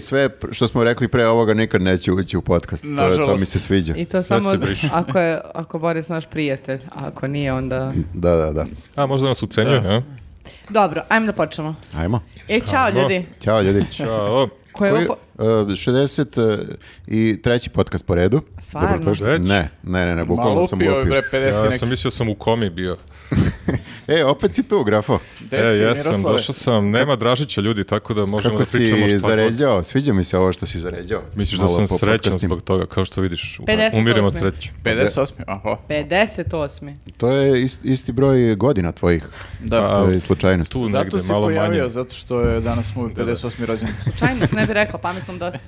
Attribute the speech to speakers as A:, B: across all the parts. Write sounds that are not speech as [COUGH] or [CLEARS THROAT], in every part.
A: sve pr- što smo rekli pre ovoga nikad neće ući u podcast. To, je- to
B: Nažalost.
A: mi se sviđa.
C: I to
B: Sve
C: samo
B: se briše.
C: ako, je, ako Boris naš prijatelj, a ako nije onda...
A: Da, da, da.
D: A, možda nas ucenjuje, a?
C: Dobro, ajmo da počnemo.
A: Ajmo.
C: E, čao ljudi.
A: Ćao
C: [LAUGHS]
A: ljudi.
D: Ćao.
C: Ko je
A: Koji-
C: ovo po-
A: e, 60 e, i treći podcast po redu.
C: Stvarno?
A: Dobrodošli.
D: Već?
A: Ne, ne, ne, ne, bukvalno
B: Malo
A: sam
B: upio je,
A: lupio.
B: bre, 50
D: Ja
B: neki.
D: sam mislio sam u komi bio.
A: E, opet si tu, grafo.
B: Gde si,
D: e, jesam,
B: Miroslave?
D: došao sam. Nema Dražića ljudi, tako da možemo
A: Kako
D: da pričamo
A: si
D: šta god.
A: zaređao? Sviđa mi se ovo što si zaređao.
D: Misliš da
A: Malo
D: sam
A: po
D: srećan
A: podcastima.
D: zbog toga, kao što vidiš.
C: 58.
D: Umirem od sreće.
B: 58. Aha.
C: 58.
A: To je ist- isti broj godina tvojih.
B: Da.
A: To je slučajnost.
D: Pa, Tu
B: Zato
D: negde,
B: si
D: malo
B: pojavio,
D: manje.
B: zato što je danas mu 58. rođendan.
C: Čajnost ne bi rekao, pametnom dosta.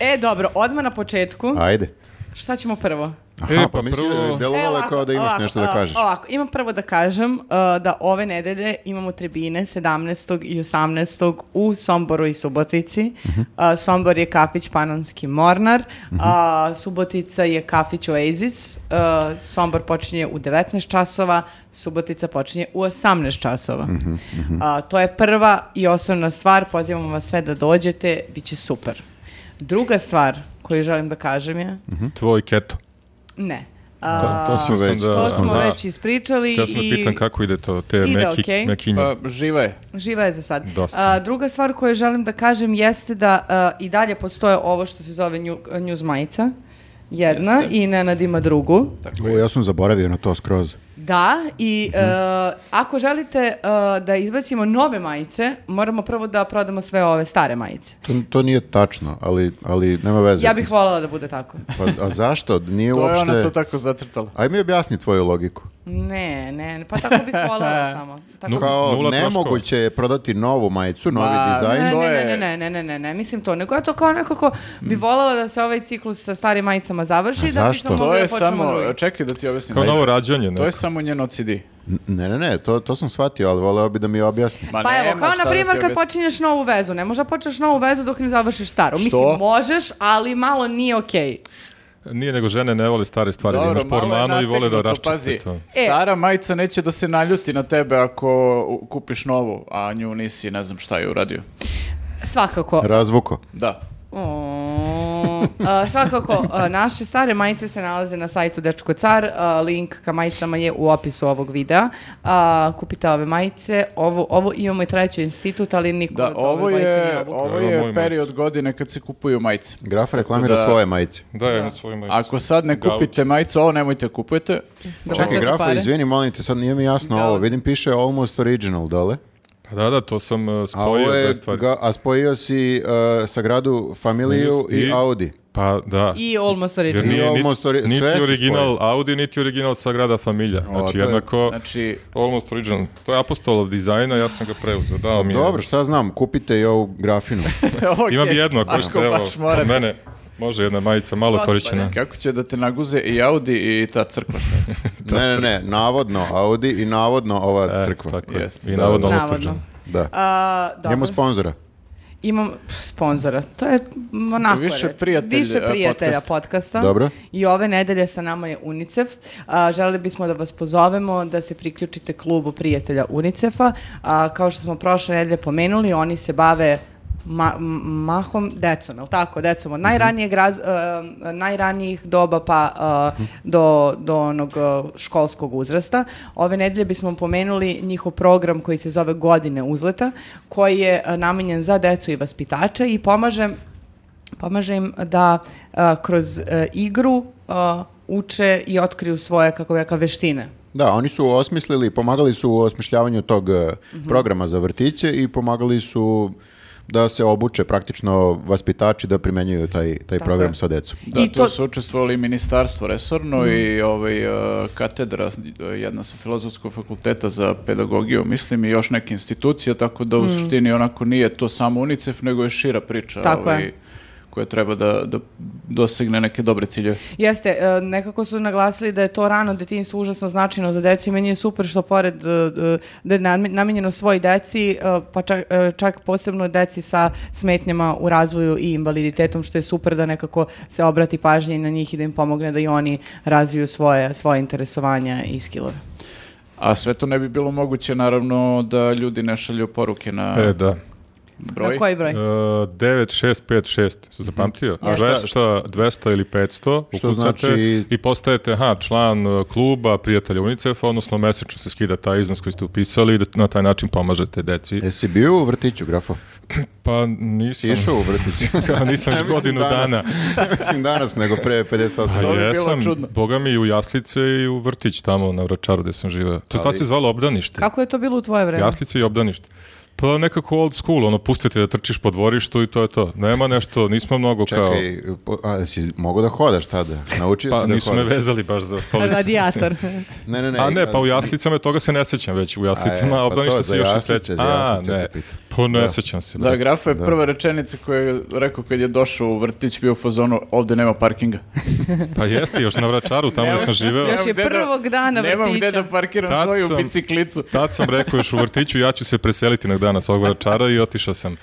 C: E, dobro, odmah na početku.
A: Ajde.
C: Šta ćemo prvo?
A: Aha,
D: E,
A: pa,
D: pa
A: mislim,
D: prvo-
C: E,
A: delovalo je
C: ovako,
A: kao da imaš
C: ovako,
A: nešto da
C: ovako,
A: kažeš.
C: Ovako, imam prvo da kažem uh, da ove nedelje imamo tribine 17. i 18. u Somboru i Subotici.
A: Mhm.
C: Uh, Sombor je kafić Panonski Mornar,
A: Mhm.
C: a Subotica je kafić Oasis. Uh, Sombor počinje u 19 časova, Subotica počinje u 18 časova.
A: Mhm,
C: A, to je prva i osnovna stvar, pozivamo vas sve da dođete, bit će super. Druga stvar koju želim da kažem je,
D: Mhm. Tvoj keto.
C: ne.
A: To, to
C: A,
A: smo već.
D: da-
C: to smo
D: Da.
C: već ispričali
D: Ja sam
C: i
D: me pitan kako ide to, te
C: Ide
D: meki,
C: okej.
D: mekinje.
B: Pa, živa je.
C: živa je za sad.
D: Dosta.
C: A, druga stvar koju želim da kažem jeste da a, i dalje postoje ovo što se zove nju, news majica. Jedna i Nenad ima drugu.
A: O, ja sam zaboravio na to skroz.
C: Da, i e, ako želite e, da izbacimo nove majice, moramo prvo da prodamo sve ove stare majice.
A: To, to nije tačno, ali, ali nema veze.
C: Ja bih voljela da bude tako.
A: Pa, a zašto? Nije
B: [LAUGHS] To je
A: uopšte...
B: ona to tako zacrtala.
A: Aj mi objasni tvoju logiku.
C: Ne, ne, ne, pa tako bih
D: [LAUGHS]
C: voljela samo. Tako.
D: No,
A: Kao
D: Nula troškova.
A: nemoguće je prodati novu majicu, novi
B: Ma,
A: dizajn.
C: E, Ne,
B: to
C: ne,
B: je-
C: ne, ne, ne, ne, ne, ne, mislim to, nego ja to kao nekako bi voljela da se ovaj ciklus sa starim majicama završi,
A: Mm. A
C: da
A: zašto?
C: bismo
B: To
C: mogli da
B: je
C: počnemo
B: samo, znači,
C: drugi.
B: čekaj da ti objasnim.
D: Kao
B: Ajde.
D: novo rađanje.
B: To
D: neko.
B: je samo njen OCD.
A: Ne, ne, ne, to, to sam shvatio, ali voleo bi da mi objasni.
B: Ma
C: Pa evo,
B: nema
C: kao
B: šta
C: na
B: da
C: primjer
B: ti
C: kad
B: objasnim.
C: počinješ novu vezu, ne možeš da počneš novu vezu dok ne završiš staru.
B: Što?
C: Mislim, možeš, ali malo nije okej.
D: Nije nego žene ne vole stare stvari, da imaš po
B: malo je
D: ormanu i vole da
B: nategnuto,
D: raščiste
B: pazi,
D: to.
C: E.
B: Stara majica neće da se naljuti na tebe ako u- kupiš novu, a nju nisi, ne znam šta je uradio.
C: Svakako.
A: Razvuko.
B: Da.
C: O, a, svakako, a, naše stare majice se nalaze na sajtu Dečko Car, a, link ka majicama je u opisu ovog videa. A, kupite ove majice, ovo, ovo imamo i treći institut, ali niko
B: Da,
C: od ove
B: ovo
C: dvojice nije
B: je,
C: obukao.
B: ovo
D: Evo moju
B: je
D: majicu.
B: period godine kad se kupuju majice.
A: Graf reklamira
B: da-
A: svoje majice.
D: Daj, ja na svoju majicu.
B: Ako sad ne
D: Znači, Gauč.
B: kupite majicu, ovo nemojte kupujete.
C: Da
A: Čekaj,
C: bacate
A: Grafo,
C: pare.
A: izvini, molim te, sad nije mi jasno
C: Da.
A: ovo. Vidim, piše almost original dole.
D: Pa da, da, to sam uh,
A: A, ovo
D: spojio
A: je,
D: dve stvari.
A: ga- a spojio si uh, sa gradu familiju
D: Familiju
A: i
D: i-
A: Audi.
D: Pa da.
C: I Almost Original.
D: Jer nije ni-
A: almost ori-
D: niti
A: sve se
D: original Audi, niti original Sagrada Familija. Znači,
A: to je-
D: jednako...
B: [LAUGHS] Znači,
D: Almost original. To je apostolov dizajna, ja sam ga preuzeo. Dao mi je.
A: Dobro, šta znam, kupite i ovu grafinu.
B: okay.
D: Imam jednu, ako ste, evo,
B: baš
D: od
B: morate.
D: mene. Može jedna majica, malo
C: Gospode.
D: korišćena.
B: Kako će da te naguze i Audi i ta crkva?
A: ne, ne, ne, navodno Audi i navodno ova
D: E,
A: crkva.
D: tako je.
B: Jeste.
D: I navodno
C: Da, da.
D: Almost original.
A: Da.
C: A, dobro.
A: Imamo sponzora.
C: Imam sponzora. To je m, onako
B: Više
C: reč.
B: prijatelj,
C: Više
B: eh,
C: prijatelja
B: podcast.
C: podcasta.
A: Dobro.
C: I ove nedelje sa nama je UNICEF. A, želeli bismo da vas pozovemo da se priključite klubu prijatelja UNICEF-a. A, kao što smo prošle nedelje pomenuli, oni se bave ma- m- mahom decom, je li tako? Decom od najranijeg raz- eh, najranijih doba pa eh, do, do onog eh, školskog uzrasta. Ove nedelje bismo pomenuli njihov program koji se zove Godine uzleta, koji je eh, namenjen za decu i vaspitače i pomaže pomaže im da a, kroz e, igru a, uče i otkriju svoje, kako bih rekla, veštine.
A: Da, oni su osmislili, pomagali su u osmišljavanju tog e,
C: Mhm.
A: programa za vrtiće i pomagali su da se obuče praktično vaspitači da primenjuju taj, taj
C: Tako
A: program
C: je.
A: sa decom.
B: Da,
C: I
B: I
C: to- Mm.
B: to su učestvovali i ministarstvo resorno i ovaj, e, katedra, e, jedna sa filozofskog fakulteta za pedagogiju, mislim, i još neke institucije, tako
C: Mm.
B: da u suštini onako nije to samo UNICEF, nego je šira priča
C: Tako
B: ovaj,
C: je.
B: koja treba da, da dosegne neke dobre ciljeve.
C: Jeste, e, nekako su naglasili da je to rano detinjstvo užasno značajno za decu i meni je super što pored e, e, da je nam- namenjeno svoj deci, e, pa čak, e, čak posebno deci sa smetnjama u razvoju i invaliditetom, što je super da nekako se obrati pažnje i na njih i da im pomogne da i oni razviju svoje, svoje interesovanja i skillove.
B: A sve to ne bi bilo moguće, naravno, da ljudi ne šalju poruke na...
D: E, da.
B: Broj?
C: Na koji broj?
D: E, 9656, se zapamtio?
A: A šta-
D: 200, 200 ili 500,
A: Mhm. Što
D: ukucate
A: znači-
D: i postajete aha, član e, kluba prijatelja UNICEF, odnosno mesečno se skida taj iznos koji ste upisali i da na taj način pomažete deci.
A: Jesi bio u vrtiću, grafo?
D: Pa nisam.
A: E, Išao u
D: [LAUGHS]
A: vrtić?
D: Ja
A: [LAUGHS]
D: nisam još
A: mislim
D: godinu dana.
A: danas. Ne mislim danas, nego pre 58
D: A
B: bi bilo
D: jesam,
B: čudno.
D: boga mi i u Jaslice i u Vrtić tamo na Vračaru gde sam živeo. To je tad se zvalo obdanište.
C: Kako je to bilo u tvoje vreme?
D: Jaslice i obdanište. Pa nekako old school, ono, pustite da trčiš po dvorištu i to je to. Nema nešto, nismo mnogo kao...
A: Čekaj, po- a si mogao da hodaš tada? Naučio
D: Pa
A: si da
D: nisu me
A: hodaš?
D: vezali baš za stolicu.
C: [LAUGHS] Radijator.
A: Ne, ne, ne.
D: A ne, pa u
A: ja-
D: jaslicama toga se ne sećam već. U jaslicama,
A: A je,
D: a
A: pa to je
D: obdanište
A: za
D: se još i
A: jaslice,
D: sećam.
A: za
D: A,
A: jaslice
D: ne,
A: te pitam.
D: pa ne sećam se.
B: Da,
D: brate.
B: Grafa je prva rečenica koju je rekao kad je došao u vrtić, bio u fazonu, ovde nema parkinga.
D: Pa jeste, još na Vračaru, tamo gde sam živeo.
C: Još
B: Nemam
C: je
B: gde da-
C: prvog
B: [LAUGHS]
C: dana
B: Nemam gde
C: vrtića.
B: da parkiram
D: Tad
B: svoju
D: sam-
B: biciklicu.
D: Tad sam rekao još u vrtiću, ja ću se preseliti na dana svog vračara i otišao sam.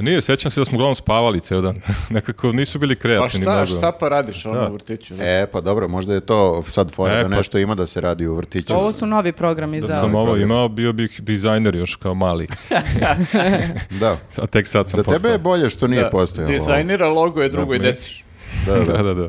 D: Nije, sećam se da smo uglavnom spavali ceo dan. [LAUGHS] Nekako nisu bili
B: Pa
D: kreativni
B: šta,
D: mnogo.
B: šta pa radiš ono
D: Da.
B: u vrtiću? da?
A: E, pa dobro, možda je to sad fora
D: E,
A: da
D: pa-
A: nešto ima da se radi u vrtiću.
C: Ovo su novi programi
D: Da
C: za...
D: sam
A: ovaj
D: ovo
A: program.
D: imao, bio bih dizajner još kao mali. [LAUGHS]
A: Da.
D: A tek sad sam
A: Za tebe
D: postao.
A: je bolje što nije
B: Da,
A: postojalo. ovo.
B: Dizajnira logo je drugoj
D: Da,
B: deci.
A: Da, da.
D: [LAUGHS] Da, da, da.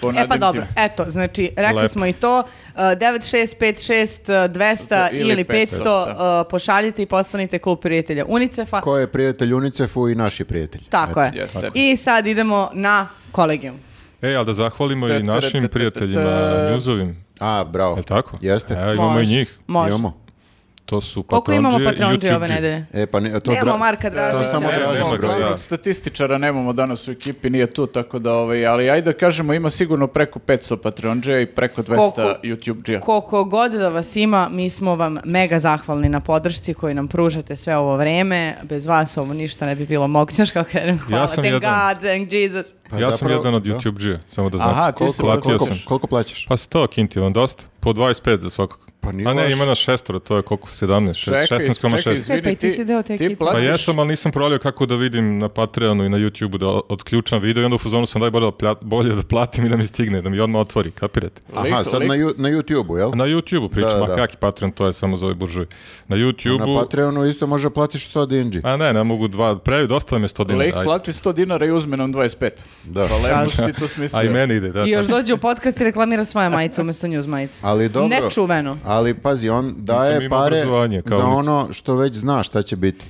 B: Po
C: E pa
B: nadimcima.
C: dobro, eto, znači, rekli
D: Lepo.
C: smo i to, uh, 9656 uh, 200
B: Ili
C: ili 500,
B: 500,
C: uh, pošaljite i postanite klub prijatelja Unicefa.
A: Ko je prijatelj UNICEF-u i naš je prijatelj.
C: Tako je.
B: Jeste.
C: I sad idemo na kolegijum.
D: E, ali da zahvalimo i našim prijateljima njuzovim.
A: A, bravo.
D: Je li tako?
A: Jeste.
D: Evo, imamo
C: Može.
D: i njih.
C: Može.
A: Imamo.
D: To su
C: Koliko
D: patronđe
C: imamo
D: i
C: patronđe ove
D: YouTubeđe.
C: nedelje?
A: E, pa ne, to
C: Nemamo
A: dra-
C: Marka Dražića.
A: samo
B: Ne,
A: Dražić
B: nemamo
D: broj, da.
B: glavnog statističara nemamo danas u ekipi, nije tu, tako da, ovaj, ali ajde da kažemo, ima sigurno preko 500 Patreon-đeja i preko 200
C: Koliko?
B: YouTube-đeja.
C: Koliko god da vas ima, mi smo vam mega zahvalni na podršci koju nam pružate sve ovo vreme. Bez vas ovo ništa ne bi bilo moguće, znaš kako krenem. Hvala,
D: sam
C: thank
D: jedan.
C: God, thank Jesus.
A: Pa
D: ja sam
A: zapravo-
D: jedan od
A: da.
D: YouTubeđe, samo da znate.
B: Aha, ti si-
D: Platio
A: Koliko,
D: sam.
A: koliko plaćaš?
D: Pa 100 kinti, vam dosta? Po 25 za svakog.
A: Pa nije
D: A ne,
A: loše.
D: ima na šestoro, to je koliko? 17, šest- 16,6.
C: Sve, pa i ti si deo te ekipe.
B: ti
C: Pa
D: Pa
B: platiš,
D: jesam, ali nisam prolio kako da vidim na Patreonu i na YouTubeu da odključam video i onda u fazonu sam daj bolje da, plat- bolje da platim i da mi stigne, da mi odmah otvori, kapirate?
A: Aha, sad na, ju- na YouTube-u, jel?
D: Na YouTubeu pričam,
A: Da,
D: Pa- a
A: da.
D: kaki Patreon, to je samo za ovaj buržuj. Na
A: Na
D: YouTubeu,
A: Patreonu isto može platiš 100 dinđi.
D: a ne, ne mogu dva, previ, dosta vam je 100
B: Lik
D: dinara, ajde.
B: plati 100 dinara i uzme nam 25.
A: Da.
B: Pa lepo si
A: [LAUGHS]
B: ti to smislio.
D: A i meni ide, da.
C: I još
D: tako.
C: dođe u podcast i reklamira svoje majice umjesto news majice.
A: Ali dobro.
C: Nečuveno.
A: Ali pazi, on daje
D: imao
A: pare
D: obrazovanje, kao
A: za
D: ulica.
A: ono što već zna šta će biti.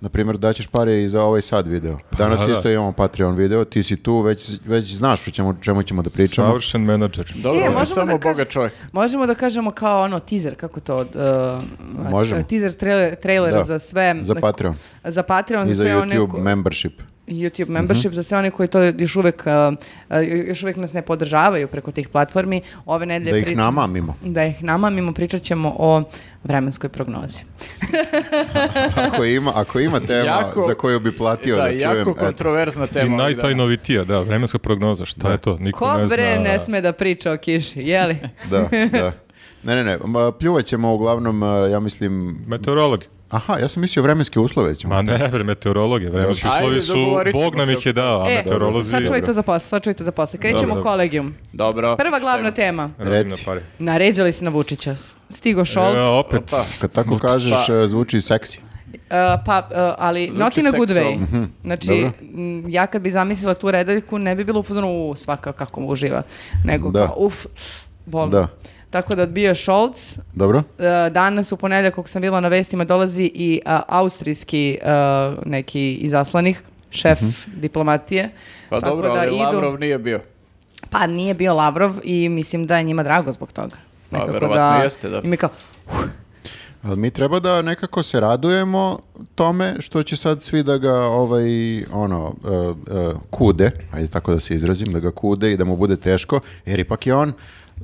A: Naprimjer, daćeš pare i za ovaj sad video. Danas
D: Pa da, da.
A: isto imamo Patreon video, ti si tu, već, već znaš o čemu, čemu ćemo da pričamo.
D: Savršen menadžer.
B: Dobro,
C: E,
B: on je
C: možemo
B: samo
C: da
B: boga
C: kažem-
B: čovjek.
C: Možemo da kažemo kao ono teaser, kako to? od, Uh,
A: Možemo.
C: Teaser trailer, trailer
A: Da.
C: za sve.
A: Za
C: na-
A: Patreon.
C: Za Patreon.
A: I za
C: sve one
A: YouTube Mhm.
C: ko-
A: membership.
C: YouTube membership za sve one koji to još uvek, uh, uh, još uvek nas ne podržavaju preko tih platformi. Ove nedelje
A: Da ih
C: pričamo-
A: namamimo.
C: Da ih namamimo, pričat ćemo o vremenskoj prognozi.
A: Ako ima, ako ima tema
B: Jako-
A: za koju bi platio da,
B: Da,
A: čujem,
B: jako
A: eto.
B: kontroverzna tema.
D: I
B: ovih dana.
D: najtajnovitija, da, vremenska prognoza, šta je to? Niko
C: Ko
D: ne zna.
C: bre ne sme da priča o kiši, jeli?
D: [LAUGHS]
A: Da, da. Ne, ne, ne, ma, pljuvat ćemo uglavnom, eh, ja mislim...
D: Meteorolog.
A: Aha, ja sam mislio vremenske uslove ćemo.
D: Ma ne, bre, meteorologe, vremenski
B: Ajde,
D: uslovi su,
B: dogovorit ćemo
D: Bog nam
B: se.
D: ih je dao, a
C: e,
D: meteorolozi...
C: sačuvaj to za posle, sačuvaj to za posle. Krećemo
D: Dobro.
C: kolegijum.
B: Dobro.
C: Prva glavna
B: Šta
C: tema.
D: Radim na
A: Reci.
D: pare.
C: Naređali se na Vučića. Stigo Šolc.
D: E, opet.
B: Opa.
A: Kad tako kažeš,
B: Pa-
A: eh, zvuči seksi.
C: Uh, pa, uh, ali not in a good way.
B: seksualno.
D: Mhm.
C: Znači,
A: dobro.
C: m, ja kad bi zamislila tu redaljku, ne bi bilo u fazonu, u, svaka kako mu uživa, nego
A: Da.
C: kao, uf, bolno.
A: Da.
C: Tako da odbio je Šolc, uh,
A: Dobro?
C: danas u ponedjeljak kako sam bila na vestima, dolazi i uh, austrijski uh, neki izaslanik, šef diplomatije.
B: Mhm. Pa
C: Tako
B: dobro,
C: da
B: ali
C: idu-
B: Lavrov nije bio.
C: Pa nije bio Lavrov i mislim da je njima drago zbog toga.
B: Pa, verovatno jeste, da.
C: I mi kao,
A: Ali mi treba da nekako se radujemo tome što će sad svi da ga ovaj, ono, e, e, kude, ajde tako da se izrazim, da ga kude i da mu bude teško, jer ipak je on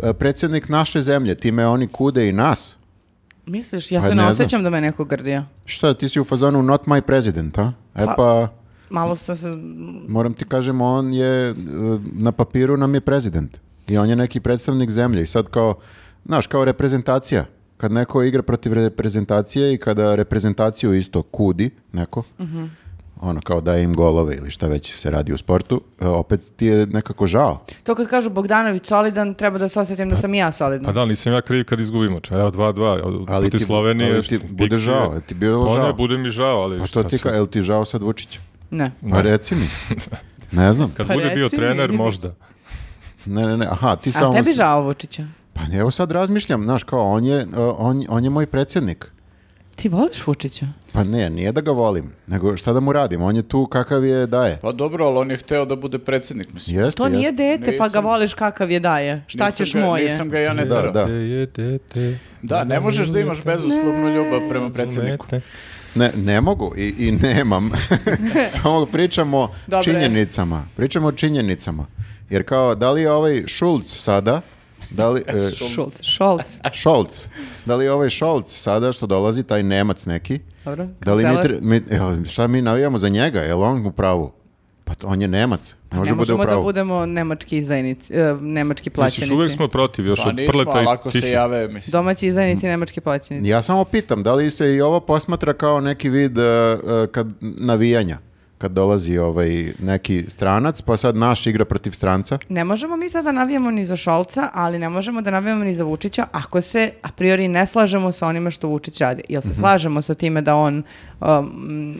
A: e, predsjednik naše zemlje, time oni kude i nas.
C: misliš, ja
A: Pa
C: se
A: ne
C: ne
A: znam.
C: osjećam da me neko grdio.
A: Šta, ti si u fazonu not my president, a? E
C: Pa-
A: pa,
C: Malo sam se
A: moram ti kažem, on je, e, na papiru nam je president. I on je neki predstavnik zemlje i sad kao, znaš, kao reprezentacija. Kad
C: Mhm.
A: neko igra protiv reprezentacije i kada reprezentaciju isto kudi, neko, ono, kao daje im golove ili šta već se radi u sportu, e, opet ti je nekako žao.
C: To kad kažu Bogdanović solidan, treba da se osjetim da sam i ja solidna.
D: Pa da, ali nisam ja kriv kad izgubimo. Ča, evo 2-2,
A: Ali
D: ali ti
A: ti-
D: Slovenije.
A: ali ti
D: što-
A: bude
D: Pixije.
A: žao, jel ti bilo
D: Pa
A: žao?
D: ne, bude mi žao, ali
A: Pa
D: šta
A: što ti,
D: sad?
A: ka, el ti žao sad Vučića?
C: Ne.
A: Pa reci
D: [LAUGHS]
A: mi. Ne znam.
D: Kad
C: Pa
D: bude bio
C: reci mi,
D: trener,
C: vidi.
D: možda.
A: Ne, ne, ne. Aha, ti
C: A
A: samo...
C: tebi
A: si-
C: žao Vučića?
A: Pa evo sad razmišljam, znaš, kao on je, e, on, on je moj predsjednik.
C: Ti voliš Vučića?
A: Pa ne, nije da ga volim, nego šta da mu radim, on je tu kakav je daje.
B: Pa dobro, ali on je hteo da bude predsjednik, mislim.
A: Jeste,
C: To nije
A: jeste.
C: dete, pa ga
B: Nisam-
C: voliš kakav je daje. Šta
B: Nisam
C: ćeš
B: ga-
C: moje?
B: Nisam ga ja ne
A: Da,
B: terao.
A: da.
D: Te je dete.
B: Da, ne možeš da imaš bezuslovnu ljubav prema predsjedniku.
D: Razumete?
A: Ne, ne mogu i, i nemam. [LAUGHS] Samo pričamo o
C: [LAUGHS] Dobro je.
A: činjenicama. Pričamo o činjenicama. Jer kao, da li je ovaj Šulc sada, da li, e,
C: Šolc. Šolc.
A: Šolc, da li je ovaj Šolc sada što dolazi, taj Nemac neki,
C: Dobro.
A: da li mi,
C: kancelar.
A: tre- mi- jel, šta mi navijamo za njega, je li on u pravu? Pa to- on je Nemac, ne može
C: ne
A: bude u
C: možemo da
A: pravu.
C: budemo nemački izdajnici, e, nemački
D: Misliš,
C: plaćenici.
D: uvek smo protiv još
B: Pa
D: od
B: nismo,
D: prleta
B: ali
D: i
B: ako se
D: tih.
B: jave, mislim.
C: Domaći izdajnici, nemački plaćenici.
A: Ja samo pitam, da li se i ovo posmatra kao neki vid e, e, kad, navijanja? kad dolazi ovaj neki stranac, pa sad naš igra protiv stranca.
C: Ne možemo mi sada da navijamo ni za Šolca, ali ne možemo da navijamo ni za Vučića ako se a priori ne slažemo sa onime što Vučić radi. Jel
A: Mhm.
C: se slažemo sa time da on um,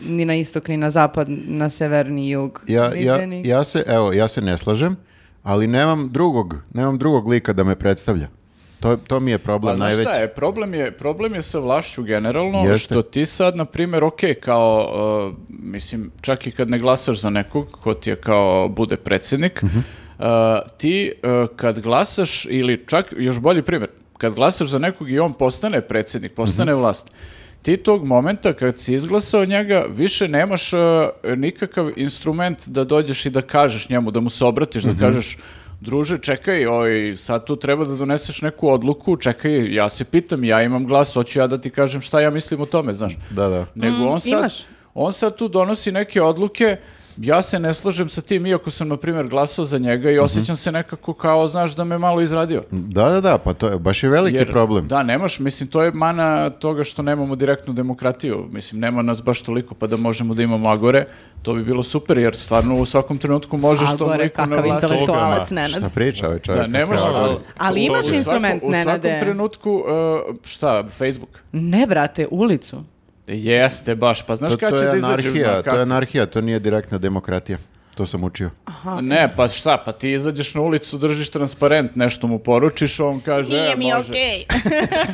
C: ni na istok, ni na zapad, na sever, ni jug,
A: Ja,
C: nigde
A: ja,
C: ni-
A: ja se, evo, ja se ne slažem, ali nemam drugog, nemam drugog lika da me predstavlja. To, to mi je problem
B: Pa znaš
A: najveći.
B: šta je, problem je, problem je sa vlašću generalno,
A: Jeste.
B: što ti sad, na primjer, ok, kao, uh, mislim, čak i kad ne glasaš za nekog ko ti je kao bude predsjednik,
A: Mhm.
B: uh, ti uh, kad glasaš, ili čak još bolji primjer, kad glasaš za nekog i on postane predsjednik, postane
A: Mhm.
B: vlast, ti tog momenta kad si izglasao njega, više nemaš uh, nikakav instrument da dođeš i da kažeš njemu, da mu se obratiš,
A: Mhm.
B: da kažeš druže, čekaj, oj, sad tu treba da doneseš neku odluku, čekaj, ja se pitam, ja imam glas, hoću ja da ti kažem šta ja mislim o tome, znaš.
A: Da, da.
B: Nego on sad,
C: Mm, imaš.
B: on sad tu donosi neke odluke, ja se ne slažem sa tim, iako sam, na primjer, glasao za njega i osjećam se nekako kao, znaš, da me malo izradio.
A: Da, da, da, pa to je baš je veliki
B: Jer,
A: problem.
B: Da, nemaš, mislim, to je mana toga što nemamo direktnu demokratiju. Mislim, nema nas baš toliko pa da možemo da imamo agore. To bi bilo super, jer stvarno u svakom trenutku možeš tom
C: Agore,
B: liku na
C: kakav
B: vlast.
C: intelektualac,
D: Sloga,
C: Nenad.
A: Šta priča ovaj čovjek?
B: Da, ne može,
A: Kako je
B: ali...
A: govori?
C: Ali imaš
B: u svakom-
C: instrument,
B: U svakom
C: Nenade.
B: trenutku, uh, šta, Facebook?
C: Ne, brate,
A: [LAUGHS]
C: ulicu.
B: Jeste, baš, pa znaš
A: To,
B: kada
A: to
B: će
A: je
B: da izađe?
A: anarhija,
B: ma, kako-
A: to je anarhija, to nije direktna demokratija. To sam učio.
B: Ne, pa šta, pa ti izađeš na ulicu, držiš transparent, nešto mu poručiš, on kaže, e, može. [LAUGHS]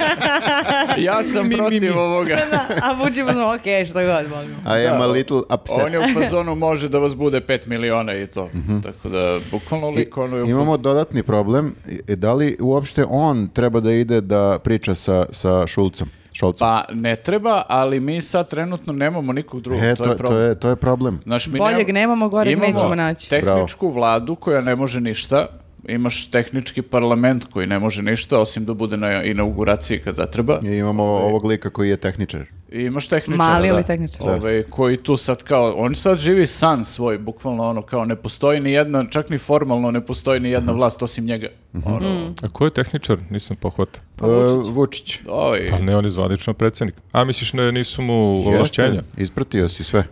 B: ja sam protiv ovoga.
C: a Vučić mu znao, okej, što god, volimo.
A: I am a little
B: [LAUGHS] On
A: upset.
B: je u fazonu može da vas bude 5 miliona i to. Tako da, bukvalno lik ono je u
A: Imamo
B: fazonu.
A: dodatni problem, i- da li uopšte on treba da ide da priča sa, sa Šulcom? Šolcom?
B: Pa ne treba, ali mi sad trenutno nemamo nikog drugog,
A: e,
B: to, je problem.
A: to, je, to je problem.
B: Znaš, mi
C: Boljeg nemamo, goreg
B: imamo
C: nećemo naći.
B: tehničku vladu koja ne može ništa, imaš tehnički parlament koji ne može ništa, osim da bude na inauguraciji kad zatreba.
A: I imamo
B: Ovaj-
A: ovog lika koji je tehničar.
B: I imaš tehničara,
C: Mali ili
B: da.
C: tehničar.
B: Ovaj, koji tu sad kao, on sad živi san svoj, bukvalno ono, kao ne postoji ni jedna, čak ni formalno ne postoji ni jedna vlast osim njega.
A: Mhm.
B: Ono,
C: Mm.
D: A ko je tehničar? Nisam pohvatao.
B: Pa,
A: Vučić. E, Vučić.
B: ovaj,
D: Pa ne, on je zvanično predsjednik. A misliš ne, nisu mu
A: Jeste,
D: ovlašćenja?
A: Ispratio si sve.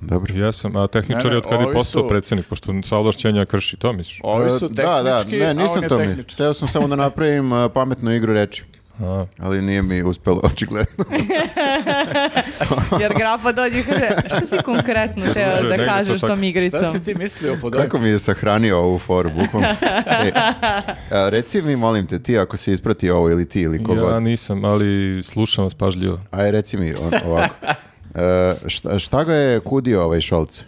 A: Dobro.
D: Ja sam, a tehničar
B: Ne, ne,
D: je od kada je
B: ovi
D: postao
B: su-
D: predsjednik, pošto sva ovlašćenja krši, to misliš?
B: ovi
A: E,
B: su tehnički,
A: da, da, ne,
B: a
A: nisam
B: on je
A: to mi.
B: tehničar.
A: Hteo sam samo da napravim e, pametnu igru reči.
D: A,
A: Ali nije mi uspelo, [LAUGHS] očigledno.
C: Jer grafa dođe i kaže, šta si konkretno teo
D: Slušaj,
C: da
D: negde to
C: kažeš
D: tako.
C: tom igricom?
B: Šta si ti
A: [LAUGHS]
B: mislio pod ovim?
A: Kako mi je sahranio ovu foru,
B: [LAUGHS]
A: bukvalno. Ej, a, reci mi, molim te, ti ako si isprati ovo ili ti ili kogod.
D: ja nisam, ali slušam vas pažljivo.
A: Aj, reci mi on, ovako. E, šta, šta ga je kudio ovaj Šolc?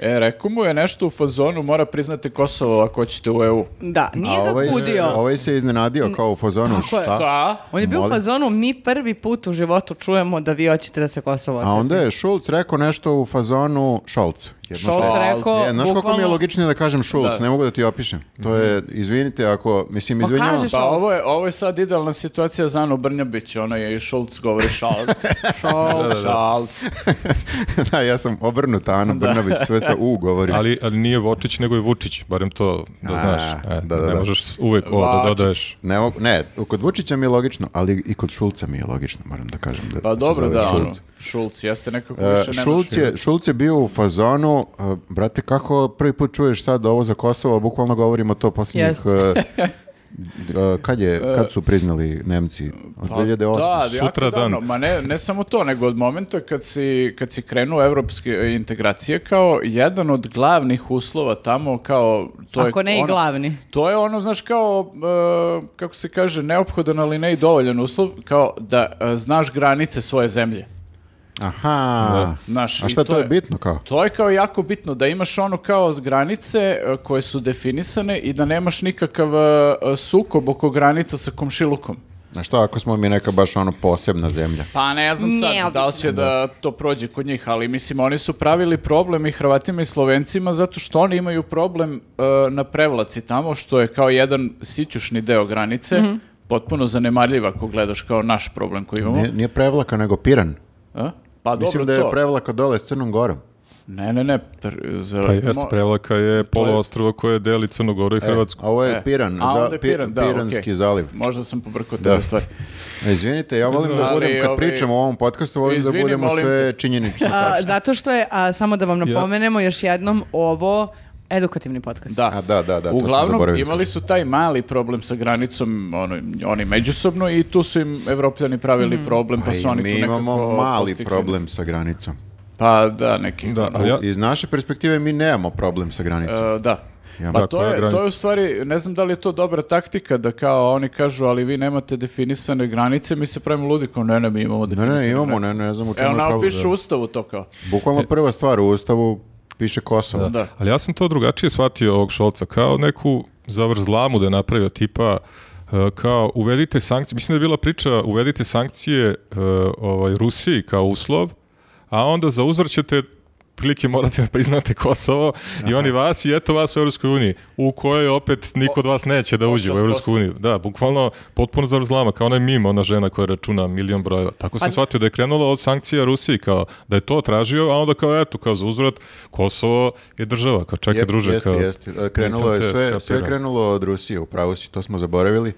B: E, rekao mu je nešto u fazonu, mora priznati Kosovo ako ćete u EU.
C: Da, nije
A: A
C: ga
A: ovaj, se-
C: kudio.
A: ovaj se iznenadio kao u fazonu,
C: Tako je.
A: šta?
B: Da.
C: On je bio u
A: Molim.
C: fazonu, mi prvi put u životu čujemo da vi hoćete da se Kosovo
A: A
C: ocepi.
A: onda je Šulc rekao nešto u fazonu Šolc. Jer, znaš,
C: Šolc
B: šta-
C: rekao,
A: E, znaš koliko mi je
C: bukvalno-
A: logičnije da kažem Šulc,
B: Da.
A: ne mogu da ti opišem. To je, izvinite, ako, mislim,
C: Pa
A: izvinjavam.
C: kažeš
B: Pa
C: Šolc.
B: ovo je, ovo je sad idealna situacija za Anu Brnjabić, ona je i Šulc govori
C: [LAUGHS]
B: Šalc, Šolc, Šalc.
A: [LAUGHS] da, ja sam obrnuta Ana Brnabić, sve sa U govorim.
D: Ali, ali nije Vočić, nego je Vučić, barem to da
A: A,
D: znaš. E,
A: da, da,
D: ne
A: da.
D: možeš uvek o da
B: Vačić.
D: dodaješ.
A: Ne, mogu- ne, kod Vučića mi je logično, ali i kod Šulca mi je logično, moram da kažem. Da,
B: Pa
A: se
B: dobro,
A: zove
B: da, ono,
A: Šulc.
B: Šulc jeste nekako
A: E,
B: više
A: Šulc, je, Šulc je bio u fazonu, e, brate, kako prvi put čuješ sad ovo za Kosovo, bukvalno govorimo to posljednjih...
C: Jeste.
A: e,
B: [LAUGHS]
A: e, kad, je, kad su priznali Nemci? Od 2008.
B: pa Da, jako
D: Sutra
B: davno.
D: dan.
B: Ma ne, ne samo to, nego od momenta kad si, kad si krenuo evropske e, integracije kao jedan od glavnih uslova tamo kao... To
C: Ako
B: je
C: ne i
B: ono-
C: glavni.
B: To je ono, znaš, kao, e, kako se kaže, neophodan, ali ne i dovoljan uslov, kao da e, znaš granice svoje zemlje.
A: Aha.
B: Znaš,
A: A
B: i
A: šta to,
B: to
A: je
B: je-
A: bitno kao?
B: To je kao jako bitno, da imaš ono kao granice e, koje su definisane i da nemaš nikakav e, e, sukob oko granica sa komšilukom.
A: A šta ako smo mi neka baš ono posebna zemlja?
B: Pa ne znam sad
C: Neobično.
B: da li će da to prođe kod njih, ali mislim oni su pravili problem i Hrvatima i Slovencima zato što oni imaju problem e, na prevlaci tamo što je kao jedan sićušni deo granice. Potpuno zanemarljiv ako gledaš kao naš problem koji imamo.
A: Nije, nije prevlaka, nego piran.
B: A? Pa
A: Mislim
B: dobro
A: da je
B: to.
A: prevlaka dole s Crnom Gorom.
B: Ne, ne, ne. pr- za-
D: Pa jest,
B: mo-
D: Prevlaka je poluostrvo koje deli Crnogoru i Hrvatsku.
A: A ovo je
B: E,
A: piran,
B: a
A: za-
B: onda je
A: pi-
B: Piran, da,
A: piranski
B: okej.
A: zaliv.
B: Možda sam pobrkao te
A: Da.
B: dve stvari.
A: Izvinite, ja volim da
B: Ali,
A: budem, kad
B: ovaj,
A: pričam o ovom podcastu, volim
B: izvini,
A: da budemo
B: molim
A: sve
B: te. [LAUGHS]
A: činjenično
C: A,
A: tačno.
C: zato što je, a, samo da vam napomenemo još jednom, ovo edukativni podcast.
B: Da.
A: A da, da, da, to sam
B: Uglavnom,
A: zaboravio.
B: imali su taj mali problem sa granicom, ono, oni međusobno, i tu su im evropljani pravili problem, pa
A: Pa
B: su
A: i
B: oni
A: mi
B: tu nekako...
A: imamo mali
B: postigli.
A: problem sa granicom.
B: Pa da, neki.
D: Da, ali ja,
A: Iz naše perspektive mi nemamo problem sa granicom.
B: E, da.
A: Ja,
B: pa
D: da,
B: to
D: koja
B: je, to je
D: granica?
B: u stvari, ne znam da li je to dobra taktika da kao oni kažu, ali vi nemate definisane granice, mi se pravimo ludi kao ne, ne, mi imamo
A: ne,
B: definisane
A: ne, imamo,
B: granice.
A: ne, ne znam u čemu
B: Evo,
A: je problem.
B: napišu
A: da.
B: u ustavu to kao.
A: Bukvalno prva stvar u ustavu piše Kosovo.
B: Da.
D: Ali ja sam to drugačije shvatio ovog Šolca, kao neku zavrzlamu da je napravio, tipa e, kao uvedite sankcije, mislim da je bila priča uvedite sankcije e, ovaj, Rusiji kao uslov, a onda za uzor ćete prilike morate da priznate Kosovo i oni vas i eto vas u Europskoj uniji, u kojoj opet niko od vas neće da uđe u
B: Opšta
D: Europsku uniju. Da, bukvalno potpuno zavrzlama, kao onaj mim, ona žena koja računa milion brojeva. Tako sam shvatio da je krenula od sankcija Rusiji, kao da je to tražio, a onda kao eto, kao za uzvrat, Kosovo je država, kao čekaj
A: Jep,
D: druže,
A: jeste,
D: kao...
A: jeste. E, Krenulo
D: nisam
A: je
D: te
A: sve, sve
D: skapirao.
A: krenulo od Rusije, upravo si, to smo zaboravili.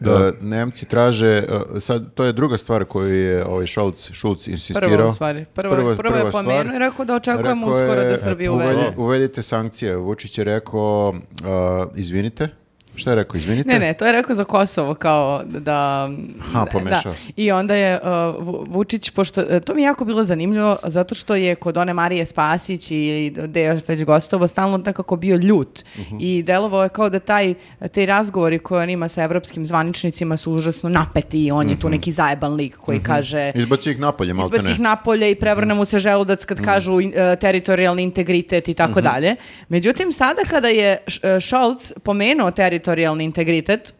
A: E, Nemci traže, e, sad, to je druga stvar koju je ovaj Šolc, Šulc insistirao.
C: Prvo, u stvari. Prvo, prvo, je
A: stvar.
C: pomenuo i rekao da očekujemo
A: Rekao je,
C: uskoro da Srbija
A: uvedi-
C: uvede.
A: Uvedite sankcije. Vučić je rekao, e, izvinite, šta je rekao, izvinite?
C: Ne, ne, to je rekao za Kosovo kao da...
A: Aha, pomešao
C: da.
A: sam.
C: I onda je uh, Vu- Vučić, pošto, e, to mi je jako bilo zanimljivo, zato što je kod one Marije Spasić i gde je još već gostovo, stalno nekako bio ljut.
A: Mhm.
C: I delovao je kao da taj, te razgovori koje on ima sa evropskim zvaničnicima su užasno napeti i on
A: Mhm.
C: je tu neki zajeban lik koji kaže...
A: Izbaci ih napolje, malte
C: Izbaci
A: ne. Mhm.
C: ih napolje i prevrne mu se želudac kad kažu in- e, teritorijalni integritet i tako dalje. Međutim, sada kada je Š- e, Scholz pomenuo teritorijalni integritet,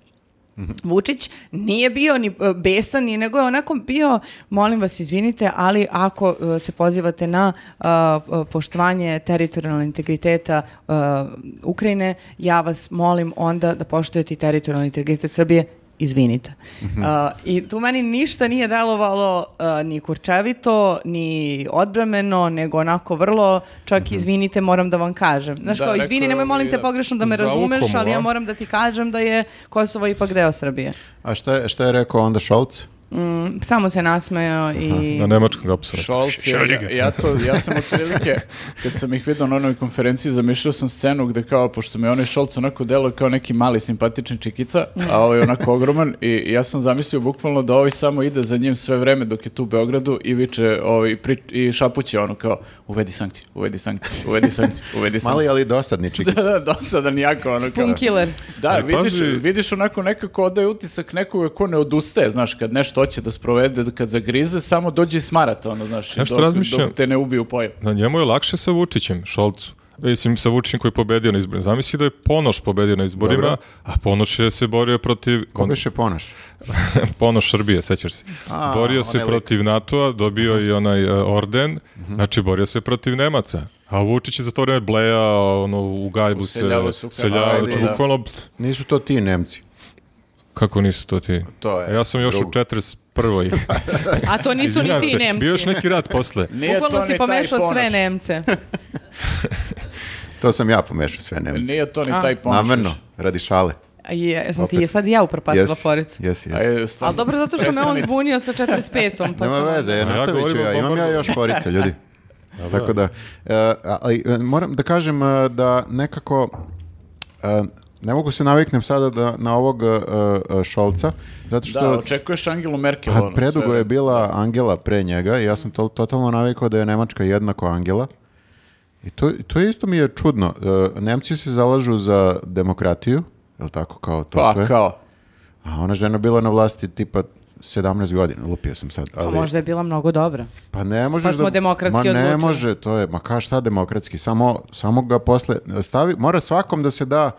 C: Vučić nije bio ni e, besan, ni nego je onako bio, molim vas, izvinite, ali ako e, se pozivate na e, e, poštovanje teritorijalnog integriteta e, Ukrajine, ja vas molim onda da poštujete i teritorijalni integritet Srbije, izvinite.
B: Mhm.
C: E, I tu meni ništa nije delovalo e, ni kurčevito, ni odbrameno, nego onako vrlo, čak izvinite, moram da vam kažem. Znaš
B: Mhm. Da,
C: kao,
B: rekao
C: izvini,
B: je
C: nemoj
B: ono
C: molim
B: i
C: te
B: da.
C: pogrešno da me
D: Zavukao
C: razumeš,
D: mu,
C: ali ja
D: a?
C: moram da ti kažem da je Kosovo ipak deo Srbije. Mm,
A: A šta je, šta je rekao onda Šolc?
C: Samo se nasmejao i...
D: Na nemačkom ga apsolutno.
B: Šolc, je- ja, ja, to, ja sam otprilike, kad sam ih vidio na onoj konferenciji, zamišljao sam scenu gde kao, pošto mi je onaj Šolc onako delo kao neki mali simpatični čikica, a ovaj onako ogroman, i ja sam zamislio bukvalno da ovaj samo ide za njim sve vreme dok je tu u Beogradu i viče ovaj, pri, i šapuće ono kao, uvedi sankcije, uvedi sankcije, uvedi sankcije, uvedi
A: Mali,
B: sankcije. [LAUGHS]
A: ali dosadni čikic.
B: Da, da, dosadan jako ono kao.
C: Spunkiller.
B: Da,
D: Ali
B: vidiš,
D: pazi-
B: vidiš onako nekako odaje utisak nekoga ko ne odustaje, znaš, kad nešto hoće da sprovede, kad zagrize, samo dođe i smarata, ono, znaš,
D: Znaš što
B: dok,
D: razmišljam?
B: dok te ne ubiju pojem.
D: Na njemu je lakše sa Vučićem, Šolcu. Mislim, sa Vučićem koji je pobedio na izborima. Zamisli da je Ponoš pobedio na izborima,
A: Dobro.
D: a Ponoš je se borio protiv...
A: Ko
D: on-
A: biše Ponoš?
D: Ponoš Srbije, sećaš se.
A: A,
D: borio se
A: onaj lik. Mhm.
D: protiv NATO-a, dobio je i onaj e, orden, znači borio se protiv Nemaca. A Vučić je za to vreme blejao, ono, u gajbu se,
B: Useljavao se u
D: seljavao,
A: Kanadi,
D: znači,
A: da.
D: bukvalno, pff,
A: Nisu to ti Nemci.
D: kako nisu to ti?
A: To je
D: A ja sam još
A: drugo.
D: u
C: [LAUGHS]
D: 41.
C: A to nisu ni
D: Izvinjavam
C: ti
D: se,
C: Nemci.
D: Bio je još neki rat posle.
B: Nije
C: Bukvalno
B: to
C: si
B: ni taj
C: pomešao sve
B: Ponoš.
C: Nemce.
B: [LAUGHS]
A: To sam ja pomešao sve Nemci.
B: Nije to ni
C: A.
B: taj ponoš.
A: Namerno, radi šale.
C: A Je, sam ti
A: Opet.
C: je sad i ja upropastila Foricu.
A: Jesi, jesi.
B: Ajde,
C: Ali
B: stvarno.
C: dobro zato što me on
B: Prestanite.
C: zbunio sa 45-om. Pa
A: Nema
C: sam-
A: veze, ja
D: ja
A: nastavit ću
D: govorim o
A: ja. Imam ja
D: bombardovanju.
A: još porica,
B: [LAUGHS]
A: ljudi. Tako da, e, a- ali, e, moram da kažem e, da nekako e, ne mogu se naviknem sada da, na ovog e, e, Šolca, zato što
B: Da, očekuješ Angelu Merkel.
A: pa,
B: ono,
A: predugo
B: sve.
A: je bila Angela pre njega i ja sam to, totalno navikao da je Nemačka jednako Angela. I to, to isto mi je čudno. E, Nemci se zalažu za demokratiju, je li tako kao to
B: Pa,
A: sve?
B: kao.
A: A ona žena bila na vlasti tipa 17 godina, lupio sam sad.
C: Pa
A: Ali...
C: možda je bila mnogo dobra.
A: Pa ne možeš
C: Pa smo
A: da...
C: demokratski
A: ma ne
C: odlučili.
A: može, to je, ma ka šta demokratski, samo, samo ga posle stavi, mora svakom da se da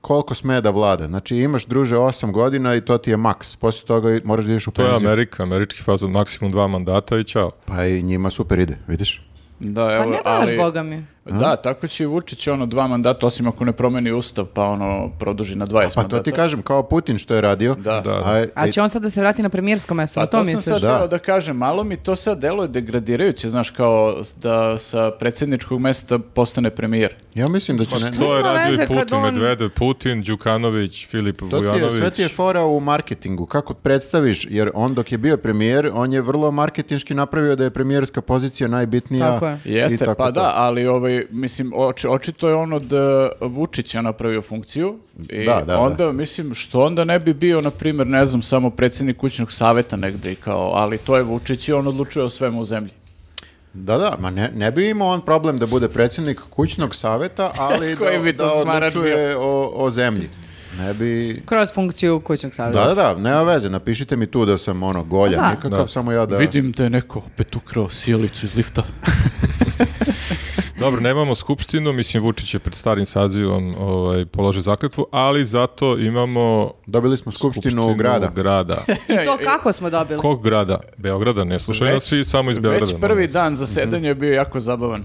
A: koliko sme da vlada. Znači imaš druže 8 godina i to ti je maks. Poslije toga i- moraš da ideš u
D: To je
A: penziju.
D: Amerika, američki fazon, maksimum dva mandata i ćao.
A: Pa i njima super ide, vidiš?
B: Da,
C: Pa
B: evo,
C: ne baš,
B: ali-
C: boga mi.
B: Da, tako će i Vučić ono dva mandata, osim ako ne promeni ustav, pa ono produži na 20 mandata.
A: Pa to ti kažem, kao Putin što je radio.
B: Da.
D: Da.
A: A,
C: A
A: i-
C: će on sad da se vrati na premijersko mesto,
B: Pa
C: na
B: to,
C: to
B: sam
C: misliš?
B: sad
A: Da.
B: da. da kažem, malo mi to sad delo je degradirajuće, znaš, kao da sa predsjedničkog mesta postane premijer.
A: ja mislim da će... Ne,
D: To je
C: Nema
D: radio
C: veze
D: i
C: kad
D: Putin,
C: on-
D: Medvedev, Putin, Đukanović, Filip
A: to ti je,
D: Vujanović.
A: sve ti je fora u marketingu, kako predstaviš, jer on dok je bio premijer, on je vrlo marketinški napravio da je premijerska pozicija najbitnija.
C: Tako je.
A: i
B: Jeste,
A: tako
B: pa
A: to.
B: da, ali ovaj, mislim, oči, očito je ono da Vučića napravio funkciju i
A: Da, da, da.
B: onda, mislim, što onda ne bi bio, na primjer, ne znam, samo predsjednik kućnog saveta negde i kao, ali to je Vučić i on odlučuje o svemu u zemlji.
A: Da, da, ma ne, ne bi imao on problem da bude predsjednik kućnog
B: [LAUGHS]
A: saveta, ali
B: Koji
A: da,
B: bi to
A: da
B: smarač
A: odlučuje o, o zemlji. Ne bi...
C: Kroz funkciju kućnog savjeta.
A: Da, da, da, nema veze, napišite mi tu da sam ono golja,
C: Da.
A: nikakav,
D: Da.
A: samo ja da...
B: Vidim da je neko opet ukrao sjelicu iz lifta.
D: Dobro, nemamo skupštinu, mislim Vučić je pred starim sazivom ovaj, položio zakletvu, ali zato imamo
A: Dobili smo skupštinu, grada.
B: [LAUGHS]
D: grada.
C: I to kako smo dobili?
D: Kog grada? Beograda, ne slušaju nas
B: Već-
D: svi samo iz Beograda.
B: Već prvi
D: molim vas.
B: dan
A: Mhm.
B: zasedanja je bio jako zabavan.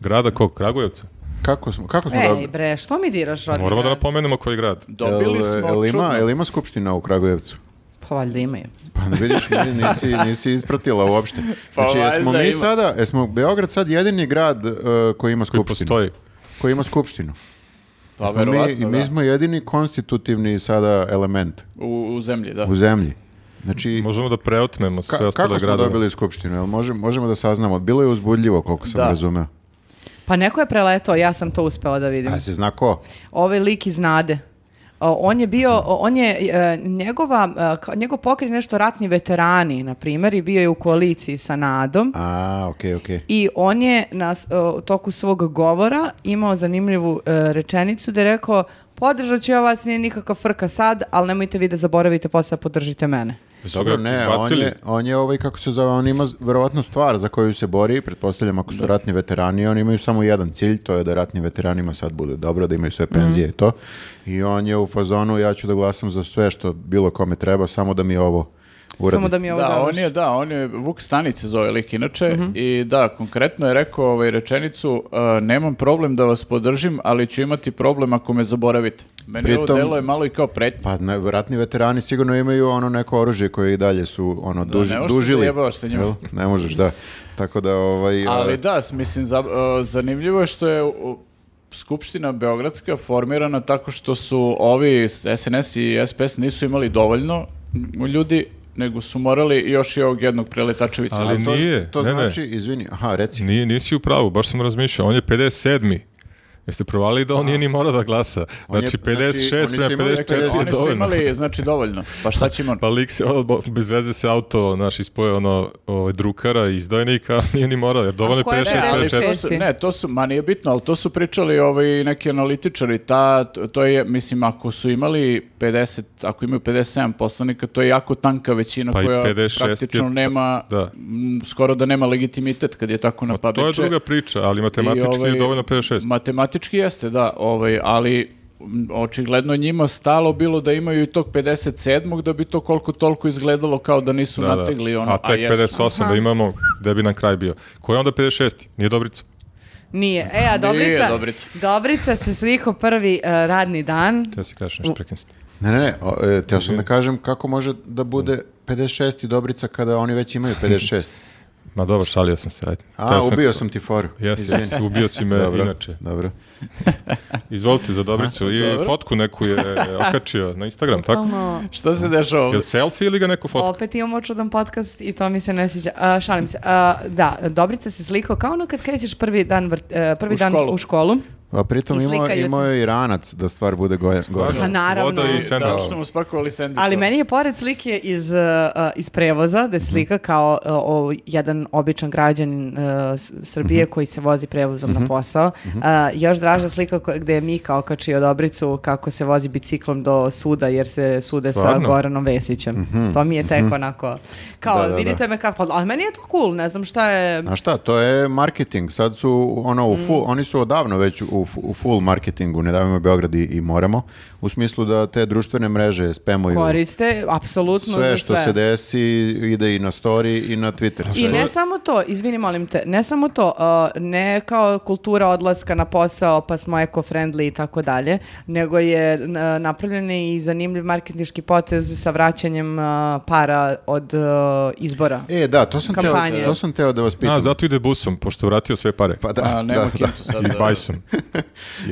D: Grada kog? Kragujevca?
A: Kako smo, kako smo
C: Ej
A: dobili?
C: bre, što mi diraš rodina?
D: Moramo da napomenemo koji grad.
B: Dobili
A: Jel,
B: smo
A: jel ima,
B: čudno-
A: jel ima skupština u Kragujevcu?
C: Pa valjda imaju.
A: Pa vidiš, meni nisi, nisi ispratila uopšte.
B: Pa
A: Znači, jesmo mi
B: valjda ima.
A: sada, jesmo Beograd sad jedini grad e, koji ima skupštinu?
D: Postoji.
A: Koji ima skupštinu.
B: Pa
A: Mi,
B: verovatno,
A: mi
B: da.
A: smo jedini konstitutivni sada element.
B: U, u zemlji, da.
A: u zemlji. Znači,
D: Možemo da preotmemo
A: ka-
D: sve ostale
A: kako smo
D: gradove.
A: dobili skupštinu? Jel možemo, možemo da saznamo? Bilo je uzbudljivo, koliko sam
B: Da.
A: razumeo.
C: Pa neko je preletao, ja sam to uspela da vidim.
A: A se zna ko?
C: Ovaj lik iz Nade. O, On je bio, o, on je, e, njegova, e, ka- njegov pokret je nešto ratni veterani, na primjer, i bio je u koaliciji sa Nadom.
A: A, okej, okej.
C: I on je na s- o, u toku svog govora imao zanimljivu e, rečenicu da je rekao podržat ću ja vas, nije nikakva frka sad, ali nemojte vi da zaboravite posle, podržite mene.
D: Jesu
A: Dobro,
D: ga
A: ne, on
D: izbacili?
A: je, on je ovaj, kako se zove, on ima z- verovatno stvar za koju se bori, pretpostavljam ako su ratni veterani, oni imaju samo jedan cilj, to je da ratnim veteranima sad bude dobro, da imaju sve penzije i to. I on je u fazonu, ja ću da glasam za sve što bilo kome treba, samo da mi ovo uradi.
C: Samo da mi ovo Mhm.
B: Da,
C: završi.
B: on je, da, on je, Vuk Stanić se zove lik inače i da, konkretno je rekao ovaj rečenicu, e, nemam problem da vas podržim, ali ću imati problem ako me zaboravite. Meni
A: Pritom-
B: ovo delo je malo i kao pretnje.
A: Pa ne, ratni veterani sigurno imaju ono neko oružje koje i dalje su ono duž,
B: ne možeš se
A: dužili.
B: zajebavaš sa njima.
A: Jel? Ne možeš, da. Tako da ovaj
B: Ali
A: a,
B: da, s- mislim, za- e, zanimljivo je što je u- Skupština Beogradska formirana tako što su ovi s SNS i SPS nisu imali dovoljno ljudi, nego su morali još i ovog jednog preletačevića.
D: Ali-
A: to,
D: nije,
A: to
D: ne, ne.
A: znači, izvini, aha, reci.
D: Nije, nisi u pravu, baš sam razmišljao. On je 57. Jeste provalili da on nije ni morao da glasa.
A: On je-
D: Znači,
A: znači,
D: 56
A: oni su
D: prema
A: imali-
D: 54 je
B: Oni su
D: dovoljno.
B: imali, znači, dovoljno. Pa šta će on?
D: Pa lik se, ono, bo- bez veze se auto, znaš, ispoje ono, ovaj, drukara i izdajnika, [LAUGHS] nije ni morao, jer dovoljno
E: ko je
D: je 56,
E: brao?
B: Ali
D: 54.
B: to su, ne, to su, ma nije bitno, ali to su pričali ovaj, neki analitičari, ta, to je, mislim, ako su imali 50, ako imaju 57 poslanika, to je jako tanka većina
D: Pa i
B: koja
D: 56 je
B: praktično
D: ta-
B: nema,
D: da.
B: m, skoro da nema legitimitet kad je tako
D: Ma,
B: napabiče.
D: to je druga priča, ali matematički
B: pa I, ovaj,
D: je dovoljno 56.
B: Matematički jeste, da, ovaj, ali m, očigledno njima stalo bilo da imaju i tog 57. da bi to koliko toliko izgledalo kao da nisu
D: Da, da.
B: nategli ono,
D: a tek
B: jesu.
D: 58 da imamo, da bi nam kraj bio. Ko je onda 56? Nije Dobrica.
C: Nije. E, a Dobrica,
B: Dobrica.
C: Dobrica se sliko prvi e, radni dan.
D: Te si kažeš nešto, prekim se.
A: Ne, ne, ne, o, e, teo sam
D: Mhm.
A: da kažem kako može da bude 56 i Dobrica kada oni već
D: [LAUGHS]
A: imaju 56.
D: Ma dobro, šalio sam se, ajde.
A: A,
D: Teo sam-
A: ubio sam ti foru.
D: Jesi,
A: Izvini.
D: jesi, ubio si me
A: Dobro,
D: inače.
A: dobro.
D: Izvolite za Dobricu. I
B: Dobro.
D: fotku neku je e, okačio na Instagram, tako?
C: Ono,
B: Šta se dešava ovdje?
D: Jel selfie ili ga neko fotka?
C: opet imamo čudan podcast i to mi se ne sviđa. A, šalim se. A, da, Dobrica se slikao kao ono kad krećeš prvi dan, vrt- e, prvi
B: U
C: dan
B: školu.
C: u školu.
A: A pritom
C: I
A: imao,
C: slikaju te.
A: imao je i ranac da stvar bude gore.
D: Stvarno?
C: Pa naravno.
D: Voda i
B: Da,
D: sendvič.
B: što smo spakovali sendvič.
C: Ali meni je pored slike iz, e, e, iz prevoza, da je slika kao e, o, jedan običan građanin e, S- Srbije koji se vozi prevozom na posao, E, još draža slika ko- gde je Mika okačio Dobricu kako se vozi biciklom do suda jer se sude sa
D: Stvarno?
C: Goranom Vesićem. To mi je tek onako, kao
A: Da, da, da.
C: vidite me kako, ali meni je to cool, ne znam šta je...
A: A šta, to je marketing. Sad su ono u full,
C: Mhm.
A: oni su odavno već u, fu- u full marketingu, ne davimo Beograd i, i moramo, u smislu da te društvene mreže spemuju
C: koriste, apsolutno za
A: sve što
C: sve.
A: se desi, ide i na story i na Twitter.
C: I
D: Što
C: ne
D: je-
C: samo to, izvini molim te, ne samo to, uh, ne kao kultura odlaska na posao pa smo eco-friendly i tako dalje, nego je n- napravljen i zanimljiv marketinški potez sa vraćanjem uh, para od uh, izbora.
A: E, da, to sam, teo,
C: Kampanje.
A: to sam teo da vas pitam.
D: A, zato ide busom, pošto je vratio sve pare.
A: Pa da,
B: A, nema
A: da, da.
B: kintu sad.
D: I
B: da.
D: bajsom.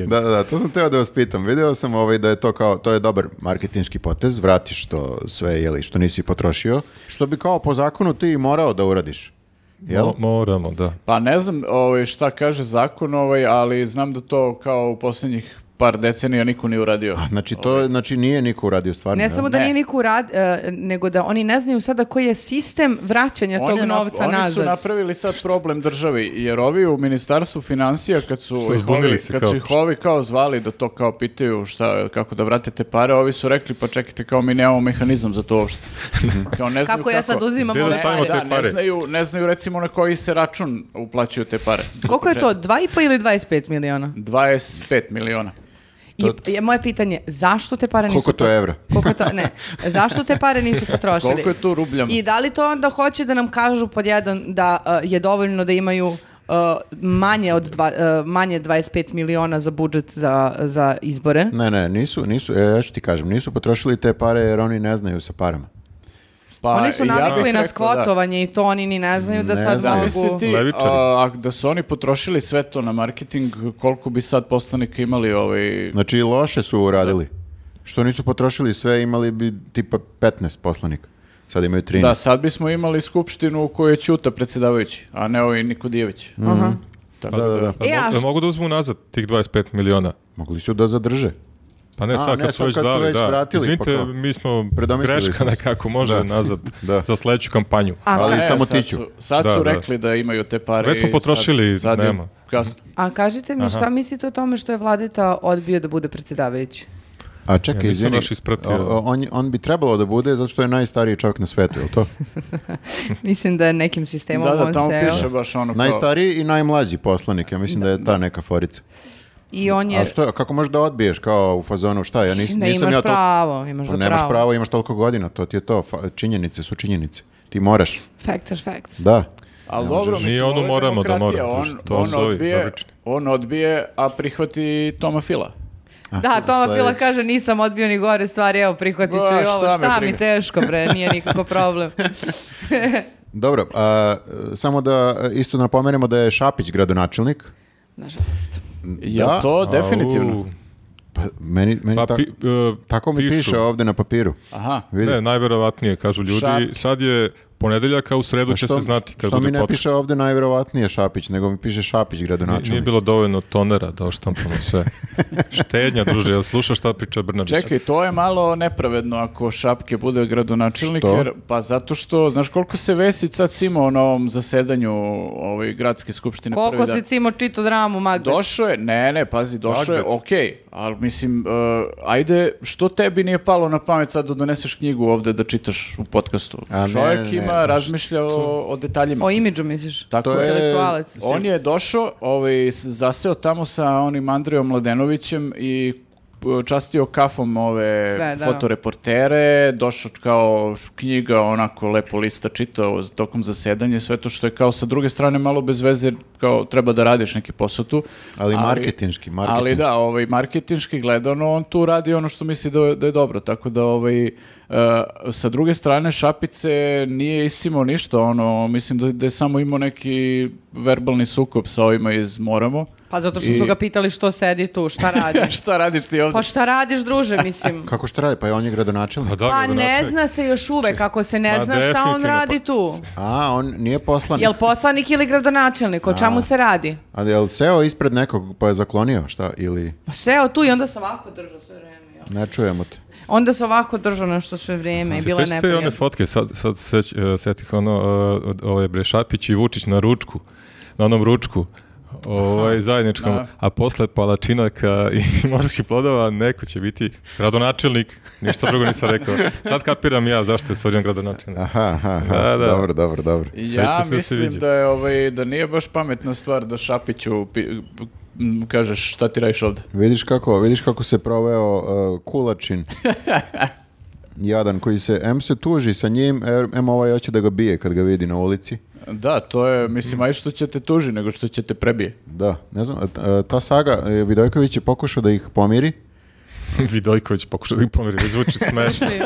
A: Da, da, da, to sam teo da vas pitam. Video sam ovaj da je to kao, to je dobar marketinški potez, vratiš to sve, jeli, što nisi potrošio, što bi kao po zakonu ti morao da uradiš. Jel?
D: Mo- Moramo, da.
B: Pa ne znam ovaj, šta kaže zakon, ovaj, ali znam da to kao u posljednjih par decenija niko nije uradio.
A: Znači,
B: Ovaj.
A: to, znači nije niko uradio stvarno.
C: Ne
A: jel?
C: samo da
B: Ne.
C: nije niko urad, uh, nego da oni ne znaju sada koji je sistem vraćanja
B: On
C: tog
B: je nap-
C: novca
B: oni su
C: nazad.
B: napravili sad problem državi, jer ovi u ministarstvu financija kad su,
D: Sad
B: ih
D: zbunili
B: ovi,
D: se
B: kad
D: kao,
B: su ih ovi kao zvali da to kao pitaju šta, kako da vratite pare, ovi su rekli pa čekajte kao mi nemamo mehanizam za
A: [LAUGHS]
B: to uopšte. Kao ne znaju
C: Kako ja sad uzimam ovaj
D: Gde da
C: ove
D: stavimo
C: pare?
D: te
B: ne
D: pare?
B: znaju, ne znaju recimo na koji se račun uplaćuju te pare.
C: Koliko je to, 2,5 ili 25 miliona?
B: 25 miliona.
C: I je moje pitanje, zašto te pare nisu...
A: Koliko to evra?
C: Koliko to, ne, zašto te pare nisu
B: [LAUGHS]
C: potrošili?
B: Koliko je to u rubljama?
C: I da li to onda hoće da nam kažu pod jedan da uh, je dovoljno da imaju uh, manje od dva, uh, manje 25 miliona za budžet za, za izbore?
A: Ne, ne, nisu, nisu, e, ja ću ti kažem, nisu potrošili te pare jer oni ne znaju sa parama.
B: Pa,
C: Oni
B: ja
C: su
B: bih
C: navikli na ovaj,
B: rekao da.
C: skvotovanje i to oni ni ne znaju da
A: Ne
C: sad
A: znaju.
C: mogu...
B: Zamisli ti,
D: Levičari.
B: a, ak- da su oni potrošili sve to na marketing, koliko bi sad poslanika imali ovaj...
A: Znači, loše su uradili. Što nisu potrošili sve, imali bi tipa 15 poslanika. Sad imaju 13.
B: Da, sad bismo imali skupštinu u kojoj je Ćuta predsjedavajući, a ne ovaj Nikodijević.
C: Aha.
B: Tako
A: da, da, da.
D: A
C: E, a
D: mo-
C: š-
D: a mogu da uzmu nazad tih 25 miliona?
A: Mogli su da zadrže.
D: Pa ne,
A: A,
D: sad
A: ne,
D: kad su
A: sad
D: već
A: kad su
D: dali,
A: već
D: da.
A: vratili,
D: Izvinite,
A: pa kao.
D: mi smo
A: Predomislili
D: greška
A: smo se.
D: nekako, može
A: Da.
D: nazad
A: Da.
D: za sledeću kampanju.
C: A,
A: Ali
B: E,
A: samo
B: sad
A: tiću.
B: Su, sad
D: Da,
B: su
D: da.
B: rekli da imaju te pare.
D: Već smo
B: i
D: potrošili,
B: sad, sad je
D: nema.
B: Kasno.
C: A kažite mi šta mislite o tome što je Vladeta odbio da bude predsjedavajući?
A: A čekaj,
D: Ja nisam
A: izvini,
D: baš ispratio.
A: o- o- on, on bi trebalo da bude zato što je najstariji čovjek na svetu,
D: [LAUGHS]
A: jel to?
C: Mislim da je nekim sistemom
B: Da, da,
C: on
B: tamo
C: se...
B: piše baš ono kao...
A: Najstariji i najmlađi poslanik, ja mislim da, je ta neka forica.
C: I on je...
A: A što, kako možeš da odbiješ kao u fazonu, šta, ja nis-
C: Mislim da
A: nisam
C: imaš
A: ja toliko...
C: pravo, imaš da
A: Nemaš
C: pravo.
A: pravo, imaš toliko godina, to ti je to, fa- činjenice su činjenice. Ti moraš,
C: Factors, facts.
A: da.
B: Ali dobro,
D: možeš.
B: mislim,
D: Nije ono
B: ovo je
D: moramo da
B: demokratija,
D: mora,
B: On,
D: to
B: on,
D: su ovi
B: odbije,
D: navični.
B: on odbije, a prihvati Toma Fila.
C: Da, Toma Fila
A: sledeće?
C: kaže nisam odbio ni gore stvari, evo prihvatit ću
B: Ba,
C: i ovo,
B: šta me
C: šta
B: briga.
C: mi teško bre, nije nikako problem.
A: Dobro, a, e, samo da e, isto napomenemo da je Šapić gradonačelnik.
C: Nažalost.
B: Je
A: Da.
B: to definitivno?
D: Au.
A: Pa, meni, meni
D: Pa
A: tak-
D: pi- e,
A: tako mi
D: pišu.
A: piše ovde na papiru.
B: Aha.
A: Vidi.
D: Ne, najverovatnije, kažu ljudi.
B: Šapke.
D: Sad je ponedeljak, a u sredu
A: A
D: će
A: Pa što-
D: se znati kad
A: Što
D: bude
A: mi ne
D: podcast.
A: piše ovde najverovatnije Šapić, nego mi piše Šapić
D: Nije,
A: gradonačelnik.
D: nije bilo dovoljno tonera da oštampamo
A: [LAUGHS]
D: sve. Štednja, druže, jel slušaš šta priča Brnabić?
B: Čekaj, to je malo nepravedno ako Šapke bude gradonačelnik,
A: Što?
B: jer pa zato što, znaš koliko se Vesica cimao na ovom zasedanju ovaj, gradske skupštine prvi
C: Koliko
B: dan?
C: si cimo čito dramu, Magda?
B: Došao je, ne, ne, pazi, došao je,
D: Magnet.
B: okej, ali mislim, e, ajde, što tebi nije palo na pamet sad da doneseš knjigu ovde da čitaš u podcastu?
A: A ne,
B: Čovjek
A: ne, ne,
B: ima,
A: ne,
B: razmišlja o, o detaljima.
C: O imidžu misliš?
B: Tako
A: To je-
C: Intelektualac.
B: On je došao, ovaj, s- zaseo tamo sa onim Andrejom Mladenovićem i p- častio kafom ove
C: Sve, da.
B: fotoreportere, došao kao š- knjiga, onako lepo lista čitao z- tokom zasedanja, sve to što je kao sa druge strane malo bez veze, kao treba da radiš neki posao tu.
A: Ali marketinški,
B: Ali
A: marketinški.
B: da, ovaj, marketinški gledano, on tu radi ono što misli da, da je dobro, tako da ovaj, e, sa druge strane Šapice nije iscimao ništa, ono, mislim da, da je samo imao neki verbalni sukob sa ovima iz Moramo.
C: Pa zato što su
B: I-
C: ga pitali što sedi tu, šta
B: [LAUGHS]
C: radiš?
B: Šta radiš ti ovdje?
C: pa šta radiš, druže, mislim?
A: [LAUGHS] Kako što radi? Pa je on je gradonačelnik.
D: Pa da,
C: Pa ne
D: gradonačelnik.
C: zna se još uvek, ako se ne
D: Ma,
C: zna šta on
D: definitivno,
C: radi
D: pa-
C: tu.
A: A, on nije poslanik.
C: Jel poslanik ili gradonačelnik, o čemu se radi?
A: A jel seo ispred nekog pa je zaklonio, šta? Ili
C: Pa seo tu i onda se ovako držao sve vreme. jel?
A: ne čujemo te.
C: Onda se ovako držao nešto sve vreme i
D: Se
C: bilo je
D: sećate one
C: neprijatno.
D: fotke, sad, sad seć, e, setih ono, e, od- ovaj bre Šapić i Vučić na ručku, na onom ručku, ovaj, zajedničkom,
B: Da.
D: a posle palačinaka i [LAUGHS] morskih plodova neko će biti gradonačelnik, ništa drugo nisam rekao. Sad kapiram ja zašto je stvorio gradonačelnik.
A: Aha, aha, aha.
D: Da, da.
A: Dobro, dobro, dobro.
B: Ja
D: Srećno se da se
B: mislim
D: viđa.
B: da je ovaj, da nije baš pametna stvar da Šapiću pi- m, kažeš šta ti radiš ovdje.
A: Vidiš kako, vidiš kako se proveo uh, kulačin. Jadan koji se, em se tuži sa njim, em- em ovaj hoće da ga bije kad ga vidi na ulici.
B: Da, to je,
A: Mm.
B: mislim, aj što će te tuži nego što će te prebije. [LAUGHS]
A: Da, ne znam, a t- a ta saga, e, Vidojković je pokušao da ih pomiri.
D: [LAUGHS] Vidojković pokušao da ih pomiri, već zvuči smešno. [LAUGHS]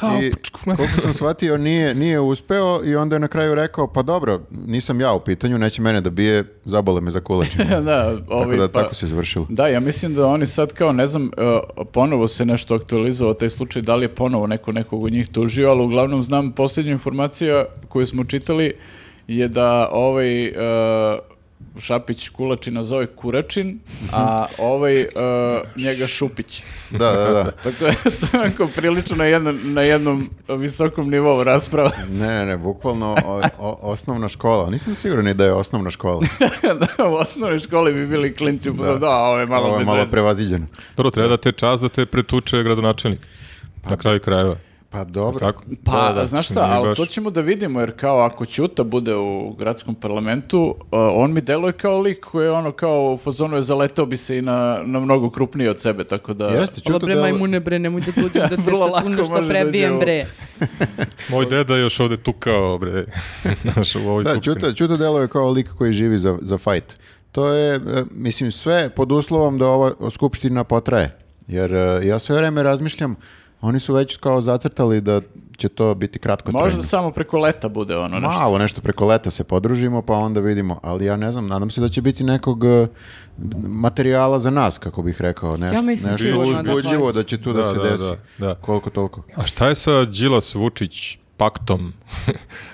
D: Au,
A: I
D: pučku mater.
A: koliko sam shvatio, nije, nije uspeo i onda je na kraju rekao, pa dobro, nisam ja u pitanju, neće mene da bije, zabole me za kulačin.
B: da,
A: tako
B: [LAUGHS] ovi,
A: da,
B: pa-
A: tako se završilo.
B: Da, ja mislim da oni sad kao, ne znam, e, ponovo se nešto aktualizovao taj slučaj, da li je ponovo neko nekog od njih tužio, ali uglavnom znam, posljednja informacija koju smo čitali je da ovaj e, Šapić Kulačina zove Kuračin, a ovaj e, njega Šupić.
A: Da, da, da.
B: Tako je, [LAUGHS] to je onako prilično na jednom, na jednom visokom nivou rasprava. [LAUGHS]
A: Ne, ne, ne, bukvalno o- o- osnovna škola. Nisam siguran ni da je osnovna škola.
B: da, u osnovnoj školi bi bili klinci, da, da, a ovo je malo
A: Ovo je
B: bez
A: malo
B: veze.
A: prevaziđeno.
D: Dobro, treba da te čast da te pretuče gradonačelnik. Na kraju krajeva.
A: Pa dobro.
D: Tako?
B: Pa,
D: Da, da,
B: znaš šta,
D: nije
B: ali
D: baš-
B: to ćemo da vidimo, jer kao ako Ćuta bude u gradskom parlamentu, uh, on mi deluje kao lik koji je ono kao u fazonu je zaletao bi se i na, na mnogo krupniji od sebe, tako da...
A: Jeste,
C: Ovo
A: čuto
C: bre,
A: da...
C: majmune bre, nemoj da
B: [LAUGHS]
C: budu da te
B: Vrlo
C: sad tu
B: lako
C: nešto
B: može da
C: prebijem
B: izjavu.
C: bre.
D: Moj deda je još ovde tukao, bre, [LAUGHS] znaš, u ovoj
A: Da,
D: skupštini.
A: Ćuta, Ćuta deluje kao lik koji živi za, za fajt. To je, e, mislim, sve pod uslovom da ova skupština potraje. Jer e, ja sve vreme razmišljam, oni su već kao zacrtali da će to biti kratko
B: Možda samo preko leta bude ono nešto.
A: Malo nešto preko leta se podružimo, pa onda vidimo. Ali ja ne znam, nadam se da će biti nekog e, materijala za nas, kako bih rekao. Nešto,
C: Ja mislim
A: nešto
C: sigurno da
A: uzbudljivo
C: hoće.
A: da će tu da,
D: Da,
A: se
D: da,
A: desi.
D: da, da.
A: Koliko toliko.
D: A šta je sa Đilas Vučić paktom?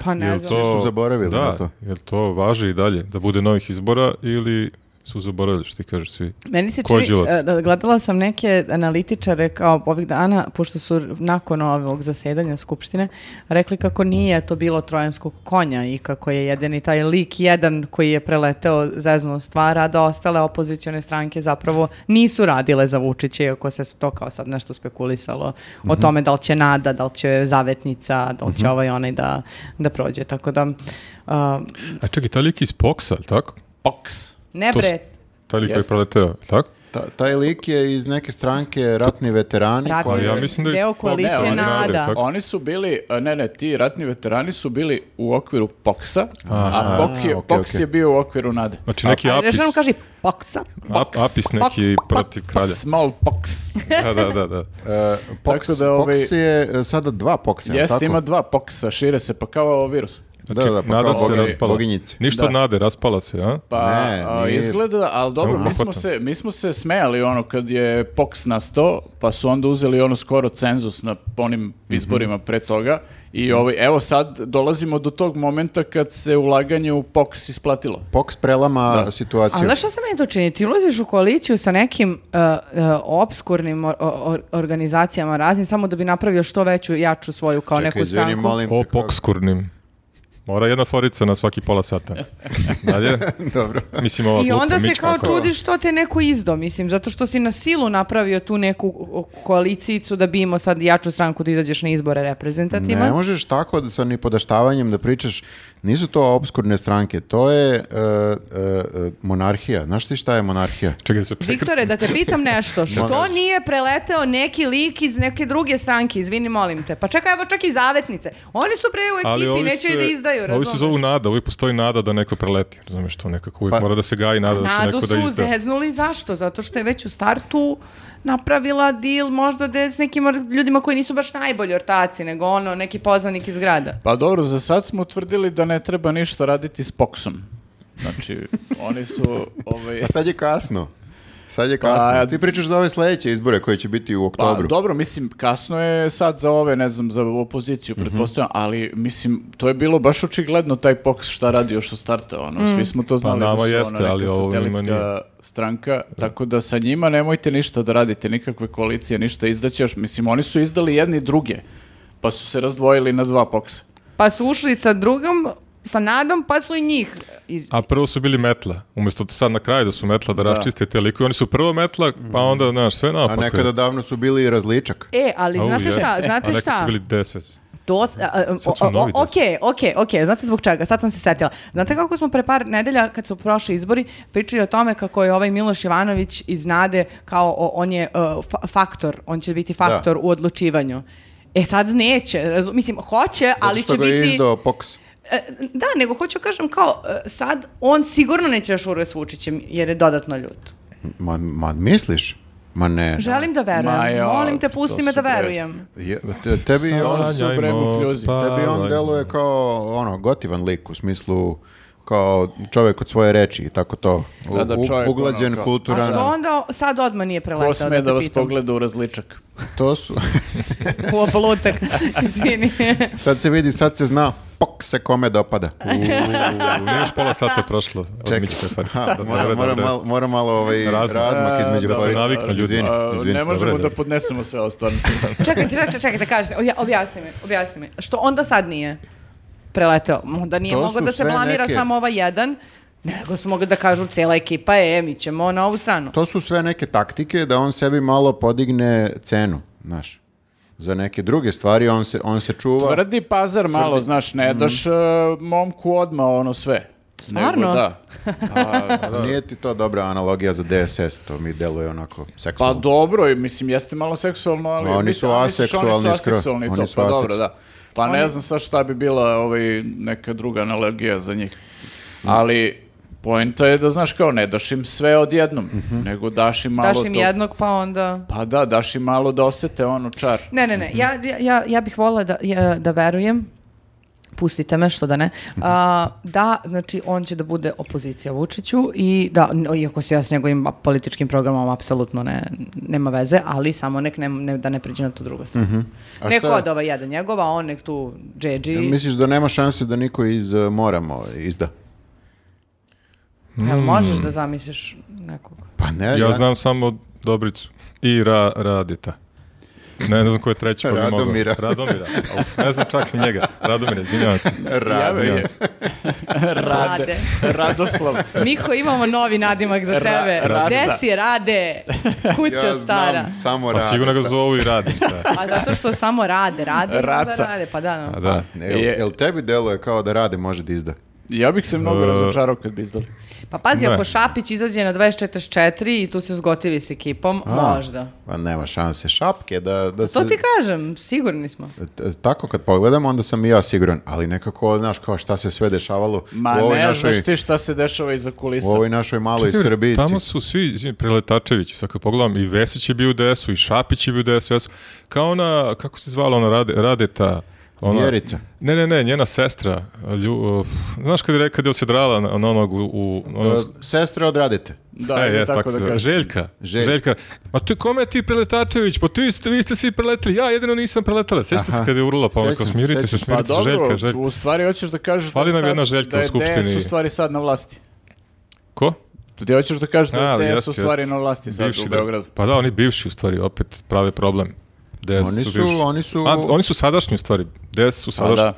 C: Pa ne
D: Jel
C: znam.
A: Svi su zaboravili
D: da,
A: na to.
D: Jel to važi i dalje? Da bude novih izbora ili su zaboravili što ti kažeš svi?
C: Meni se
D: Ko je
C: čini,
D: Đilas?
C: e, da gledala sam neke analitičare kao ovih dana, pošto su nakon ovog zasedanja Skupštine, rekli kako nije to bilo trojanskog konja i kako je jedan i taj lik jedan koji je preleteo zeznu stvar, a da ostale opozicione stranke zapravo nisu radile za Vučića, iako se to kao sad nešto spekulisalo o
D: Mhm.
C: tome da li će Nada, da li će Zavetnica, da li će ovaj onaj da, da prođe. Tako da, a,
D: A čekaj, taj lik iz Poksa, jel tako?
B: Pox.
C: ne
D: To s-
C: bre,
D: Taj lik koji je
B: Jeste.
D: proleteo, jel tako?
A: Ta, taj lik je iz neke stranke ratni veterani.
D: Pa
C: ratni,
D: ja mislim da je iz
C: deo
D: Poksa,
C: koalicije
B: ne, oni-
C: Nada.
D: Tako.
B: Oni su bili, a, ne, ne, ti ratni veterani su bili u okviru Poxa, a, Pok je,
A: okej,
B: Pox
A: okej.
B: je bio u okviru Nade.
D: Znači neki
C: Ali
D: apis.
C: Rešan kaže poksa.
D: Ap- apis neki
C: Poks,
D: protiv kralja.
B: Small Pox.
D: Da, da, da, da.
A: E, Pox,
B: Tako da, ovaj-
A: Pox je e, sada dva Poxa, jel
B: Jeste,
A: tako?
B: ima dva Poxa, šire se, pa kao virus.
A: Da, da, pa
D: Znači, Nada
A: kao
D: se
A: bogi-
D: raspala.
A: boginjice.
D: Ništa od nade, raspala se, a?
B: Pa
A: Ne,
B: a,
A: nije-
B: izgleda, ali dobro,
D: Dobro,
B: mi smo,
D: pohvatam.
B: se, mi smo se smejali ono kad je
A: Mhm.
B: Pox nastao, pa su onda uzeli ono skoro cenzus na onim izborima pre toga I ovaj, evo sad dolazimo do tog momenta kad se ulaganje u POX isplatilo.
A: Poks prelama situaciju.
C: A znaš šta se meni to čini? Ti ulaziš u koaliciju sa nekim uh, uh, obskurnim or- or- organizacijama raznim samo da bi napravio što veću, jaču svoju kao neku
A: izvini,
C: stranku.
A: molim te,
D: O
A: kako-
D: pokskurnim. Mora jedna forica na svaki pola sata. Dalje?
A: [LAUGHS] Dobro.
D: Mislim, ova
C: I
D: glupa
C: onda se
D: mička
C: kao
D: oko-
C: čudiš što te neko izdo, mislim, zato što si na silu napravio tu neku o, koalicijicu da bi imao sad jaču stranku da izađeš na izbore reprezentativno.
A: Ne možeš tako da sa nipodaštavanjem da pričaš, nisu to obskurne stranke, to je e, e, e, monarhija. Znaš ti šta je monarhija?
D: Čekaj, da se prekrstim.
C: Viktore, da te pitam nešto. Što nije preleteo neki lik iz neke druge stranke? Izvini, molim te. Pa čekaj, evo čak i zavetnice. Oni su pre u
D: Ali
C: ekipi,
D: ovi
C: neće
D: se-
C: i da izdaju,
D: Ovi se
C: razumeš?
D: zovu nada, uvijek postoji nada da neko preleti. Razumeš to nekako, uvijek
A: Pa-
D: mora da se gaji nada da će
C: Nadu
D: neko da
C: su
D: izda.
C: zeznuli, zašto? Zato što je već u startu napravila deal možda da je s nekim or- ljudima koji nisu baš najbolji ortaci, nego ono, neki poznanik iz grada.
B: Pa dobro, za sad smo utvrdili da ne treba ništa raditi s POX-om. Znači, oni
A: [LAUGHS]
B: su... Ovaj,
A: A Pa sad je kasno. Sad je
B: Pa-
A: kasno. ti pričaš za ove sledeće izbore koje će biti u
B: Pa
A: oktobru.
B: dobro, mislim, kasno je sad za ove, ne znam, za opoziciju, pretpostavljam, ali mislim, to je bilo baš očigledno taj POX šta radi još od starta, ono,
C: Mm.
B: svi smo to znali da
D: nama
B: su
D: jeste,
B: ono,
D: ali
B: neka
D: ovo njima
B: satelitska stranka, tako da sa njima nemojte ništa da radite, nikakve koalicije, ništa izdaće još, mislim, oni su izdali jedni druge, pa su se razdvojili na dva POX-a.
C: Pa su ušli sa drugom, sa nadom, pa su i njih. Iz...
D: A prvo su bili metla, umjesto da sad na kraju da su metla, da, raščiste te likove. Oni su prvo metla, pa onda, znaš, sve
A: A
D: naopako. je.
A: nekada davno su bili i različak.
C: E, ali
D: Au,
C: znate
D: jeste.
C: šta,
D: A
C: znate
D: nekad
C: šta?
D: su bili deset.
C: To, s- a, a,
D: Sad su
C: o- o-
D: novi
C: o- ok, ok, ok, znate zbog čega, sad sam se setila. Znate kako smo pre par nedelja, kad su prošli izbori, pričali o tome kako je ovaj Miloš Ivanović iz Nade, kao o- on je uh, fa- faktor, on će biti faktor u odlučivanju. E sad neće, razum- mislim, hoće, ali
A: Zato što
C: će
A: ga je
C: biti...
A: izdao Poks.
C: E, Da, nego hoću kažem kao, e, sad on sigurno neće da šuruje s Vučićem, jer je dodatno ljut.
A: Ma, ma misliš? Ma ne.
C: Želim da verujem,
B: Ma ja,
C: molim te,
B: to
C: pusti me
B: su
C: da
B: bre-
C: verujem.
A: Je- te- tebi, je on,
B: Samo- su bre mufljuzi.
A: tebi on deluje kao ono, gotivan lik u smislu kao čovjek od svoje reči i tako to. U,
B: Da, da, čovjek,
A: u- uglađen,
B: ono, kao-
A: kulturan.
C: A što onda sad odmah nije preletao?
B: Ko sme da
C: te
B: vas
C: pitam?
B: pogleda u različak?
A: To su... [LAUGHS]
C: U opolutak, izvini.
A: Sad se vidi, sad se zna pok se kome dopada.
D: U, nije još pola sata prošlo. Od
A: Čekaj.
D: Mićke Fari.
A: Ha,
D: Da,
A: mora,
D: dobro,
A: mora,
D: dobro.
A: malo, mora malo ovaj
D: Razmak.
A: razmak, između
D: Da se
A: porica.
D: naviknu ljudi.
A: Izvini,
B: A,
A: izvini.
B: Pa, ne možemo
D: dobro.
B: da podnesemo sve ovo stvarno.
C: čekaj, čekaj, čekaj, da kažete, obja- objasni mi, objasni mi. Što onda sad nije preleteo? Onda nije
A: To
C: mogao
A: su
C: da se
A: sve
C: blamira
A: neke-
C: samo ovaj jedan, nego su mogli da kažu cijela ekipa je, mi ćemo na ovu stranu.
A: To su sve neke taktike da on sebi malo podigne cenu, znaš. Za neke druge stvari on se, on se čuva.
B: Tvrdi pazar malo, znaš, ne
A: Mhm.
B: daš e, momku odmah ono sve.
C: Stvarno?
B: Nego
C: [LAUGHS]
B: da.
A: A Nije ti to dobra analogija za DSS, to mi deluje onako
B: Pa
A: seksualno.
B: dobro, i mislim, jeste malo seksualno, ali...
A: Ma, oni
B: mislim,
A: su
B: a misliš,
A: aseksualni
B: Oni su
A: skroz.
B: aseksualni i to,
A: Oni su
B: pa dobro,
A: aseksu-
B: da. Pa ne znam sad šta bi bila ovaj, neka druga analogija za njih. Ali poenta je da, znaš, kao ne daš im sve odjednom,
A: Mhm.
B: nego daš im malo...
C: Daš im
B: to-
C: jednog, pa onda...
B: Pa da, daš im malo da osete ono čar.
C: Ne, ne,
A: Mhm.
C: ne, ja, ja- ja, ja bih volila da, ja- da verujem, pustite me, što da ne,
A: Mhm.
C: a, da, znači, on će da bude opozicija Vučiću i da, n- iako se ja s njegovim političkim programom apsolutno ne, nema veze, ali samo nek ne, ne- da ne priđe na tu drugu stranu.
A: Mhm. A
C: Neko
A: šta-
C: od ova jedan njegova, on nek tu džedži.
A: Misliš da nema šanse da niko iz e, Moramo izda? Mm.
C: Jel možeš da zamisliš nekog?
A: Pa ne,
D: Ja znam samo Dobricu i Ra- Radita. Ne, ne znam ko je treći ko bi mogao.
A: Radomira.
D: Radomira. Au, Ne znam čak ni njega. Radomira, izvinjavam se.
A: Razmijem.
C: [LAUGHS]
D: Izvinjavam se.
B: [LAUGHS] Rade. Radoslav.
C: Mi koji imamo novi nadimak za tebe.
B: Ra-
C: Gde
B: Radza.
C: si,
A: [LAUGHS]
C: Rade? Kuća
A: Ja
C: stara.
A: znam samo
D: Pa
A: Rada.
D: sigurno ga zovu i radi, šta
C: [LAUGHS]
D: je.
C: A zato što samo rade, rade, i onda
B: Raca.
C: rade, pa da. no.
D: A da.
A: Jel,
B: Je-
A: jel tebi deluje kao da rade može da izda?
B: Ja bih se mnogo
D: E,
B: razočarao kad bi izdali.
C: Pa pazi,
D: Ne.
C: ako Šapić izađe na 24 i tu se zgotivi s ekipom,
A: A,
C: možda.
A: Pa nema šanse. Šapke da, da se...
C: To ti kažem, sigurni smo.
A: T- Tako kad pogledam, onda sam i ja siguran, ali nekako, znaš, kao šta se sve dešavalo
B: Ma
A: u ovoj
B: ne
A: našoj...
B: znaš ti šta se dešava iza kulisa.
A: U ovoj našoj maloj Srbijici.
D: Tamo su svi izvini, preletačevići, sad kad pogledam, i Vesić je bio u DS-u, i Šapić je bio u DSS-u, kao ona, kako se zvala ona, rade, Radeta, ona...
A: Vjerica.
D: Ne, ne, ne, njena sestra. Lju, uh, znaš kad je, re- kad je osjedrala na, na onog u... u ono,
A: E, Sestre odradite.
B: Da,
D: e,
B: ajde
D: jes,
B: tako
D: tako
B: da
D: se zove.
B: kažem.
D: Željka.
A: Želj-
D: Željka. Ma tu kome ti preletačević? Pa tu ste, vi ste svi preleteli. Ja jedino nisam preletala. Sjećate se
A: Aha.
D: kada je urlala pa onako
A: Sjećam se,
D: smirite se,
A: sjećam se.
B: Pa
D: smirite se.
B: dobro,
D: Željka, Željka.
B: u stvari hoćeš da kažeš
D: Fali
B: da,
D: nam
B: sad-
D: jedna Željka
B: da
D: u
B: je DS
D: Skupštini.
B: u stvari sad na vlasti.
D: Ko?
B: Ti hoćeš da kažeš da
D: A,
B: je DS
D: jeste,
B: u stvari
D: jeste.
B: na vlasti sad
D: Bivši
B: u
D: da-
B: Beogradu.
D: Pa da, oni bivši u stvari opet prave problem. DS
A: Oni su-
D: bivši.
A: oni su-
D: A, oni su sadašnji u stvari. DS su
B: Pa
D: sadašnji.
B: da.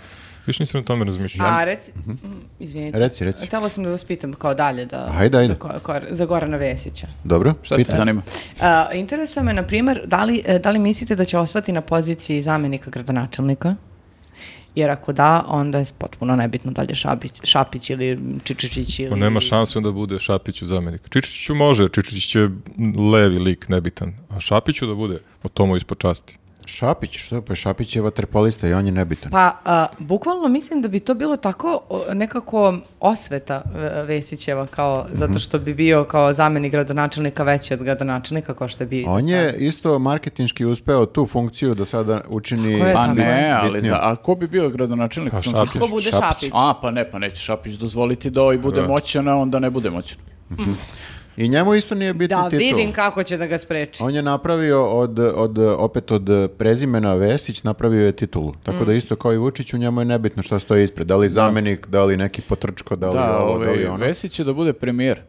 D: Više nisam o tome razmišljao.
C: A reci, mm, izvinite.
A: Mhm. Reci, reci.
C: Htela sam da vas pitam kao dalje da...
A: Ajde, ajde.
C: da ko- ko- za Gorana Vesića.
A: Dobro,
B: Šta te
A: pitaj.
B: zanima?
C: A, interesuje me, na primjer, da li, e, da li mislite da će ostati na poziciji zamjenika gradonačelnika? Jer ako da, onda je potpuno nebitno da li je Šapić, Šapić ili Čičičić ili...
D: Pa nema šanse onda bude Šapiću zamenik. Čičiću može, Čičić je levi lik, nebitan. A Šapiću da bude, o tomu ispod časti.
A: Šapić, što? Pa Šapić je vaterpolista i on je nebitan.
C: Pa, a, bukvalno mislim da bi to bilo tako o, nekako osveta e, Vesićeva, kao,
A: Mhm.
C: zato što bi bio kao zamjenik gradonačelnika veći od gradonačelnika, kao što bi...
A: On
C: sad.
A: je isto marketinški uspeo tu funkciju da sada učini...
C: Ko je
B: Pa
C: tako
B: ne,
C: je.
B: ali
A: Bitnije.
B: za, a ko bi bio gradonačelnik?
D: Pa
B: u tom slučaju?
D: Šapić.
C: Ko bude
A: Šapić.
C: Šapić?
B: A, pa ne, pa neće Šapić dozvoliti da ovaj bude
D: Da.
B: moćan, a onda ne bude moćan.
A: Pa, I njemu isto nije bitno
C: Da
A: titul.
C: vidim kako će da ga spreči.
A: On je napravio od, od, opet od prezimena Vesić, napravio je titulu. Tako
C: Mm.
A: da isto kao i Vučiću, njemu je nebitno šta stoji ispred. Da li zamenik, da li neki potrčko, da li
B: Da,
A: ovo, da li
B: ovaj,
A: ono.
B: Vesić će da bude premijer.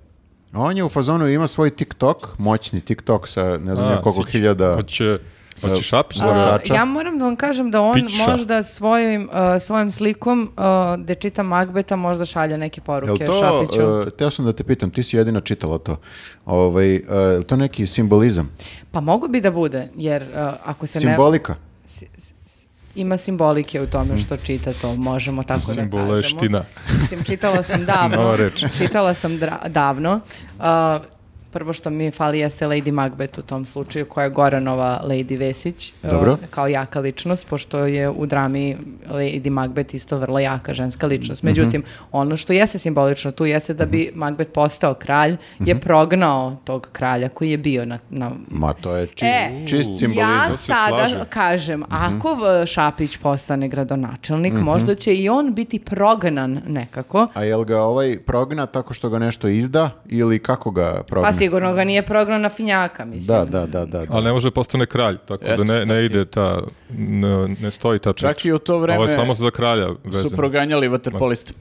A: On je u fazonu, ima svoj TikTok, moćni TikTok sa ne znam
D: A,
A: ja koliko
D: si-
A: hiljada...
D: Hoće, hoće Šapić da
A: A,
D: bude?
A: glasača.
C: ja moram da vam kažem da on
D: Pića.
C: možda svojim, uh, svojim slikom uh, gde čita Magbeta možda šalje neke
A: Jel
C: poruke
A: to,
C: Šapiću.
A: e, teo sam da te pitam, ti si jedina čitala to. Ovaj, e, jel to neki simbolizam?
C: Pa mogu bi da bude, jer uh, ako se ne...
A: Simbolika?
C: Si- si- si- Ima simbolike u tome što čita to, možemo tako da kažemo.
D: Simboleština.
C: Mislim, čitala
D: [LAUGHS]
C: sam davno.
D: Nova reč.
C: čitala sam dra- davno. Uh, prvo što mi fali jeste Lady Macbeth u tom slučaju, koja je Goranova Lady Vesić. uh,
A: Dobro.
C: kao jaka ličnost, pošto je u drami Lady Macbeth isto vrlo jaka ženska ličnost.
D: Mhm.
C: Međutim, ono što jeste simbolično tu jeste da bi Macbeth postao kralj,
D: Mhm.
C: je prognao tog kralja koji je bio na, na
A: Ma to je čist,
C: E,
A: čist simbolizam. Mhm.
C: ja
D: se
C: sada
D: slažem.
C: kažem, ako v- Šapić postane gradonačelnik, možda će i on biti prognan nekako. Pa
A: A jel ga ovaj progna tako što ga nešto izda ili kako ga progna?
C: Pa sigurno ga nije prognan na finjaka, mislim.
A: Da, da, da, da. da.
D: Ali ne može da postane kralj, tako
B: Eto,
D: da ne,
B: šta
D: ne
B: ti.
D: ide ta, ne, ne stoji ta priča.
B: Čak i u to vreme
D: Ovo je samo za kralja vezano.
B: Su proganjali vaterpoliste.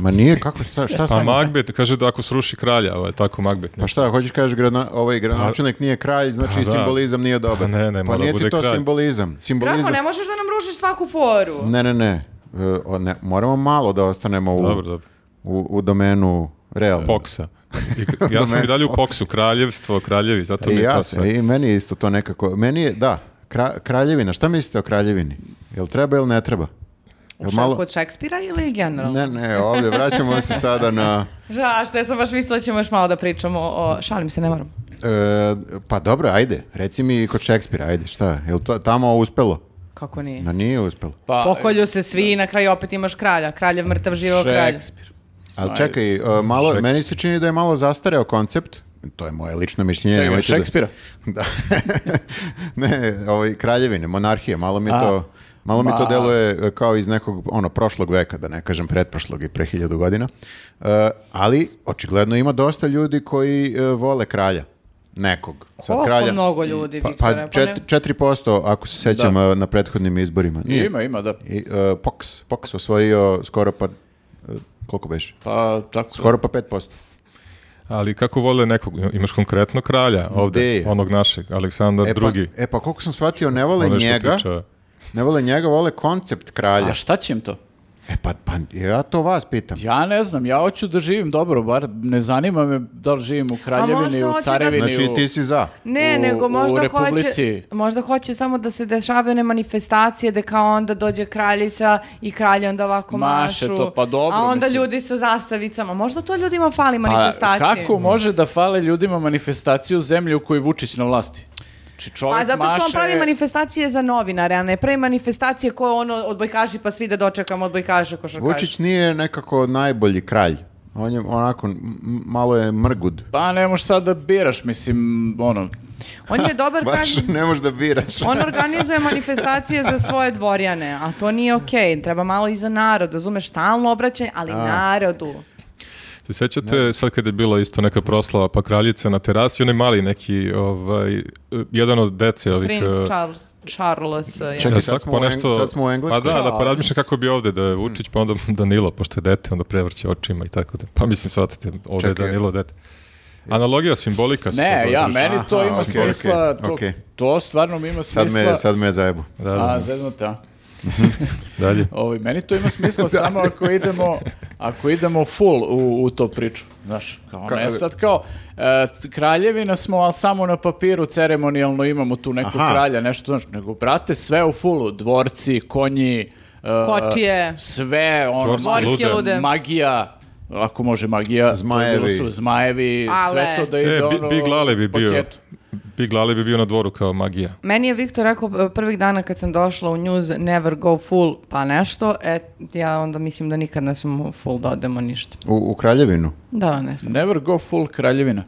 A: Ma nije, kako, šta, šta
D: Pa
A: sam...
D: Magbet kaže da ako sruši kralja, ovo je tako Magbet.
A: Pa šta, hoćeš kažeš gradna, ovaj gradonačelnik nije kralj, znači
D: Pa
A: i
D: da.
A: simbolizam nije dobar.
D: Pa ne,
A: pa
D: ne, mora
A: nije
D: bude
A: ti to
D: kralj.
A: simbolizam.
C: Kako,
A: Simbolizam.
C: ne možeš da nam rušiš svaku foru?
A: ne, ne, ne. E, o, ne, Moramo malo da ostanemo u,
D: Dobro, dobro.
A: u, u domenu real.
D: Poksa.
A: [LAUGHS]
D: I, ja sam
A: Domen
D: i dalje u
A: Fox.
D: poksu, kraljevstvo, kraljevi, zato mi
A: I
D: je
A: ja
D: to
A: se,
D: sve.
A: E, i meni je isto to nekako, meni je, da, kra- kraljevina, šta mislite o kraljevini? Jel treba ili ne treba?
C: U
A: Jel
C: šaku od Šekspira ili generalno?
A: Ne, ne, ovdje vraćamo se sada na...
C: Ža, što ja sam baš mislila da ćemo još malo da pričamo o... Šalim se, ne moram.
A: E, pa dobro, ajde, reci mi i kod Šekspira, ajde, šta, jel to tamo uspelo?
C: Kako nije?
A: No nije uspelo.
B: Pa,
C: Pokolju se svi i na kraju opet imaš kralja. Kralj je mrtav, živo kralj.
B: Šekspir.
A: Ali
B: Ajde.
A: čekaj, e, malo,
D: Šekspir.
A: meni se čini da je malo zastareo koncept, to je moje lično mišljenje.
B: Čekaj,
A: nemojte da-
B: Šekspira?
A: [LAUGHS] Da. ne, ovaj, kraljevine, monarhije, malo mi
B: A.
A: to... Malo mi to
B: Ma.
A: deluje e, kao iz nekog ono prošlog veka, da ne kažem pretprošlog i pre hiljadu godina. E, ali očigledno ima dosta ljudi koji e, vole kralja. Nekog.
C: Koliko mnogo ljudi,
A: Pa, pa
C: Viktore, pa ne-
A: čet- 4% ako se sećam e, na prethodnim izborima. Nije.
B: Ima, ima, da.
A: I, e, Pox, Pox osvojio skoro pa, e, koliko beše?
B: Pa, tako.
A: Skoro pa 5%.
D: Ali kako vole nekog, imaš konkretno kralja ovde,
A: Gde je?
D: onog našeg, Aleksandar
A: E pa,
D: drugi.
A: e pa koliko sam shvatio, ne vole
D: Onaj što
A: njega,
D: priča-
A: ne vole njega, vole koncept kralja.
B: A šta će im to?
A: E pa, pa ja to vas pitam.
B: Ja ne znam, ja hoću da živim dobro, bar ne zanima me da li živim u
C: A
B: Kraljevini,
C: možda
B: u
C: hoće da-
B: Carevini,
A: Znači
B: u...
A: ti si za.
C: Ne,
B: u-
C: nego
B: u
C: možda hoće,
B: Republici.
C: možda hoće samo da se dešavaju one manifestacije da kao onda dođe kraljica i kralj onda ovako
B: Maše
C: mašu.
B: to, pa dobro,
C: A onda
B: mislim.
C: ljudi sa zastavicama. Možda to ljudima fali
B: Pa
C: manifestacije.
B: kako može da fale ljudima manifestacije u zemlji u kojoj je Vučić na vlasti? Znači čovjek
C: Pa zato što on
B: maše-
C: pravi manifestacije za novinare, a ne pravi manifestacije koje ono odbojkaši pa svi da dočekamo odbojkaša košarkaša.
A: Vučić nije nekako najbolji kralj. On je onako, m- m- malo je mrgud.
B: Pa ne možeš sad da biraš, mislim, ono...
C: On je
B: [LAUGHS]
C: dobar
A: Baš
C: kralj.
A: [LAUGHS] ne možeš da biraš.
C: On organizuje manifestacije za svoje dvorjane, a to nije okej. Treba malo i za narod, razumeš, stalno obraćanje, ali narodu.
D: Se sećate sad kada je bila isto neka proslava pa kraljica na terasi, onaj mali neki ovaj jedan od dece ovih
C: Prince
D: eh,
C: Charles, Charles je.
A: Čekaj,
D: Da,
A: sad
D: sad
A: smo
D: po
A: u Eng-
D: nešto...
A: sad smo u Engleskoj.
D: Pa da, da, pa
C: Charles.
D: razmišljam kako bi ovde da je Vučić, pa onda [LAUGHS] Danilo, pošto je dete, onda prevrće očima i tako da. Pa mislim, shvatate, ovde je
A: Čekaj.
D: Danilo dete. Analogija simbolika se to
B: Ne,
D: zove,
B: ja,
D: drži.
B: meni to
A: Aha,
B: ima
A: okej,
B: smisla,
A: okej,
B: to,
A: okej.
B: to stvarno ima smisla.
A: Sad me, sad me zajebu.
D: Da, da,
B: A, zeznut, a.
D: dalje.
B: Ovaj, meni to ima
D: [LAUGHS]
B: smisla samo ako idemo, ako idemo full u, u to priču. Znaš, kao ne sad kao, e, c- kraljevina smo, ali samo na papiru ceremonijalno imamo tu nekog
A: Aha.
B: kralja, nešto znaš, nego brate sve u fullu, dvorci, konji, e,
C: Kočije.
B: sve, ono,
D: Dvorske
B: ma-
D: lude.
C: lude.
B: magija, ako može magija, to je
A: Zmajevi.
B: bilo su zmajevi, sve
C: Ale.
B: to da ide
D: E, Bi-
B: ono
D: Big Lale bi
B: u
D: bio...
B: paketu.
D: Big Lale bi bio na dvoru kao magija.
C: Meni je Viktor rekao e, prvih dana kad sam došla u news never go full pa nešto, e, ja onda mislim da nikad ne smemo full da odemo ništa.
A: U, u Kraljevinu.
C: Da, da, ne smemo.
B: Never go full kraljevina.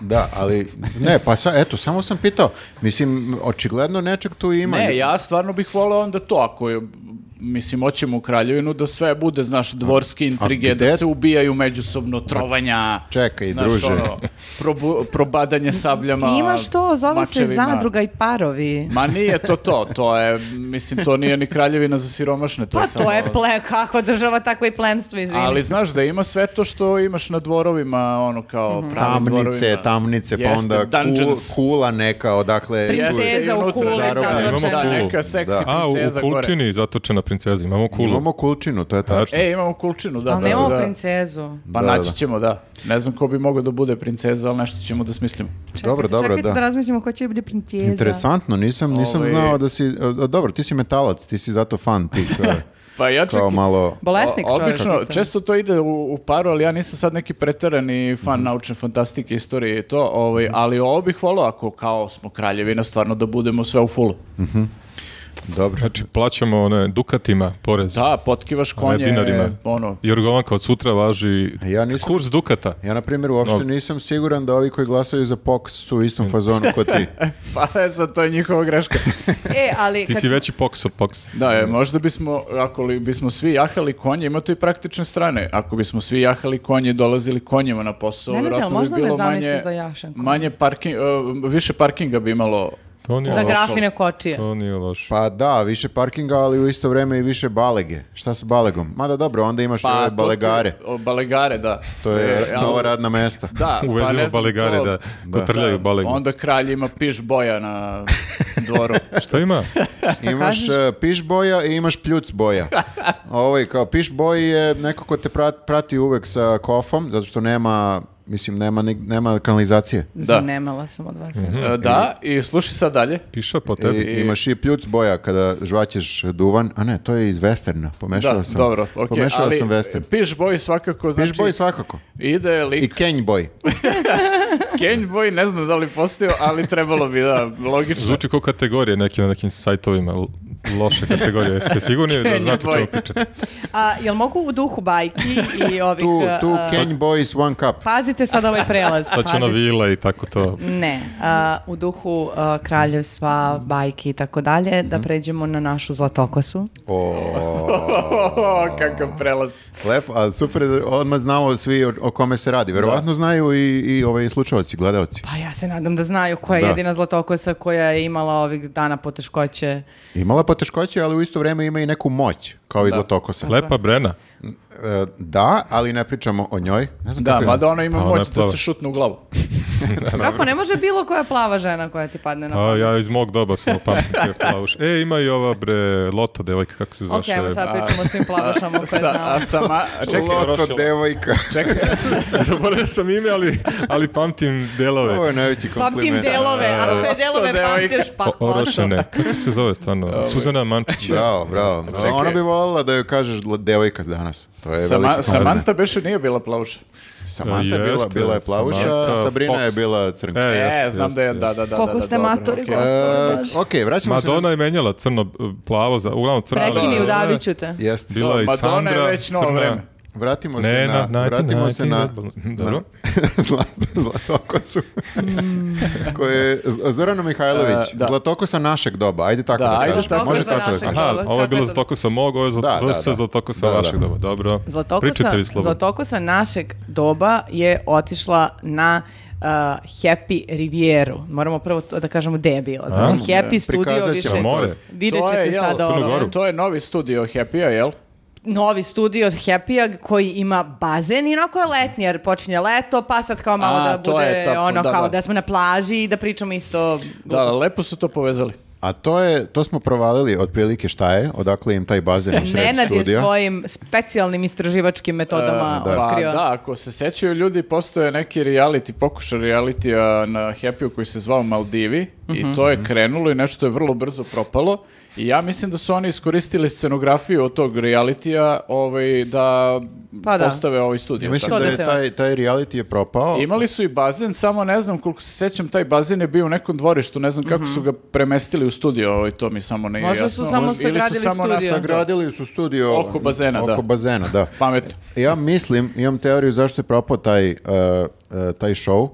A: Da, ali ne, pa sa, eto, samo sam pitao. Mislim, očigledno nečeg tu ima.
B: Ne, ja stvarno bih voleo onda to, ako je, mislim, hoćemo u Kraljevinu da sve bude, znaš, dvorske intrige,
A: gde-
B: da se ubijaju međusobno trovanja.
A: Čekaj, druže.
B: ono, probu- probadanje sabljama.
C: Imaš to, zove se
B: mačevima.
C: zadruga i parovi.
B: Ma nije to to, to je, mislim, to nije ni kraljevina za siromašne. To
C: Pa
B: je samo, ono.
C: to je ple, kakva država, takva i plemstvo, izvini.
B: Ali znaš da ima sve to što imaš na dvorovima, ono
C: Mhm.
B: kao pravim
A: Tamnice,
B: dvorovima.
A: tamnice, pa
B: Jeste,
A: onda kul,
B: dungeons.
A: kula neka, odakle...
C: Princeza
A: tu je.
B: Jeste, i
C: u
B: unutra
C: kuli
B: zarobljena.
D: zatočena.
B: Da,
D: Imamo kulu.
B: neka seksi
A: Da.
D: A, u,
B: princeza
D: u
B: gore.
D: Kulčini zatočena princeza, imamo kulu.
A: Imamo kulčinu, to je tačno.
B: E, imamo kulčinu, da.
C: Ali
B: da,
C: nemamo
B: da.
C: princezu.
B: Pa
A: Da,
B: naći
A: da.
B: ćemo, da. Ne znam ko bi mogao da bude princeza, ali nešto ćemo da smislimo.
C: Čekajte,
A: Dobro, dobro,
C: čekajte
A: da.
C: da razmislimo ko će biti princeza.
A: Interesantno, nisam, nisam
B: Ovaj-
A: znao da si... a, Dobro, ti si metalac, ti si zato fan ti. To
B: [LAUGHS]
A: je
B: Pa ja čak...
A: kao malo...
C: Bolesnik
B: o-
C: čovjek.
B: Obično,
C: pitam.
B: često to ide u, u paru, ali ja nisam sad neki preterani fan
A: Mhm.
B: naučne fantastike, istorije i to, ovaj, ali ovo bih volao ako kao smo kraljevina stvarno da budemo sve u fulu.
A: Dobro.
D: Znači, plaćamo one dukatima porez.
B: Da, potkivaš konje,
D: dinarima.
B: ono, [LAUGHS]
D: Jorgovanka od sutra važi
A: Ja nisam-
D: kurs dukata.
A: Ja, na primjer, uopšte
D: No.
A: nisam siguran da ovi koji glasaju za POX su u istom fazonu ko
B: [LAUGHS]
A: ti.
B: pa e, sad to je njihova greška.
C: E, ali
D: Ti
C: kad
D: si
C: smo-
D: veći poks od poksa.
B: Da, je, možda bismo, ako li bismo svi jahali konje, ima to i praktične strane. Ako bismo svi jahali konje i dolazili konjima na posao,
C: Ne, ne,
B: vjerojatno
C: ali možda
B: bi
C: me
B: bilo
C: zamisliš
B: manje,
C: da jašem konje.
B: manje parking, e, više parkinga bi imalo
D: To nije
C: Za
D: loše.
C: grafine kočije.
D: To nije loše.
A: Pa da, više parkinga, ali u isto vreme i više balege. Šta sa balegom? Mada dobro, onda imaš ove
B: Pa, to-
A: balegare.
B: to- o, e, balegare, da.
A: To je
B: E, al-
A: nova radna mesta. [LAUGHS]
B: Da, pa
D: Uvezimo
B: ne znam,
D: balegare
B: to-
D: da, kotrljaju balegu.
B: Onda kralj ima piš boja na
A: [LAUGHS]
B: dvoru.
D: Šta ima?
A: imaš e, piš boja i imaš pljuc boja. Ovo je kao piš boj je neko ko te pra- prati uvek sa kofom, zato što nema, mislim, nema, ni- nema kanalizacije.
B: Da.
C: Zanemala sam od vas.
A: Mhm.
B: E, da, i slušaj sad dalje.
D: Piša po
A: I,
D: tebi.
A: imaš i pljuc boja kada žvaćeš duvan. A ne, to je iz westerna. Pomešao
B: Da,
A: sam.
B: dobro, okej.
A: Pomešao
B: ali
A: sam western.
B: Piš boj svakako, znači,
A: Piš boj svakako.
B: ide
A: I
B: lik,
A: kenj boj.
B: Kenj boj, ne znam da li postao, ali trebalo bi, da, logično.
D: Zvuči kao kategorije neki na nekim sajtovima, l- loše kategorije. Jeste sigurni da
B: Kenji
D: znate o
B: boy.
D: čemu pričate?
C: A, jel mogu u duhu bajki
B: [LAUGHS]
C: i ovih...
A: Tu,
C: e,
A: tu
C: a,
A: kenj boj is one cup.
C: Pazite sad ovaj prelaz.
D: Sad ono će ona
C: pazite.
D: vila i tako to.
C: Ne, a, u duhu a, kraljevstva, bajki i tako dalje, da pređemo na našu zlatokosu.
B: [LAUGHS] [LAUGHS] O, kakav prelaz.
A: Lepo, a super, je da odmah znamo svi o, o kome se radi. Verovatno znaju i, i ovaj slušalci, gledalci.
C: Pa ja se nadam da znaju koja je
A: Da.
C: jedina zlatokosa koja je imala ovih dana poteškoće.
A: Imala poteškoće, ali u isto vreme ima i neku moć, kao i Zlatokosa.
D: Lepa Brena.
A: E, da, ali ne pričamo o njoj. Ne znam
B: Da,
A: kako je.
B: mada ona ima
D: Pa ona
B: moć
D: je
B: da
D: plava.
B: se šutne u
C: [LAUGHS]
B: glavu.
C: Kako ne može bilo koja plava žena koja ti padne na
D: A, ja iz mog doba sam [LAUGHS] opamtim te plavuše. E, ima i ova bre, Loto devojka, kako se
C: Ok,
D: zvaše.
C: ajmo sad pričamo o svim plavašama
B: [LAUGHS]
C: koje
B: Sa,
C: znamo.
B: a sama, čekaj,
A: Loto devojka.
B: čekaj.
D: [LAUGHS] Zaboravio sam ime, ali, ali pamtim delove.
A: Ovo je najveći
C: Pamtim
A: kompliment.
C: delove, a koje delove
B: devojka.
C: pamtiš pa
D: O-
C: lošo.
D: Orošene. Kako se zove stvarno? Suzana Mančić.
A: Bravo, bravo. Ona bi volila da joj kažeš dl- devojka danas. To je
B: Sama,
A: veliki kompliment.
B: Samantha beše nije bila plavuša.
A: Samanta je bila,
D: Jeste,
A: bila je plavuša,
D: Samantha
A: Sabrina je
D: Fox.
A: bila crnka.
D: E,
B: E,
D: jeste,
B: znam
D: jeste,
B: da je,
D: jeste.
B: da, da, da.
C: Koliko
B: da,
C: ste
B: dobro,
C: matori,
B: okej.
C: gospode.
A: E, ok, vraćamo se.
D: Madonna
A: na-
D: je menjala crno, plavo, za, uglavnom crno. ali-
C: Prekini, udavit ću te.
A: Jeste.
D: Bila je i
B: Madonna je
D: Sandra,
B: već novo
D: crna,
B: vreme.
A: Vratimo
D: Ne,
A: se na...
D: na- na-
A: vratimo
D: na-
A: se
D: na-
A: na... [LAUGHS]
D: Dobro.
A: na- Zlat- Zlatokosu.
C: Hmm.
A: Koje je Z- Zoranu Mihajlović.
B: E, da.
A: Zlatokosa našeg doba. Ajde tako da,
B: Da, ajde
A: kažemo.
B: tako
A: Može
B: za
A: tako da
C: našeg
A: kažemo.
D: Aha,
C: Dobro,
D: ovo je
C: kako je
D: bilo
C: to-
D: za tokosa mog, ovo je za
A: Da, da,
D: vs.
A: da.
D: za tokosa
A: Da, da.
D: vašeg doba. Dobro,
C: Zlatokosa,
D: pričajte vi slobodno.
C: Zlatokosa našeg doba je otišla na uh, Happy Rivieru. Moramo prvo to da kažemo gde je bila. Znači,
B: A?
C: Happy
B: Ne,
C: studio
A: prikazat
C: više...
A: ćemo.
D: More.
C: Vidjet ćete ono-
B: jel,
C: sad ovo.
D: Crnu Goru.
B: To je novi studio Happy-a, jel?
C: novi studio od Happy-a koji ima bazen i onako je letni jer počinje leto pa sad kao malo
B: A,
C: da
B: to
C: bude
B: je tako,
C: ono
B: da,
C: kao da.
B: da.
C: smo na plaži i da pričamo isto
B: Da, lepo su to povezali.
A: A to je, to smo provalili otprilike šta je, odakle im taj bazen u sred
C: Nenad je
A: studija.
C: svojim specijalnim istraživačkim metodama
A: E, da.
B: Pa
C: otkrio.
B: da, ako se sećaju ljudi, postoje neki reality, pokušaj realitija na Happy-u koji se zvao Maldivi
C: Mhm.
B: i to je krenulo i nešto je vrlo brzo propalo i ja mislim da su oni iskoristili scenografiju od tog realitija ovaj, da
C: Pa da.
B: postave ovaj studio.
A: Mislim
C: To
A: da,
C: da
A: je
C: se
A: taj, taj reality je propao.
B: Imali su i bazen, samo ne znam koliko se sećam, taj bazen je bio u nekom dvorištu, ne znam kako su ga premestili u studio, ovaj, to mi samo nije
C: Mhm. Možda su
B: jasno.
C: samo
B: Možda- ili su
C: sagradili
B: samo
C: studio.
B: nas-
A: Sagradili su studio
B: Oko bazena, da.
A: oko bazena, da.
B: Pametno.
A: Ja mislim, imam teoriju zašto je propao taj, uh, uh, taj show.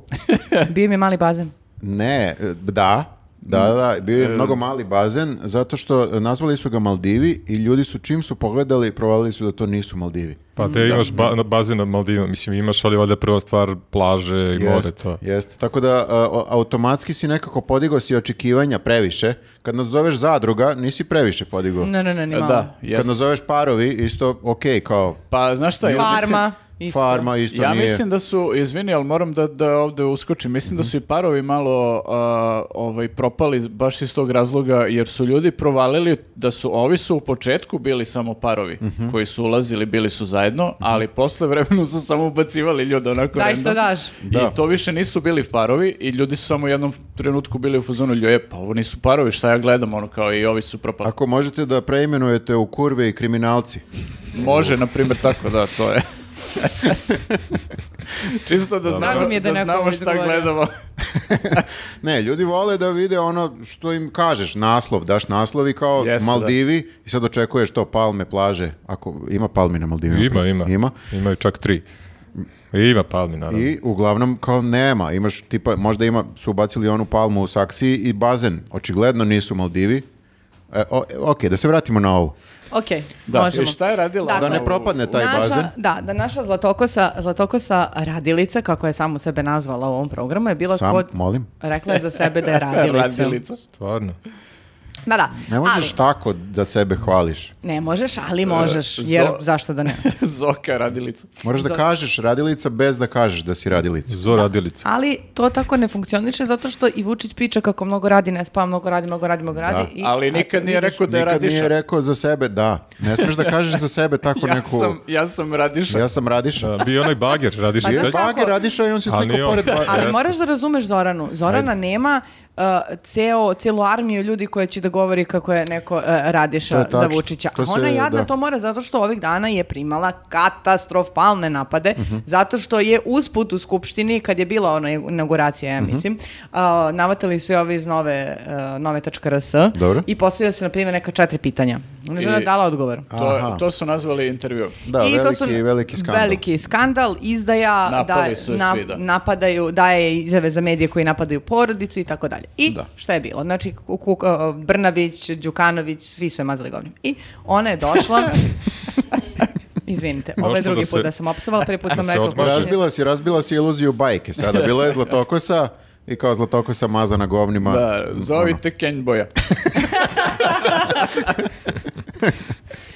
C: Bio mi mali bazen.
A: Ne, e, da, da,
B: Mm.
A: da, bio
B: E.
A: je mnogo mali bazen, zato što e, nazvali su ga Maldivi i ljudi su čim su pogledali, provalili su da to nisu Maldivi.
D: Pa te imaš ba, na bazin na Maldivima, mislim imaš, ali ovdje je prva stvar plaže i more
A: Jeste,
D: to.
A: jeste. Tako da a, o- automatski si nekako podigao si očekivanja previše. Kad nazoveš zadruga, nisi previše podigao.
C: Ne, ne, ne, ni malo.
B: E, Da,
A: Kad
B: jeste.
A: nazoveš parovi, isto okej, kao
B: Pa znaš šta, ja mislim-
C: Farma. Isto.
A: farma, isto
B: ja
A: nije.
B: mislim da su, izvini, ali moram da, da ovde uskočim, mislim da su
A: Mhm.
B: i parovi malo a, ovaj, propali baš iz tog razloga, jer su ljudi provalili da su, ovi su u početku bili samo parovi
A: Mhm.
B: koji su ulazili, bili su zajedno, ali posle vremenu su samo ubacivali ljude onako
C: Daj što
B: random.
C: daš.
A: Da.
B: I to više nisu bili parovi i ljudi su samo u jednom trenutku bili u fazonu ljoje, pa ovo nisu parovi, šta ja gledam, ono kao i ovi su propali.
A: Ako možete da preimenujete u kurve i kriminalci.
B: Može, na primjer, tako da, to je. [LAUGHS] Čisto da znamo,
C: Drago mi je da
B: da
C: neko
B: znamo
C: ovo
B: šta
C: izgovorio.
B: gledamo.
A: Ne, ljudi vole da vide ono što im kažeš, naslov, daš naslov i kao
B: Jeste,
A: Maldivi i sad očekuješ to palme, plaže, ako ima palmi na Maldivima.
D: Ima, ima.
A: Ima.
D: Imaju čak tri. Ima palmi, naravno.
A: I uglavnom kao nema, imaš tipa, možda ima, su ubacili onu palmu u saksiji i bazen, očigledno nisu Maldivi. E, o, e, ok, da se vratimo na ovu.
C: Ok,
B: Da,
C: možemo.
B: i šta je radila?
C: Dakle,
A: Da ne propadne taj
C: naša,
A: bazen.
C: Da, da naša zlatokosa, zlatokosa radilica, kako je samo sebe nazvala u ovom programu, je bila
A: Sam,
C: kod...
A: molim.
C: Rekla je za sebe
B: [LAUGHS]
C: da je radilica.
B: Radilica.
D: Stvarno.
C: Da, da.
A: Ne možeš
C: ali,
A: tako da sebe hvališ.
C: ne možeš, ali možeš,
B: E, zo-
C: jer zašto da ne?
B: Zoka radilica.
A: Moraš da kažeš radilica bez da kažeš da si radilica.
D: Zo radilica.
C: Ali to tako ne funkcioniše zato što i Vučić piče kako mnogo radi, ne spava, mnogo radi, mnogo radi, mnogo radi. i,
B: Ali
C: eto,
B: nikad nije
C: vidiš.
B: rekao da je
A: Nikad
B: radiša.
A: nije rekao za sebe da. Ne smeš da kažeš za sebe tako
C: [LAUGHS]
B: ja,
A: neku...
B: sam, ja sam radiša.
A: Ja sam radiša.
D: Da, Bio je onaj bager, radiš
C: Pa
D: se
A: Bio
C: znaš
A: je
D: sećaš?
C: šta?
A: bager, radiša i on se
D: Ali
A: slikao
D: nije on.
A: pored bagera.
C: Ali moraš da razumeš Zoranu. Zorana nema uh, ceo, cijelu armiju ljudi koja će da govori kako je neko uh,
A: To
C: radiša
A: je tačno.
C: za Vučića.
A: To
C: A ona
A: se-
C: jadna
A: da.
C: to mora zato što ovih dana je primala katastrofalne napade,
A: Mhm.
C: zato što je usput u Skupštini, kad je bila ona inauguracija,
A: Mhm.
C: ja mislim, uh, navatali su je ovi iz nove, uh, nove.rs
A: Dobro.
C: i postavio se, na primjer, neka četiri pitanja. Ona žena
B: I-
C: je dala odgovor.
B: To,
A: Aha.
B: to su nazvali intervju.
A: Da,
C: I to
A: veliki,
C: su
A: veliki skandal.
C: Veliki skandal, izdaja,
B: Napali
C: da,
B: su je svi, da.
C: napadaju, daje izjave za medije koji napadaju porodicu i tako dalje. I
A: Da.
C: šta je bilo? Znači, Ku- Ku- Brnabić, Đukanović, svi su je mazali govnjem. I ona je došla... Izvinite, ovo je
D: Došla
C: drugi
D: da
C: put
D: se-
C: da sam opsovala, prvi put sam
D: se
C: rekla...
D: odmaže.
A: Razbila si, razbila si iluziju bajke sada. Bila je zlatokosa i kao zlatokosa maza na govnima.
B: Da, zovite Kenboja.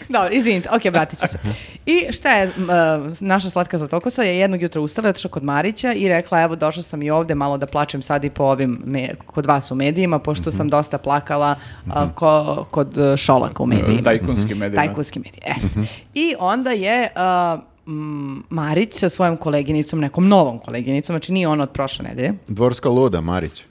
C: Dobro, izvinite, ok, vratit
B: [LAUGHS]
C: ću se. I šta je, m, e, naša slatka Zlatokosa je jednog jutra ustala, otišla kod Marića i rekla, evo, došla sam i ovde, malo da plačem sad i po ovim, me- kod vas u medijima, pošto sam
B: Mhm.
C: dosta plakala a, ko- kod e, Šolaka u medijima.
B: Tajkunski medijima.
C: Tajkunski mediji. E.
B: Mhm.
C: I onda je a, m, Marić sa svojom koleginicom, nekom novom koleginicom, znači nije ona od prošle nedelje,
A: Dvorska luda, Marić.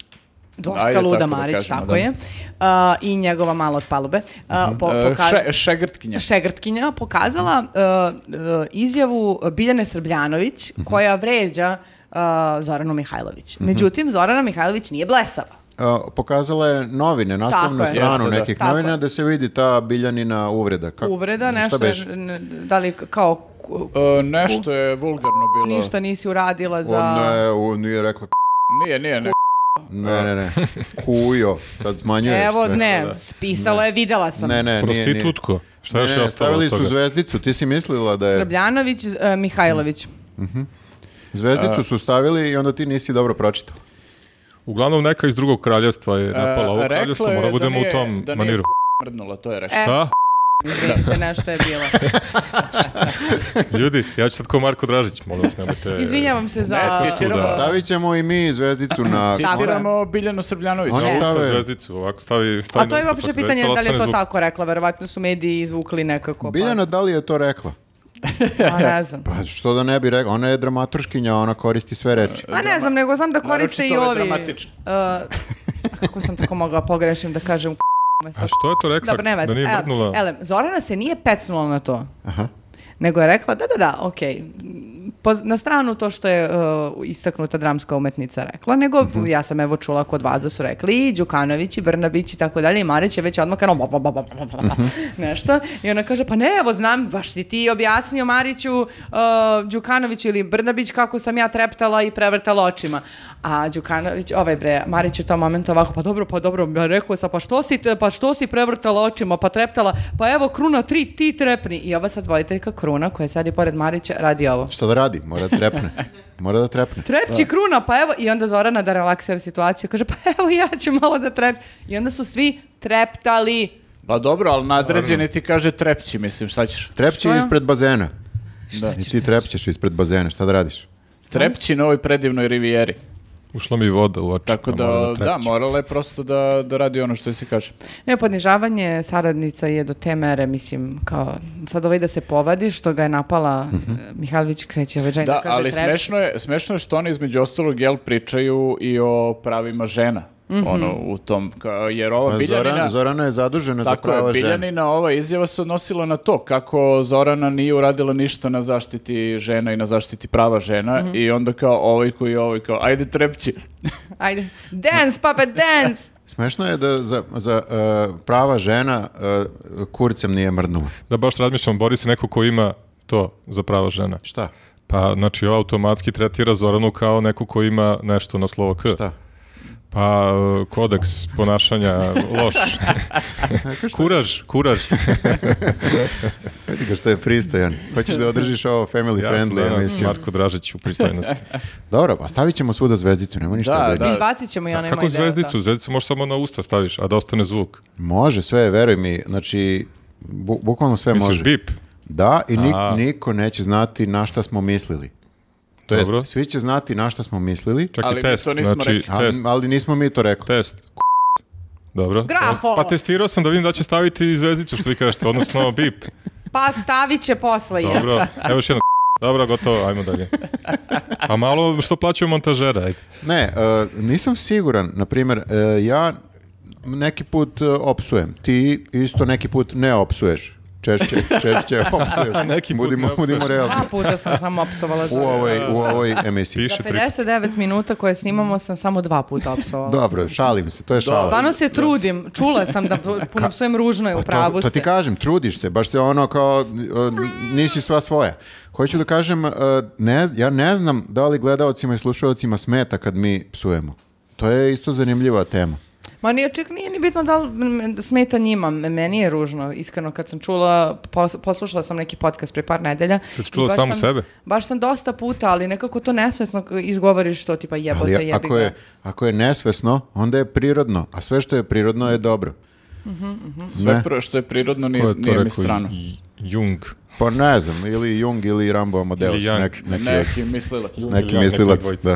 C: Dvorska
B: Ajde,
C: Luda
B: tako da
C: Marić,
B: kažemo,
C: tako
B: da.
C: je, a, i njegova mala od palube, a, po,
B: E,
C: pokaz-
B: še- šegrtkinja.
C: šegrtkinja
A: Mhm.
C: pokazala uh, uh, izjavu Biljane Srbljanović
A: Mhm.
C: koja vređa uh, Zoranu Mihajlović. Međutim, Zorana Mihajlović nije blesava.
A: A, E, pokazala je novine, naslovnu
C: Tako je.
A: stranu
B: Jeste, da.
A: nekih
C: Tako
A: novina
C: je.
A: da se vidi ta biljanina uvreda. Kako,
C: Uvreda,
A: šta
C: nešto, je,
A: beše?
C: n- da li kao k- ku-
B: E, nešto je vulgarno bilo.
C: ništa nisi uradila za...
A: On, ne, on nije rekla k***.
B: Nije, nije, ne.
A: Ne, ne,
C: [LAUGHS]
A: ne. Kujo. Sad smanjuješ
C: E, Evo,
A: sve.
C: ne, spisala je, videla sam.
A: Ne, ne, nije, nije.
D: Prostitutko. Šta je još
A: ne,
D: je
A: ne,
D: ostalo
A: stavili
D: od
A: su
D: toga?
A: zvezdicu, ti si mislila da je...
C: Srbljanović, e, Mihajlović.
A: Mhm. Zvezdicu su stavili i onda ti nisi dobro pročitao.
D: Uglavnom neka iz drugog kraljevstva
A: E,
D: je napala ovo
B: rekla
D: kraljevstvo,
B: je
D: mora
B: da
D: budemo
B: nije-
D: u tom
B: da nije
D: maniru.
B: Mrdnula, to je rekao.
C: E,
D: Šta?
C: izvinite, nešto je
A: [LAUGHS]
C: bilo.
D: Ljudi, ja ću sad ko Marko Dražić, molim vas, nemojte...
C: Izvinjavam se E, za...
B: Ne, citiramo,
D: Da.
A: Stavit ćemo i mi zvezdicu na...
B: citiramo Biljanu Srbljanović.
A: Oni
D: Na usta
A: stave-
D: zvezdicu, ovako stavi... stavi znači,
C: A to
D: na
C: je
D: usta
C: uopće
D: svak
C: pitanje
D: zvezdicu,
C: da li je to
D: ostane zvuk.
C: tako rekla, verovatno su mediji izvukli nekako. pa-
A: Biljana, da li je to rekla?
C: Pa ne znam.
A: Pa što da ne bi rekla, ona je dramaturškinja, ona koristi sve reči.
C: Ma ne znam, nego znam da koriste i
B: Naročito ove
C: ovi...
B: dramatične.
C: e, kako sam tako mogla pogrešim da kažem k***, umesto
D: A što je to rekla?
C: Dobro, ne veze.
D: Da nije
C: Ele-
D: mrdnula?
C: elem, Zorana se nije pecnula na to.
A: Aha.
C: Nego je rekla, da, da, da, okej, poz- na stranu to što je uh, istaknuta dramska umetnica rekla, nego ja sam evo čula kod vas da su rekli i Đukanović i Brnabić i tako dalje i Marić je već odmah kao ba, ba, ba, ba, ba, ba, nešto i ona kaže, pa ne, evo znam, baš si ti objasnio Mariću, uh, Đukanoviću ili Brnabić kako sam ja treptala i prevrtala očima. A Đukanović, ovaj bre, Marić u tom momentu ovako, pa dobro, pa dobro, ja rekao sam, pa što si, te- pa što si prevrtala očima, pa treptala, pa evo kruna tri, ti trepni. I ova sad voditeljka kruna koja je sad i pored Marića radi ovo.
A: Šta da radi? Mora da trepne. Mora da trepne.
C: Trepći kruna, pa evo, i onda Zorana da relaksira situaciju, kaže, pa evo ja ću malo da trepćem. I onda su svi treptali.
B: Pa dobro, ali nadređeni ti kaže trepći, mislim, šta ćeš?
A: Trepće
C: Što je?
A: ispred bazena.
B: Da.
A: I ti trepćeš ispred bazena, šta da radiš?
B: Trepći na ovoj predivnoj rivijeri.
D: Ušla mi voda u oči.
B: Tako
D: pa
B: da,
D: moram
B: da,
D: trepćem.
B: morala je prosto da, da radi ono što se kaže.
C: Ne, ponižavanje saradnica je do te mere, mislim, kao, sad ovaj da se povadi, što ga je napala, eh, Mihajlović kreće, ovaj žena
B: Da,
C: kaže,
B: ali
C: "Trepći."
B: smešno je, smešno je što oni između ostalog jel pričaju i o pravima žena.
C: Mhm.
B: Ono, u tom, ka- jer ova
A: Pa
B: Biljanina...
A: Zorana, Zorana je zadužena za
B: Tako je,
A: prava žena.
B: Biljanina ova izjava se odnosila na to kako Zorana nije uradila ništa na zaštiti žena i na zaštiti prava žena
C: Mhm.
B: i onda kao ovaj koji je ovaj kao ajde trepći.
C: Ajde, dance, papa, dance!
A: Smešno je da za, za uh, prava žena uh, kurcem nije mrdnula.
D: Da baš razmišljam, Boris je neko ko ima to za prava žena.
A: Šta?
D: Pa, znači, automatski tretira Zoranu kao neko ko ima nešto na slovo K.
A: Šta?
D: Pa, e, kodeks ponašanja loš. kuraž,
B: [LAUGHS]
D: kuraž.
A: Vidi ga što je pristojan. Hoćeš da održiš ovo family
D: Ja sam
A: friendly
D: danas
A: emisiju.
D: Marko Dražić u pristojnosti.
A: Dobro, pa stavit ćemo svuda zvezdicu, nema ništa.
B: Da,
A: Da,
B: da.
C: Izbacit ćemo [LAUGHS] i onaj
D: Kako
C: moj deo, da.
D: zvezdicu? Zvezdicu možeš samo na usta staviš, a da ostane zvuk.
A: Može sve, veruj mi. Znači, bu- bukvalno
B: E,
A: sve
D: Misliš,
A: može.
D: bip.
A: Da, i ni-
D: A.
A: niko neće znati na šta smo mislili. To jest,
D: Dobro.
A: svi će znati na šta smo mislili,
D: Čak
B: Ali mi
D: i test,
B: to nismo
D: znači,
B: rekli.
A: ali,
D: test,
A: ali nismo mi to rekli.
D: test. K***. Dobro.
C: Grafo!
D: Pa testirao sam da vidim da će staviti i zvezdicu što vi kažete, odnosno
C: [LAUGHS]
D: bip.
C: Pa stavit će posle. i-
D: Dobro, evo još jedno. Dobro, gotovo, ajmo dalje. A malo što plaćaju montažera, ajde.
A: Ne, e, nisam siguran. Naprimjer, e, ja neki put e, opsujem. Ti isto neki put ne opsuješ. Češće,
D: [LAUGHS]
A: češće opsuješ.
D: Neki put
A: budimo,
D: ne opsuješ.
A: budimo realni.
C: Dva puta sam samo opsovala
A: U
C: za
A: ovoj, u ovoj emisiji.
D: Piše
C: Za
D: tri.
C: 59 minuta koje snimamo sam samo dva puta opsovala.
A: Dobro, šalim se, to je šala. Pa
C: Stvarno se trudim. Čula sam
A: [LAUGHS]
C: da puno psujem ružno je u pravu
A: to, to ti
C: ste.
A: kažem, trudiš se, baš se ono kao, e, nisi sva svoja. Hoću da kažem, e, ne, z- ja ne znam da li gledaocima i slušaocima smeta kad mi psujemo. To je isto zanimljiva tema.
C: Ma nije, čak nije ni bitno da li m- smeta njima. M- Meni je ružno, iskreno, kad sam čula, pos- poslušala sam neki podcast pre par nedelja.
D: Kad si
C: i
D: čula
C: baš
D: samu
C: sam-
D: sebe?
C: Baš sam dosta puta, ali nekako to nesvesno izgovoriš E, to, tipa jebote,
A: Ali
C: jebi
A: ako
C: ga.
A: je, ako je nesvesno, onda je prirodno, a sve što je prirodno je dobro.
C: Mhm.
B: Sve
A: Ne.
B: pro- što je prirodno
D: Ko
B: nije,
D: je to
B: nije mi
D: rekao?
B: strano.
D: Jung.
A: Pa ne znam, ili Jung ili Rambo Amadeus,
D: Ili Young.
A: nek- neki,
B: Neki mislilac.
A: neki
D: Ili Young,
A: mislilac.
D: neka dvojica.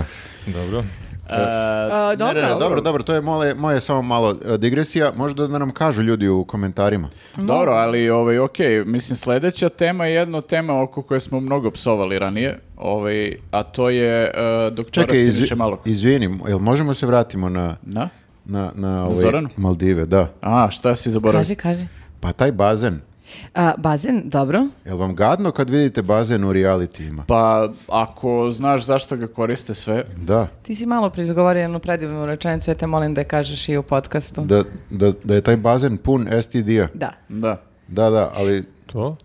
A: Da.
D: Dobro.
B: E,
C: A,
A: Ne,
C: dobro,
A: ne, ne, dobro, dobro, to je mole, moje samo malo e, digresija, možda da nam kažu ljudi u komentarima.
B: Dobro, ali ovaj, ok, mislim sljedeća tema je jedna od tema oko koje smo mnogo psovali ranije, ovaj, a to je uh, doktora
A: Čekaj, izvi-
B: Ciniše Malog.
A: izvini, jel možemo se vratimo na,
B: Na?
A: na, na ovaj,
B: Zoranu?
A: Maldive, da.
B: A, šta si zaboravio?
C: Kaži, kaži.
A: Pa taj bazen,
C: A, bazen, dobro.
A: jel vam gadno kad vidite bazen u realitima?
B: Pa, ako znaš zašto ga koriste sve,
A: Da,
C: Ti si malo preizgovorio jednu predivnu rečenicu, ja te molim da je kažeš i u podcastu.
A: da, da, da je taj bazen pun STD-a.
C: Da.
B: da.
A: Da, da, ali
D: To?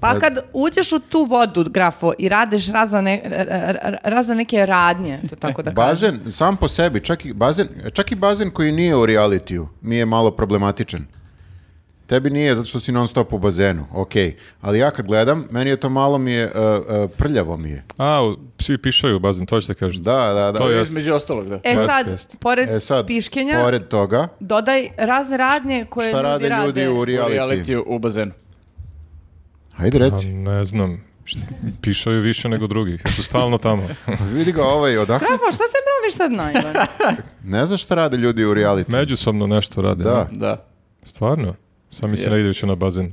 C: Pa kad uđeš u tu vodu, grafo, i radeš razne, ne- ra- ra- razne neke radnje,
A: E,
C: to tako da kažem.
A: Bazen, sam po sebi, čak i bazen, čak i bazen koji nije u realitiju, mi je malo problematičan. Tebi nije, zato što si non stop u bazenu, okej. Ali ja kad gledam, meni je to malo mi je, uh, uh, prljavo mi je.
D: A, u- svi pišaju, bazen, to ćete kažem.
A: Da, da, da.
D: To je-
B: Između ostalog, da.
C: E
D: Jeste,
C: sad,
D: jeste.
C: pored
A: E sad,
C: piškenja,
A: pored toga,
C: dodaj razne radnje koje
A: šta
C: ljudi
A: rade
C: rade.
A: ljudi u
B: U
A: realitiju?
B: realitiju u bazenu.
A: Hajde
D: A,
A: reci.
D: Pa ne znam, pišaju više nego drugi, su stalno
A: [LAUGHS]
D: tamo.
A: Vidi ga ovaj odakle.
C: Grafo, šta se praviš sad najman?
A: [LAUGHS] Ne znaš šta rade ljudi u realitiju.
D: Međusobno nešto rade.
A: Da.
D: ne?
B: Da.
D: Stvarno? Sad mi se
B: Jeste.
D: ne ide više na bazen.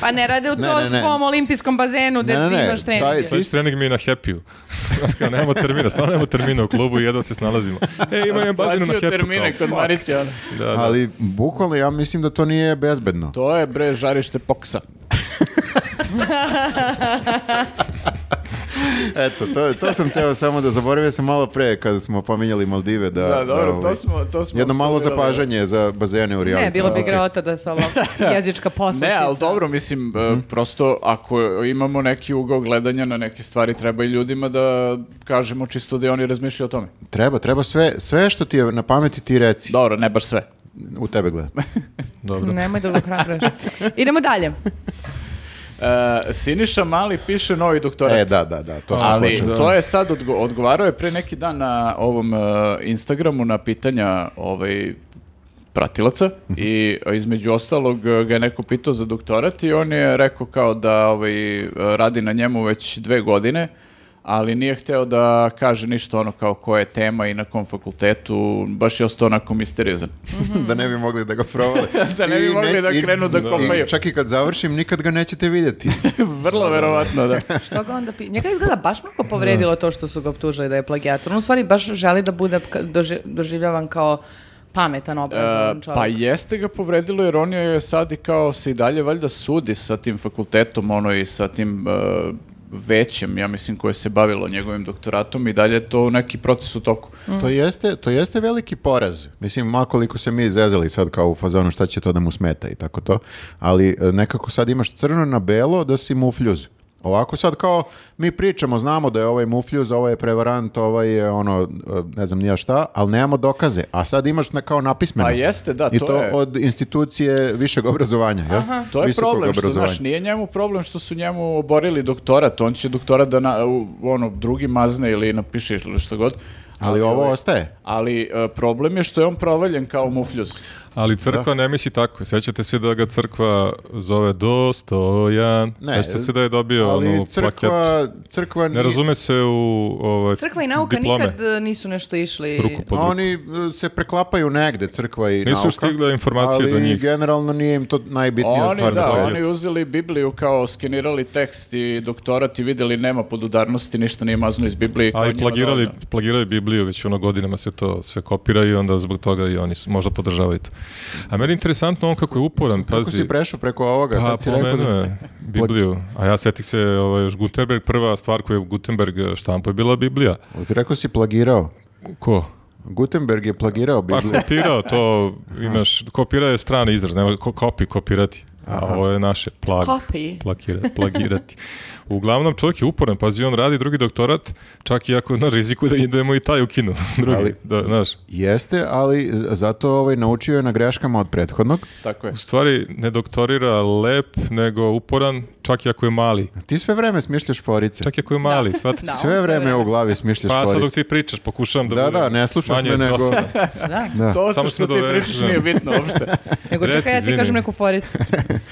C: Pa ne rade u
A: Ne,
C: to
A: ne, ne.
C: tvom olimpijskom bazenu gde
A: Ne, ne,
C: ti
A: ne,
C: imaš treninge.
A: taj-
D: Sledeći trening mi je na happy-u. [LAUGHS] Znaš kao, nemamo termina, stvarno nemamo termina u klubu i jedva se snalazimo. E, ima jedan bazen na
B: Plaćaju
D: happy-u.
B: termine
D: kao,
B: kod
D: fuck.
B: Marića. ono.
D: Da, da.
A: Ali bukvalno ja mislim da to nije bezbedno.
B: To je bre žarište poksa.
A: Eto, to, to sam teo samo da zaboravio sam malo pre kada smo pominjali Maldive. Da,
B: Da, dobro, to
A: ovaj,
B: smo- to smo
A: Jedno malo
B: apsolvirali.
A: zapažanje za bazene u realitiju.
C: Ne, bilo bi
A: Ok.
C: grota da se ovo
A: [LAUGHS]
C: jezička poslastica.
B: Ne, ali dobro, mislim, e, prosto ako imamo neki ugao gledanja na neke stvari, treba i ljudima da kažemo čisto da i oni razmišljaju o tome.
A: Treba, treba sve, sve što ti je na pameti ti reci.
B: Dobro, ne baš sve.
A: U tebe
B: [LAUGHS]
A: gledam.
D: Dobro.
C: Nemoj da ga hrabraš. Idemo dalje.
B: E, Siniša Mali piše novi doktorat.
A: E, da, da, da. To sam
B: Ali
A: počeo.
B: to je sad odgo- odgovarao je pre neki dan na ovom e, Instagramu na pitanja ovaj pratilaca
A: Mhm.
B: i e, između ostalog e, ga je neko pitao za doktorat i on je rekao kao da ovaj e, radi na njemu već dve godine ali nije hteo da kaže ništa ono kao koja je tema i na kom fakultetu, baš je ostao onako misteriozan.
C: Mhm.
A: [LAUGHS] da ne bi mogli da ga provale.
B: [LAUGHS] Da ne bi
A: I
B: mogli da
A: i-
B: krenu da
A: i
B: kopaju.
A: Čak i kad završim, nikad ga nećete vidjeti.
B: [LAUGHS] Vrlo verovatno,
A: [LAUGHS]
B: da.
C: Što ga onda pi... Njega izgleda baš mnogo povredilo to što su ga optužili da je plagijator. On u stvari baš želi da bude ka- doži- doživljavan kao pametan, obrazovan
B: E, pa
C: čovjek.
B: jeste ga povredilo jer on je sad i kao se i dalje valjda sudi sa tim fakultetom ono i sa tim e, većem, ja mislim, koje se bavilo njegovim doktoratom i dalje je to neki proces u toku.
A: to, jeste, to jeste veliki poraz. Mislim, makoliko se mi izezali sad kao u fazonu šta će to da mu smeta i tako to. Ali e, nekako sad imaš crno na belo da si mufljuz. Ovako sad kao mi pričamo, znamo da je ovaj mufljuz, ovaj je prevarant, ovaj je ono, e, ne znam nija šta, ali nemamo dokaze. A sad imaš na, kao napismeno.
B: Pa jeste, da,
A: I
B: to
A: to,
B: je-
A: od institucije višeg obrazovanja. jel?
B: To je
A: Visokog
B: problem, što
A: obrazovanja.
B: znaš, nije njemu problem što su njemu oborili doktorat, on će doktorat da na, u- ono, drugi mazne ili napiše ili što god.
A: Ali ovo
B: ovaj-
A: ostaje.
B: Ali e, problem je što je on provaljen kao mufljuz.
D: Ali crkva ne misli tako. Sjećate se da ga crkva zove Dostojan.
A: Ne,
D: Sjećate se da je dobio
A: Ali
D: onu plaketu.
A: crkva, crkva
D: ono, Ne
A: nije-
D: razume se u ovaj,
C: Crkva i nauka
D: diplome.
C: nikad e, nisu nešto išli...
D: Ruku pod ruku.
A: Oni e, se preklapaju negde, crkva i nauka.
D: Nisu stigle informacije
A: ali
D: do njih.
A: generalno nije im to najbitnija
B: Oni,
A: stvar na
B: da,
A: svetu.
B: oni uzeli Bibliju kao skenirali tekst i doktorat i videli nema podudarnosti, ništa nije mazno iz Biblije. kao
D: A i
B: njima
D: plagirali,
B: dovoljno.
D: plagirali Bibliju, već ono godinama se to sve kopira i onda zbog toga i oni su, možda podržavaju to. A meni je interesantno on kako je uporan,
A: Kako si
D: pazi.
A: prešao preko ovoga?
D: Pa,
A: Sad si rekao
D: pomenuo
A: da...
D: je Bibliju. A ja setih se, ovaj, još Gutenberg, prva stvar koju je Gutenberg štampo je bila Biblija.
A: Rekao si plagirao.
D: Ko?
A: Gutenberg je plagirao
D: Pa [LAUGHS]
A: Bibliju.
D: kopirao
A: [LAUGHS]
D: to, imaš, kopirao je strani izraz, nema ko, kopi, kopirati. A ovo je naše, plag,
C: Kopi.
D: plakira, plagirati. Uglavnom, čovjek je uporan, pazi, on radi drugi doktorat, čak i ako je na riziku da idemo i taj ukinu. [LAUGHS] Drugi,
A: Ali-
D: da, znaš.
A: Jeste, ali z- zato ovaj, naučio je na greškama od prethodnog.
B: Tako je.
D: U stvari, ne doktorira lep, nego uporan, čak i ako je mali.
A: Ti sve vreme smišljaš forice.
D: Čak i ako je mali,
C: [LAUGHS]
D: shvatite.
C: Da, on
A: sve vreme u glavi smišljaš
D: Pa sad dok
A: forice.
D: ti pričaš, pokušavam da,
A: Da,
D: budem
A: da, ne slušaš
D: manje
A: me, nego-
D: dosadan.
A: [LAUGHS]
C: Da.
A: Da.
B: To
D: Samo
B: što
D: smo
B: ti
D: doveli,
B: pričaš
D: da.
B: nije bitno uopšte.
C: Nego
D: Reci,
C: čekaj, ja ti
D: izvini.
C: kažem neku
D: [LAUGHS]
C: foricu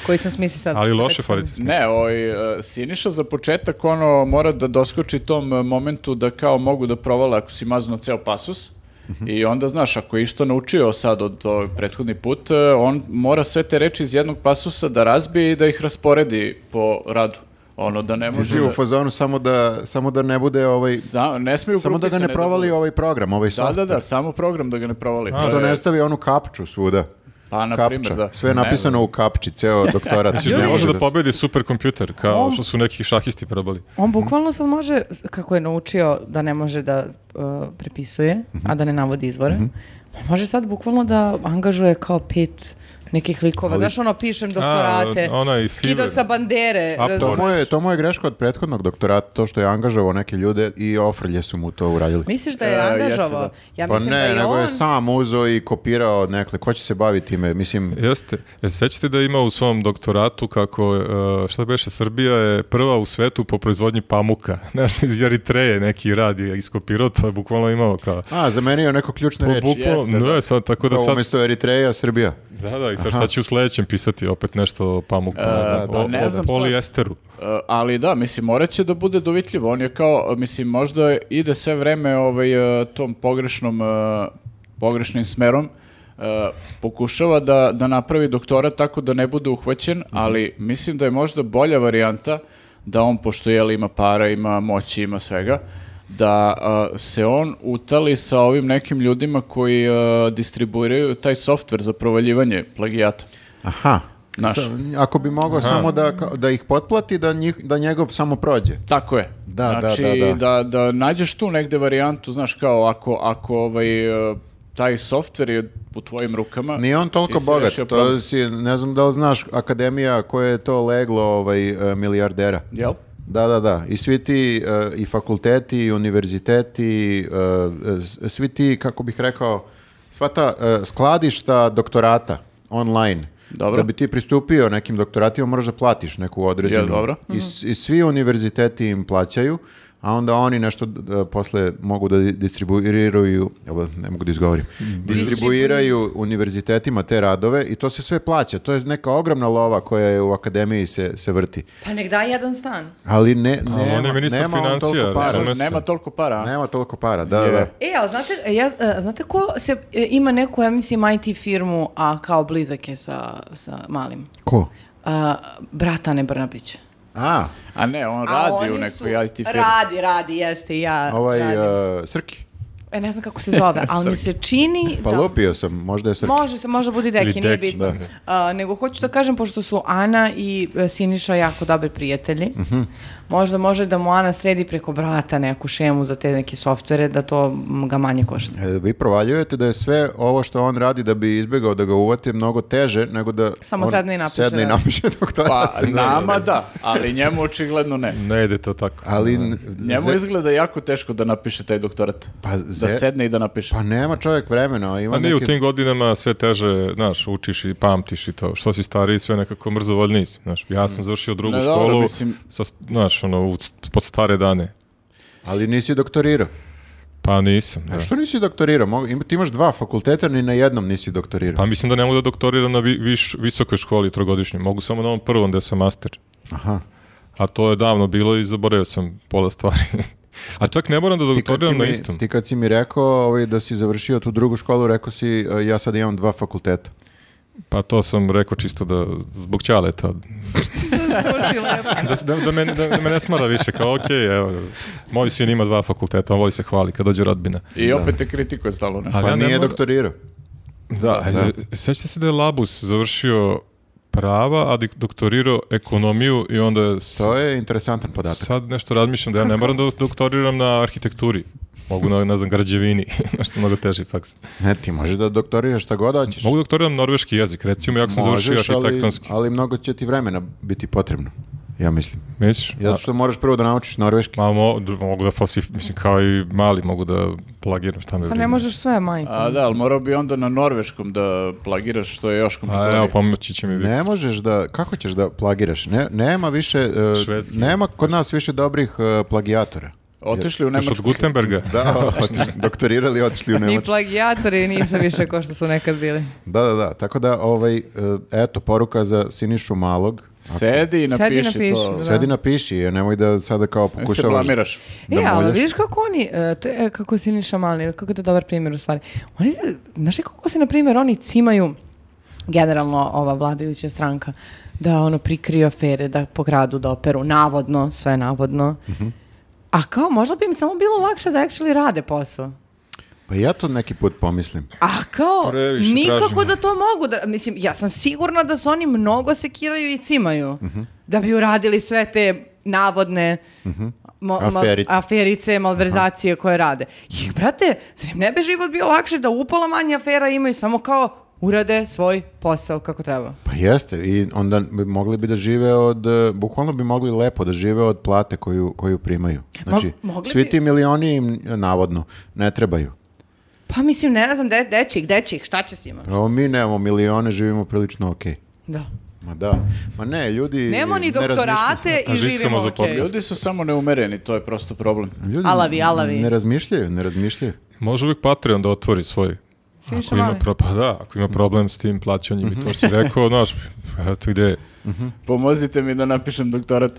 C: koju sam smislio sad.
D: Ali loše forice. smo.
B: Ne, ovaj, e, Siniša za početak ono mora da doskoči tom e, momentu da kao mogu da provale ako si mazno ceo pasus. I onda, znaš, ako je išto naučio sad od ovaj prethodni put, e, on mora sve te reči iz jednog pasusa da razbije i da ih rasporedi po radu. Ono, da ne
A: Ti si
B: može
A: u
B: da...
A: fazonu samo da, samo da ne bude ovaj...
B: Za- ne smiju
A: Samo da ga
B: grupisane
A: ne provali
B: budu.
A: ovaj program, ovaj
B: Da,
A: software.
B: da, da, samo program da ga ne provali.
D: Pa,
B: To
A: Što
B: je-
A: ne stavi onu kapču svuda.
B: Pa, na
A: Kapča.
B: primer, da.
A: Sve je
B: Ne
A: napisano u kapči,
D: [LAUGHS]
A: ceo doktorat.
D: Ne može da
A: se-
D: pobedi superkompjuter, kao što su neki šahisti probali.
C: On bukvalno sad može, kako je naučio da ne može da uh,
A: Mhm.
C: prepisuje, a da ne navodi izvore, on može sad bukvalno da angažuje kao pet nekih likova. Znaš, ono, pišem doktorate,
D: A, onaj
C: skidao
D: Fever.
C: sa bandere.
D: A, pa
A: To
C: razumeš?
A: mu, je, to mu je greška od prethodnog doktorata, to što je angažovao neke ljude i ofrlje su mu to uradili.
C: Misliš da je
B: E, jeste,
C: angažovao?
B: da.
C: Ja
A: Pa
C: mislim da
A: ne,
C: je
A: nego
C: on...
A: je sam uzeo i kopirao od nekle. Ko će se baviti time? Mislim,
D: Jeste. E, sećate da ima u svom doktoratu kako, e, šta beše, Srbija je prva u svetu po proizvodnji pamuka. [LAUGHS] Nešto iz Eritreje neki rad je iskopirao, to je bukvalno imao kao... Pa
A: a, zamenio neko ključne reči.
B: jeste,
D: Bukvalno, ne, sad, tako da
A: Kao
D: sad...
A: Umjesto Eritreja, Srbija.
D: Da, da, i sad šta ću u sledećem pisati, opet nešto o pamuku,
A: da,
D: o,
A: da,
B: ne
D: o
B: znam sad.
D: polijesteru.
B: E, ali da, mislim, morat će da bude dovitljiv. On je kao, mislim, možda ide sve vreme ovaj, e, tom pogrešnom, e, pogrešnim smerom. E, pokušava da, da napravi doktora tako da ne bude uhvaćen, ali mislim da je možda bolja varijanta da on, pošto jel, ima para, ima moći, ima svega, da e, se on utali sa ovim nekim ljudima koji e, distribuiraju taj softver za provaljivanje plagijata.
A: Aha.
B: Naš.
A: Sa- ako bi mogao samo da, ka- da ih potplati, da, njih, da njegov samo prođe.
B: Tako je.
A: Da, da,
B: znači,
A: da, da.
B: da nađeš tu negde varijantu, znaš, kao ako, ako ovaj, e, taj softver je u tvojim rukama...
A: Nije on toliko
B: ti si
A: bogat.
B: rešio problem.
A: To si, ne znam da li znaš, akademija koja je to leglo ovaj, e, milijardera.
B: Jel?
A: Da, da, da. I svi ti e, i fakulteti, i univerziteti, e, e, s- svi ti, kako bih rekao, sva ta e, skladišta doktorata online.
B: Dobro.
A: Da bi ti pristupio nekim doktoratima moraš da platiš neku određenu.
B: Je, dobro.
A: I, s- I svi univerziteti im plaćaju, a onda oni nešto e, posle mogu da di- distribuiraju, evo, ne mogu da izgovorim,
B: Mhm.
A: distribuiraju univerzitetima te radove i to se sve plaća. To je neka ogromna lova koja je u akademiji se, se vrti.
C: Pa nek da jedan stan.
A: Ali ne,
D: on je
A: nema,
D: ministar
A: nema on
D: financija,
A: toliko para.
D: razumeš?
B: Znaš, nema toliko para. a?
A: Nema toliko para, da,
B: Je.
A: da.
C: E, ali znate, e, ja, e, znate ko se, e, ima neku, ja mislim, IT firmu, a kao blizak je sa, sa malim?
A: Ko?
C: A, brat Ane Brnabić.
A: A,
B: A ne, on
C: A
B: radi
C: oni
B: u
C: su-
B: nekoj IT firmi.
C: Radi, radi, jeste, i ja
A: ovaj,
C: radim.
A: uh, Srki.
C: E, ne znam kako se zove, ali mi se čini
A: Pa
C: da...
A: lupio sam, možda je Srki.
C: Može se, možda bude
D: Ili
C: deki, nije
D: Deki,
C: bitno.
D: da.
C: A, nego hoću da kažem, pošto su Ana i e, Siniša jako dobri prijatelji, možda može da mu Ana sredi preko brata neku šemu za te neke softvere, da to m, ga manje [LAUGHS] košta.
A: E, Vi provaljujete da je sve ovo što on radi da bi izbjegao da ga uvate mnogo teže nego da
C: Samo
A: on
C: sedne i napiše,
A: sedne i
C: da.
A: napiše [LAUGHS] doktorat.
B: Pa nama da, ali njemu očigledno ne.
D: Ne ide to tako.
A: Ali, n-
B: Njemu
A: ze-
B: izgleda jako teško da napiše taj doktorat.
A: Pa
B: da
A: ze-
B: sedne i da napiše.
A: pa nema čovjek vremena. Ima
D: A Pa nije u
A: neki-
D: tim godinama sve teže, znaš, učiš i pamtiš i to. Što si stariji, sve nekako mrzovoljniji si, znaš. Ja
A: Mm.
D: sam završio drugu
B: Ne, dobro,
D: školu,
B: mislim-
D: sa, znaš, ono, u, pod stare dane.
A: Ali nisi doktorirao.
D: Pa nisam,
A: A
D: da.
A: što nisi doktorirao? Mo- ima- Ti imaš dva fakulteta, ni na jednom nisi doktorirao.
D: Pa mislim da ne mogu da doktoriram na vi- viš, visokoj školi trogodišnjoj. Mogu samo na ovom prvom gde sam master.
A: Aha.
D: A to je davno bilo i zaboravio sam pola stvari. [LAUGHS] A čak ne moram da
A: Ti kad, si
D: doktoriram na
A: mi,
D: istom.
A: ti kad si mi rekao ovaj, da si završio tu drugu školu, rekao si e, ja sad imam dva fakulteta.
D: Pa to sam rekao čisto da zbog ćaleta.
C: [LAUGHS]
D: da, da, da, me, da, da me ne smara više, kao ok, evo, moj sin ima dva fakulteta, on voli se hvali kad dođe rodbina.
B: I opet te kritikuje stalo nešto.
D: Ali
A: Pa
D: ja ne
A: nije
D: moram-
A: doktorirao.
D: Da, e, sećate se da je Labus završio prava, a dik- doktorirao ekonomiju i onda je s-
A: To je interesantan podatak.
D: sad nešto razmišljam da ja ne moram da doktoriram na arhitekturi. Mogu na, ne znam, građevini, [LAUGHS] nešto mnogo teži faks.
A: Ne, E, ti možeš da doktoriraš šta god hoćeš.
D: Mogu doktoriram norveški jezik, recimo, ja sam
A: Možeš,
D: završio arhitektonski.
A: Ali, ali mnogo će ti vremena biti potrebno, ja mislim.
D: Misliš?
A: Zato što moraš prvo da naučiš norveški.
D: Ma, mo- d- mogu da falsif, mislim, kao i mali mogu da plagiram šta me
C: Pa
D: briga.
C: ne možeš sve, majko.
B: A da, ali morao bi onda na norveškom da plagiraš, što je još
D: A
B: komplikovanije.
D: evo, pomoći će mi biti.
A: Ne možeš da, kako ćeš da plagiraš? Ne, nema više, e,
D: Švedski.
A: nema kod nas više dobrih e, plagijatora.
B: Otišli u
D: Još od
B: Nemačku.
A: [LAUGHS]
D: Gutenberga? [LAUGHS]
A: Da, otiš- doktorirali i otišli u
C: Ni
A: Nemačku.
C: plagijatori nisu više ko što su nekad bili.
A: Da, da, da. Tako da, ovaj, e, eto, poruka za Sinišu Malog.
B: Sedi i
C: Sedi i
B: napiši,
C: napiši,
B: to.
C: da.
A: Sedi napiši, jer nemoj da sada kao
B: Nemoj se
A: pokušavaš
B: blamiraš.
A: da
C: e, ali
A: muljaš.
C: vidiš kako oni, e, to je kako si Niša Mali, kako je to dobar primjer u stvari. Oni, se- znaš li kako se, na primjer, oni cimaju generalno ova vladajuća stranka, da ono prikriju afere, da po gradu da operu, navodno, sve navodno. A kao, možda bi im samo bilo lakše da actually rade posao.
A: Pa ja to neki put pomislim.
C: A kao,
D: Previše
C: nikako
D: tražimo.
C: da to mogu. Da, mislim, ja sam sigurna da se oni mnogo sekiraju i cimaju. Da bi uradili sve te navodne mo- ma-
A: Aferice.
C: aferice, malverzacije koje rade. I, brate, zar im ne bi život bio lakše da upola manje afera imaju, samo kao urade svoj posao kako treba.
A: Pa jeste, i onda bi mogli bi da žive od, e, bukvalno bi mogli lepo da žive od plate koju, koju primaju. Znači,
C: mogli
A: svi
C: bi-
A: ti milioni im e, navodno ne trebaju.
C: Pa mislim, ne znam, de, de će ih, de će ih, šta će s njima?
A: Prvo Pa mi nemamo milione, živimo prilično okej.
C: Da.
A: Ma da, ma ne, ljudi
C: Nemamo ni
A: ne razmišljaju.
C: doktorate
D: A
C: i
D: žickamo
C: živimo
D: za
C: okej.
D: podcast.
B: Ljudi su samo neumereni, to je prosto problem.
A: Ljudi
C: Alavi, alavi.
A: Ne razmišljaju, ne razmišljaju.
D: Može uvijek Patreon da otvori svoj
C: Siniša
D: Ako ima,
C: Mali.
D: pro, pa da, ako ima
A: Mhm.
D: problem s tim plaćanjem i to si
A: [LAUGHS]
D: rekao, znaš, eto gde je.
B: Pomozite mi da napišem doktorat.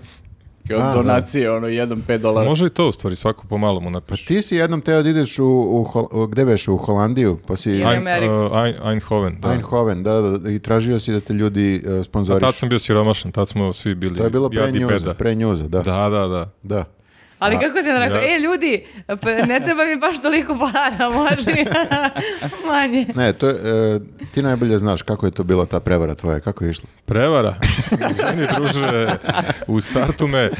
B: Kao
A: A, da.
B: donacije, ono, jedan, pet dolara. [LAUGHS]
D: Može i to u stvari, svako po malom napiše.
A: Pa Ti si jednom teo da ideš u, u, Hol- u- gde beš, u Holandiju, pa si...
C: Ili Ameriku.
D: uh, Eindhoven, da.
A: Eindhoven, da, da, da, i tražio si da te ljudi uh,
D: A
C: Pa
A: sponzorišu.
D: tad sam bio siromašan, tad smo svi bili
A: To je bilo pre
D: jadni
A: njuza,
D: beda.
A: pre njuza, da. da.
D: Da, da, da.
C: Ali kako si onda rekao,
D: Ja.
C: e ljudi, pa ne treba mi baš toliko para, [LAUGHS] može manje.
A: Ne, to je, e, ti najbolje znaš kako je to bila ta prevara tvoja, kako je išla. [LAUGHS]
D: Prevara. Izvini, druže, u startu me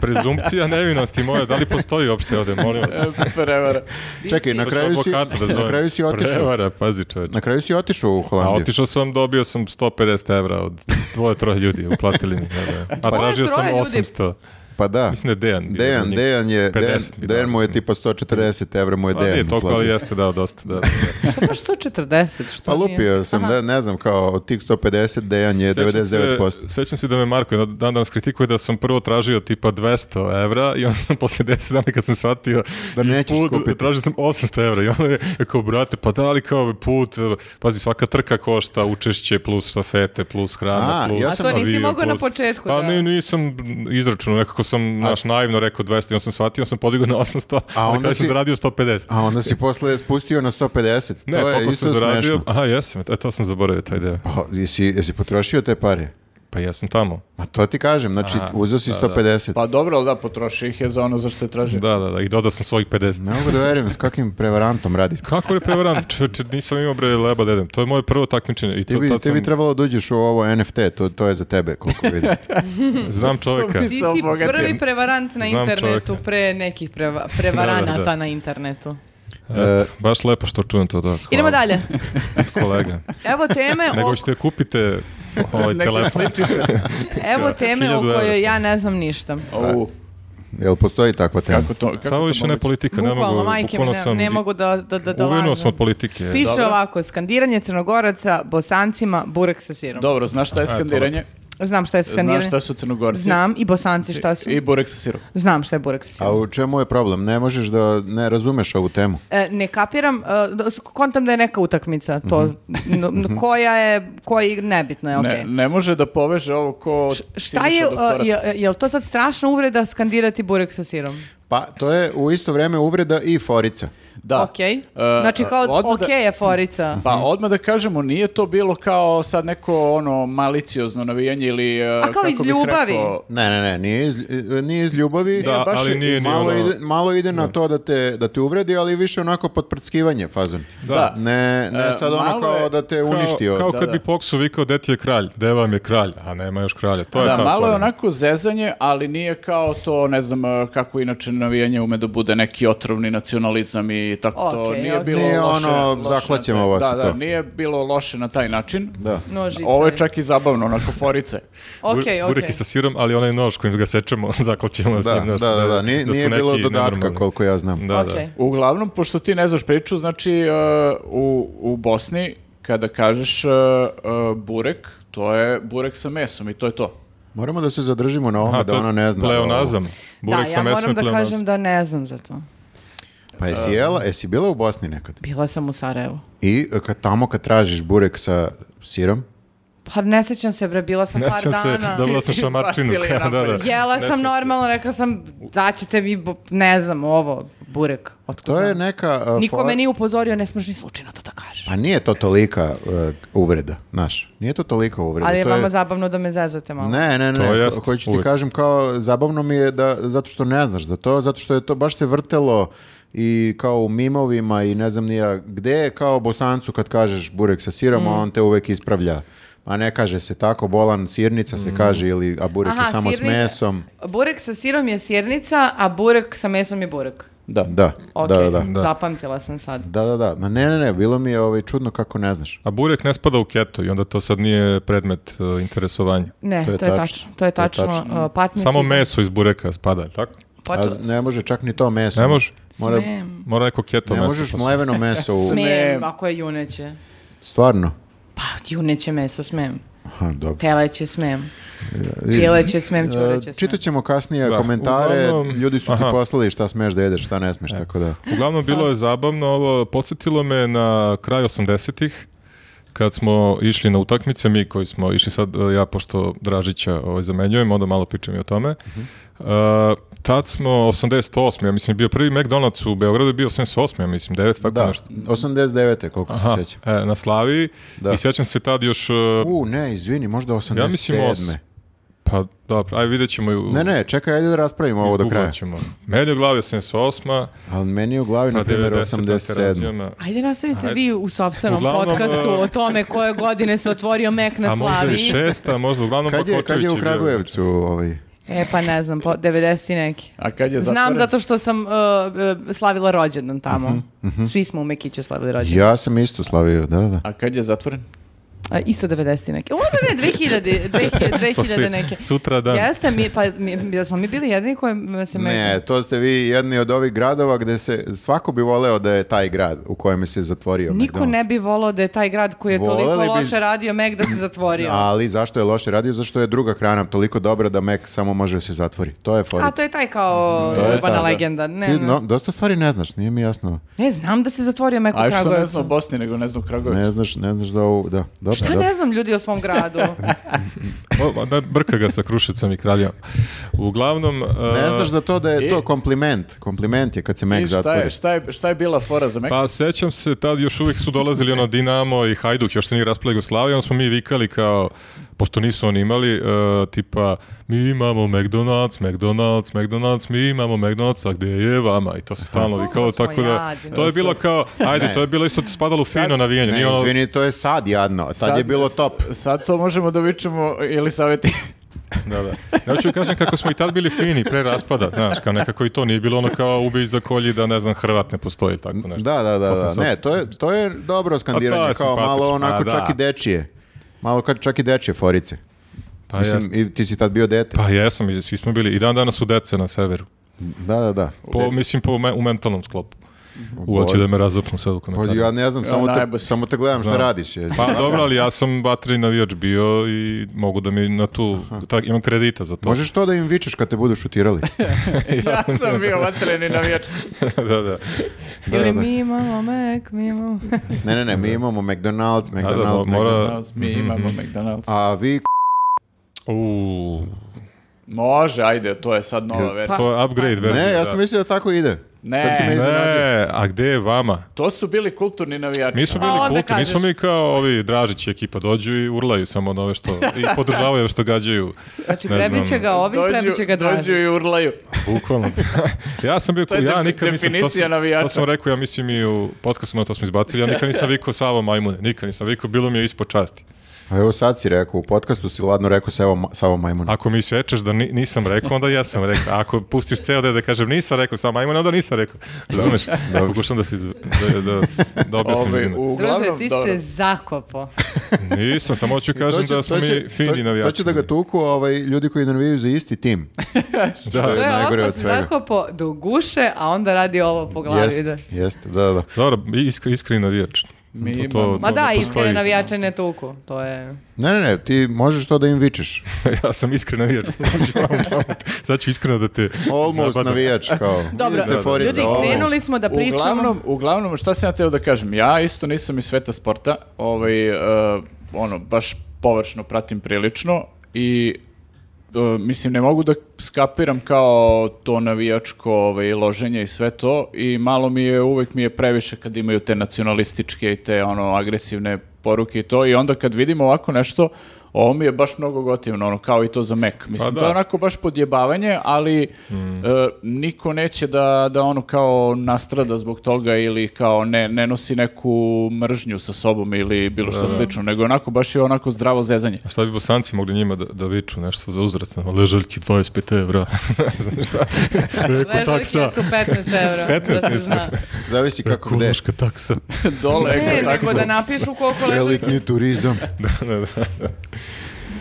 D: prezumpcija nevinosti moja, da li postoji uopšte ovde, molim vas.
B: E, Prevara.
A: Čekaj, na
D: Hoću
A: kraju si,
D: advokata da
A: na
D: zovem.
A: kraju si otišao.
D: Prevara, pazi čoveče.
A: Na kraju si otišao u
D: A
A: Holandiju.
D: otišao sam, dobio sam 150 evra od dvoje, troje ljudi, uplatili mi.
C: [LAUGHS]
D: Da, da. A tražio sam
C: troje ljudi?
D: 800.
A: Pa da.
D: Mislim da je Dejan. bio
A: Dejan,
D: od njih.
A: Dejan je, Dejan,
D: 50 mi dao,
A: Dejan mu je
D: recimo.
A: tipa 140 evra mu je
D: Pa
A: Dejan
D: nije toliko, ali
A: uplatio.
D: jeste dao dosta.
A: [LAUGHS]
D: Da.
C: Što pa baš 140, što
A: Pa lupio sam, da, ne znam, kao od tih 150 Dejan je
D: Sećam
A: 99%.
D: Se, sećam se da me Marko jedan dan danas kritikuje da sam prvo tražio tipa 200 evra i onda sam [LAUGHS] posle 10 dana kad sam shvatio
A: Da
D: i
A: nećeš skupiti.
D: tražio sam 800 evra i onda je rekao, brate, pa da li kao put, e, pazi, svaka trka košta učešće plus štafete, plus hrana,
A: A,
D: plus
A: ja sam- A
C: to nisi
D: avion,
C: mogao na
D: plus-
C: početku,
D: Pa
C: da.
D: ne, nisam izračunao, nekako sam, naš, naivno rekao 200 i onda sam shvatio, onda sam podigao na 800,
A: A
D: a
A: onda
D: onda kraju sam
A: si-
D: zaradio 150.
A: A onda si posle spustio na 150.
D: Ne,
A: to je
D: koliko
A: isto
D: sam zaradio,
A: smešno.
D: aha, jesam, e, to sam zaboravio, taj deo.
A: Pa, jesi, jesi potrošio te pare?
D: Pa ja sam tamo.
A: Ma to ti kažem, znači
D: Aha,
A: uzeo si 150.
B: Pa dobro, ali da, potroši ih je za ono za što je tražio.
D: Da, da, da, i dodao sam svojih 50.
A: Ne mogu da verujem s kakvim prevarantom radiš.
D: Kako je prevarant? Čoveče, nisam imao bre leba da jedem. To je moje prvo takmičenje i
A: Ti
D: to
A: bi,
D: tad
A: ti bi
D: sam,
A: trebalo da uđeš u ovo NFT, to, to je za tebe koliko
D: [LAUGHS]
A: vidim.
D: znam čoveka.
C: Ti
B: Sam
C: si
B: bogatim.
C: prvi prevarant na
D: Znam
C: internetu
D: čovjeka.
C: pre nekih preva- prevaranata
D: Da, da, da.
C: na internetu.
A: E-
D: Eto, baš lepo što čujem to od vas. Hvala,
C: Idemo dalje.
D: Kolega.
C: Evo teme
D: [LAUGHS] Nego
C: o,
D: ćete
C: [LAUGHS]
D: kupite ovaj
B: Neke
D: telefon. [LAUGHS]
B: sličice.
C: evo teme o
D: Hiljadu evra
C: kojoj
D: sam.
C: ja ne znam ništa.
B: Au,
A: Jel postoji takva tema?
B: kako to? Kako
D: Samo
B: to
D: više ne
B: moguće?
D: politika, ne
C: Bukvalno,
D: mogu,
C: majke mi,
D: bukvalno
C: ne,
D: sam,
C: ne mogu da, da, da, da
D: uvinuo
C: lažem.
D: sam od politike.
C: Piše
B: Dobro.
C: ovako, skandiranje crnogoraca, bosancima, burek sa sirom.
B: Dobro, znaš šta je
D: to
B: skandiranje?
C: Znam šta je skandiranje.
B: Znaš šta su crnogorci?
C: Znam, i bosanci šta su.
B: I burek sa sirom.
C: Znam šta je burek sa sirom.
A: A u čemu je problem? Ne možeš da ne razumeš ovu temu.
C: E, ne kapiram, e, da- s- kontam da je neka utakmica, to, n- n- koja je, koja je igra, nebitno je, okej.
B: Mhm. Ne, ne može da poveže ovo ko...
C: Šta
B: Siniša
C: je, e,
B: doktorat.
C: je, je li to sad strašna uvreda skandirati burek sa sirom?
A: Pa to je u isto vreme uvreda i forica.
B: Da.
C: Okej.
B: E,
C: znači kao,
B: odmah da-
C: okej je forica.
B: Pa odmah da kažemo, nije to bilo kao sad neko ono maliciozno navijanje ili... e, A
C: kao iz ljubavi?
A: Ne, ne, ne, nije iz, nije iz ljubavi.
D: Da,
B: baš je-
D: ali nije ni
A: Malo
D: ono...
A: ide, malo ide na to da te, da te uvredi, ali više onako potprckivanje fazon.
B: Da.
A: Ne, ne
B: E,
A: sad ono
B: malo
A: kao
B: je-
A: da te
D: Kao,
A: uništio.
D: kao
B: Da,
D: kad
B: da.
D: bi Poksu vikao, deti je kralj, de vam je kralj, a nema još kralja. To je ono.
B: da,
D: ta
B: malo je
D: fora.
B: onako zezanje, ali nije kao to, ne znam, e, kako inače navijanje ume da bude neki otrovni nacionalizam i tako to.
C: Okej,
B: Nije
C: okej.
B: bilo
A: Nije
B: loše.
A: ono,
B: loše
A: zaklaćemo
B: na-
A: vas
B: Da,
A: i
B: da,
A: to.
B: nije bilo loše na taj način.
A: Da.
C: Nožice.
B: Ovo je čak i zabavno, onako forice.
C: Okej,
D: Bur-
C: okej.
D: Bureki sa sirom, ali onaj nož kojim ga sečemo, [LAUGHS] zaklaćemo. s
A: Da,
D: njim,
A: da,
D: znaš,
A: da, da, nije,
D: da su
A: nije bilo
D: neki
A: dodatka
D: nenormalni.
A: koliko ja znam.
D: Da, da.
C: Okej.
B: Uglavnom, pošto ti ne znaš priču, znači e, u, u Bosni kada kažeš e, e, burek, to je burek sa mesom i to je to.
A: Moramo da se zadržimo na ovome
D: Aha,
A: da
D: to je
A: ona ne zna.
D: Pleonazam. Burek
C: da,
D: sa
C: ja
D: mesom
C: moram
D: je
C: da
D: pleonazam.
C: kažem da ne znam za to.
A: Pa jesi jela, jesi bila u Bosni nekad?
C: Bila sam u Sarajevu.
A: I e, kad, tamo kad tražiš burek sa sirom,
C: Pa ne sjećam se, bre, bila sam
D: Ne
C: par
D: sjećam se,
C: dana.
D: [LAUGHS] dobila
C: [LAUGHS]
D: sam šamarčinu.
B: Izbacili je
D: [LAUGHS] da, da.
B: napolje.
C: Jela sam
D: Ne sjećam se.
C: normalno, rekla sam, daćete mi, bu- ne znam, ovo, burek. Otkud
A: to je
C: znam?
A: neka... e,
C: Niko
A: for-
C: me nije upozorio, ne smiješ ni slučajno to da kažeš.
A: Pa nije to tolika e, uvreda, znaš. Nije to tolika uvreda.
C: Ali je
A: Pa, to je-
C: vama zabavno da me zezate malo.
A: Ne, ne, ne,
D: To
A: ho-
D: jest,
A: hoću ti
D: uvek.
A: kažem kao zabavno mi je da, zato što ne znaš za to, zato što je to baš se vrtelo i kao u mimovima i ne znam nija gde je kao bosancu kad kažeš burek sa sirom,
C: Mm.
A: a on te uvek ispravlja. A ne kaže se tako, bolan sirnica se kaže, ili, a burek je
C: Mm. Aha,
A: samo s
C: sirnica.
A: mesom.
C: Burek sa sirom je sjernica, a burek sa mesom je burek.
B: Da.
A: Da,
C: Ok,
A: da, da.
D: Da.
C: zapamtila sam sad.
A: Da, da, da. Ma ne, ne, ne, bilo mi je ovaj, čudno kako ne znaš.
D: A burek ne spada u keto i onda to sad nije predmet e, interesovanja.
C: Ne, to je, tačno. To je tačno. Uh, patnje
D: Samo
C: si-
D: meso iz bureka spada, jel tako?
A: A
C: Počela-
A: z- ne može čak ni to meso.
D: Ne može.
A: Mora,
C: Smem.
D: Mora neko keto
A: ne
D: meso. pa
A: možeš
D: posle.
A: mleveno meso u...
C: Smem,
B: Smem.
C: ako je juneće.
A: Stvarno.
C: Pa, juneće meso smem.
A: Aha, dobro.
C: Teleće smem. Pileće smem,
A: E,
C: čureće smem.
A: Čitat ćemo kasnije
D: Da,
A: komentare,
D: uglavnom-
A: ljudi su ti
D: Aha. E,
A: poslali šta smeš da jedeš, šta ne smeš, tako da...
D: Uglavnom, bilo je zabavno ovo. Podsjetilo me na kraj 80-ih, kad smo išli na utakmice, mi koji smo išli sad, e, ja pošto Dražića ovaj, zamenjujem, onda malo pričam i o tome.
C: Mhm.
D: E, tad smo, 88. ja mislim, je bio prvi McDonald's u Beogradu, je bio 88. ja mislim, 9, tako
A: Da,
D: nešto.
A: 89. koliko
D: Aha,
A: se sjećam.
D: e, na Slaviji.
A: Da.
D: I sjećam se tad još... e,
A: U, ne, izvini, možda 87.
D: ja mislim... os- Pa, dobro, ajde vidjet ćemo. ju-
A: Ne, ne, čekaj, ajde da raspravimo ovo do
D: izguglat
A: kraja.
D: ćemo. Meni je u glavi 88.
A: Ali meni je u glavi,
D: Pa
A: na primjer, 87.
D: 97.
C: Ajde nastavite
D: Ajde.
C: vi u sobstvenom
D: Uglavnom,
C: podcastu
D: e,
C: o tome koje godine se otvorio Mek na
D: A možda i
C: Slaviji.
D: šesta, možda uglavnom
A: Kad je,
D: Bakočević
A: kad je u
D: Ono bio.
A: Kragujevcu ovaj...
C: E, pa ne znam, po 90 i neki.
B: A kad je
C: Znam
B: zatvoren?
C: zato što sam e, e, slavila rođendan tamo. Svi smo u Mekiću slavili rođendan.
A: Mhm, Ja sam isto slavio, da, da.
B: A kad je zatvoren?
C: A, isto 90 i neke. O, ne, ne,
D: [LAUGHS]
C: 2000, 2000,
D: To Pa si
C: 2000 neke.
D: sutra dan.
C: Jeste, mi, pa mi, da smo mi bili jedini koji se me...
A: Ne, to ste vi jedni od ovih gradova gde se svako bi voleo da je taj grad u kojem se zatvorio
C: Niko
A: McDonald's.
C: ne bi volao da je taj grad koji je toliko
A: Voleli bi-
C: loše radio Mac da se zatvorio.
A: Ali zašto je loše radio? Zašto je druga hrana toliko dobra da Mac samo može da se zatvori? To je forica.
C: A to ono. je taj kao
A: To je
C: urbana
A: ta-
C: legenda. Ne,
A: Ti
C: ne.
A: no, dosta stvari ne znaš, nije mi jasno.
C: ne znam da se zatvorio Mac u
B: A što ne
C: Kragujevcu.
B: znam o Bosni, nego ne znam o Kragujevcu.
A: Ne znaš, ne znaš da ovu... Da, dobro,
C: Šta
A: dobro.
C: ne znam ljudi o
A: [LAUGHS]
C: svom gradu?
D: O, da, brka ga sa Krušicom i Kraljom. Uglavnom...
A: Ne
D: e,
A: znaš da to da je
B: I-
A: to kompliment. Kompliment je kad se Mac
B: I šta
A: zatvori.
B: je, šta, je, šta je bila fora za Mek?
D: Pa sećam se, tad još uvijek su dolazili ono Dinamo i Hajduk, još se nije raspala Jugoslavija, onda smo mi vikali kao, pošto nisu oni imali, e, tipa, mi imamo McDonald's, McDonald's, McDonald's, mi imamo McDonald's, a gde je vama? I to se stalno vikalo,
C: Mnogo smo
D: tako da,
C: jadni.
D: to je bilo kao, ajde, to je bilo isto spadalo u fino navijanje.
A: Ne,
D: nije ono-
A: izvini, to je sad jadno. Tad je bilo top.
B: s- Sad to možemo da vičemo ili
A: [LAUGHS]
B: savjeti.
D: Da, da. Ja ću kažem kako smo i tad bili fini pre raspada, znaš, kao nekako i to nije bilo ono kao ubij za kolji da ne znam Hrvat ne postoji tako nešto.
A: Da, da, da.
D: sam
A: da.
D: sad-
A: Ne, to je, to je dobro
D: A Pa to
A: skandiranje,
D: je
A: kao malo
D: simpatično,
A: onako
D: a,
A: čak
D: da.
A: i dečije. Malo kad čak i dečije forice.
D: Pa
A: Mislim,
D: jesam.
A: i ti si tad bio dete.
D: Pa jesam, i svi smo bili i dan danas su dece na severu.
A: Da, da, da.
D: Po, mislim po me- u mentalnom sklopu. U hoće da me razapnu sad u
A: Pa
D: komentarima.
A: ja ne znam, samo, te,
B: najbolji.
A: samo te gledam šta
D: Znam.
A: radiš. jesi.
D: Pa dobro, ali ja sam vatri navijač bio i mogu da mi na tu, tak, imam kredita za to.
A: Možeš to da im vičeš kad te budu šutirali?
B: ja sam bio vatreni navijač.
D: [LAUGHS] da, da.
A: da,
C: Ili
A: da.
C: mi imamo Mac, mi
A: [LAUGHS]
C: imamo...
A: Ne, ne, ne, mi imamo McDonald's,
D: da,
A: McDonald's,
D: mora-
A: McDonald's.
B: McDonald's, mi imamo McDonald's.
A: Pa, mhm, A vi,
D: U,
B: Može, ajde, to je sad nova verzija.
D: to je upgrade verzija.
A: Pa- ne, ja
D: da.
A: sam mislio da tako ide.
B: Ne.
A: Sad si me iznenadio.
D: Ne, a gde je vama?
B: To su bili kulturni navijači.
D: Mi smo
C: A onda
D: bili kulti,
C: kažeš.
D: nismo mi kao ovi Dražić i ekipa dođu i urlaju samo na ove što, i podržavaju što gađaju.
C: Znači,
D: Ne znam.
C: prebiće ga ovi,
B: Dođu-
C: prebiće ga Dražić.
B: Dođu i urlaju.
D: Bukvalno. [LAUGHS] ja sam bio,
B: je
D: ja
B: defi-
D: nikad nisam, to sam,
B: definicija navijača.
D: to sam rekao, ja mislim i u podcastima to smo izbacili, ja nikad nisam vikao Savo Majmune, nikad nisam vikao, bilo mi je ispod časti.
A: A evo sad si rekao, u podcastu si ladno rekao sa evo Savo Majmun.
D: Ako mi sečeš da ni- nisam rekao, onda ja sam rekao. A ako pustiš ceo deo da kažem nisam rekao Savo Majmune, onda nisam rekao. Razumeš? Pokušam da, si, da, da, da objasnim.
B: Ovaj,
D: ljudima.
C: Druže,
B: uglavnom,
C: ti
B: dobro.
C: se zakopo.
D: Nisam, samo hoću kažem da smo mi fini navijači.
A: To će da ga tuku ovaj, ljudi koji navijaju za isti
C: [LAUGHS]
A: tim. Što
C: To
A: je
C: je
A: najgore
C: ovako
A: od
C: se
A: svega.
C: zakopo do guše, a onda radi ovo po glavi.
A: Jeste,
C: da.
A: jeste, da, da.
D: Dobro, iskri, iskri navijač.
B: Mi
D: To- to-
B: imamo-
C: Ma
D: to
C: da,
D: ne
C: iskrene
D: postoji.
C: navijače ne tuku. To je...
A: Ne, ne, ne, ti možeš to da im
D: [LAUGHS]
A: vičeš.
D: [LAUGHS] ja sam iskreno navijač. Znači, Sad ću iskreno da te...
A: Almost
D: zabadam.
A: navijač, kao.
C: Dobro,
A: Vidite forica,
C: ljudi,
A: almost.
C: krenuli smo da pričamo.
B: Uglavnom, uglavnom, šta sam ja teo da kažem? Ja isto nisam iz sveta sporta, ovaj, e, ono, baš površno pratim prilično i e, mislim, ne mogu da skapiram kao to navijačko ovaj, loženje i sve to i malo mi je, uvek mi je previše kad imaju te nacionalističke i te ono agresivne poruke i to i onda kad vidim ovako nešto, Ovo mi je baš mnogo gotivno, ono, kao i to za Mac. Mislim,
D: Pa da. Mm.
B: to je onako baš podjebavanje, ali e, niko neće da, da ono kao nastrada zbog toga ili kao ne, ne nosi neku mržnju sa sobom ili bilo što slično, nego onako baš je onako zdravo
E: [LAUGHS]
B: zezanje.
D: A šta bi bosanci mogli njima da, da viču nešto za uzrat? ono, Ležaljki
A: [LAUGHS]
D: 25 evra. Znaš šta? Rekao taksa.
E: Ležaljke su 15 evra.
D: 15
E: da se
D: su.
E: zna.
A: Zavisi kako gde.
D: Ekološka
A: [LAUGHS]
D: taksa.
B: Dole,
E: Ne,
B: tako
E: nego da napišu koliko ležaljki.
A: Elitni turizam.
D: da, da, da.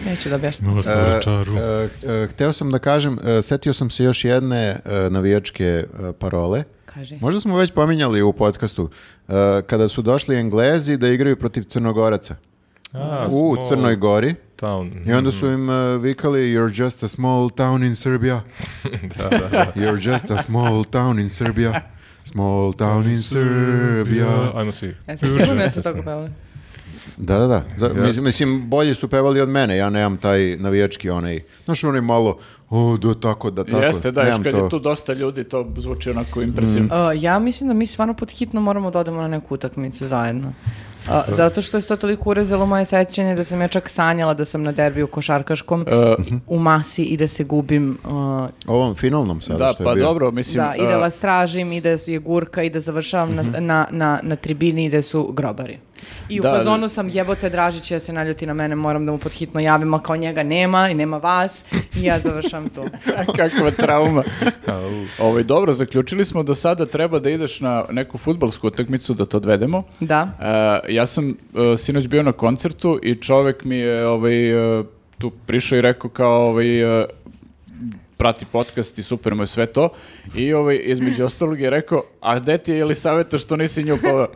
E: Neću da objašnjam.
D: Ima vas na večaru.
A: E, e, hteo sam da kažem, e, setio sam se još jedne e, navijačke e, parole.
C: Kaži.
A: Možda smo već pominjali u podcastu, e, kada su došli Englezi da igraju protiv Crnogoraca
D: A,
A: u
D: small
A: Crnoj Gori
D: Town.
A: i onda su im e, vikali You're just a small town in Serbia.
D: Da, da, da.
A: You're just a small town in Serbia. Small town in Serbia.
D: Ajmo svi.
C: E,
E: Ja sam sigurna da su toga
C: pa-
E: pevali.
A: Da, da, da. Za- mis-
D: Jeste.
A: mislim, bolje su pevali od mene. Ja nemam taj navijački onaj. Znaš, onaj malo, o, do tako, da tako.
B: Jeste, da, još
A: Nemam
B: kad
A: to. Mm.
B: je tu dosta ljudi, to zvuči onako impresivno.
C: Uh, ja mislim da mi stvarno pod hitno moramo da odemo na neku utakmicu zajedno. Uh, zato što je to toliko urezalo moje sećanje da sam ja čak sanjala da sam na derbiju košarkaškom
B: Uh, mhm.
C: u masi i da se gubim uh,
A: Ovom finalnom sada
B: Da,
A: što je
B: pa
A: bio.
B: dobro, mislim... uh,
C: da, i da
B: a,
C: vas tražim i da je gurka i da završavam na, na, na, na tribini i da su grobari. I u
B: Da,
C: fazonu sam jebote Dražić ja se naljuti na mene, moram da mu pod hitno javim, a kao njega nema i nema vas i ja završam
B: [LAUGHS]
C: to.
B: [LAUGHS] Kakva
A: [LAUGHS]
B: trauma. Ovaj, dobro, zaključili smo da sada treba da ideš na neku futbalsku utakmicu da to odvedemo.
C: Da.
B: E, ja sam e, sinoć bio na koncertu i čovek mi je ovaj, e, tu prišao i rekao kao ovaj, e, prati podcast i super mu je sve to. I ovaj,
C: [LAUGHS]
B: između ostalog je rekao, a gde ti je Elisaveta što nisi nju pa- poveo?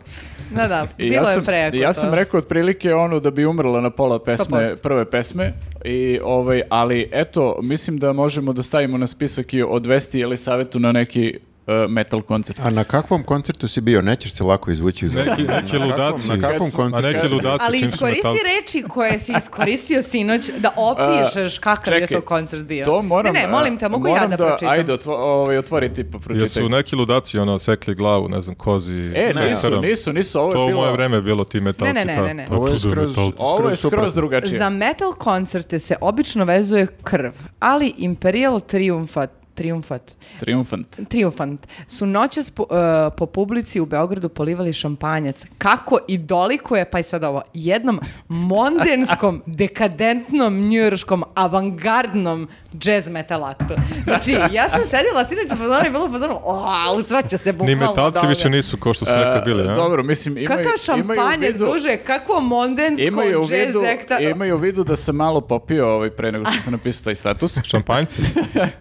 E: Da, da,
B: I
E: bilo
B: ja sam,
E: je preko.
B: Ja
E: to.
B: sam rekao otprilike ono da bi umrla na pola pesme,
E: 100%.
B: prve pesme, i ovaj, ali eto, mislim da možemo da stavimo na spisak i odvesti Elisavetu na neki e, metal koncert.
A: A na kakvom koncertu si bio? Nećeš se lako izvući iz
D: Neki,
A: ovoga.
D: neki
A: Na kakvom-
D: ludaci.
A: Na kakvom
D: A
A: koncertu?
D: neki
A: si bio?
B: Pa
D: ludaci.
E: Ali
D: čim su
E: iskoristi
D: metalci.
E: reči koje si iskoristio sinoć
B: [LAUGHS]
E: da opišeš kakav je
B: čekaj,
E: to koncert bio.
B: To moram...
E: Ne, ne, molim te,
B: e,
E: mogu ja
B: moram
E: da, pročitam.
B: Ajde, otvo, ovaj, otvori ti pa pročitaj.
D: Jesu neki ludaci ono sekli glavu, ne znam, kozi.
B: E,
A: Ne.
B: nisu,
D: tesarom?
B: nisu, nisu, ovo je
D: To u
B: bilo...
D: moje vreme je bilo ti metalci.
E: Ne, ne, ne,
D: ta-
E: ne, ne.
D: ta
A: Ovo je
D: čudo
A: skroz-
D: metalci.
B: Ovo je
A: Skroz
B: skroz
A: suprotno.
B: drugačije.
C: Za metal koncerte se obično vezuje krv, ali Imperial Triumfat Triumfat,
B: Triumfant.
C: Triumfant su noćas po, e, po publici u Beogradu polivali šampanjac. Kako i dolikuje, pa i sad ovo, jednom
D: [LAUGHS]
C: mondenskom, dekadentnom, njujorškom, avangardnom jazz metal aktu. Znači, ja sam sedjela sinoć u fazonu i bila u fazonu, o, usraću se
D: Ni
C: bukvalno
D: metalci
C: od
D: više
C: ovoga."
D: nisu ko što su nekad bili,
B: E,
D: a?
B: Dobro, mislim, imaju,
C: Kakav
B: imaju u
C: šampanjac,
B: vidu-
C: druže, kako mondensko
B: Imaju u,
C: jazz
B: vidu,
C: ekta...
B: imaju u vidu da sam malo popio ovaj pre nego što sam napisao taj
D: [LAUGHS]
B: status.
D: Šampanjci?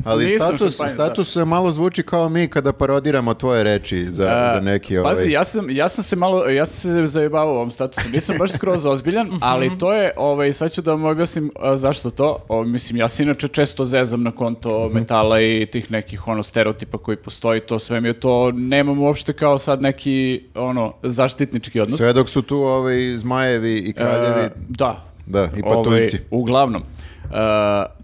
A: Ali
B: Nisam
A: status,
B: šampanjac,
A: status se malo zvuči kao mi kada parodiramo tvoje reči za,
B: A,
A: za neki ovaj...
B: Pazi, ja sam, ja sam se malo, ja sam se zajebavao u ovom statusu, nisam baš skroz ozbiljan, ali to je, ovaj, sad ću da vam objasnim a, zašto to, O, mislim, ja se inače često zezam na konto
A: Mhm.
B: metala i tih nekih, ono, stereotipa koji postoji, to sve mi je to, nemam uopšte kao sad neki, ono, zaštitnički odnos.
A: Sve dok su tu ovaj zmajevi i
B: E,
A: kraljevi,
B: da,
A: da, i
B: Ovaj,
A: patuljci.
B: uglavnom, uh,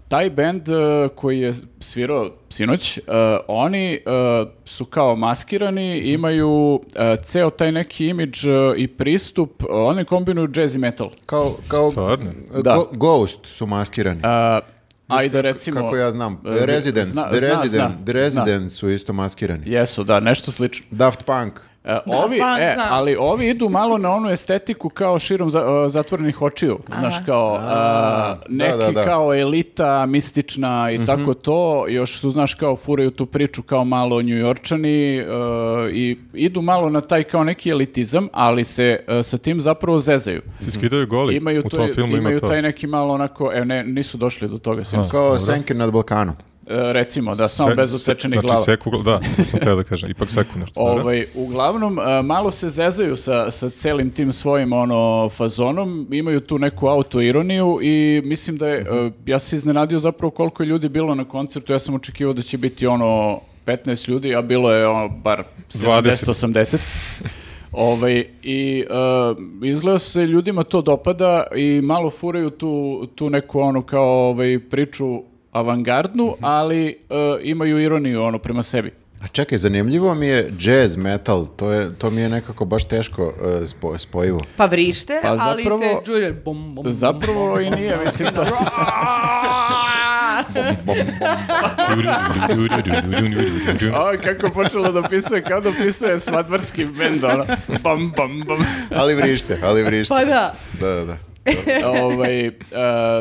B: taj band uh, koji je svirao sinoć, uh, oni uh, su kao
A: Mhm.
B: maskirani, imaju uh, ceo taj neki imidž uh, i pristup, uh, oni kombinuju jazz i metal. E,
A: Kao, kao
D: Stvarno?
A: go-
B: Da.
A: Ghost su maskirani.
B: Uh, Ajde, recimo...
A: Kako ja znam.
B: uh,
A: The Residents,
B: zna-
A: The
B: zna-
A: Resident,
B: zna-
A: The Residents su isto maskirani.
B: zna. Jesu, da, nešto slično.
A: Daft Punk.
B: E, ovi,
E: pa,
B: e,
E: znam.
B: ali ovi idu malo na onu estetiku kao širom za- e, zatvorenih očiju, znaš, kao a, neki
A: da, da.
B: kao elita, mistična
D: Mhm.
B: i tako to, još su, znaš, kao furaju tu priču kao malo njujorčani e, i idu malo na taj kao neki elitizam, ali se e, sa tim zapravo zezaju.
D: Si skidaju goli?
B: Imaju,
D: U
B: to-
D: tom filmu ima
B: imaju
D: to.
B: taj neki malo onako, e, ne, nisu došli do toga, sinoć.
A: Kao Senke nad Balkanom.
B: E, recimo, da, samo
D: Sve-
B: bez
D: se-
B: osečenih
D: Znači
B: glava.
D: seku gla- da, to sam teo da kažem, ipak seku nešto. dobro. [LAUGHS]
B: Ovaj, uglavnom, e, malo se zezaju sa, sa celim tim svojim ono, fazonom, imaju tu neku autoironiju i mislim da je,
D: Mhm.
B: e, ja se iznenadio zapravo koliko je ljudi bilo na koncertu, ja sam očekivao da će biti ono 15 ljudi, a bilo je ono, bar
D: 20. [LAUGHS]
B: 70-80. Ovaj, I e, izgleda se ljudima to dopada i malo furaju tu, tu neku ono
D: Mhm.
B: kao ovaj, priču avangardnu, ali e, imaju ironiju ono prema sebi.
A: A čekaj, zanimljivo mi je jazz, metal, to, je, to mi je nekako baš teško e, spo-
B: [LAUGHS]
A: spojivo.
C: Pa vrište,
B: Pa
C: ali
B: zapravo-
C: se čuje bum, bum,
B: Zapravo i nije, mislim to.
A: Bom, bom, bom.
B: A kako počelo da pisuje, kao da pisuje svadbarski bend, ono. Bam, bam, bam.
A: ali vrište, ali vrište.
C: [LAUGHS] Pa da.
A: Da, da, da.
B: ovaj, e,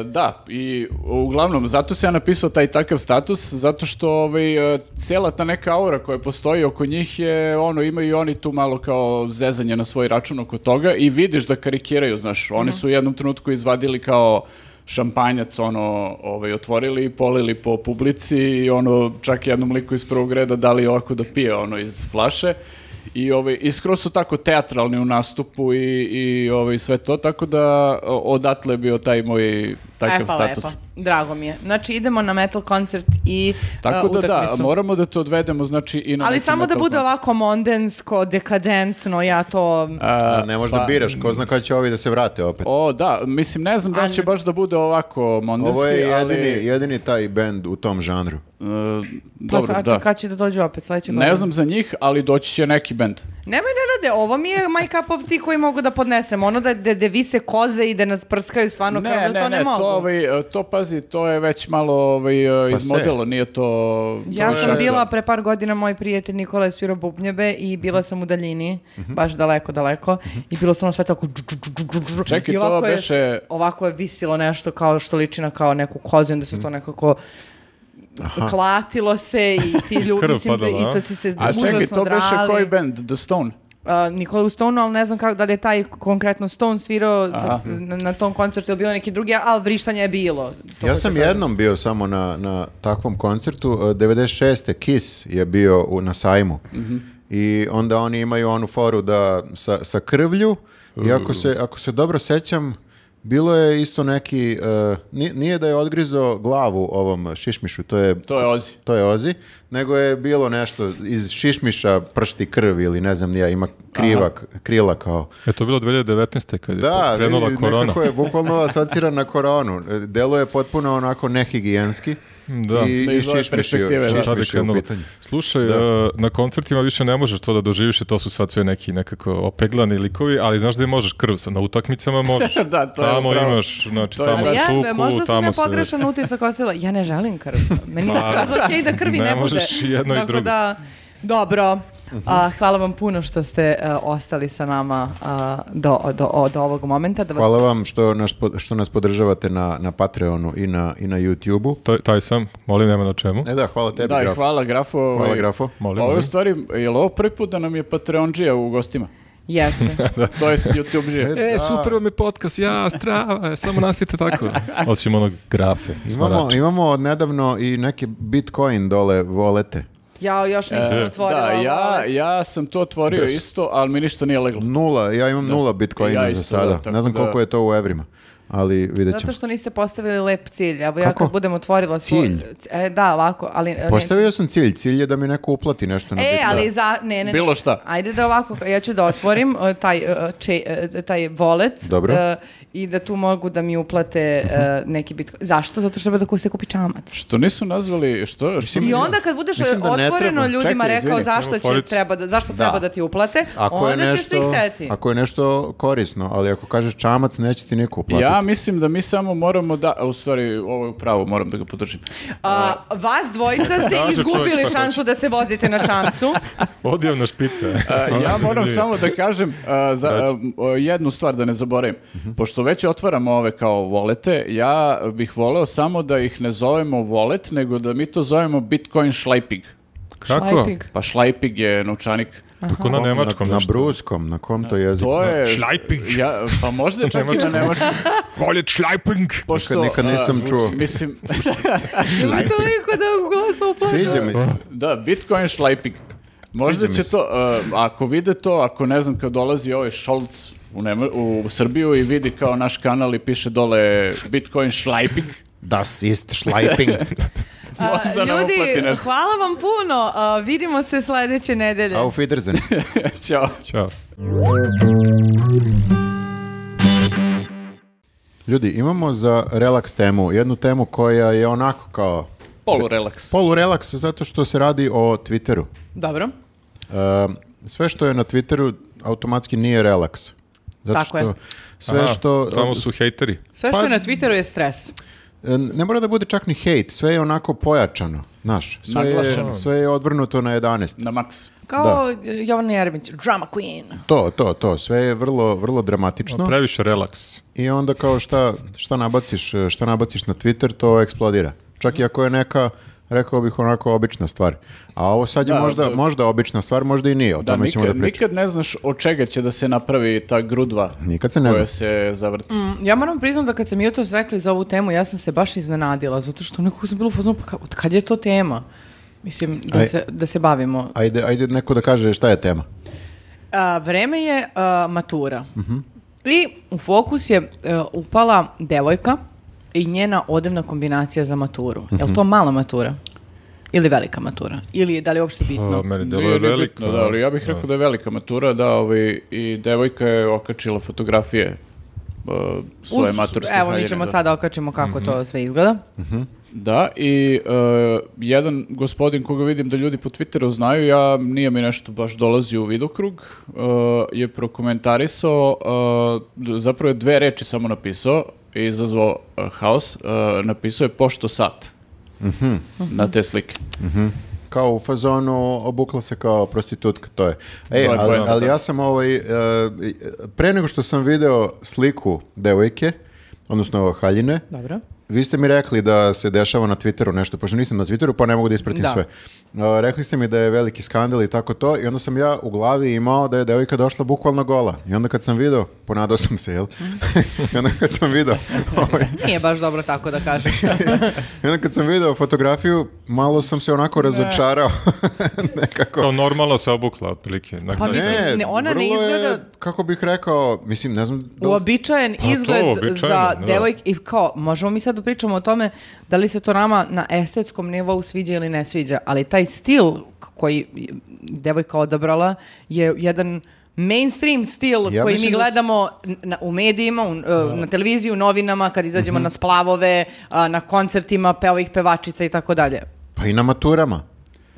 B: da, i uglavnom, zato se ja napisao taj takav status, zato što ovaj, e, cela ta neka aura koja postoji oko njih je, ono, imaju i oni tu malo kao zezanje na svoj račun oko toga i vidiš da karikiraju, znaš, oni su u jednom trenutku izvadili kao šampanjac ono ovaj otvorili i polili po publici i ono čak jednom liku iz prvog reda dali ovako da pije ono iz flaše i ovaj i skroz su tako teatralni u nastupu i i ovaj sve to tako da o- odatle je bio taj moj takav
C: E, pa
B: status.
C: lepo. Drago mi je. Znači idemo na metal koncert i
B: Tako
C: uh,
B: da da,
C: utakmicu.
B: moramo da to odvedemo znači i na
C: Ali
B: neki
C: samo da
B: metal
C: bude
B: koncert.
C: ovako mondensko, dekadentno, ja to...
B: E,
A: A ne možda
B: Pa-
A: biraš, ko zna kada će ovi da se vrate opet.
B: O, da, mislim, ne znam da li će baš da bude ovako mondeski,
A: Ovo je jedini,
B: ali...
A: jedini taj band u tom žanru.
B: e,
C: pa
B: dobro,
C: sad,
B: da.
C: kad će da dođu opet, sledeće godine?
B: Ne znam za njih, ali doći će neki bend.
C: Nemoj ne rade, ovo mi je my cup of tea koji mogu da podnesem. Ono da da da vise koze i da nas prskaju stvarno krvlju,
B: Ne,
C: Ono, to
B: ne,
C: ne,
B: ne,
C: mogu.
B: to, ovaj, e, to pazi, to je već malo ovaj, e,
A: Pa
B: izmodelo, nije to...
C: Ja
B: to je-
C: sam bila pre par godina, moj prijatelj Nikola je svirao bubnjeve i bila sam u daljini,
B: Mhm.
C: baš daleko, daleko. I bilo sam ono sve tako... džu, džu, džu, džu, džu.
B: Čekaj,
C: I
B: to
C: ovako je-
B: beše-
C: Ovako je visilo nešto kao što liči na kao neku kozu, i onda
B: Mhm.
C: se to nekako... klatilo se i
B: [LAUGHS]
C: ti ljudi
D: Krv
C: mislim da-
D: padala,
C: i
D: a?
C: to si se
B: A
C: pa užasno drali.
B: čekaj, to beše koji bend? The Stone?
C: Uh, Nikola u Stone, ali ne znam kako, da li je taj konkretno Stone svirao za, na, na tom koncertu ili bio neki drugi, ali vrištanje je bilo. To
A: Ja
C: hoću
A: sam
C: da kažem.
A: jednom bio samo na, na takvom koncertu, e, 96. Kiss je bio u, na sajmu. I onda oni imaju onu foru da sa, sa krvlju, i ako se, ako se dobro sećam, bilo je isto neki, e, ni- nije da je odgrizo glavu ovom šišmišu, to je,
B: To je Ozi.
A: to je Ozi, nego je bilo nešto iz šišmiša pršti krv ili ne znam ni ja, ima kriva, krila kao.
D: E, to je bilo 2019. kad je
A: Da,
D: krenula
A: vidi,
D: korona.
A: nekako je bukvalno asocira na koronu. Delo je potpuno onako nehigijenski.
D: Da.
A: I,
B: Da,
A: i
B: iz ove
A: šišmiš je-
B: perspektive, da.
A: šišmiš
D: Šta da
A: je u
D: krenulo?
A: pitanju.
D: Slušaj, e, na koncertima više ne možeš to da doživiš, jer to su sad sve neki nekako opeglani likovi, ali znaš da je možeš krv, sa- na utakmicama možeš.
B: [LAUGHS] Da, to je
D: tamo
B: upravo.
D: imaš, znači
B: To je
D: tamo
C: Ali ja,
D: tuku,
C: možda sam
D: tamo
C: ja
D: se...
C: pogrešan utisak ostavila. Ja ne želim krv. Meni je skroz okej da krvi ne,
D: Ne
C: bude.
D: možeš i jedno i
C: Tako
D: drugo.
C: Da, dobro. A, hvala vam puno što ste e, ostali sa nama a, do, do, o- do ovog momenta. Da vas
A: Hvala vam što nas, po- što nas podržavate na, na Patreonu i na, i na YouTube-u.
D: Taj, taj sam, molim, nema na čemu.
A: E da, hvala tebi,
B: Da, i
A: Grafo.
B: hvala Grafo.
A: Hvala,
B: ovaj,
A: Grafo.
D: Molim,
B: Ovo je u
D: molim.
B: stvari, je li ovo prvi put da nam je Patreonđija u gostima?
C: jeste.
B: To je
A: [LAUGHS]
B: YouTube
D: E, super vam je podcast, ja, strava, e, samo nastavite tako. [LAUGHS] Osim onog grafe,
A: Imamo,
D: smarača.
A: imamo od nedavno i neke Bitcoin dole volete.
C: Ja još
D: E.
C: nisam otvorila
B: E, Da, ja,
C: ovalac.
B: ja sam to otvorio isto, ali mi ništa nije leglo.
A: Nula, ja imam nula Bitcoina
B: Ja
A: za
B: isto, da,
A: sada.
B: tako
A: ne znam
B: da-
A: koliko je to u evrima, ali vidjet ćemo.
C: Zato što niste postavili lep cilj. Evo ja
A: Kako?
C: kad budem otvorila svoj...
A: Cilj?
C: E, da, ovako, ali... e,
A: Postavio sam cilj, cilj je da mi neko uplati nešto na
C: neću. E,
A: Bitcoin.
C: ali za... Ne, ne, ne.
B: Bilo šta.
C: Ajde da ovako, ja ću da otvorim e, taj, e, če- e, taj volec
A: Dobro.
C: e, i da tu mogu da mi uplate e, neki bitcoin. Zašto? Zato što treba da ku se kupi čamac.
B: Što nisu nazvali, što, što
C: I onda kad budeš
A: mislim da ne
C: otvoreno
A: treba.
C: ljudima
B: Čekaj,
C: rekao
B: izvini,
C: zašto,
D: nema
C: će,
D: folicu.
C: treba da, zašto
A: Da.
C: treba da ti uplate,
A: Ako je
C: onda će svi
A: nešto,
C: hteti.
A: ako je nešto korisno, ali ako kažeš čamac, neće ti niko uplatiti.
B: Ja mislim da mi samo moramo da, a, u stvari ovo je pravo, moram da ga podržim.
C: A, vas dvojica ste
D: Kaže čovjek
C: izgubili
D: šta
C: šansu da se vozite na
A: [LAUGHS]
C: čamcu.
D: Odjevna špica.
A: E,
B: A, ja moram samo da kažem a, za, a, m, a, jednu stvar da ne zaboravim. Pošto već otvaramo ove kao volete, ja bih voleo samo da ih ne zovemo volet, nego da mi to zovemo Bitcoin šlajpig.
D: Kako?
C: Šlajpig.
B: Pa šlajpig je novčanik.
D: Tako na nemačkom
A: na, na
D: nešto.
A: bruskom, na kom to jeziku?
B: To je...
D: Šlajpig.
B: Ja, pa možda je čak i na
D: Nemačkom.
B: nemačkom.
D: Voljet šlajping!
B: Pošto,
A: nikad
B: a,
A: nisam čuo.
B: Mislim,
C: Ili toliko da u glasu uplaše.
A: Sviđa mi se.
B: da, Bitcoin šlajpig. Možda
A: Sviđa mi
B: će
A: se.
B: to, a, ako vide to, ako ne znam kad dolazi ovaj Scholz u, Nema- u Srbiju i vidi kao naš kanal i piše dole Bitcoin šlajpig,
A: Das ist
C: [LAUGHS]
A: Schleiping.
C: A,
B: Možda nam uplati
C: Ljudi,
B: nešto.
C: hvala vam puno. A, vidimo se sledeće nedelje.
A: Auf Wiedersehen.
B: [LAUGHS] Ćao.
D: Ćao.
A: Ljudi, imamo za relaks temu, jednu temu koja je onako kao
B: Polu relaks.
A: Polu relaks zato što se radi o Twitteru.
C: Dobro.
A: E, sve što je na Twitteru automatski nije relaks. Zato
C: Tako je.
A: što sve
D: Aha,
A: što
D: Samo su hejteri.
C: Sve
A: Pa-
C: što je na Twitteru je stres.
A: E, ne mora da bude čak ni hejt, sve je onako pojačano, znaš. Sve je,
B: Naglašeno.
A: sve je odvrnuto na 11.
B: Na maks.
C: Kao Jovana Jermić, drama queen.
A: To, to, to, sve je vrlo vrlo dramatično
D: Ono, Previše relaks.
A: i onda kao šta šta nabaciš, e, šta nabaciš na Twitter, to eksplodira. Čak i ako je neka rekao bih onako obična stvar. A ovo sad je
B: Da,
A: možda,
B: to-
A: možda obična stvar, možda i nije, o
B: Da,
A: tome ćemo
B: nikad,
A: da pričamo.
B: nikad ne znaš od čega će da se napravi ta grudva
A: Nikad se ne
B: koja
A: zna.
B: se zavrti.
C: Mm, Ja moram priznat da kad sam jutros rekli za ovu temu, ja sam se baš iznenadila, zato što nekako sam bila u fazonu, pa ka- od kad je to tema? Mislim, da
A: Aj.
C: se, da se bavimo.
A: Ajde, ajde neko da kaže šta je tema.
C: A, vreme je a, matura. I u fokus je e, upala devojka i njena odevna kombinacija za maturu. Je li to mala matura? Ili velika matura? Ili je da li je uopšte bitno?
D: A, Ono, meni
B: Nije
D: deluje
B: ni
D: veliko. ono.
B: bitno, da, ali ja bih rekao da je velika matura, da, ovaj, i devojka je okačila fotografije uh, svoje
C: U-
B: maturske
C: Evo, mi
B: haljine,
C: ćemo
B: da.
C: sada okačimo kako to sve izgleda.
B: Da, i e, jedan gospodin koga vidim da ljudi po Twitteru znaju, ja nije mi nešto baš dolazi u vidokrug, e, je prokomentarisao, e, d- zapravo je dve reči samo napisao i izazvao e, haos, e, napisao je pošto sat na te slike.
A: Kao u fazonu obukla se kao prostitutka, to je. Ej,
B: To
A: ali,
B: je poenta,
A: ali
B: da.
A: ja sam ovaj, e, pre nego što sam video sliku devojke, odnosno haljine,
C: Dobro.
A: vi ste mi rekli da se dešava na Twitteru nešto, pošto nisam na Twitteru pa ne mogu da ispratim
C: Da.
A: sve. E, rekli ste mi da je veliki skandal i tako to i onda sam ja u glavi imao da je devojka došla bukvalno gola. I onda kad sam video, ponadao sam se, jel?
C: Mhm.
A: [LAUGHS] I onda kad sam video ovaj,
C: Nije baš dobro tako da kažem.
A: I onda kad sam video fotografiju, malo sam se onako razočarao. [LAUGHS] Nekako.
D: Kao normalno se obukla, otprilike.
C: Pa
D: Dakle,
C: mislim, ne, ona ne
A: vrlo je,
C: izgleda-
A: kako bih rekao, mislim, ne znam... Da li-
C: Uobičajen
D: to,
C: izgled za
D: uobičajeno, da.
C: devojke i kao, možemo mi sad da pričamo o tome da li se to nama na estetskom nivou sviđa ili ne sviđa, ali taj stil k- koji devojka odabrala je jedan mainstream stil
A: Ja
C: koji mi
A: mislim da s-
C: gledamo n- na, u medijima, u- e, na televiziji, u novinama, kad izađemo na splavove, a, na koncertima pevojih pevačica i tako dalje.
A: Pa i na maturama.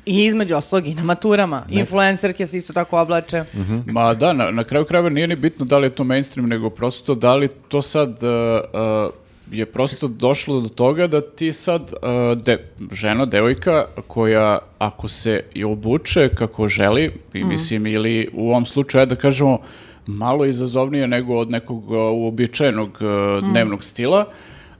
C: I između ostalog i na maturama. Influencerke se isto tako oblače.
B: Mhm. Ma da, na, na kraju krajeva nije ni bitno da li je to mainstream, nego prosto da li to sad uh, uh, je prosto došlo do toga da ti sad uh, de, žena, devojka koja ako se i obuče kako želi, i mislim ili u ovom slučaju ja da kažemo malo izazovnije nego od nekog uh, uobičajenog uh, dnevnog stila,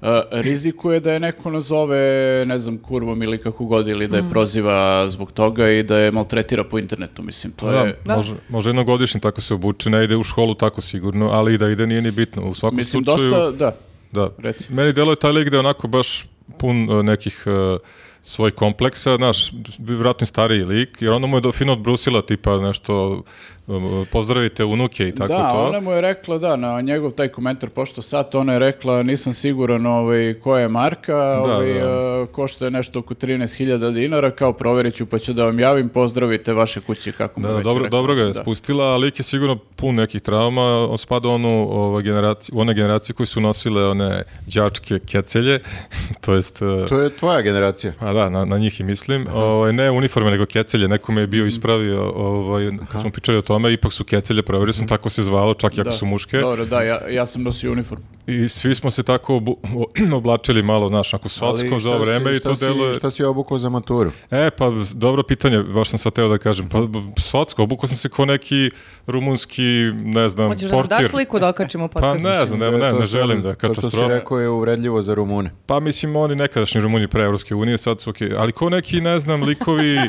B: uh, rizikuje da je neko nazove, ne znam, kurvom ili kako god, ili da je proziva zbog toga i da je maltretira po internetu, mislim, to
D: Da,
B: Pa je...
D: može, može jednogodišnji tako se obuče, ne ide u školu tako sigurno, ali i da ide nije ni bitno. U svakom
B: Mislim,
D: slučaju...
B: dosta, da.
D: Da.
B: Reci.
D: Meni delo je taj lik da je onako baš pun e, nekih e, svojih kompleksa, znaš, vjerojatno je stariji lik, jer onda mu je do, fino odbrusila tipa nešto, um, pozdravite unuke i tako
B: da,
D: to.
B: ona mu je rekla, da, na njegov taj komentar, pošto sad ona je rekla, nisam siguran ovaj, koja je marka, ovaj,
D: da.
B: e, košta je nešto oko 13.000 dinara, kao proverit ću pa ću da vam javim, pozdravite vaše kuće, kako mu
D: Da,
B: već
D: dobro,
B: rekla,
D: dobro ga je
B: da.
D: spustila, a lik je sigurno pun nekih trauma, on spada u onu ovaj, generaciju, u one generacije koji su nosile one đačke kecelje, [LAUGHS] to jest... e,
A: To je tvoja generacija.
D: A Pa da, na, na njih i mislim. Ovaj, ne uniforme, nego kecelje. Neko me je
A: Mhm.
D: bio ispravio ovaj, kad smo pričali o tome. Ipak su kecelje, proverio
A: Mhm.
D: sam, tako se zvalo, čak i ako
B: Da.
D: su muške.
B: Dobro, da, ja, ja sam nosio uniform.
D: I svi smo se tako obu, o- [CLEARS THROAT] oblačili malo, znaš, ako
A: Ali
D: socko za
A: šta
D: ovo
A: si-
D: vreme i
A: šta
D: to
A: si-
D: deluje...
A: Šta si obukao za maturu?
D: E, pa dobro pitanje, baš sam sad teo da kažem. Pa, b- socko, obukao sam se ko neki rumunski, ne znam,
C: Hoćeš da nam daš
D: portir.
C: sliku da okačimo u
D: Pa
C: podcastu?
D: ne znam, ne,
A: To je
D: ne,
A: to
D: ne
A: što-
D: želim
A: To
D: da,
A: što
D: katastrofa.
A: si rekao je uvredljivo za Rumune.
D: Pa mislim, oni nekadašnji Rumuni pre Evropske unije, sad su okej. Ali ko neki, ne znam, likovi,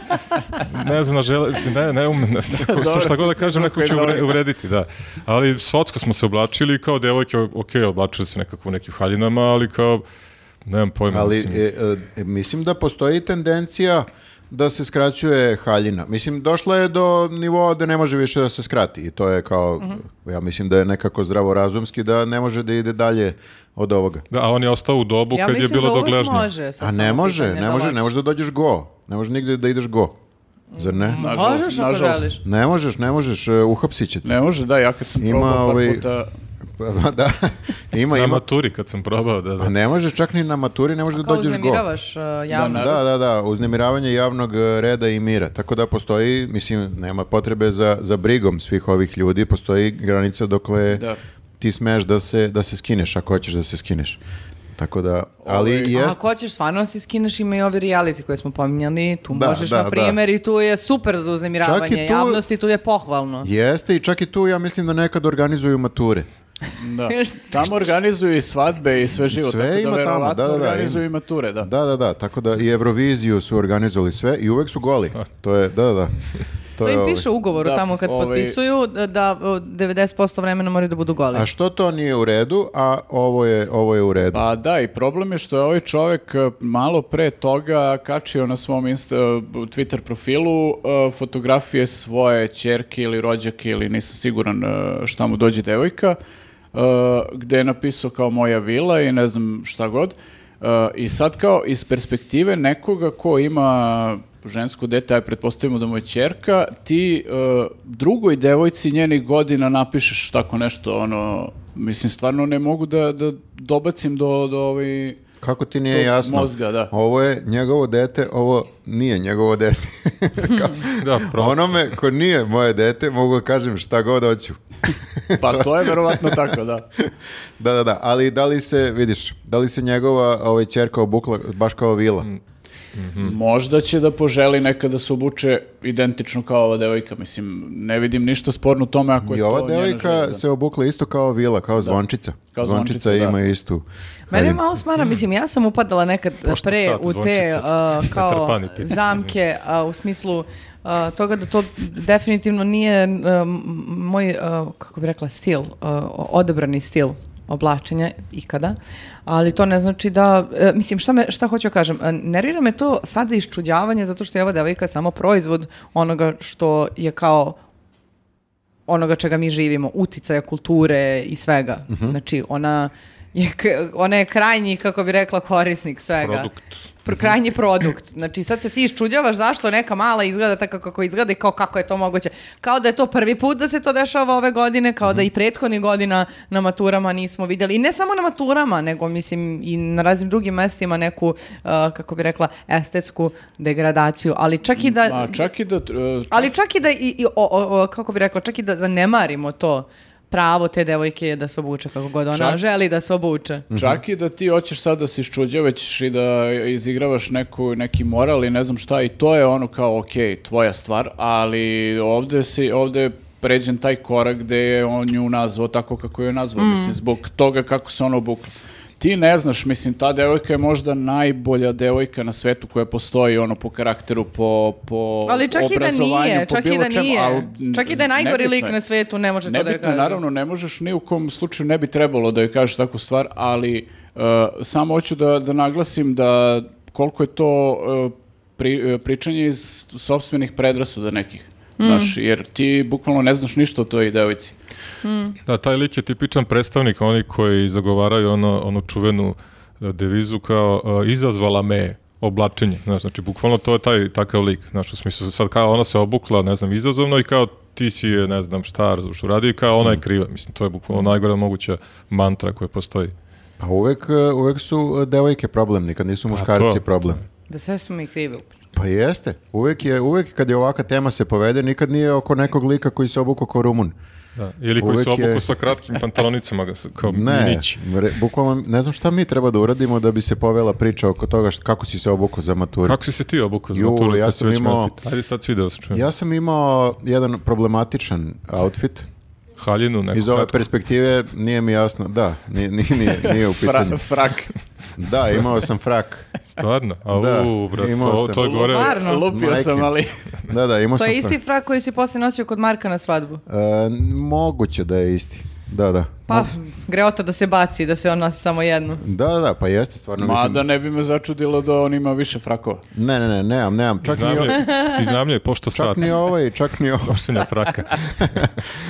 D: ne znam, na žele, mislim, ne, ne umem, ne, neko-
B: Dobro,
D: šta god da
B: si-
D: kažem,
B: si
D: neko će
B: izvukao iz
D: uvre-
B: ovoga.
D: uvrediti, da. Ali svotsko smo se oblačili i kao devojke, okej, oblačili se nekako u nekim haljinama, ali kao, nemam pojma,
A: Ali
D: mislim.
A: e, e, mislim da postoji tendencija da se skraćuje haljina. Mislim, došla je do nivoa da ne može više da se skrati i to je kao,
C: Mhm.
A: ja mislim da je nekako zdravorazumski da ne može da ide dalje od ovoga.
D: Da, a on je ostao u dobu
C: Ja
D: kad je
C: mislim
D: bilo
C: da uvek
D: dogležno.
C: može. sad
A: A
C: samo
A: ne može,
C: pitanje
A: ne
C: da
A: može,
C: hoće.
A: ne može da dođeš go. Ne može nigde da ideš go. Zar ne?
C: Mhm.
B: Nažalost,
C: Možeš ako
B: nažalost.
C: želiš.
A: Ne možeš, ne možeš, e, uhapsit će te.
B: Ne može, da, ja kad sam
A: Ima
B: probao par
A: ovaj-
B: puta...
A: Pa da, [LAUGHS] ima,
D: Na
A: ima.
D: maturi kad sam probao da... da.
A: Pa ne možeš čak ni na maturi, ne možeš da
C: Kao
A: dođeš go.
C: uznemiravaš uh, javno.
B: na-
A: Da, da, da, uznemiravanje javnog e, reda i mira. Tako da postoji, mislim, nema potrebe za, za brigom svih ovih ljudi, postoji granica dokle
B: Da.
A: ti smeš da se, da se skineš, ako hoćeš da se skineš. Tako da, ali
B: Ovaj,
A: jest...
C: A ako hoćeš stvarno da se skineš ima i ovi reality koje smo pominjali, tu
A: Da,
C: možeš
A: da,
C: na primjer i tu je super za uznemiravanje
A: Čak i tu-
C: javnosti, tu je pohvalno.
A: Jeste i čak i tu ja mislim da nekad organizuju mature. [LAUGHS]
B: Da. Tamo organizuju i svadbe i sve živo,
A: Sve
B: tako da
A: ima tamo,
B: verovatno
A: da, da, da,
B: organizuju
A: ima.
B: i mature, da.
A: Da, da, da, tako da i Euroviziju su organizovali sve i uvek su goli. To je, da, da, da.
C: To im
A: ovaj.
C: piše u ugovoru
B: Da,
C: tamo kad
B: ovaj-
C: potpisuju da, da o, 90% vremena moraju da budu goli.
A: ovaj. A što to nije u redu, a ovo je, ovo je u redu?
B: Pa da, i problem je što je ovaj čovek e, malo pre toga kačio na svom insta, e, Twitter profilu e, fotografije svoje ćerke ili rođake ili nisam siguran e, šta mu dođe devojka, e, gde je napisao kao moja vila i ne znam šta god. E, I sad kao iz perspektive nekoga ko ima žensko dete, aj pretpostavimo da mu je ćerka, ti e, drugoj devojci njenih godina napišeš tako nešto, ono, mislim, stvarno ne mogu da, da dobacim do, do ovaj...
A: Kako ti nije
B: Tog
A: E, jasno?
B: mozga,
A: [LAUGHS]
B: da.
A: Ovo je njegovo dete, ovo nije njegovo dete. Kao,
D: Da, [LAUGHS] prosto.
A: Onome ko nije moje dete, mogu da kažem šta god hoću.
B: Pa to je verovatno tako, da.
A: Da, da, da, ali da li se, vidiš, da li se njegova ovaj, čerka obukla baš kao vila?
D: Mm.
A: Mhm.
B: Možda će da poželi nekada da se obuče identično kao ova devojka, mislim, ne vidim ništa sporno u tome ako je
A: I
B: to
A: ova
B: njena želja,
A: devojka
B: da.
A: se obukla isto kao vila, kao zvončica.
B: Kao
A: zvončica,
B: zvončica, da.
A: ima istu.
C: Mene
A: haljinu.
C: malo smara, mislim, ja sam upadala nekad
D: Pošto
C: pre
D: sad
C: u te
D: zvončica.
C: uh, kao
D: Trpani pit.
C: zamke uh, u smislu uh, toga da to definitivno nije um, moj, uh, kako bi rekla, stil, uh, odebrani stil oblačenja ikada, ali to ne znači da, e, mislim, šta, me, šta hoću da kažem, e, nervira me to sada iščuđavanje zato što je ova devojka samo proizvod onoga što je kao onoga čega mi živimo, uticaja kulture i svega. Znači, ona je, k- ona je krajnji, kako bi rekla, korisnik svega.
D: Produkt.
C: Pro- krajnji produkt. Znači, sad se ti iščuđavaš zašto neka mala izgleda tako kako izgleda i kao kako je to moguće. Kao da je to prvi put da se to dešava ove godine, kao da i prethodnih godina na maturama nismo vidjeli. I ne samo na maturama, nego, mislim, i na raznim drugim mestima neku, uh, kako bi rekla, estetsku degradaciju. Ali čak i da...
B: Ma, čak i da... e,
C: Ali čak i da, i, i- o, o- o, kako bi rekla, čak i da zanemarimo to pravo te devojke da se obuče kako god ona
B: Čak- Mm.
C: želi da se obuče.
B: Čak i da ti hoćeš sad da se iščuđavaćeš i da izigravaš neku, neki moral i ne znam šta i to je ono kao ok, tvoja stvar, ali ovde, si, ovde je pređen taj korak gde je on nju nazvao tako kako je nazvao,
C: Mm.
B: mislim, zbog toga kako se ona obukla. Ti ne znaš, mislim, ta devojka je možda najbolja devojka na svetu koja postoji, ono, po karakteru, po, po
C: Ali čak i da
B: obrazovanju,
C: nije,
B: po
C: čak i
B: bilo
C: da
B: čemu,
C: nije.
B: ali
C: čak i da je najgori
B: nebitno
C: lik
B: je.
C: na svetu ne može to da
B: Nebitno, je,
C: kaže.
B: naravno, ne možeš ni u kom slučaju, ne bi trebalo da joj kažeš takvu stvar, ali e, samo hoću da, da naglasim da koliko je to e, pri- e, pričanje iz sobstvenih predrasuda nekih.
C: Mm.
B: Znaš, jer ti bukvalno ne znaš ništa o toj devojci.
D: Da, taj lik je tipičan predstavnik oni koji zagovaraju ono, onu čuvenu e, devizu kao e, izazvala me oblačenje. Znaš, znači, bukvalno to je taj takav lik. Znaš, u smislu, sad kao ona se obukla, ne znam, izazovno i kao ti si je, ne znam, šta razumiješ uradio i kao ona
A: Mm.
D: je kriva. Mislim, to je bukvalno najgora moguća mantra koja postoji.
A: Pa uvek, e, uvek su e, devojke problem, nikad nisu muškarci
D: to.
A: problem.
C: Da sve smo mi krivi.
A: Pa jeste. Uvek je, uvek kad je ovaka tema se povede, nikad nije oko nekog lika koji se obuko kao Rumun.
D: Da. Ili koji
A: Uvek
D: se obuku
A: je-
D: sa kratkim pantalonicama, ga se-
A: [LAUGHS]
D: kao
A: Ne,
D: minići.
A: re- bukvalno ne znam šta mi treba da uradimo da bi se povela priča oko toga št- kako si se obuko za maturu.
D: Kako si se ti obukao za
A: Ju,
D: maturu?
A: ja
D: kad si
A: sam
D: već
A: imao-
D: meti- Ajde sad svi da vas čujemo.
A: Ja sam imao jedan problematičan outfit.
D: Haljinu, neku
A: Iz ove
D: kratku.
A: perspektive nije mi jasno. Da, nije, nije, nije, nije u
D: [LAUGHS]
A: pitanju.
B: Fra- frak.
A: Da, imao sam frak.
D: Stvarno? A
A: Da,
D: u, brate,
A: imao
D: to,
A: sam.
D: to je gore...
C: Stvarno?
B: Lupio
A: Majke.
B: sam, ali...
A: Da, da, imao
C: To
A: sam
C: je
A: frak.
C: isti frak koji si poslije nosio kod Marka na svadbu.
A: E, moguće da je isti. Da, da.
C: Pa, greota da se baci, da se on nosi samo jednu.
A: Da, da, da, pa jeste, stvarno mislim.
B: Mada ne bi me začudilo da on ima više frakova.
A: Ne, ne, ne, nemam, nemam. Čak ni, o- [LAUGHS]
D: Iznajmljuje, iznajmljuje pošto
A: čak
D: sat.
A: ni ovaj, čak ni, o- [LAUGHS]
D: Nošenja fraka.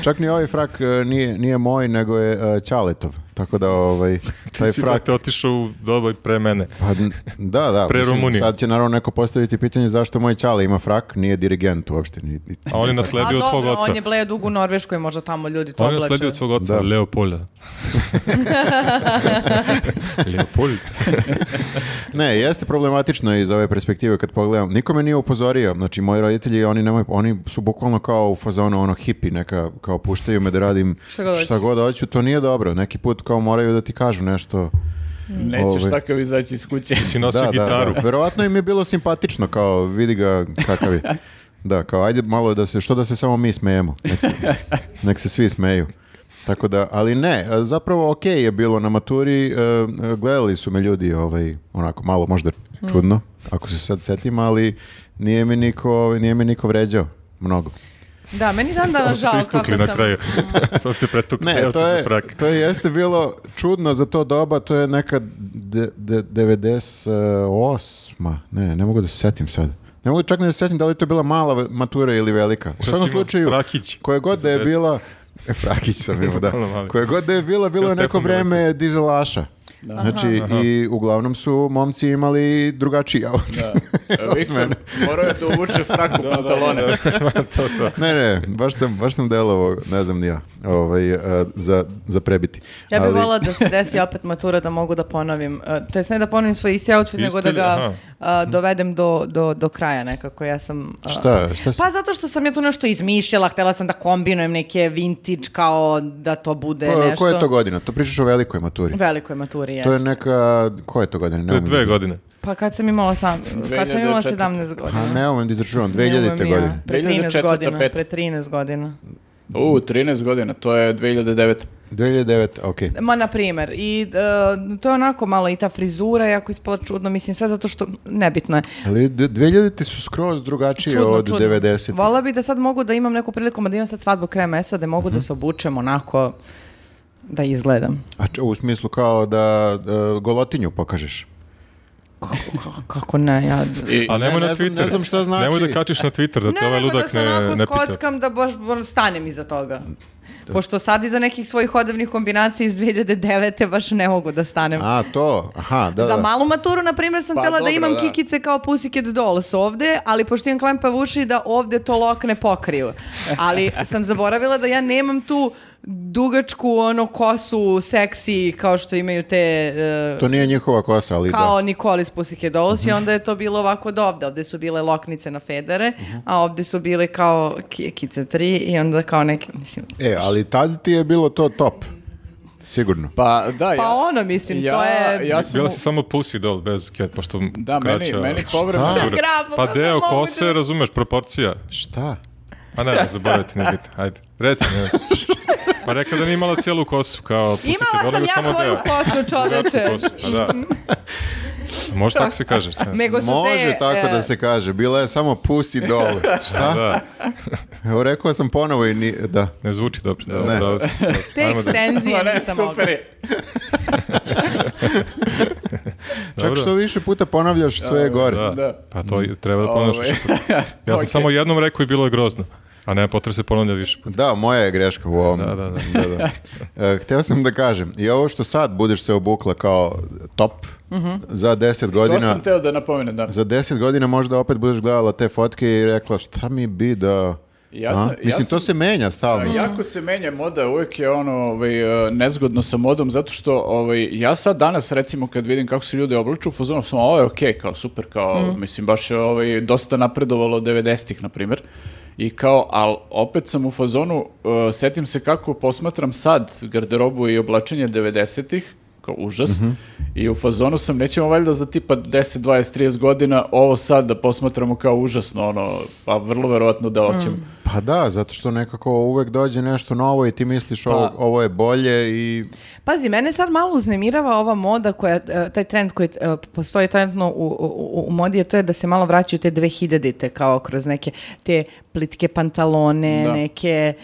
A: čak ni ovaj frak e, nije, nije moj, nego je e, Ćaletov. Tako da ovaj, taj
D: [LAUGHS] Ti si
A: frak...
D: brate otišao u doba pre mene.
A: Pa, n- da, da.
D: Pre
A: mislim,
D: Rumunije.
A: Sad će naravno neko postaviti pitanje zašto moj ćale ima frak, nije dirigent uopšte. Ni, ni-
D: A on
A: [LAUGHS]
D: je nasledio od svog oca.
C: on je bled dug u Norveškoj, možda tamo ljudi to
D: On je
C: oblače.
D: nasledio od svog oca,
A: Da. [LAUGHS]
D: Leopolda. Leopold.
A: Ne, jeste problematično iz ove perspektive kad pogledam. Niko me nije upozorio. Znači, moji roditelji, oni, nemaju, oni su bukvalno kao u fazonu ono hipi neka, kao puštaju me da radim
C: Šta god hoću.
A: šta god hoću. To nije dobro. Neki put kao moraju da ti kažu nešto.
B: Nećeš
A: Ovaj.
B: takav izaći iz kuće.
D: Ti nosio gitaru.
A: Verovatno im je bilo simpatično, kao vidi ga kakav je. Da, kao ajde malo da se, što da se samo mi smejemo. Nek se,
D: [LAUGHS]
A: nek se svi smeju. Tako da, ali ne, zapravo okej je bilo na maturi, e, gledali su me ljudi ovaj, onako malo možda čudno, ako se sad setim, ali nije mi niko, ovaj, nije mi niko vređao mnogo.
C: Da, meni dan
D: Samo
C: danas
D: ste
C: žao kako
D: istukli na
C: sam...
D: kraju. [LAUGHS] Samo ste pretukli.
A: Ne,
D: evo
A: to
D: ti za
A: je,
D: frak.
A: to jeste bilo čudno za to doba, to je neka de, de, 98. Ne, ne mogu da se setim sad. Ne mogu čak ni da se setim da li je to bila mala v- matura ili velika. U
D: Šta
A: svakom
D: si imao,
A: slučaju,
D: frakić
A: koja god
D: za
A: da je
D: decu?
A: bila... E, Frakić sam imao,
D: [LAUGHS]
A: da.
D: Bukvalno mali.
A: Koja god da je bila, bilo
D: Ja
A: je neko
D: Stefan
A: vreme dizelaša. Znači, i uglavnom su momci imali drugačiji outfit.
B: E, Viktor, morao je da uvuče frak u pantalone.
D: [LAUGHS] to, to.
A: [LAUGHS] [LAUGHS] Ne, ne, baš sam, baš sam delovo, ne znam ni ja, ovaj, e, za, za prebiti.
C: Ja bih
A: Ali-
C: volila da se desi opet matura da mogu da ponovim. e, To jest ne da ponovim svoj isti outfit,
D: Isti,
C: nego da ga
D: aha.
C: a, dovedem do, do, do kraja nekako. Ja sam... a,
A: Šta, šta si-
C: Pa zato što sam ja tu nešto izmišljala, htjela sam da kombinujem neke vintage kao da to bude
A: Ko-
C: nešto.
A: Koja je Pa, to godina? To pričaš o velikoj maturi.
C: Velikoj maturi, jes.
A: To je neka... Koja je to godina? Ne
D: Pre
A: umem da-
D: dve godine.
C: Pa kad sam imala sam... kad sam imala
B: 2004.
C: 17 godina.
A: A Pa ne umem da izračunam.
C: Ne umem
A: 2000.
C: ja.
A: godine.
C: Pre 13
B: 2004.,
C: godina.
B: peta.
C: Pre 13 godina.
B: U, 13 godina, to je 2009.
A: 2009, okej.
C: Ma, na primjer, i e, to je onako malo i ta frizura, jako ispala čudno, mislim, sve zato što, nebitno je.
A: Ali d- 2000 su skroz drugačije
C: Čudno,
A: od
C: čudno.
A: 90.
C: Vola bi da sad mogu da imam neku priliku, ma da imam sad svadbu kraja meseca, da mogu
D: Mhm.
C: da se obučem onako da izgledam.
A: A č- u smislu kao da e, golotinju pokažeš.
C: Kako, kako- kako ne, ja...
B: I,
D: A nemoj
A: ne
D: na
A: znam-
D: Twitter.
A: ne znam šta znači.
D: Nemoj da kačiš na Twitter, da te ovaj
C: nego da
D: ludak
C: se
D: ne,
C: onako
D: ne pita.
C: skockam da baš, baš stanem iza toga. Pošto sad iza nekih svojih odevnih kombinacija iz 2009. baš ne mogu da stanem.
A: A, to. Aha, da,
C: Za
A: da.
C: malu maturu, na primjer, sam
B: Pa,
C: htjela da
B: dobro,
C: imam
B: da.
C: kikice kao Pussycat Dolls ovde, ali pošto imam klempav uši da ovde to lokne pokriju. Ali sam zaboravila da ja nemam tu dugačku ono kosu seksi kao što imaju te... e,
A: To nije njihova kosa, ali
C: kao
A: da. Mhm.
C: Nikoli iz Pussycat Dolls i onda je to bilo ovako od ovde. Ovde su bile loknice na federe,
A: Mhm.
C: a ovde su bile kao kikice tri i onda kao neke, mislim...
A: E, ali tad ti je bilo to top. Sigurno.
B: Pa da,
C: Pa
B: ja,
C: ono, mislim,
B: ja,
C: to je...
B: ja sam,
D: Bila
B: u-
D: si samo pussy doll bez cat, pošto
B: Da, meni-
D: kraća...
B: meni povremeno-
D: Šta?
C: Da, grafo,
D: Pa
C: kako
D: deo
C: mogu
D: kose,
C: da-
D: razumeš, proporcija.
A: Šta?
D: A ne, ne zaboravite, ne biti. Ajde, reci mi. Pa rekao da nije imala cijelu kosu, kao pussy cat doll,
C: Imala sam
D: nego
C: ja
D: samo
C: svoju
D: deo.
C: kosu, čoveče.
D: Kratku kosu, pa da. Može tako se kaže, šta?
C: Nego su
A: Može
C: te,
A: tako
C: e,
A: da se kaže. Bila je samo pusi
C: [LAUGHS]
A: dole. Šta?
D: Da,
A: Evo, rekao sam ponovo i ni... Da.
D: ne zvuči dobro. Da,
A: Ne.
C: [LAUGHS]
D: da, da.
C: Te
D: Ajmo da-
C: ekstenzije
B: [LAUGHS] Ma ne,
C: nisam mogla.
B: super je.
A: Čak
D: Dobro.
A: što više puta ponavljaš sve je gore.
D: Da.
B: Da.
D: Pa to je- treba da ponavljaš.
B: Ovaj.
D: više puta. Ja [LAUGHS] sam
B: Ok.
D: samo jednom rekao i bilo je grozno. A ne, potrebe se ponavlja više puta.
A: Da, moja je greška u ovom.
D: Da, da, da.
A: da, da.
D: [LAUGHS]
A: E, hteo sam da kažem, i ovo što sad budeš se obukla kao top, za 10
B: Mhm. To
A: godina...
B: sam teo da napomenem, da.
A: Za 10 godina možda opet budeš gledala te fotke i rekla šta mi bi da...
B: Ja
A: A?
B: sam- ja
A: Mislim,
B: sam-
A: to se menja
B: A,
A: stalno.
B: Jako se menja moda, uvijek je ono ovaj, e, nezgodno sa modom, zato što ovaj, ja sad danas recimo kad vidim kako se ljudi oblaču, u fazonu sam, ovo je okej, kao super, kao, mislim, baš je ovaj, dosta napredovalo od 90-ih, na primjer. I kao, ali opet sam u fazonu, e, setim se kako posmatram sad garderobu i oblačenje 90-ih, kao užas. I u fazonu sam, nećemo valjda za tipa 10, 20, 30 godina ovo sad da posmatramo kao užasno, ono, pa vrlo verovatno da hoćemo.
A: Pa da, zato što nekako uvek dođe nešto novo i ti misliš
B: Pa-
A: ovo, ovo je bolje i...
C: Pazi, mene sad malo uznemirava ova moda koja, e, taj trend koji e, postoji trenutno u, u, u modi, a to je da se malo vraćaju te 2000-te kao kroz neke te plitke pantalone,
B: Da.
C: neke e,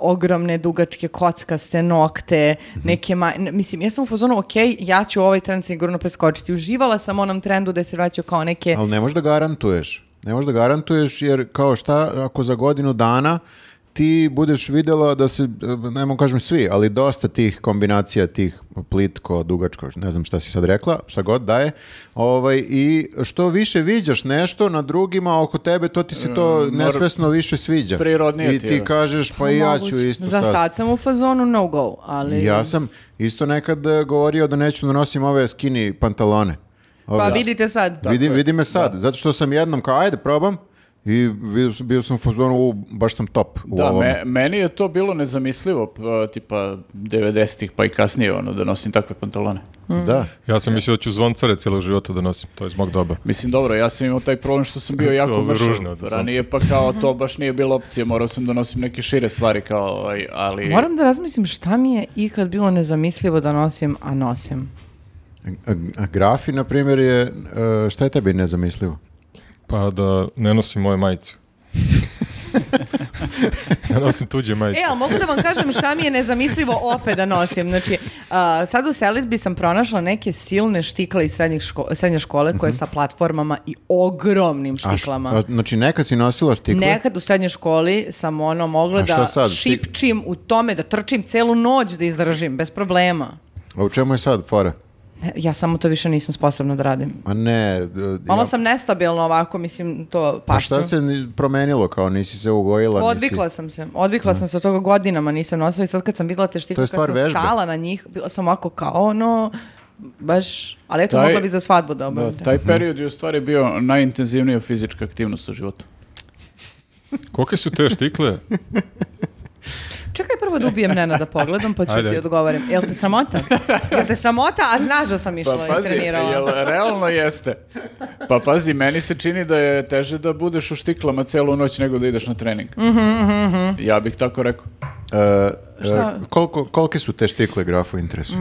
C: ogromne dugačke kockaste nokte, neke ma... n- Mislim, ja sam u fazonu, ok, ja ću ovaj trend sigurno preskočiti. Uživala sam u onom trendu da se vraćaju kao neke...
B: E,
A: Ali ne možeš da garantuješ. Ne možeš da garantuješ jer kao šta ako za godinu dana ti budeš videla da se, ne mogu kažem svi, ali dosta tih kombinacija, tih plitko, dugačko, ne znam šta si sad rekla, šta god daje, ovaj, i što više viđaš nešto na drugima oko tebe, to ti se to nesvesno više sviđa.
B: Mm, Prirodnije
A: I
B: ti
A: ti
B: je.
A: kažeš, pa i ja ću
C: Moguće.
A: isto
C: Za sad sam u fazonu no go, ali...
A: Ja sam isto nekad e, govorio da neću da nosim ove skinny pantalone. Ove,
C: Pa vidite sad.
A: Vidi, vidi me sad, zato što sam jednom kao, ajde, probam, i bio, sam- bio sam u fazonu, u, baš sam top u
B: Da,
A: ovom.
B: me- meni je to bilo nezamislivo, p- tipa 90-ih pa i kasnije, ono, da nosim takve pantalone.
A: Mm. Da.
D: Ja sam mislio da ću zvoncare cijelo života da nosim, to je zbog doba.
B: Mislim, dobro, ja sam imao taj problem što sam bio jako
D: Ovo je
B: mršav
D: ružno od sunca.
B: Ranije pa kao to baš nije bila opcija, morao sam da nosim neke šire stvari kao, ovaj, ali...
C: Moram da razmislim šta mi je ikad bilo nezamislivo da nosim, a nosim.
A: A- a grafi, na primjer, je, e, šta je tebi nezamislivo?
D: Pa da ne nosim moje
A: [LAUGHS]
D: majice. ne nosim tuđe majice.
C: E, ali mogu da vam kažem šta mi je nezamislivo opet da nosim. Znači, a, sad u Selizbi sam pronašla neke silne štikle iz srednjih ško- srednje škole koje sa platformama i ogromnim
A: A š-
C: štiklama.
A: a, znači, nekad si nosila štikle?
C: Nekad u srednjoj školi sam ono mogla
A: A šta
C: da
A: sad? Ti-
C: šipčim u tome, da trčim celu noć da izdržim, bez problema.
A: A u čemu je sad fora?
C: Ne, Ja samo to više nisam sposobna da radim.
A: A ne, d-
C: Malo
A: ja-
C: sam nestabilno ovako, mislim, to
A: Pa
C: pašću.
A: šta se ni- promenilo, kao nisi se ugojila? nisi-
C: Odvikla sam se. Odvikla sam se od toga godinama, nisam nosila i sad kad sam videla te
A: To
C: štikle,
A: je
C: kad
A: stvar
C: sam
A: vežbe.
C: stala na njih, bila sam ovako kao ono, baš, ali eto,
B: Taj-
C: mogla bi za svadbu da
B: Da,
C: obavim.
B: taj period je u stvari bio najintenzivnija fizička aktivnost u životu.
D: Kolike su te štikle?
C: Čekaj prvo da ubijem Nena da pogledam, pa ću
D: Ajde,
C: ti
D: ajde.
C: odgovorim. Jel te sramota? Jel te sramota? A znaš da sam išla i trenirala.
B: Pa jel realno jeste? Pa pazi, meni se čini da je teže da budeš u štiklama celu noć nego da ideš na trening.
C: Mhm,
B: Ja bih tako rekao.
A: E, e,
C: Šta? Mm.
A: koliko, kolike su te štikle grafu interesu?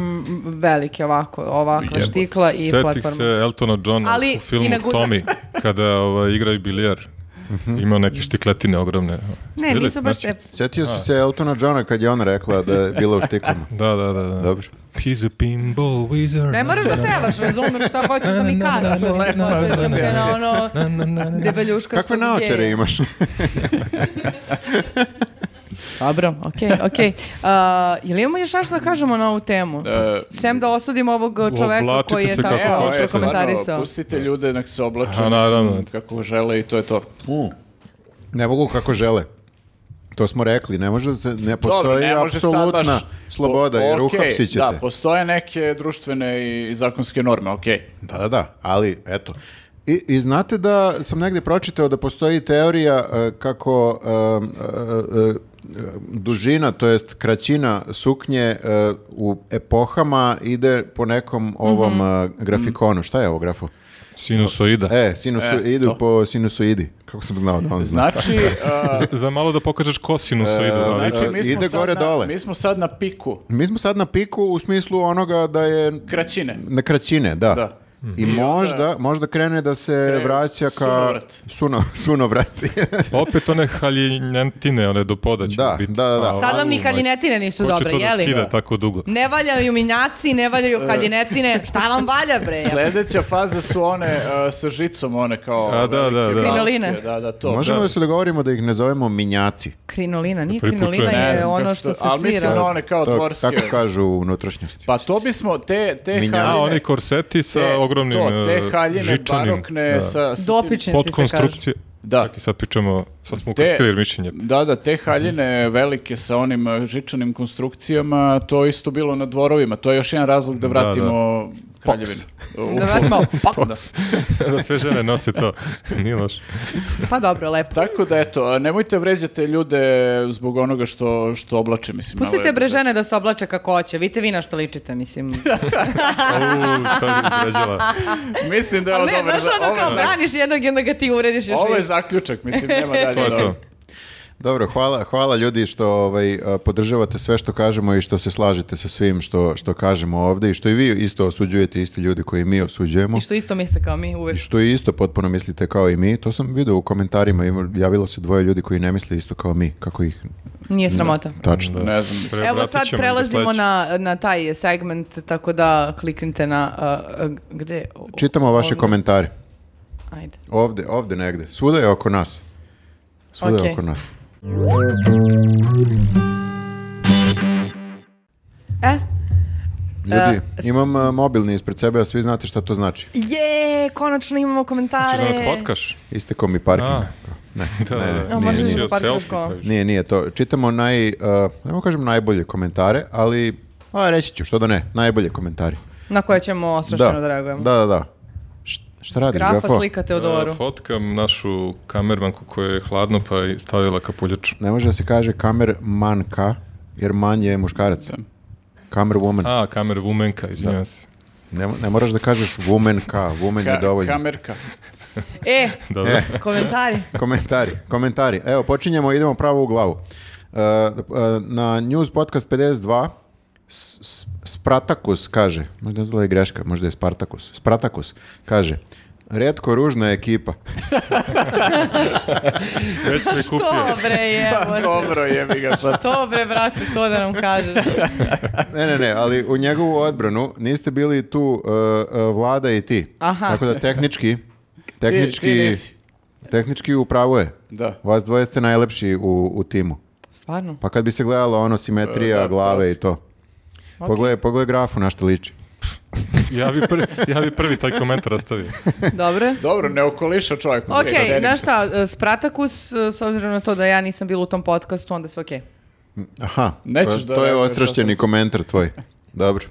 C: velike ovako, ovakva
B: Jebote.
C: štikla [LAUGHS] i
D: Setih
C: platforma.
D: se Eltona Johna
C: Ali
D: u filmu
C: i na guda-
D: Tommy, kada ovaj, igraju bilijar.
A: Mhm.
D: Imao neke štikletine ogromne. Ste
C: Ne,
D: videli?
C: nisu baš
D: Znači-
C: te-
A: Sjetio si se Eltona Johna kad je ona rekla da je bila u
C: [LAUGHS]
A: štiklama.
D: Da, da, da. da.
A: Dobro.
D: He's a pinball wizard.
C: Ne moraš da pevaš, razumem šta hoćeš da mi kažeš. Mislim, podsjećam te na ono debeljuška
A: Kakve naočare imaš?
C: Dobro, [LAUGHS] okej, okej. A, Jel imamo još nešto da kažemo na ovu temu?
B: E,
C: Sem da osudimo ovog čoveka
D: Oblačite
C: koji je
D: se
C: tako
D: kako
B: Evo,
D: hoćete.
B: e, stvarno,
C: prokomentarisao.
B: pustite ljude, nek se oblače
D: A,
B: mislim,
D: naravno.
B: kako žele i to je to.
A: Ne mogu kako žele. To smo rekli, ne može da se, ne
B: Dobro,
A: postoji
B: ne može sad
A: apsolutna
B: baš-
A: sloboda,
B: O-
A: jer
B: okej,
A: uhapsit ćete.
B: Da, postoje neke društvene i zakonske norme, okej.
A: Da, da, da, ali eto. I, I znate da sam negdje pročitao da postoji teorija e, kako e, e, e, dužina, to jest kraćina suknje e, u epohama ide po nekom ovom
B: Mhm.
A: e, grafikonu. Šta je ovo grafo?
D: Sinusoida.
A: E, sinusu,
B: E,
A: idu
B: to.
A: po sinusoidi. Kako sam znao da on zna.
D: [LAUGHS]
B: Znači, a,
D: Za, za malo da pokažeš ko sinusoidu.
A: E,
D: ali-
B: znači mi smo
A: ide
B: sad
A: gore,
B: na-
A: dole.
B: Mi smo sad na piku
A: Mi smo sad na piku u smislu onoga da je
B: kraćine.
A: Na kraćine, da.
B: Da.
A: I možda, možda krene da se vraća ka...
B: sunovrat.
A: Suno, [LAUGHS] sunovrat.
D: Opet one haljinjantine, one do poda će
A: [LAUGHS] Da,
D: Znači, biti.
A: da, da, da.
D: A,
C: Sad vam ni
D: au,
C: haljinetine nisu
D: Ko će
C: dobre,
D: to da
C: jeli?
D: skida tako dugo?
C: Ne valjaju minjaci, ne valjaju
B: E.
C: haljinetine. Šta vam valja, bre?
B: Sljedeća faza su one e, sa žicom, one kao...
D: A, da,
B: velike
D: da, da.
B: maske,
C: Krinoline.
B: Da, da, to.
A: Možemo
B: da.
A: da se dogovorimo da ih ne zovemo minjaci.
C: Krinolina, nije
D: Prvi put
C: krinolina,
D: čujem.
B: Ne
C: je
B: znam
C: ono
B: kako
C: što
B: se-
C: se
B: ali mislim
C: svira.
B: da one kao
A: To-
B: tvorske.
A: Tako kažu u unutrašnjosti.
B: Pa to bismo te, te
A: Minjaci.
D: A,
B: haljine-
D: oni korseti sa
B: te-
D: ogromnim
B: E, to, te
D: e,
B: haljine
D: žičanim,
B: barokne
D: da.
B: sa, sa tim-
C: Dopičnici se kažu.
D: Podkonstrukcije.
B: Da.
D: Čak i sad pričamo, sad smo
B: Te-
D: ukrstili jer mišljenje. [LAUGHS]
B: Da, da, te haljine velike sa onim e, žičanim konstrukcijama, to je isto bilo na dvorovima. To je još jedan razlog da vratimo kraljevinu. U-
C: Da vratimo, pa,
D: da sve žene nose to. [LAUGHS] Nije loš.
C: pa dobro, lepo.
B: Tako da eto, a nemojte vređate ljude zbog onoga što, što oblače, mislim. malo
C: Pustite
B: je
C: bre
B: bez
C: žene da se oblače kako hoće. Vidite vi na što
B: [LAUGHS]
C: ličite, mislim.
D: Au, sad je izrađala.
B: veze. Mislim da je ovo
C: Ali ne,
B: dobar
C: znaš
B: za-
C: ono
B: ovo je
C: kao
B: za-
C: braniš jednog i onda ga ti urediš još
B: Ovo je
C: više.
B: zaključak, mislim,
C: [LAUGHS]
B: nema dalje.
D: To je
B: dobro.
D: to.
A: Dobro, hvala, hvala ljudi što ovaj, a, podržavate sve što kažemo i što se slažete sa svim što, što kažemo ovdje i što i vi isto osuđujete, isti ljudi koji mi osuđujemo.
C: I što isto misle kao mi uvek.
A: I što i isto potpuno mislite kao i mi, to sam vidio u komentarima, ima- javilo se dvoje ljudi koji ne misle isto kao mi, kako ih
C: Nije sramota.
A: tačno.
B: Ne znam.
C: Evo
D: Preobratit
C: sad
D: ćemo i do
C: prelazimo
D: sledećeg.
C: na, na taj segment, tako da kliknite na... uh, uh, gde? O-
A: Čitamo vaše
C: ovde.
A: komentare.
C: Ajde.
A: Ovde, ovde negde. Svuda je oko nas. Svuda je
C: Okej.
A: oko nas.
C: E?
A: Ljudi, imam e, mobilni ispred sebe, a svi znate šta to znači.
C: Je, konačno imamo komentare.
D: Češ da nas fotkaš?
A: Isteko mi parking.
D: A.
A: Ne,
D: Da, [LAUGHS]
A: ne,
D: da, da.
A: ne, nije,
C: možeš
A: nije.
D: Mislio
C: da parkiraš
D: selfie
C: kola.
D: praviš.
A: Nije, nije to. Čitamo naj, uh, nemo kažem najbolje komentare, ali a, reći ću, što da ne, najbolje komentari.
C: Na koje ćemo osrašeno da reagujemo.
A: Da, da, da. Š- šta radiš,
C: Grafa,
A: grafo?
C: slika Teodoru.
D: E, Fotkam našu kamermanku koja je hladno pa je stavila kapuljač.
A: Ne može da se kaže kamermanka, jer man je muškarac.
B: Da.
A: Kamerwoman.
D: A, kamer vumenka, izvinjam se.
A: Ne, mo- ne moraš da kažeš womanka, woman je
B: Ka-
A: dovoljno.
B: kamerka.
C: E,
D: Dobro.
A: E.
C: komentari.
A: Komentari, komentari. Evo, počinjemo, idemo pravo u glavu. Uh, uh, na News Podcast 52 S- S- Spratakus kaže, možda je zla i greška, možda je Spartakus. Spratakus kaže, redko ružna ekipa. [LAUGHS]
D: Već me
C: [LAUGHS] Što
D: kupio. [LAUGHS] Pa,
C: bre je,
B: Pa, Dobro, jebi ga sad.
C: Što bre, brate, to da nam kažeš.
A: Ne, ne, ne, ali u njegovu odbranu niste bili tu uh, uh, vlada i ti.
C: Aha.
A: Tako da tehnički, tehnički,
B: ti nisi.
A: tehnički upravo je.
B: Da.
A: Vas dvoje ste najlepši u, u timu.
C: Stvarno?
A: Pa kad bi se gledalo ono simetrija
B: E, da,
A: glave i
B: prosim.
A: to. Pogledaj, pogledaj grafu na što liči.
D: [LAUGHS] Ja bi prvi, ja bi prvi taj komentar ostavio.
C: Dobro je.
B: Dobro, ne okoliša čovjek.
C: Ok,
B: Cenim.
C: znaš šta, e, Spratakus, e, s obzirom na to da ja nisam bila u tom podcastu, onda sve okej.
A: Aha,
B: Nećeš
A: to,
B: da
A: to je
B: reaguješ,
A: ostrašćeni
B: ostrašćen si.
A: komentar tvoj. Dobro.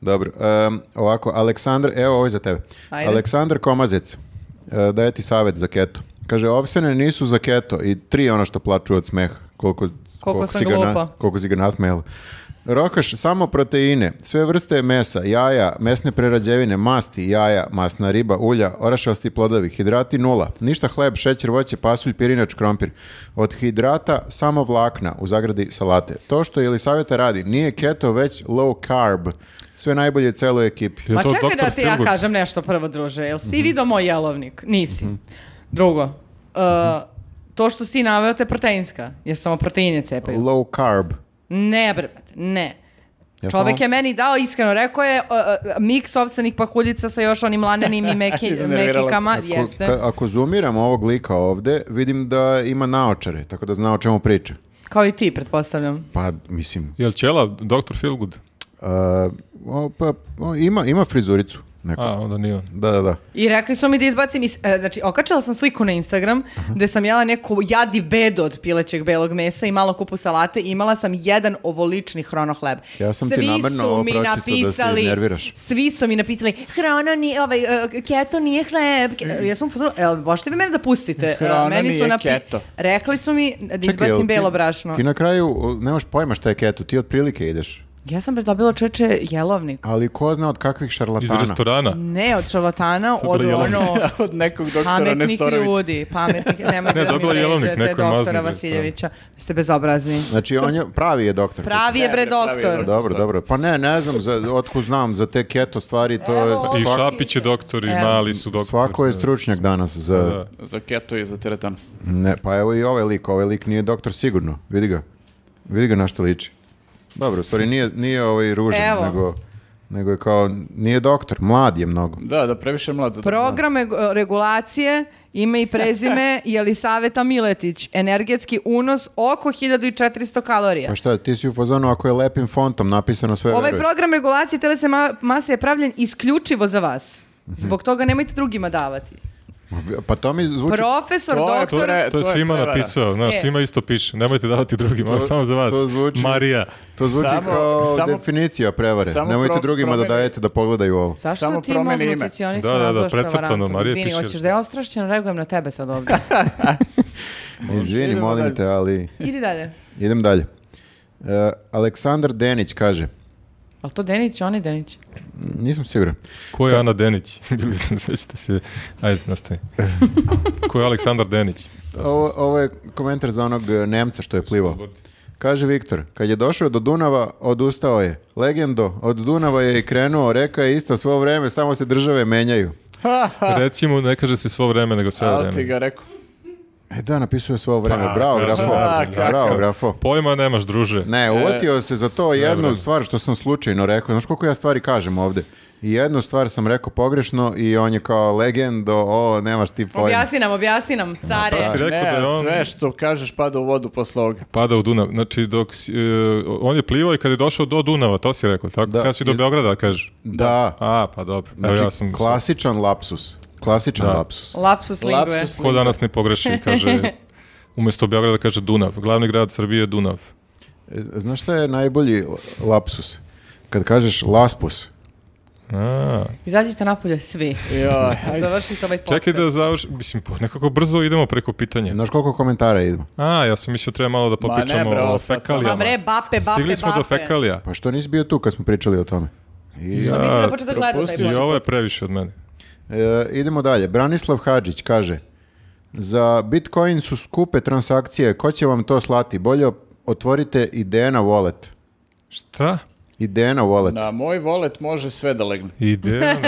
A: Dobro. Em, ovako, Aleksandar, evo ovo je za tebe.
C: Ajde.
A: Aleksandar Komazec, e, daje ti savjet za keto. Kaže, ovsene nisu za keto i tri ono što plaču od smeha. Koliko,
C: sam
A: si ga na-
C: glupa.
A: koliko si ga nasmejala. Rokaš samo proteine, sve vrste mesa, jaja, mesne prerađevine, masti, jaja, masna riba, ulja, orašasti plodovi, hidrati nula, ništa hleb, šećer, voće, pasulj, pirinač, krompir. Od hidrata samo vlakna, u zagradi salate. To što Jelisaveta radi nije keto, već low carb. Sve najbolje celoj ekipi.
D: Je
C: Ma
D: to
C: čekaj
D: doktor
C: da ti ja
D: Feelgood?
C: kažem nešto prvo, druže. Jel si ti vidio moj jelovnik? Nisi. Drugo, e, to što si ti naveo te proteinska, jer samo proteine cepaju.
A: Low carb.
C: Ne, bre, brate, ne.
A: Ja
C: Čovek
A: samo-
C: je meni dao, iskreno, rekao je uh, uh, miks ovcenih pahuljica sa još onim lanenim i meki,
B: Iznervirala
C: mekikama.
A: Ko-
C: Jeste.
A: ka- ako zoomiram ovog lika ovde, vidim da ima naočare, tako da zna o čemu priča.
C: Kao i ti, pretpostavljam.
A: Pa, mislim,
D: Jel ćela doktor Feelgood?
A: Uh, o, pa, o, ima, ima frizuricu. Neko.
D: A, onda nije on.
A: Da, da, da.
C: I rekli su mi da izbacim, iz, e, znači okačila sam sliku na Instagram gde sam jela neko jadi bedo od pilećeg belog mesa i malo kupu salate i imala sam jedan ovolični hrono hleb.
A: Ja sam ti namerno ovo pročitao da se iznerviraš.
C: Svi su mi napisali, hrono nije, ovaj, e, keto nije hleb. ke-" Ja sam pozorila, el, možete vi mene da pustite? E,
B: Hrana
C: meni su
B: nije keto.
C: Rekli su mi da
A: jel
C: izbacim
A: ti-
C: belo brašno.
A: Ti na kraju o, nemaš pojma šta je keto, ti otprilike ideš.
C: Ja sam dobila čeče jelovnik.
A: Ali ko zna od kakvih
D: Iz
A: šarlatana.
D: restorana.
B: Mm,
C: Ne od šarlatana,
D: je
C: od
D: bila jelovnik.
A: [LAUGHS]
C: ono...
B: [LAUGHS] Od nekog doktora
C: Pametnih
B: Nestorovića.
C: ljudi,
B: [LAUGHS]
C: pametnih, nemojte
D: Ne,
C: da
D: dobila
C: mi
D: je jelovnik,
C: vređate
D: neko je maznuo da
C: doktora
D: je to.
C: Vasiljevića. Ste bezobrazni.
A: Znači, on je, pravi je doktor.
C: Pravi je
B: Ne,
C: bre
B: bre, pravi je
C: doktor.
B: doktor.
A: Dobro, dobro. Pa ne, ne znam, za, otkud znam za te keto stvari, to je...
C: Evo,
D: I
C: Svako-
D: Šapić je doktor, i znali su doktor.
A: Svako je stručnjak danas za...
D: Da.
B: Za keto i za teretan.
A: Ne, pa evo i ovaj lik, ovaj lik nije doktor sigurno. Vidi ga. Vidi ga na što liči. Dobro, u stvari nije, nije ovaj ružan,
C: Evo.
A: nego, nego je kao, nije doktor, mlad je mnogo.
B: Da, da previše mlad za
C: Program reg- e, regulacije, ime i
B: [LAUGHS]
C: prezime Jelisaveta Miletić, energetski unos oko 1400 kalorija.
A: Pa šta, ti si u fazonu ako je lepim fontom napisano sve
C: Ovaj
A: veruješ.
C: program regulacije telesne ma- mase je pravljen isključivo za vas.
D: Mhm.
C: Zbog toga nemojte drugima davati.
A: Pa to mi zvuči...
C: Profesor,
B: To-
D: To,
C: doktor,
B: Doktore,
D: to je
B: E, to je
D: svima
B: prevara.
D: napisao, znaš,
C: E.
D: svima isto piše. Nemojte davati drugima,
A: To-
D: samo za vas.
A: to zvuči-
D: Marija.
A: To zvuči
B: Samo-
A: kao
B: samo-
A: definicija prevare.
B: samo
A: Nemojte
B: pro-
A: drugima da
B: promeni-
A: dajete da pogledaju ovo.
C: Zašto
B: Samo
C: ti mog
B: promeni ime.
C: nutricionista
D: Da, da, da,
C: nazvaš
D: precrtano,
C: prevarantom?
D: Marija
C: Izvini,
D: Pišir.
C: hoćeš da ja ostrašćen, reagujem na tebe sad ovdje.
D: [LAUGHS]
A: Izvini,
B: Idemo
A: molim
B: dalje.
A: te, ali
C: Idi dalje.
A: idem dalje. E, Aleksandar Denić kaže,
C: Ali to Denić, on je Denić.
A: nisam siguran,
D: Ko je Ana Denić? [LAUGHS] Bili se, sećate se. Ajde, nastavi. Ko je Aleksandar Denić?
A: ovo, ovo je komentar za onog e, Nemca što je plivao. Kaže Viktor, kad je došao do Dunava, odustao je. Legendo, od Dunava je i krenuo, reka je isto svo vreme, samo se države menjaju.
B: Ha, ha,
D: Recimo, ne kaže se svo vreme, nego sve
B: ali Pa. ti
D: vreme.
B: ga rekao.
A: E da, napisuje sve ovo vreme. Bravo,
D: bravo,
A: grafo.
D: bravo,
A: Bravo,
B: kako?
A: grafo.
D: Pojma nemaš, druže.
A: Ne, uvatio se za to
D: E, sve
A: jednu
D: vreme.
A: stvar što sam slučajno rekao. Znaš koliko ja stvari kažem ovde? I jednu stvar sam rekao pogrešno i on je kao legendo, o, nemaš ti pojma.
C: Objasni nam, objasni nam, care.
D: Šta si rekao
B: Ne,
D: da je on
B: sve što kažeš pada u vodu posle ovoga.
D: pada u Dunav? Znači, dok si, e, on je plivao i kad je došao do Dunava, to si rekao, tako?
A: Da.
D: Da. si do
A: Iz-
D: Beograda, kažeš.
A: Da,
D: A, pa dobro. Evo,
A: znači
D: ja sam...
A: klasičan lapsus. Klasičan lapsus.
C: Lapsus lingue.
B: Lapsus
D: Ko danas ne
C: [LAUGHS]
D: pogreši, kaže... Umjesto Beograda kaže Dunav. Glavni grad Srbije je Dunav.
A: E, Znaš šta je najbolji la- lapsus? Kad kažeš laspus.
D: A,
C: Izađite napolje svi. [LAUGHS]
B: Joj, ajde.
C: Završite ovaj podcast.
D: čekaj da završim, mislim, po- nekako brzo idemo preko pitanja.
A: E, Znaš koliko komentara idemo?
D: A, ja sam mislio treba malo da
B: ne,
D: popričamo
B: bro,
D: o
B: sad sam-
D: fekalijama.
C: Ma bre, bape, bape,
D: Stigli smo do
C: bape.
D: fekalija.
A: Pa što nisi bio tu kad smo pričali o tome? I,
D: Ja.
C: Pa Mislim da početi da gleda taj
B: propustio
D: I
C: podcast.
D: ovo je previše od mene.
A: E, idemo dalje. Branislav Hadžić kaže za Bitcoin su skupe transakcije, ko će vam to slati? Bolje otvorite Idena wallet.
D: Šta?
A: Idena wallet.
B: Na moj volet može sve da legne.
C: [LAUGHS]
D: Idealno.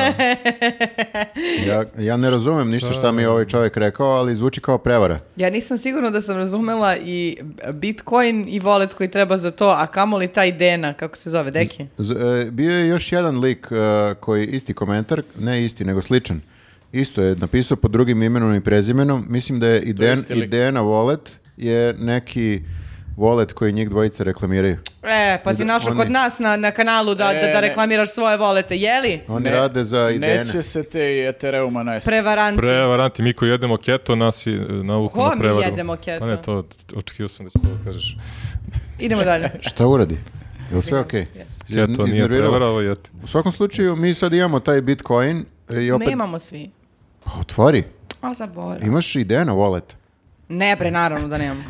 A: Ja, ja ne razumem ništa šta mi je ovaj čovjek rekao, ali zvuči kao prevara.
C: Ja nisam sigurna da sam razumela i Bitcoin i wallet koji treba za to, a kamoli taj Dena, kako se zove, Deki?
A: Z- e, bio je još jedan lik e, koji isti komentar, ne isti, nego sličan. Isto je napisao pod drugim imenom i prezimenom. Mislim da je Iden,
B: isti lik.
A: Idena wallet je neki wallet koji njih dvojice reklamiraju.
C: E, pa si
A: Da,
C: našao
A: oni-
C: kod nas na, na kanalu da,
B: E,
C: da, da
B: ne.
C: reklamiraš svoje volete, jeli?
A: Oni
B: Ne-
A: rade za Idena.
B: Neće se te Ethereuma najesti.
C: Prevaranti.
D: Prevaranti, mi koji jedemo keto, nas i nauku
C: Ko
D: na
C: mi
D: prevaru.
C: jedemo keto?
D: Pa ne, to očekio sam da će to kažeš.
C: Idemo dalje.
A: Šta uradi? Je li sve okej?
D: Keto nije
A: Iznerviralo?
D: prevara, ovo
C: [LAUGHS]
D: je jete.
A: U svakom slučaju, mi sad imamo taj Bitcoin e, i opet...
C: Nemamo svi.
A: Pa, Otvori.
C: A zaboravim.
A: Imaš ideja na wallet.
C: Ne bre, naravno da nemamo.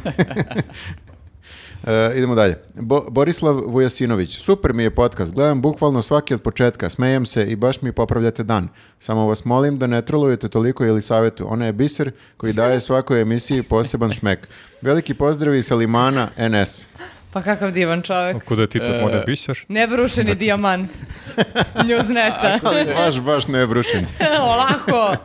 A: E, idemo dalje. Bo- Borislav Vujasinović. Super mi je podcast. Gledam bukvalno svaki od početka. Smejem se i baš mi popravljate dan. Samo vas molim da ne trolujete toliko ili savjetu. Ona je biser koji daje svakoj emisiji poseban šmek. Veliki pozdravi sa Limana NS.
C: Pa kakav divan čovjek.
D: Ako da je Tito
A: E,
D: mora biser.
C: Nebrušeni
B: Dakle. [LAUGHS]
C: dijamant. Njuzneta.
A: Ali baš, baš ne brušim.
C: [LAUGHS] Olako.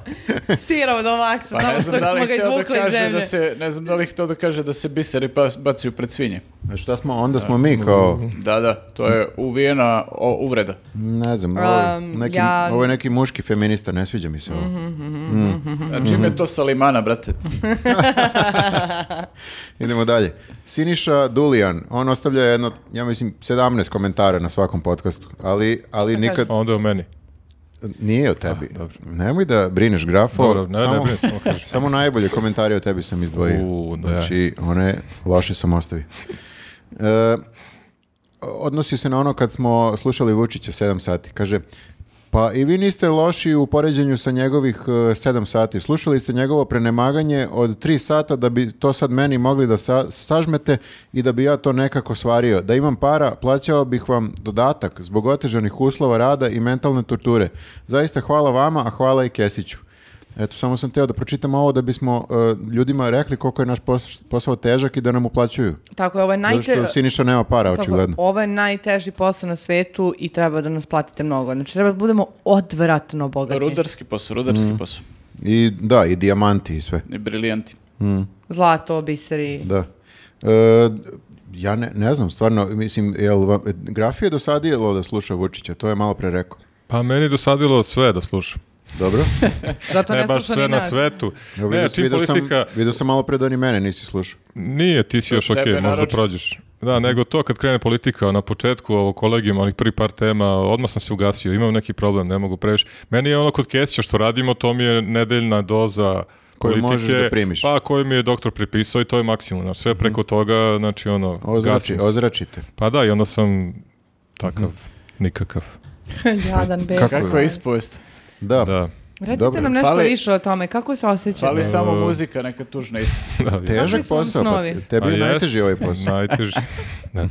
C: Sirov do maksa,
B: Pa
C: samo
B: ne
C: što
B: znam da
C: smo
B: li
C: ga
B: htio da
C: izvukli iz
B: kaže
C: zemlje.
B: da se, ne znam da li htio da kaže da se biseri bas- bacaju pred svinje.
A: A Šta smo, onda smo mi kao,
B: Da, da, to je uvijena o, uvreda.
A: ne znam, ovo je,
C: Um,
A: neki,
C: ja-
A: ovo je neki muški feminista, ne sviđa mi se ovo.
B: A čim je Znači, to sa limana, brate?
A: Idemo dalje. Siniša Dulijan, on ostavlja jedno, ja mislim, 17 komentara na svakom podcastu, ali, ali nikad
D: A onda o meni.
A: nije o tebi. Nemoj da brineš grafo,
D: Dobro, ne,
A: samo,
D: ne, ne, samo kažeš.
A: samo najbolje komentare o tebi sam izdvojio.
D: U, da.
A: Znači, one loše sam ostavio. E, odnosi se na ono kad smo slušali Vučića 7 sati. Kaže, pa i vi niste loši u poređenju sa njegovih 7 sati. Slušali ste njegovo prenemaganje od 3 sata da bi to sad meni mogli da sa- sažmete i da bi ja to nekako svario. Da imam para, plaćao bih vam dodatak zbog otežanih uslova rada i mentalne torture. Zaista hvala vama, a hvala i Kesiću. Eto, samo sam teo da pročitam ovo da bismo e, ljudima rekli koliko je naš pos- posao težak i da nam uplaćuju.
C: Tako je, ovo je
A: Zato
C: najte...
A: što Siniša nema para,
C: Tako,
A: očigledno.
C: Ovo je najteži posao na svetu i treba da nas platite mnogo. Znači, treba da budemo odvratno bogati.
B: Rudarski posao, rudarski posao.
A: I da, i dijamanti i sve.
B: I brilijenti.
C: Zlato, biseri.
A: Da. E, ja ne, ne znam, stvarno, mislim, jel vam, graf je dosadilo da sluša Vučića, to je malo pre rekao.
D: Pa meni je dosadilo sve da slušam. [LAUGHS]
A: Dobro?
C: Zato ne,
D: Ne baš
C: sluša
D: sve
C: ni
D: na
C: nas.
D: svetu.
A: Evo,
D: Ne,
A: vidio-
D: čim
A: vidio sam-
D: politika...
A: Vidio sam malo pre da ni mene nisi slušao.
D: Nije, ti si još
B: Tebe
D: okej, možda
B: naročito.
D: prođeš. Da, nego to kad krene politika, ono, na početku ovo kolegijum, onih prvi par tema, odmah sam se ugasio, imam neki problem, ne mogu previše. Meni je ono kod Kesića što radimo, to mi je nedeljna doza
A: Koju
D: politike,
A: možeš da primiš. Mhm.
D: Pa koju mi je doktor pripisao i to je maksimum. znaš, Sve preko toga, znači ono,
A: Ozrači,
D: gasim se.
A: ozračite.
D: Pa da, i onda sam takav,
A: Mhm.
D: nikakav.
C: [LAUGHS] Jadan bebe.
B: Kakva je ispovest?
A: Da.
D: Da, [LAUGHS]
C: Recite
A: Dobro.
C: nam nešto
B: Fali-
C: više o tome. Kako se osjećate?
B: Fali samo muzika, neka tužna ispovest.
D: da.
A: Težak
C: su vam
A: posao, pa
C: snovi?
A: tebi je
D: A jest,
A: najteži ovaj posao.
D: Najteži. Da.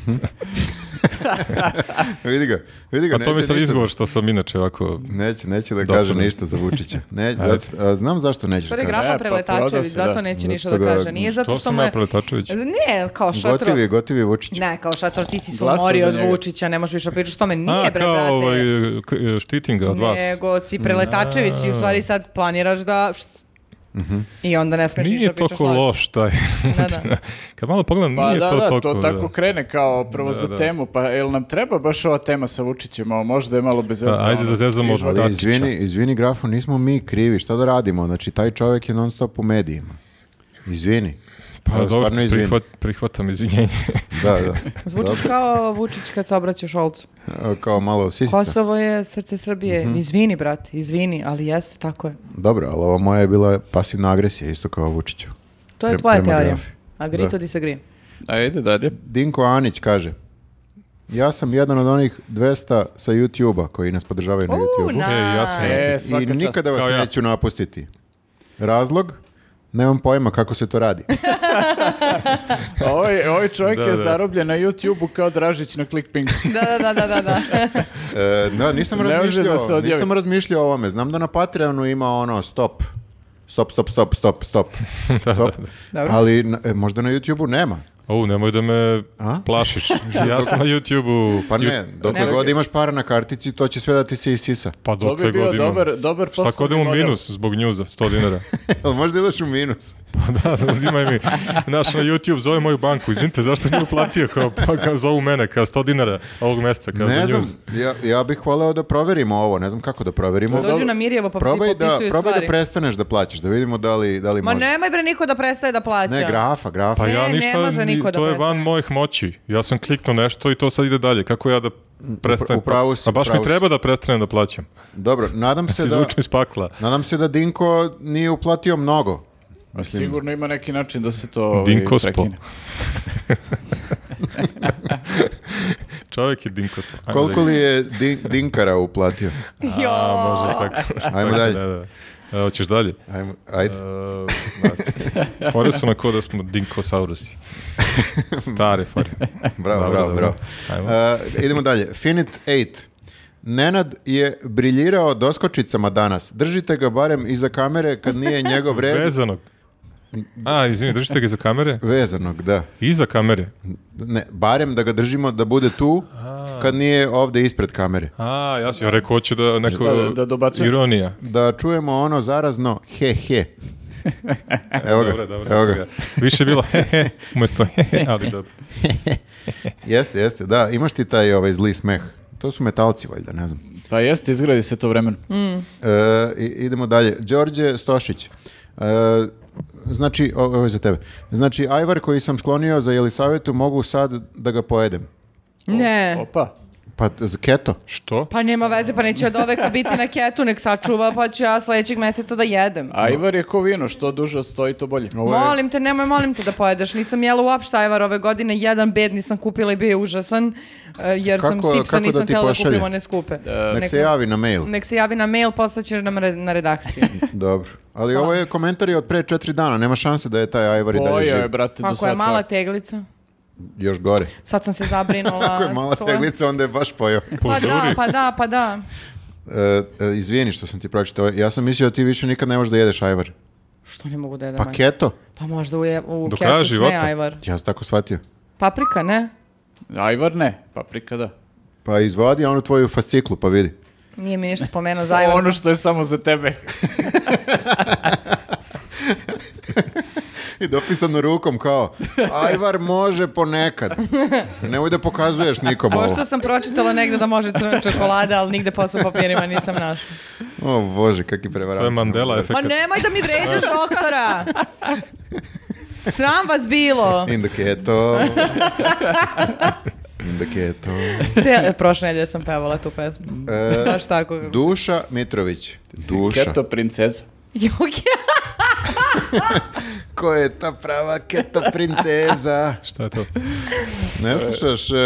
A: [LAUGHS] vidi ga, vidi [LAUGHS] ga.
D: A to mi
A: neće
D: je sad
A: ništa-
D: izgovor što sam inače ovako...
A: Neće, neće da
D: Dosadno.
A: kaže ništa za Vučića.
D: [LAUGHS]
A: Ne, zato- a, znam zašto nećeš da
C: Stvari
A: kaže.
B: E,
C: grafa
B: pa prodao
C: Preletačević,
B: se,
C: zato
B: da.
C: neće
A: Zato
C: ništa
A: što
C: da
A: ga-
C: kaže. Nije zato
D: To
C: što
D: sam
C: mu
D: ja
C: je...
D: preletačević.
C: Ne, kao šatro...
A: Gotiv je, gotiv je Vučić.
C: Ne, kao šatro, ti si se
B: Glasao
C: umorio
B: za
C: od
B: njega.
C: Vučića, ne možeš više pričati što me
D: A,
C: nije, bre,
D: kao
C: brate.
D: ovaj, k- štitim ga od vas.
C: Nego si Preletačević i u stvari sad planiraš da... št-
A: Mhm.
C: I onda ne smeš ništa
D: Nije
C: pričaš
D: toliko znači,
C: laži.
D: loš taj. [LAUGHS]
C: da.
D: Kad malo pogledam,
B: Pa
D: nije
B: da,
D: to
B: da,
D: toliko...
B: to tako krene kao prvo
D: Da,
B: za
D: da.
B: temu, pa jel nam treba baš ova tema sa Vučićem, a možda je malo bez veze.
D: A, Pa, ajde
B: ono,
D: da zezamo
B: križva-
D: od-
A: Ali
D: Dačića.
A: izvini, izvini grafu, nismo mi krivi, šta da radimo? Znači, taj čovjek je non stop u medijima. Izvini.
D: Pa
A: Evo,
D: dobro,
A: stvarno izvini.
D: prihvat, prihvatam izvinjenje.
A: Da, da.
C: Zvučiš
A: Dobro.
C: kao Vučić kad se obraćaš Šolcu.
A: E, Kao malo sisica.
C: Kosovo je srce Srbije.
A: Mhm.
C: Izvini, brate, izvini, ali jeste, tako je.
A: Dobro, ali ova moja je bila pasivna agresija, isto kao Vučiću.
C: To je
A: Pre-
C: tvoja
A: prema
C: teorija.
A: grafi.
C: Agree
A: Da.
C: to disagree.
B: Ajde, dalje.
A: Dinko Anić kaže, ja sam jedan od onih 200 sa YouTube-a koji nas podržavaju na
C: U,
A: YouTube-u.
C: na-
D: e, jasno. je.
B: E,
A: I
B: svaka čast.
A: nikada vas
D: Kao ja.
A: neću napustiti. Razlog? Nemam pojma kako se to radi.
B: Ovaj, ovaj čovjek
D: Da,
B: je
D: da.
B: zarobljen na YouTube-u kao Dražić na Clickpinku.
C: Da, da, da, da, da.
A: [LAUGHS] E, da, nisam
B: Ne može
A: razmišljao,
B: da se odjavi.
A: nisam razmišljao o ovome. Znam da na Patreonu ima ono stop. Stop, stop, stop, stop,
B: [LAUGHS]
A: stop. Stop.
C: Dobro.
A: Ali na- e, možda na YouTubeu nema.
D: Au, nemoj da me
A: A?
B: [LAUGHS]
D: plašiš. Ja sam na YouTube-u.
A: Pa ne, dokle
C: Ne.
A: god imaš para na kartici, to će sve da ti se isisa. [LAUGHS]
D: Pa
B: To bi
D: dokle
B: bio
D: god imam.
B: dobar- dobar
D: Šta
B: poslovni
D: god imam u
B: model.
D: minus zbog njuza, 100 dinara. [LAUGHS]
A: Jel možda ideš u minus?
D: Pa da, uzimaj mi. Znaš, na YouTube zove moju banku. Izvinite, zašto mi je uplatio? Kao, pa kao zovu mene, kao 100 dinara ovog mjeseca, kao
A: Ne
D: za
A: znam,
D: njuz.
A: ja, ja bih voleo da proverimo ovo, ne znam kako da proverimo.
C: Dođu na Mirjevo pa ti
A: Probaj
C: popisuju
A: da, probaj da
C: stvari.
A: prestaneš da plaćaš, da vidimo da li, da li
C: Ma
A: može.
C: nemoj bre niko da prestaje da plaća.
A: Ne, grafa, grafa.
D: Pa
C: Ne,
D: ja
C: ne
D: ništa,
C: može
D: ni-
C: niko da
D: to je van
C: prestane.
D: mojih moći. Ja sam kliknuo nešto i to sad ide dalje. Kako ja da prestanem?
A: u pravu si,
D: A baš
A: u pravu
D: mi
A: si.
D: treba da prestanem da
A: [LAUGHS]
D: plaćam.
A: Dobro, nadam
B: Pa
D: Da
A: se
D: se
A: da,
D: izvučem iz pakla.
A: nadam se da Dinko nije uplatio mnogo.
B: Sigurno ima neki način da se to ovaj,
D: Dinkospo.
B: prekine.
D: Čovjek je dinkospo. Ajmo
A: Koliko
D: dalje.
A: li je Din- Dinkara uplatio?
D: A, može tako.
A: [LAUGHS] Ajmo
D: Tako,
A: dalje.
D: Da, da. E, hoćeš
C: [LAUGHS]
D: dalje?
A: Ajmo,
D: [LAUGHS]
A: ajde.
D: E, fore su na ko da smo
A: [LAUGHS]
D: dinkosaurusi. Stare fore.
A: Bravo,
D: Dobro,
A: bravo,
D: dobro.
A: bravo.
D: Ajmo.
A: Uh, idemo dalje. Finit 8. Nenad je briljirao doskočicama danas. Držite ga barem iza kamere kad nije njegov
D: [LAUGHS]
A: red.
D: Vezanog. A, izvini, držite ga iza kamere?
A: Vezanog, da.
D: Iza kamere.
A: Ne, barem da ga držimo da bude tu kad nije ovde ispred kamere.
D: A, ja sam ja rekao, hoću da neko...
B: Šta, da- da dobacujem?
D: Ironija.
A: Da čujemo ono zarazno he he. Evo ga,
D: Dobro, dobro.
A: evo ga.
D: dobro. Više je bilo [LAUGHS] he he, umjesto he
C: E.
D: he, ali dobro.
A: Jeste, jeste, da. Imaš ti taj ovaj zli smeh. To su metalci valjda, ne znam.
B: Pa jeste, izgradi se to vremeno.
A: E, i- idemo dalje. Đorđe Stošić. E, znači, o- ovo je za tebe. Znači, ajvar koji sam sklonio za Jelisavetu mogu sad da ga pojedem.
C: Ne.
B: Opa.
A: Pa t- za keto.
D: Što?
C: Pa nema veze, pa neće od oveka biti na ketu, nek sačuva, pa ću ja sledećeg meseca da jedem.
B: A Ivar je ko vino, što duže odstoji, to bolje.
A: Ovo je-
C: Molim te, nemoj, molim te da pojedeš. Nisam jela uopšte ajvar ove godine, jedan bed nisam kupila i bio je užasan, e, jer sam
A: Kako-
C: stipsa,
A: kako da
C: nisam
A: ti
C: htjela da
A: pošalje?
C: kupim one skupe.
A: Nek se javi na mail.
C: Nek se javi na mail, poslaćeš nam re- na
A: [LAUGHS]
C: redakciju.
A: Dobro. Ali ovo je komentar je od pre četiri dana. Nema šanse da je taj ajvar i dalje
B: Pojao je,
A: živ.
B: brate, do
C: Ako je
B: sad
C: mala
B: čovjek.
C: teglica,
A: Još gore.
C: sad sam se zabrinula.
A: [LAUGHS] Ako je mala
C: to-
A: teglica, onda je baš pojao.
C: Pa da,
D: Požuri.
C: pa da, pa da.
A: E, e, izvini što sam ti pročitao. Ja sam mislio da ti više nikad ne možeš da jedeš ajvar.
C: Što ne mogu da jedem?
A: Pa
C: ajvar?
A: keto.
C: Pa možda u, je, u
D: Do
C: ketu
D: kraja
C: sme
D: života.
C: ajvar.
A: Ja sam tako shvatio.
C: Paprika, ne?
B: Ajvar ne, paprika da.
A: Pa izvadi onu tvoju fasciklu pa vidi.
C: Nije mi ništa pomenuo za ajvar.
B: Ono što je samo za tebe.
A: [LAUGHS] I dopisano rukom kao Ajvar može ponekad. Nemoj da pokazuješ nikom ovo.
C: Pošto sam pročitala negde da može crna čokolada, ali nigde posao papirima nisam našla.
A: O bože, kaki prevarant.
D: To je Mandela efekt.
C: Ma nemoj da mi vređaš
D: [LAUGHS]
C: doktora! Sram vas bilo!
A: In the keto. In the keto.
C: Cijel, E, prošle nedelje sam pevala tu pesmu.
A: E,
C: Baš tako. kako-
A: Duša Mitrović. Duša.
B: Keto princeza.
C: Joke.
A: Ko je ta prava keto princeza?
C: pa.
D: Šta je to?
A: Ne slušaš e,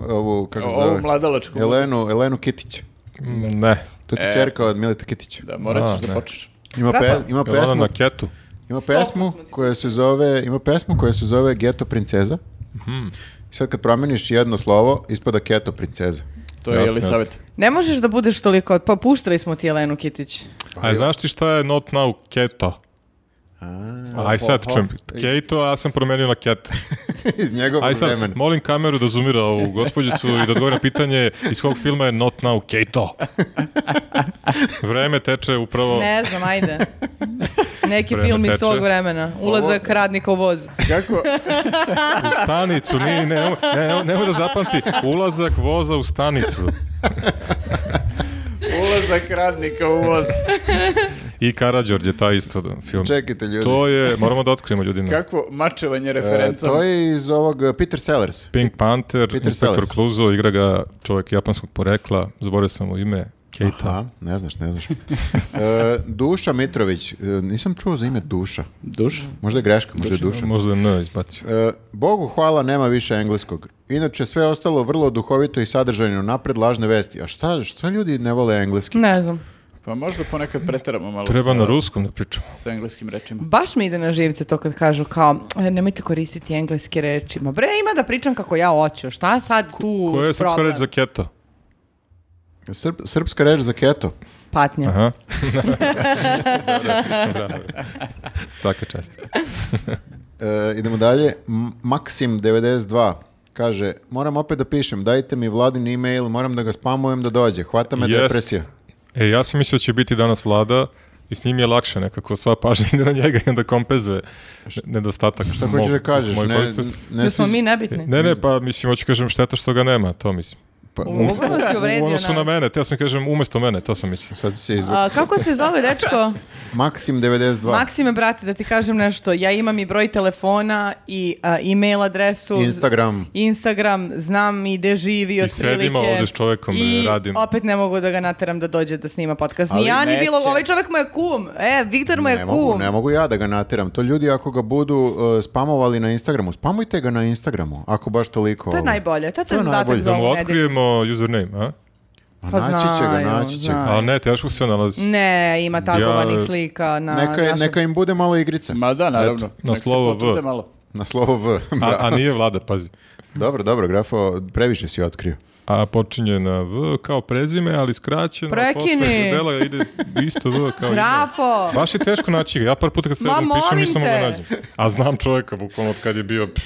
A: ovu, kako se
B: Ovo
A: zove?
B: mladalačko.
A: Elenu, Elenu Kitić.
D: Mm, Ne.
A: To ti
B: E.
A: čerka od Mileta Kitića.
B: Da, morat
D: A,
B: ćeš da
D: ne.
B: počneš.
A: Ima, pe, ima
D: Jel ona
A: pesmu,
D: na ketu?
A: ima pesmu koja se zove, ima pesmu koja se zove Geto princeza.
D: Mhm.
A: I sad kad promeniš jedno slovo, ispada Keto princeza. [LAUGHS]
B: To je [LAUGHS]
D: Jasno,
B: Elisaveta.
C: Ne možeš da budeš toliko... Pa puštali smo ti Jelenu Kitić.
A: Pa
D: A znaš ti šta je not
A: [LAUGHS]
D: now keto? Aj sad čujem. Keto, a ja sam promenio na keto.
A: iz njegovog
D: Aj sad,
A: vremena.
D: molim kameru da zoomira ovu gospođicu i da odgovori na pitanje iz kog filma je Not Now
A: [LAUGHS]
D: Kato. Vreme teče upravo...
C: Ne znam, ajde. Neki
D: Vreme
C: film iz
D: teče.
C: tog vremena. Ulazak radnika u voz.
A: Kako,
D: U stanicu, ni, ne, ne, ne, nemoj da zapamti. Ulazak voza u stanicu.
B: Ulazak radnika u voz.
D: I Karađorđe, taj isto film.
A: čekajte ljudi.
D: To je, moramo da otkrijemo ljudima.
B: Kakvo mačevanje
A: E,
B: referencama.
A: to je iz ovog e, Peter Sellers.
D: Pink Panther,
A: Peter
D: inspektor
A: Sellers.
D: Kluzo, igra ga čovjek japanskog porekla, zaboravio sam mu ime, Keita.
A: A, ne znaš, ne znaš. E, Duša Mitrović, e, nisam čuo za ime Duša.
B: Duš?
A: Možda je greška, možda je Duša.
D: Možda je N izbacio.
A: E, Bogu hvala nema više engleskog. Inače sve ostalo vrlo duhovito i sadržajno napred lažne vesti. A šta, šta ljudi ne vole engleski?
C: Ne znam.
B: Pa možda ponekad preteramo malo
D: Treba
B: sa,
D: na ruskom da pričamo.
B: sa engleskim rečima.
C: Baš mi ide na živce to kad kažu kao "E, nemojte koristiti engleske reči. Ma bre, ima da pričam kako ja hoću. Šta sad tu
D: Koja je srpska
C: problem?
D: reč za keto?
A: Srp, srpska reč za keto.
C: Patnja.
A: [LAUGHS]
D: Aha. da, Svaka čast.
A: E, idemo dalje. M- Maksim 92 kaže, moram opet da pišem, dajte mi vladin e-mail, moram da ga spamujem da dođe, hvata me
D: Jest.
A: depresija.
D: E, ja sam mislio da će biti danas vlada i s njim je lakše nekako, sva pažnja ide na njega i onda kompenzuje nedostatak.
A: Šta hoćeš da kažeš?
D: moj
A: Ne,
D: koristi-
A: ne
C: Da smo
A: smis-
C: mi nebitni.
D: Ne, ne, pa mislim, hoću kažem šteta što ga nema, to mislim.
A: Pa,
C: U- Upravo si
D: U
C: uvredio
D: odnosu na
C: nas.
D: mene, teo sam kažem umjesto mene, to sam mislio.
A: sad se izvuk.
C: A, kako se zove
A: [LAUGHS]
C: dečko?
A: Maksim 92.
C: Maksime, brate, da ti kažem nešto. Ja imam i broj telefona i a, e-mail adresu.
A: Instagram.
C: Instagram, znam i gde živi
D: I
C: otprilike.
D: sedimo ovdje s čovekom,
C: I
D: e, radimo.
C: opet ne mogu da ga nateram da dođe da snima podcast.
B: Ali
C: Ni ja, ni bilo,
B: neće.
C: ovaj čovek mu je kum. E, Viktor mu je
A: Ne
C: kum.
A: mogu, ne mogu ja da ga nateram. To ljudi ako ga budu uh, spamovali na Instagramu, spamujte ga na Instagramu, ako baš toliko.
C: To je
A: ovo.
C: najbolje. To,
A: To
C: je
A: je
C: zadatak
A: najbolje.
C: za
D: Da mu
C: ovu nedelju.
D: otkrijemo username, a?
A: Pa
C: Pa
A: naći će ga,
C: znaju,
A: naći će ga.
C: znaju.
D: A ne, teško se
C: Mm.
D: nalazi.
C: Ne, ima tagovanih
D: Ja-
C: slika na
A: Neka,
C: našem...
A: neka im bude malo igrice.
B: Ma da, naravno.
A: Eto,
D: na
B: Nek se
D: slovo V.
B: potrude malo.
A: na slovo V.
D: A,
A: Bra-
D: a nije vlada, pazi.
A: Dobro, dobro, grafo, previše si otkrio.
D: A počinje na V kao prezime, ali skraćeno.
C: Prekini.
D: Posle dela ide isto V kao ime.
C: Grapo!
D: Baš je teško naći ga. Ja par puta kad se
C: Ma,
D: pišem
C: molim
D: nisam mogu
C: te.
D: nađem. A znam čovjeka, bukvalno od kad je bio, pff,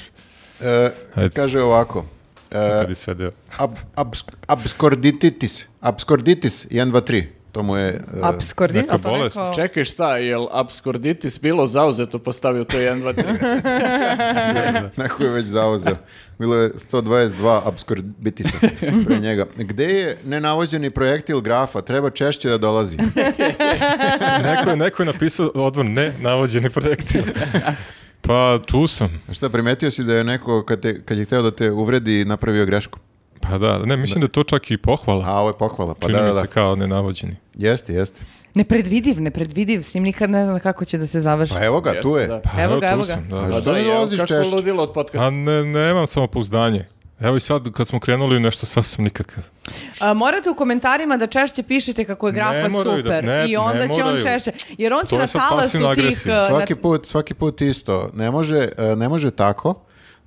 A: E,
D: Ajde.
A: kaže ovako. e,
D: kad je sve deo.
A: ab, abs- abskorditis. Abskorditis, 1, 2, 3. To mu je... e,
C: Abskordin,
D: Neka
C: a to
D: bolest.
C: neko-
B: Čekaj šta, jel abskorditis bilo zauzeto postavio to 1, 2, 3?
A: [LAUGHS] Neko je već zauzeo. Bilo je 122 abskorbitisa pre njega. Gde je nenavođeni projektil grafa? Treba češće da dolazi.
D: Neko je, neko je napisao odvor ne navođeni
C: [LAUGHS]
D: projektil. Pa tu sam.
A: Šta, primetio si da je neko, kad, te, kad je hteo da te uvredi, napravio grešku?
D: Pa da, ne, mislim da je to čak i pohvala.
A: A, ovo je pohvala. Pa
D: Čini
A: da, da,
D: mi
A: da.
D: se kao nenavođeni.
A: Jeste, jeste.
C: Nepredvidiv, nepredvidiv. S njim nikad ne znam kako će da se završi.
A: Pa evo ga,
B: Jeste,
A: tu je.
B: da.
D: Pa
C: Evo ga,
D: tu
C: evo ga.
D: sam, da,
A: A
D: da.
A: što ne
B: jel,
A: dolaziš
B: kako
A: češće?
B: ludilo od podcasta?
D: A ne, nemam samopouzdanje. Evo i sad kad smo krenuli u nešto sasvim nikakav.
C: A, morate u komentarima da češće pišete kako je grafa
D: Ne moraju da-
C: super
D: ne-
C: i onda
D: ne
C: će on
D: moraju.
C: češće, jer on će
D: To je
C: na
D: sad
C: talasu
D: pasivna
C: tih...
D: agresija.
C: uh, na-
A: Svaki put, svaki put isto. Ne može, e, ne može tako,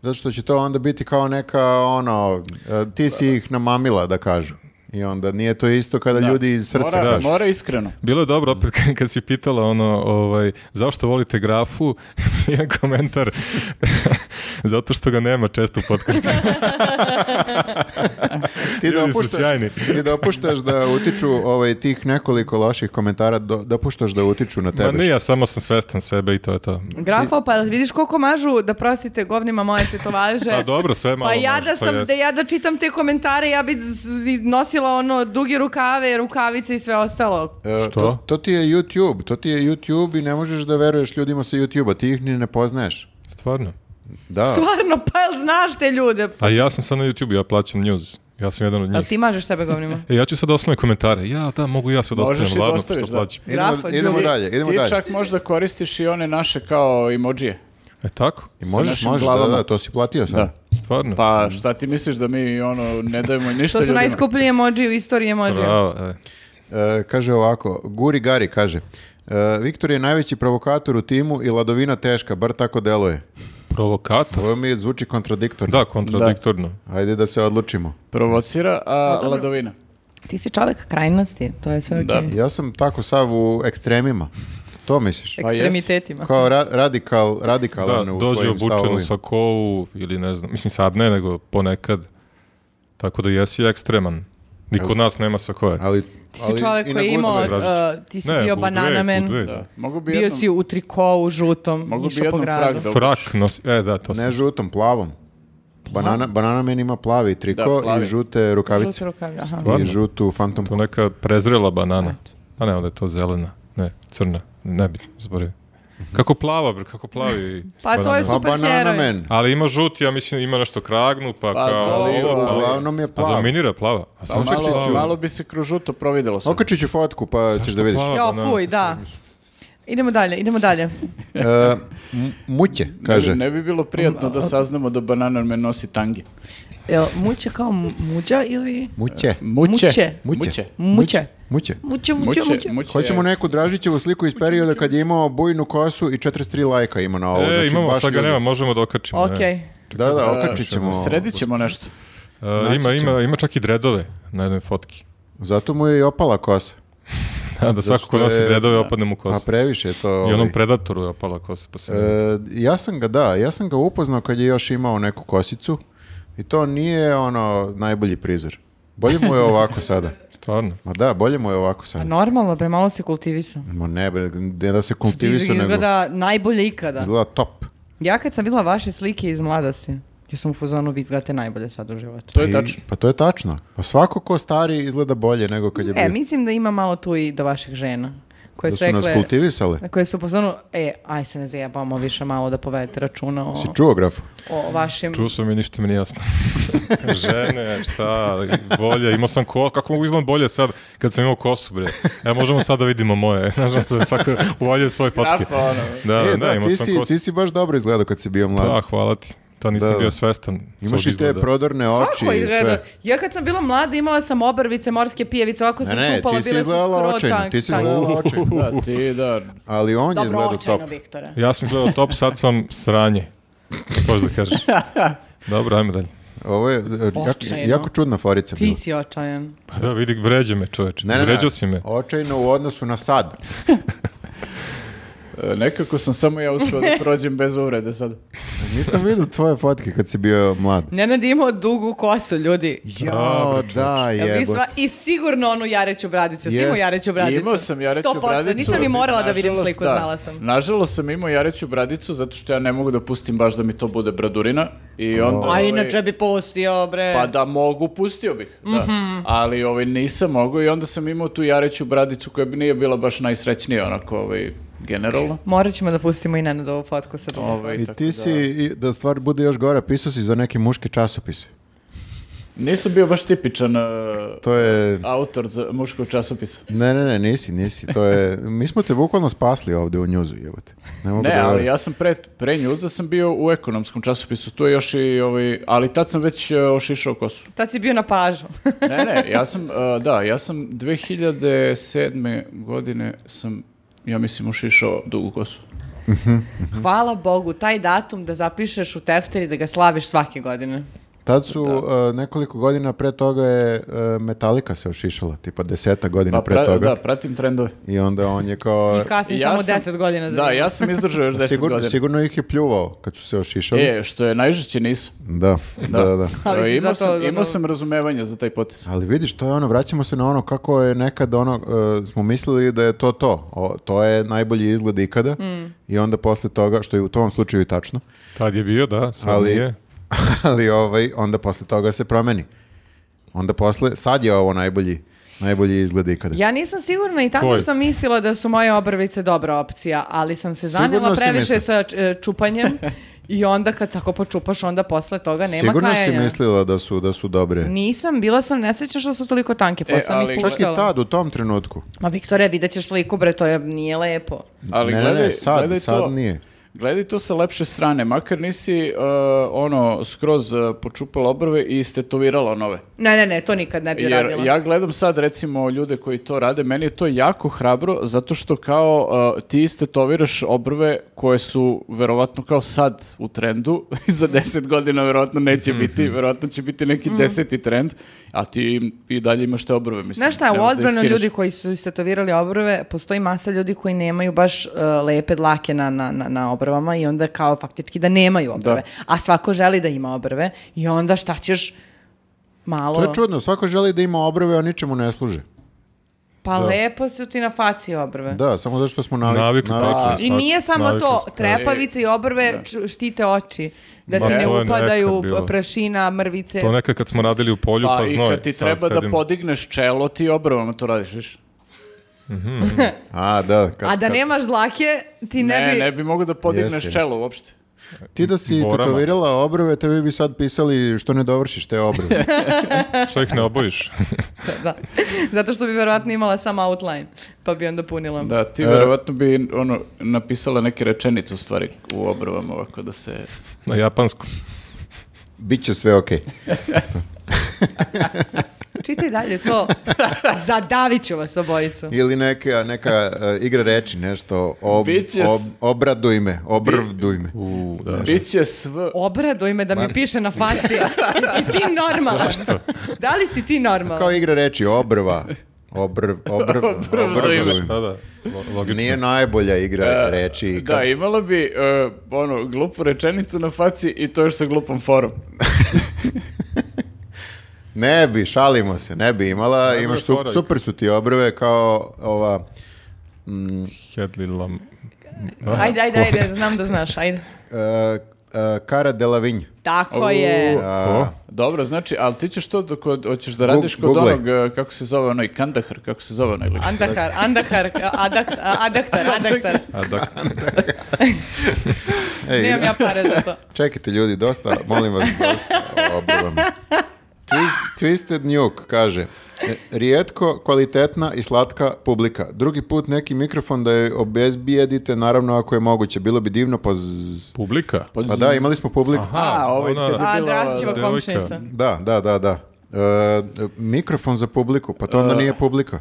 A: zato što će to onda biti kao neka, ono, e, ti si ih namamila, da kažu. I onda nije to isto kada ljudi iz srca
B: mora,
A: kažu.
B: mora iskreno.
D: Bilo je
A: Mm.
D: dobro opet [LAUGHS] kad- kad si pitala ono, ovaj, zašto volite grafu, [LAUGHS] jedan komentar, [LAUGHS] zato što ga nema često u
A: [LAUGHS]
D: podcastu.
A: ti
D: Ljudi su
A: dopuštaš,
D: sjajni.
A: [LAUGHS] ti dopuštaš da utiču ovaj, tih nekoliko loših komentara, do, dopuštaš da utiču na
D: Ma
A: tebe.
D: ne, ja samo sam svestan sebe i to je to.
C: Grafo, pa vidiš koliko mažu da prosite govnima moje tetovaže.
D: [LAUGHS] A dobro, sve malo
C: Pa ja
D: može,
C: da
D: to
C: sam,
D: jest.
C: da ja da čitam te komentare, ja bi z- nosila ono duge rukave, rukavice i sve ostalo.
A: E,
D: Što?
A: To, to ti je YouTube, to ti je YouTube i ne možeš da veruješ ljudima sa YouTube-a, ti ih ni ne poznaješ.
D: Stvarno.
A: Da.
C: Stvarno, pa jel znaš te ljude?
D: A ja sam sad na YouTube, ja plaćam news. Ja sam jedan od
C: Ali
D: njih.
C: ti mažeš
B: [LAUGHS]
C: sebe govnima.
D: E, ja ću sad ostavim komentare. Ja, da, mogu ja sad
B: Možeš
D: ostavim,
B: i da
D: ladno,
B: ostaviš,
D: što
B: da.
D: plaćam.
A: Idemo,
C: Grafa,
A: idemo
C: ljudi,
A: dalje, idemo
B: ti
A: dalje.
B: čak možda koristiš i one naše kao emođije.
D: E, tako?
A: I možeš,
B: našim
A: možeš, da,
B: glavama.
A: da, to si platio sad.
B: Da.
D: Stvarno?
B: Pa šta ti misliš da mi ono ne dajemo ništa
C: To su
B: ljudima?
C: najskuplji emoji u istoriji emoji.
D: Bravo, e.
A: E, kaže ovako, Guri Gari kaže, e, Viktor je najveći provokator u timu i ladovina teška, bar tako deluje.
D: Provokator?
A: Ovo mi zvuči kontradiktorno.
D: Da, kontradiktorno.
A: Ajde da se odlučimo.
B: Provocira, a ladovina.
C: Ti si čovek krajnosti, to je sve okej.
B: Da.
A: Ja sam tako sav u ekstremima. To misliš?
B: Pa jes.
C: ekstremitetima.
A: Kao ra- radikal, radikalne
D: da,
A: u
D: dođe
A: svojim
D: obučen u
A: stavovima.
D: sakovu ili ne znam, mislim sad ne, nego ponekad. Tako da jesi ekstreman. Niko od nas nema sakoje.
A: Ali,
C: Ti si čovjek koji je imao,
D: Dražić.
C: uh, ti si
D: Ne,
C: bio
D: budve,
C: banana man,
D: budve.
B: Da. Mogu bi
C: bio
B: jednom,
C: si u trikovu žutom,
B: mogu bi
C: išao po
B: jednom frak
C: gradu.
B: da obučem.
D: Frak nosi, e da, to
A: Ne
D: sam.
A: žutom, plavom. Banana, banana men ima plavi triko
B: Da, plavi.
A: i žute rukavice.
C: Žute rukavlje, aha.
A: I
D: Stvarno?
A: žutu fantom.
D: To neka prezrela banana. A ne, onda je to zelena. Ne, crna. Nebitno, zaboravio.
A: Mhm.
D: Kako plava, bre, kako plavi
C: Pa to
D: banana.
C: je
A: Pa banana
C: superheroj.
A: men.
D: Ali ima žuti, ja mislim ima nešto kragnu, pa,
B: Pa
D: kao
B: dobro,
D: ovo, pa-
A: uglavnom je plava.
D: A dominira plava. A
B: Pa
D: zašto je
B: malo,
D: plava?
B: malo bi se kroz žuto providelo sve.
A: Okačit ću fotku pa ćeš da vidiš.
D: plava
C: Jo,
D: banana?
C: fuj, da. Idemo dalje, idemo dalje.
A: E, m- muće, kaže.
B: Ne, bi- ne bi bilo prijatno da saznamo da Banana Man nosi tangi.
C: Jel muće kao mu- muđa ili...
D: Eh,
A: Muće.
B: Muće.
C: Muće.
A: Muće.
C: Muće.
A: Muće.
C: Muće, muće,
B: Muće.
C: muće.
B: muće.
A: Hoćemo neku Dražićevu sliku iz perioda kad je imao bujnu kosu i 43 lajka ima na ovo.
D: E,
A: Znači,
D: imamo,
A: baš
D: sad ga
A: ljudi-
D: nema, možemo da okačimo. ne.
C: Ok.
A: Da, da,
B: E,
A: okačit ćemo.
B: Sredit ćemo nešto.
D: E,
A: Naći
D: ima,
A: ćemo.
D: ima, ima čak i dredove na jednoj fotki. [LAUGHS]
A: Zato mu je i opala kosa.
D: Da, da svako
A: što
D: ko nosi
A: je-
D: dredove opadne mu
A: Pa
D: kosa.
A: previše je to.
D: I onom
A: ovaj.
D: predatoru je opala kosa. Pa se vidi.
A: E, ja sam ga, da, ja sam ga upoznao kad je još imao neku kosicu i to nije ono najbolji prizor. Bolje mu je ovako sada.
D: Stvarno.
A: Ma da, bolje mu je ovako
C: Pa
A: sada.
C: normalno, bre, malo se kultivisao.
A: Ma ne, bre, ne da se kultivisao nego
C: Izgleda najbolje ikada.
A: izgleda top.
C: Ja kad sam vidjela vaše slike iz mladosti, ja sam u fuzonu, vi izgledate najbolje sad u životu.
B: To je
A: I-
B: tačno.
A: Pa to je tačno. Pa svako ko stari izgleda bolje nego kad je bio.
C: E, mislim da ima malo tu i do vaših žena. Koje
A: da
C: su
A: su nas
C: rekle,
A: kultivisali.
C: koje su u fazonu, e, aj se ne zajebamo više malo da povedete računa o,
A: Si čuo grafu?
C: o vašim...
D: Čuo sam i ništa mi nije
A: [LAUGHS]
D: jasno. Žene, šta, bolje, imao sam kosu, kako mogu izgledam bolje sad kad sam imao kosu, bre. E, možemo sad da vidimo moje, [LAUGHS] znaš, ono, svako uvalje svoje fotke.
B: Grafa, ono.
D: Da,
A: e,
D: da,
A: da,
D: imao
A: ti,
D: sam
A: si,
D: kosu.
A: ti si baš dobro izgledao kad si bio mlad.
D: Da, Pa, hvala ti. Ta nisam
A: Pa, Da, da.
D: bio svestan.
A: Imaš
D: svog
A: i te
D: izgleda.
A: prodorne oči
C: Kako
A: i
C: izgleda?
A: sve.
C: Ja kad sam bila mlada imala sam obrvice, morske pijevice, ovako
A: Ne,
C: sam
A: ne,
C: čupala,
A: ti si
C: bile su skoro
A: izgledala očajno,
C: tank-
A: ti si
C: tank.
A: izgledala očajno.
B: Da, ti, da.
A: Ali on je
C: Dobro
A: izgledao top.
C: očajno, Viktore.
D: Ja sam gledao top, sad sam sranje. To da kažeš.
A: [LAUGHS]
D: Dobro, ajmo dalje.
A: Ovo je e, jako,
C: Očajno.
A: jako čudna forica.
C: Ti
A: bila.
C: si očajan.
D: Pa da, vidi, vređe me čoveče.
A: Ne, ne, ne.
D: Vređao si me.
A: Očajno u odnosu na sad.
B: E, Nekako sam samo ja
C: [LAUGHS]
B: uspio da prođem bez uvrede sad.
A: Nisam vidio tvoje fotke kad si bio mlad.
C: Nenad je imao dugu kosu, ljudi.
A: Jao, da,
C: Jel vi
A: jebo.
C: sva- I sigurno onu jareću bradicu. Yes.
A: Jest.
C: Imao jareću bradicu.
B: Imao sam jareću
C: 100%,
B: bradicu.
C: Nisam ni morala da vidim
B: Nažalost,
C: sliku,
B: da.
C: znala sam.
B: Nažalost sam imao jareću bradicu zato što ja ne mogu da pustim baš da mi to bude bradurina. I onda,
C: A
B: ovaj,
C: inače bi pustio, bre.
B: Pa da mogu, pustio bih. Da. Ali ovaj, nisam mogao i onda sam imao tu jareću bradicu koja bi nije bila baš najsrećnija onako ovaj, generalno.
C: Morat ćemo da pustimo i Nenadovu fotku sa dugom.
B: Ovaj,
A: I
B: tako
A: ti
B: da-
A: si, i da stvar bude još gore, pisao si za neke muške časopise.
B: Nisam bio baš tipičan e,
A: To je...
B: autor za muškog časopisa.
A: Ne, ne, ne, nisi, nisi. To je... Mi smo te bukvalno spasli ovde u njuzu, jebote. Ne mogu
B: Ne,
A: da
B: ali
A: verujem.
B: ja sam pre, pre njuza sam bio u ekonomskom časopisu, tu je još i ovaj, ali tad sam već e, ošišao kosu.
C: Tad si bio na pažu.
B: Ne, ne, ja sam, e, da, ja sam 2007. godine sam, ja mislim, ošišao dugu kosu.
C: Hvala Bogu, taj datum da zapišeš u tefteri da ga slaviš svake godine.
A: Tad su e, nekoliko godina pre toga je e, Metallica se ošišala, tipa deseta godina
B: Pa,
A: pre
B: pra-
A: toga.
B: da, pratim trendove.
A: I onda on je kao...
C: I kasnije
B: Ja
C: samo
B: sam-
C: 10 godina. za
B: Da,
C: njega.
B: ja sam izdržao
A: [LAUGHS]
B: još 10
A: Pa Sigurno,
B: godina.
A: sigurno ih je pljuvao kad su se ošišali.
B: E, što je najžešće nisam.
A: Da, da, da. da.
C: [LAUGHS] Ali si
B: E, imao,
C: zato,
B: sam,
C: ono-
B: imao sam razumevanja za taj potez.
A: Ali vidiš, to je ono, vraćamo se na ono kako je nekad ono, e, smo mislili da je to to. O, to je najbolji izgled ikada i onda posle toga, što je u tom slučaju i tačno,
D: Tad je bio, da, sad
A: Ali-
D: nije.
A: [LAUGHS] ali ovaj, onda posle toga se promeni. Onda posle, sad je ovo najbolji, najbolji izgled ikada.
C: Ja nisam sigurna i tako
D: Tvoj.
C: sam mislila da su moje obrvice dobra opcija, ali sam se
A: Sigurno
C: zanela
A: si
C: previše
A: mislila.
C: sa č- e, čupanjem i onda kad tako počupaš, onda posle toga nema
A: Sigurno
C: kajanja.
A: si mislila da su, da su dobre.
C: Nisam, bila sam nesrećna što su toliko tanke, pa
B: E,
C: sam
B: ali-
C: ih
A: Čak i
C: puštala.
A: tad, u tom trenutku.
C: Ma Viktore, vidjet ćeš sliku, bre, to je, nije lepo.
B: Ali
A: ne, ne,
B: gledaj,
A: ne, sad,
B: gledaj
A: sad
B: to.
A: nije.
B: Gledaj to sa lepše strane, makar nisi uh, ono skroz uh, počupala obrve i istetovirala nove.
C: Ne, ne, ne, to nikad ne bi
B: Jer
C: radila.
B: ja gledam sad recimo ljude koji to rade, meni je to jako hrabro zato što kao uh, ti istetoviraš obrve koje su verovatno kao sad u trendu [LAUGHS] i za deset godina verovatno neće
C: Mhm.
B: biti, verovatno će biti neki deseti trend, a ti i dalje imaš te obrve. Mislim,
C: Znaš
B: ne
C: šta, u
B: možeš da
C: odbranu
B: iskideš.
C: ljudi koji su istetovirali obrve, postoji masa ljudi koji nemaju baš e, lepe dlake na, na, na, na obrvama i onda kao faktički da nemaju obrve. A svako želi da ima obrve i onda šta ćeš malo...
A: To je čudno, svako želi da ima obrve, a ničemu ne služe.
C: Pa lepo su ti na faci obrve.
A: Da, samo zato što smo navi-
D: Navikli, tačno.
C: I nije samo
D: Navikli
C: to,
D: smo.
C: trepavice i obrve č- štite oči, da
D: Ma,
C: ti ne
D: to je
C: upadaju
D: nekad bilo.
C: prašina, mrvice.
D: To nekad kad smo radili u polju, pa,
B: Pa i
D: znoj,
B: kad ti
D: sad
B: treba da
D: sedim.
B: podigneš čelo, ti obrvama to radiš, viš?
A: A, da. kad-
C: A da
A: kad-
C: nemaš dlake, ti ne,
B: Ne,
C: bi...
B: ne bi mogu da podigneš
A: Jeste, jeste.
B: čelo uopšte.
A: Ti da si
D: Borama.
A: tetovirala obrve, tebi bi sad pisali što ne dovršiš te
C: [LAUGHS]
A: obrve.
D: Što ih ne obojiš?
C: [LAUGHS]
D: [LAUGHS]
C: Da. Zato što bi verovatno imala samo outline, pa bi onda punila.
B: Da, ti verovatno bi ono, napisala neke rečenice u stvari u obrvama ovako da se...
D: Na japanskom.
A: Biće sve okej.
C: Čitaj dalje
A: [LAUGHS]
C: to. Zadavit ću vas obojicu.
A: Ili neka, neka e, igra reči, nešto. Ob,
B: Biće
A: ob,
B: s-
A: obraduj me, obrvduj me.
D: U, da.
B: Biće sv...
C: Obraduj me da mi piše na faci. Jesi
A: [LAUGHS]
C: ti normalan? Da li si ti normalan?
A: Kao igra reči, obrva. [LAUGHS] Obrv, obrv, obrvduj me. E,
D: Da, da. Lo- Logično.
A: Nije najbolja igra reči.
B: Da, imala bi e, ono, glupu rečenicu na faci i to još sa glupom forom.
A: [LAUGHS] Ne bi, šalimo se, ne bi imala.
D: Dobro,
A: Imaš su-
D: korak.
A: super su ti obrve kao ova... mm, e,
D: Hedley Lam...
C: Ajde, ajde, ajde, znam da znaš, ajde.
A: e, e, Cara Delevingne.
C: Tako je.
D: O,
B: Dobro, znači, ali ti ćeš to dok od- hoćeš da
A: Gug-
B: radiš kod
A: guglaj.
B: onog, e, kako se zove onaj Kandahar, kako se zove onaj lik?
C: Andakar, andakar, adak, adaktar, adaktar.
D: a da,
A: Ej,
C: Nemam ja pare za to.
A: Čekajte ljudi, dosta, molim vas, dosta obrvom. Twist- Twisted Nuke kaže, "E, rijetko, kvalitetna i slatka publika. Drugi put neki mikrofon da je obezbijedite, naravno ako je moguće. Bilo bi divno, pa z-
D: publika.
A: Pa da, imali smo publiku.
B: A, ovaj
D: ona-
B: kad je
C: A,
B: bila-
C: Dražićeva
D: devojka.
C: komšnica.
A: Da, da, da, da. E, mikrofon za publiku, pa to onda nije publika.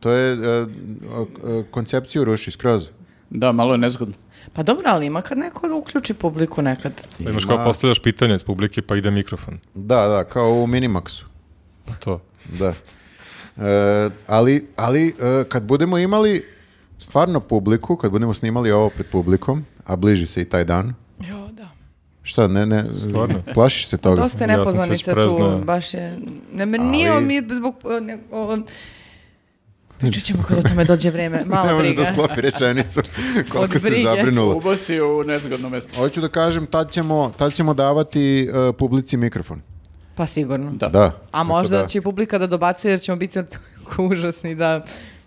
A: To je, e, o- o- koncepciju ruši skroz.
B: Da, malo je nezgodno.
C: Pa dobro, ali ima kad neko da uključi publiku nekad.
D: Pa Imaš kao postavljaš pitanje iz publike, pa ide mikrofon.
A: Da, da, kao u Minimaxu.
D: Pa to.
A: Da. E, ali ali e, kad budemo imali stvarno publiku, kad budemo snimali ovo pred publikom, a bliži se i taj dan,
C: Jo, da.
A: šta, ne, ne,
D: Stvarno?
A: plašiš se toga?
C: Pa Dosta je
D: Ja sam se
C: nepoznanica
D: spreznao.
C: tu, baš je... Ne, me nije
A: Ali-
C: mi zbog... o, Ne, o, pričat ćemo kad o tome dođe vreme,
A: Ne
C: malo
A: može
C: briga.
A: da sklopi rečenicu [LAUGHS] koliko
C: Od
A: se
C: brige.
A: zabrinula.
B: Ubo si u nezgodno mesto.
A: Hoću da kažem, tad ćemo, tad ćemo davati e, publici mikrofon.
C: Pa sigurno.
B: Da.
A: Da.
C: A možda
A: Tako da-
C: će i publika da dobacuje jer ćemo biti [LAUGHS] toliko užasni da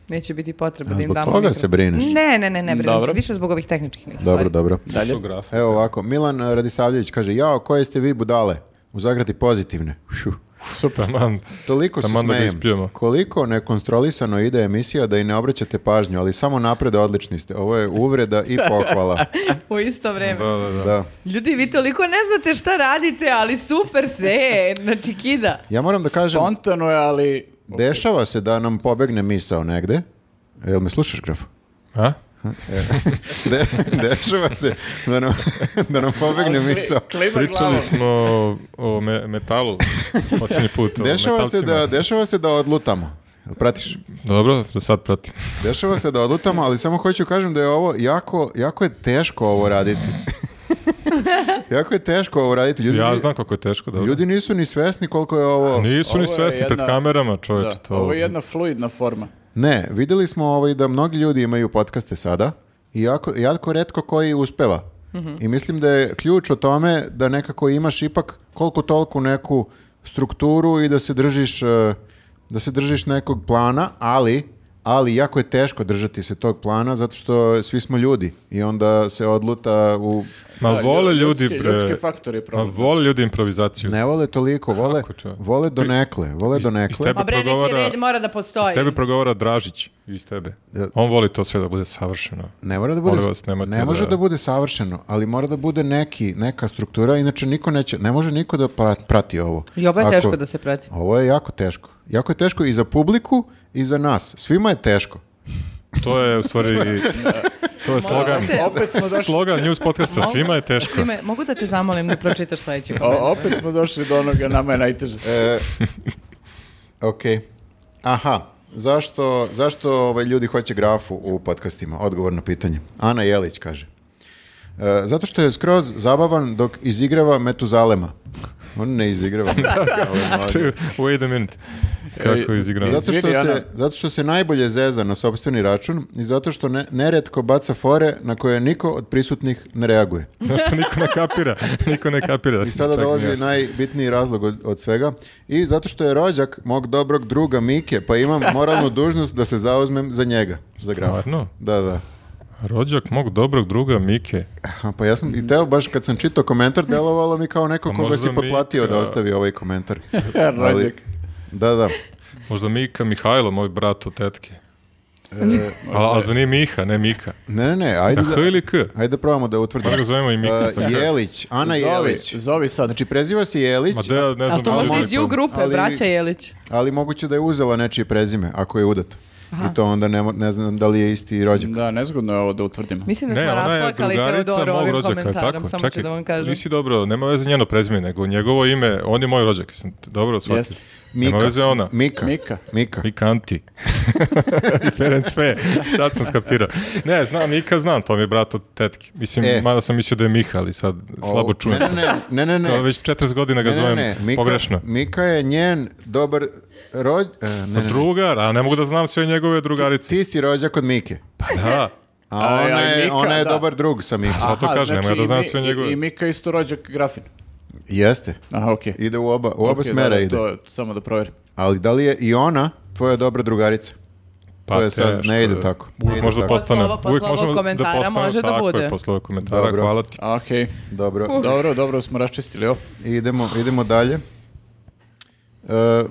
C: neće biti potrebe
A: A
C: da im
A: Zbog
C: damo
A: toga
C: mikrofon.
A: se brineš.
C: Ne, ne, ne, ne brinem se.
B: Dobro.
C: Više zbog ovih tehničkih nekih
A: Dobro,
C: stvari.
A: dobro.
B: Dalje.
D: Grafika.
A: Evo ovako, Milan Radisavljević kaže, jao, koje ste vi budale? U zagradi pozitivne. Šu.
D: Super, man.
A: Toliko se
D: Taman da ga
A: smejem.
D: ispljujemo.
A: Koliko nekontrolisano ide emisija da i ne obraćate pažnju, ali samo napreda odlični ste. Ovo je uvreda i pohvala.
C: U isto vreme.
D: Da, da, da.
A: Da.
C: Ljudi, vi toliko ne znate šta radite, ali super se, znači kida.
A: Ja moram da kažem,
B: Spontano je, ali...
A: dešava se da nam pobegne misao negde. Jel me slušaš, Graf? E,
D: A?
A: [LAUGHS] De, dešava se da nam, [LAUGHS] da nam pobegne
B: Ali kli-
A: misao.
B: klima glavom.
D: Pričali smo o me- metalu posljednji put. o
A: Dešava se, da,
D: metalcima.
A: dešava se da odlutamo. Jel pratiš?
D: Dobro, za sad pratim.
A: Dešava se da odlutamo, ali samo hoću kažem da je ovo jako, jako je teško ovo raditi. [LAUGHS] jako je teško ovo raditi. Ljudi,
D: Ja znam kako je teško, dobro.
A: ljudi nisu ni svesni koliko je ovo...
D: Nisu
B: Ovo
D: ni
B: je
D: svesni pred
B: jedna-
D: kamerama, čoveče.
B: Da,
D: to...
B: ovo je jedna fluidna forma.
A: Ne, videli smo ovaj da mnogi ljudi imaju podcaste sada i jako, jako redko koji uspeva. I mislim da je ključ o tome da nekako imaš ipak koliko toliko neku strukturu i da se držiš eh, da se držiš nekog plana, ali ali jako je teško držati se tog plana zato što svi smo ljudi i onda se odluta u
D: Ma
B: Da,
D: vole ljudi,
B: ljudski-
D: bre.
B: Ljudski faktor je
D: Ma
B: problem.
D: vole ljudi improvizaciju.
A: Ne vole toliko, vole,
D: Kako čovek?
A: vole donekle, vole donekle.
D: tebe-
E: Ma bre, neki
D: progovara-
E: red mora da postoji.
D: Iz tebe progovara Dražić iz tebe.
A: Ja.
D: On voli to sve da bude savršeno.
A: Ne mora da bude,
D: Molim vas, nemojte
A: ne može da...
D: da-
A: bude savršeno, ali mora da bude neki, neka struktura, inače niko neće, ne može niko da pra- prati ovo.
E: I ovo je
A: Ako-
E: teško da se prati.
A: Ovo je jako teško. Jako je teško i za publiku i za nas. Svima je teško.
D: To je
B: [LAUGHS]
D: u stvari to je slogan.
E: te-
B: Opet smo došli-
D: slogan news podcasta svima je teško.
E: Sime, mogu da te zamolim da pročitaš sledeći komentar?
B: O, opet smo došli do onoga, nama je najteže.
D: [LAUGHS]
A: E, ok. Aha. Zašto, zašto ovaj, ljudi hoće grafu u podcastima? Odgovor na pitanje. Ana Jelić kaže. E, zato što je skroz zabavan dok izigrava Metuzalema. On ne
D: [LAUGHS]
A: izigrava. Metuzalema.
D: Čekaj, Wait a minute. Kako je izigrano.
A: Zato što,
B: Izvini, Ana.
A: se, zato što se najbolje zeza na sopstveni račun i zato što ne, neretko baca fore na koje niko od prisutnih ne reaguje.
D: Znaš što niko ne kapira. Niko ne kapira.
A: I sada
D: Čak ni
A: dolazi
D: ja.
A: najbitniji razlog od, od svega. I zato što je rođak mog dobrog druga Mike, pa imam
D: [LAUGHS]
A: moralnu dužnost da se zauzmem za njega, za grafa.
D: Stvarno?
A: Da, da.
D: Rođak mog dobrog druga Mike.
A: Aha, pa ja sam i teo, baš kad sam čitao komentar, delovalo mi kao neko
D: A
A: koga
D: Pa možda
A: si potplatio
D: Mika-
A: da ostavi ovaj komentar. Ali-
B: Rođak.
A: Da, da.
D: Možda Mika Mihajlo, moj brat od tetke. ali, ali za nije Miha, ne Mika.
A: Ne, ne, ne, ajde
D: Da,
A: E,
D: H [LAUGHS]
A: da,
D: ili K?
A: ajde da probamo da
D: Možda ga
A: utvrdimo.
D: zovemo i Mika.
A: Uh,
D: sa K.
A: Jelić, Ana
B: Zovi,
A: Jelić.
B: zovi sad.
A: Znači preziva se Jelić,
D: Ma da, ja ne znam.
E: Ali to
D: da li
E: možda
D: oni
E: iz ju
D: to-
E: grupe,
A: Ali-
E: braća Jelić.
A: ali moguće da je uzela nečije prezime ako je udata. I to onda ne, mo- ne znam da li je isti rođak.
B: Da, nezgodno je ovo da utvrdimo.
E: Mislim da
D: Ne,
E: smo
D: ona je
E: rasplakali
D: drugarica
E: Teodoru
D: mog
E: ovim
D: rođaka, je li
E: komentarom,
D: tako?
E: samo ću
D: Čekaj,
E: da vam kažem.
D: nisi dobro, nema veze njeno prezime, nego njegovo ime, on je moj rođak, jesam te dobro shvatio.
B: Jeste.
D: Nema veze ona.
A: Mika.
B: Mika.
A: Mika.
D: [LAUGHS] Mikanti. I Ferenc Fe. Sad sam skapirao. Ne, znam, Mika znam, to mi je brat od tetke. Mislim,
A: E.
D: mada sam mislio da je Miha, ali sad slabo
A: O,
D: čujem.
A: Ne, ne, ne,
D: [LAUGHS]
A: ne, ne.
D: Kao
A: ne.
D: već 40 godina ga
A: Ne, ne,
D: zovem
A: ne, Mika,
D: pogrešno.
A: Mika je njen dobar rođ... e, Ne, ne, ne.
D: Drugar, Pa a ne mogu da znam sve njegove drugarice.
A: Ti si rođak od Mike.
D: Pa da,
A: A
B: A,
A: ona
B: a i
A: je,
B: Mika,
A: ona je
B: da.
A: dobar drug sa Mika.
D: Aha. to kažem, nema ja
B: znači
D: da
B: i
D: znam
B: Mi-
D: sve njegove.
B: I, i Mika je isto rođak grafin.
A: Jeste.
B: Aha, okej.
A: Ide u oba, u oba
B: Okej,
A: smera
B: da, da,
A: ide.
B: To, je- samo da proverim.
A: Ali da li je i ona tvoja dobra drugarica?
D: pa
A: To je sad,
D: teško
A: ne ide
D: je.
A: tako. Ne
D: Uvijek
A: ide
D: možda
A: tako.
D: postane.
E: Posle ovo-
D: Uvijek
E: posle ovog
D: možemo da
E: Pa komentara
D: postane.
E: može da
D: Tako
E: bude.
D: je, posle ovog komentara,
A: Dobro.
D: hvala ti.
B: A, Okej.
A: Dobro.
B: Dobro, dobro, smo raščistili ovo.
A: Idemo, idemo dalje. E, e,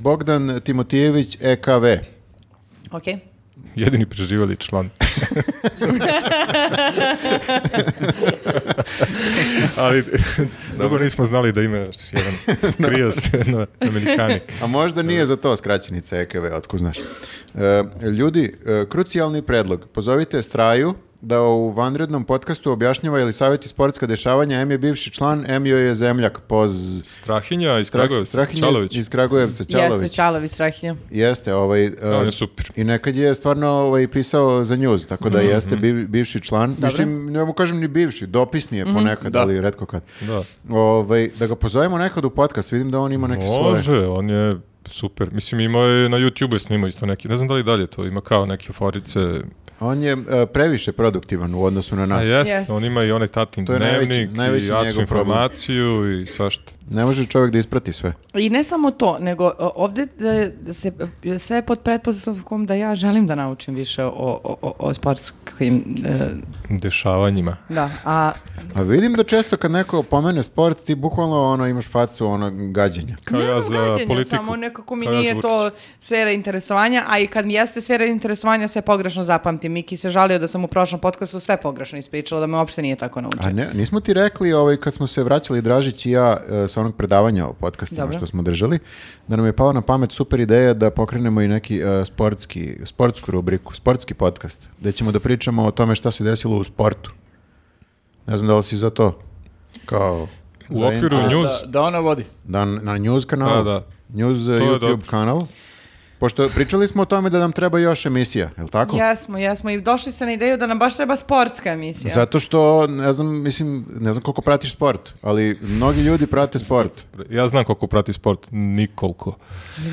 A: Bogdan Timotijević, E EKV.
E: Okej.
D: Jedini preživali [LAUGHS] član. Ali dugo nismo znali da ima još [LAUGHS] jedan krio se na Amerikani.
A: A možda nije za to skraćenica EKV, otko znaš. E, ljudi, e, krucijalni predlog. Pozovite Straju da u vanrednom podcastu objašnjava ili savjeti sportska dešavanja. M je bivši član, M joj je zemljak. Poz...
D: Strahinja iz
A: Strah-
D: Kragujevca,
A: Strahinja
D: Čalović.
A: iz, iz Kragujevca, Čalović.
E: Jeste, Čalović, Strahinja.
A: Jeste, ovaj... e,
D: on je super.
A: I nekad je stvarno ovaj, pisao za njuz, tako
D: Mhm,
A: da jeste biv- bivši član. Mislim, ne mogu kažem ni bivši, dopisni je ponekad,
B: Da.
A: ali redko kad.
D: Da.
A: Ovaj, da ga pozovemo nekad u podcast, vidim da on ima neke svoje...
D: Može, on je super. Mislim, imao je na YouTube snimao isto neki. Ne znam da li dalje to, ima kao neke forice.
A: On je e, previše produktivan u odnosu na
D: A
A: nas.
D: jest,
E: Jest.
D: on ima i onaj tatin
A: To je najveći-
D: dnevnik,
A: najveći
D: i jaču
A: njegov problem.
D: informaciju i svašta.
A: Ne može čovjek da isprati sve.
E: I ne samo to, nego o, ovdje e, da se e, sve je pod pretpostavkom da ja želim da naučim više o, o, o, o sportskim... e,
D: Dešavanjima.
E: da, a
A: A vidim da često kad neko pomene sport, ti bukvalno ono, imaš facu ono, gađenja.
D: Kao
E: Ne,
D: ja
E: ono,
D: za
E: građenje,
D: politiku.
E: Samo nekako mi
D: Kao ja za
E: nije to
D: Vučića.
E: sfera interesovanja, a i kad mi jeste sfera interesovanja sve pogrešno zapamtim. Miki se žalio da sam u prošlom podcastu sve pogrešno ispričala, da me uopšte nije tako naučio.
A: A ne, nismo ti rekli ovaj, kad smo se vraćali Dražić i ja e, sa onog predavanja o podcastima
E: Dobro.
A: što smo držali, da nam je pala na pamet super ideja da pokrenemo i neki e, sportski, sportsku rubriku, sportski podcast, gde ćemo da pričamo o tome šta se desilo u sportu. Ne znam da li si za to. Kao...
D: U
A: za-
D: okviru
A: a,
D: news,
B: Da, da ona vodi.
A: Da, na news kanal.
D: Da, da.
A: News eh,
D: je
A: YouTube
D: dobro.
A: kanal. Pošto pričali smo o tome da nam treba još emisija, je li tako?
E: Jesmo, jesmo. I došli ste na ideju da nam baš treba sportska emisija.
A: Zato što, ne znam, mislim, ne znam koliko pratiš sport, ali mnogi ljudi prate sport.
D: ja znam koliko prati sport, nikoliko.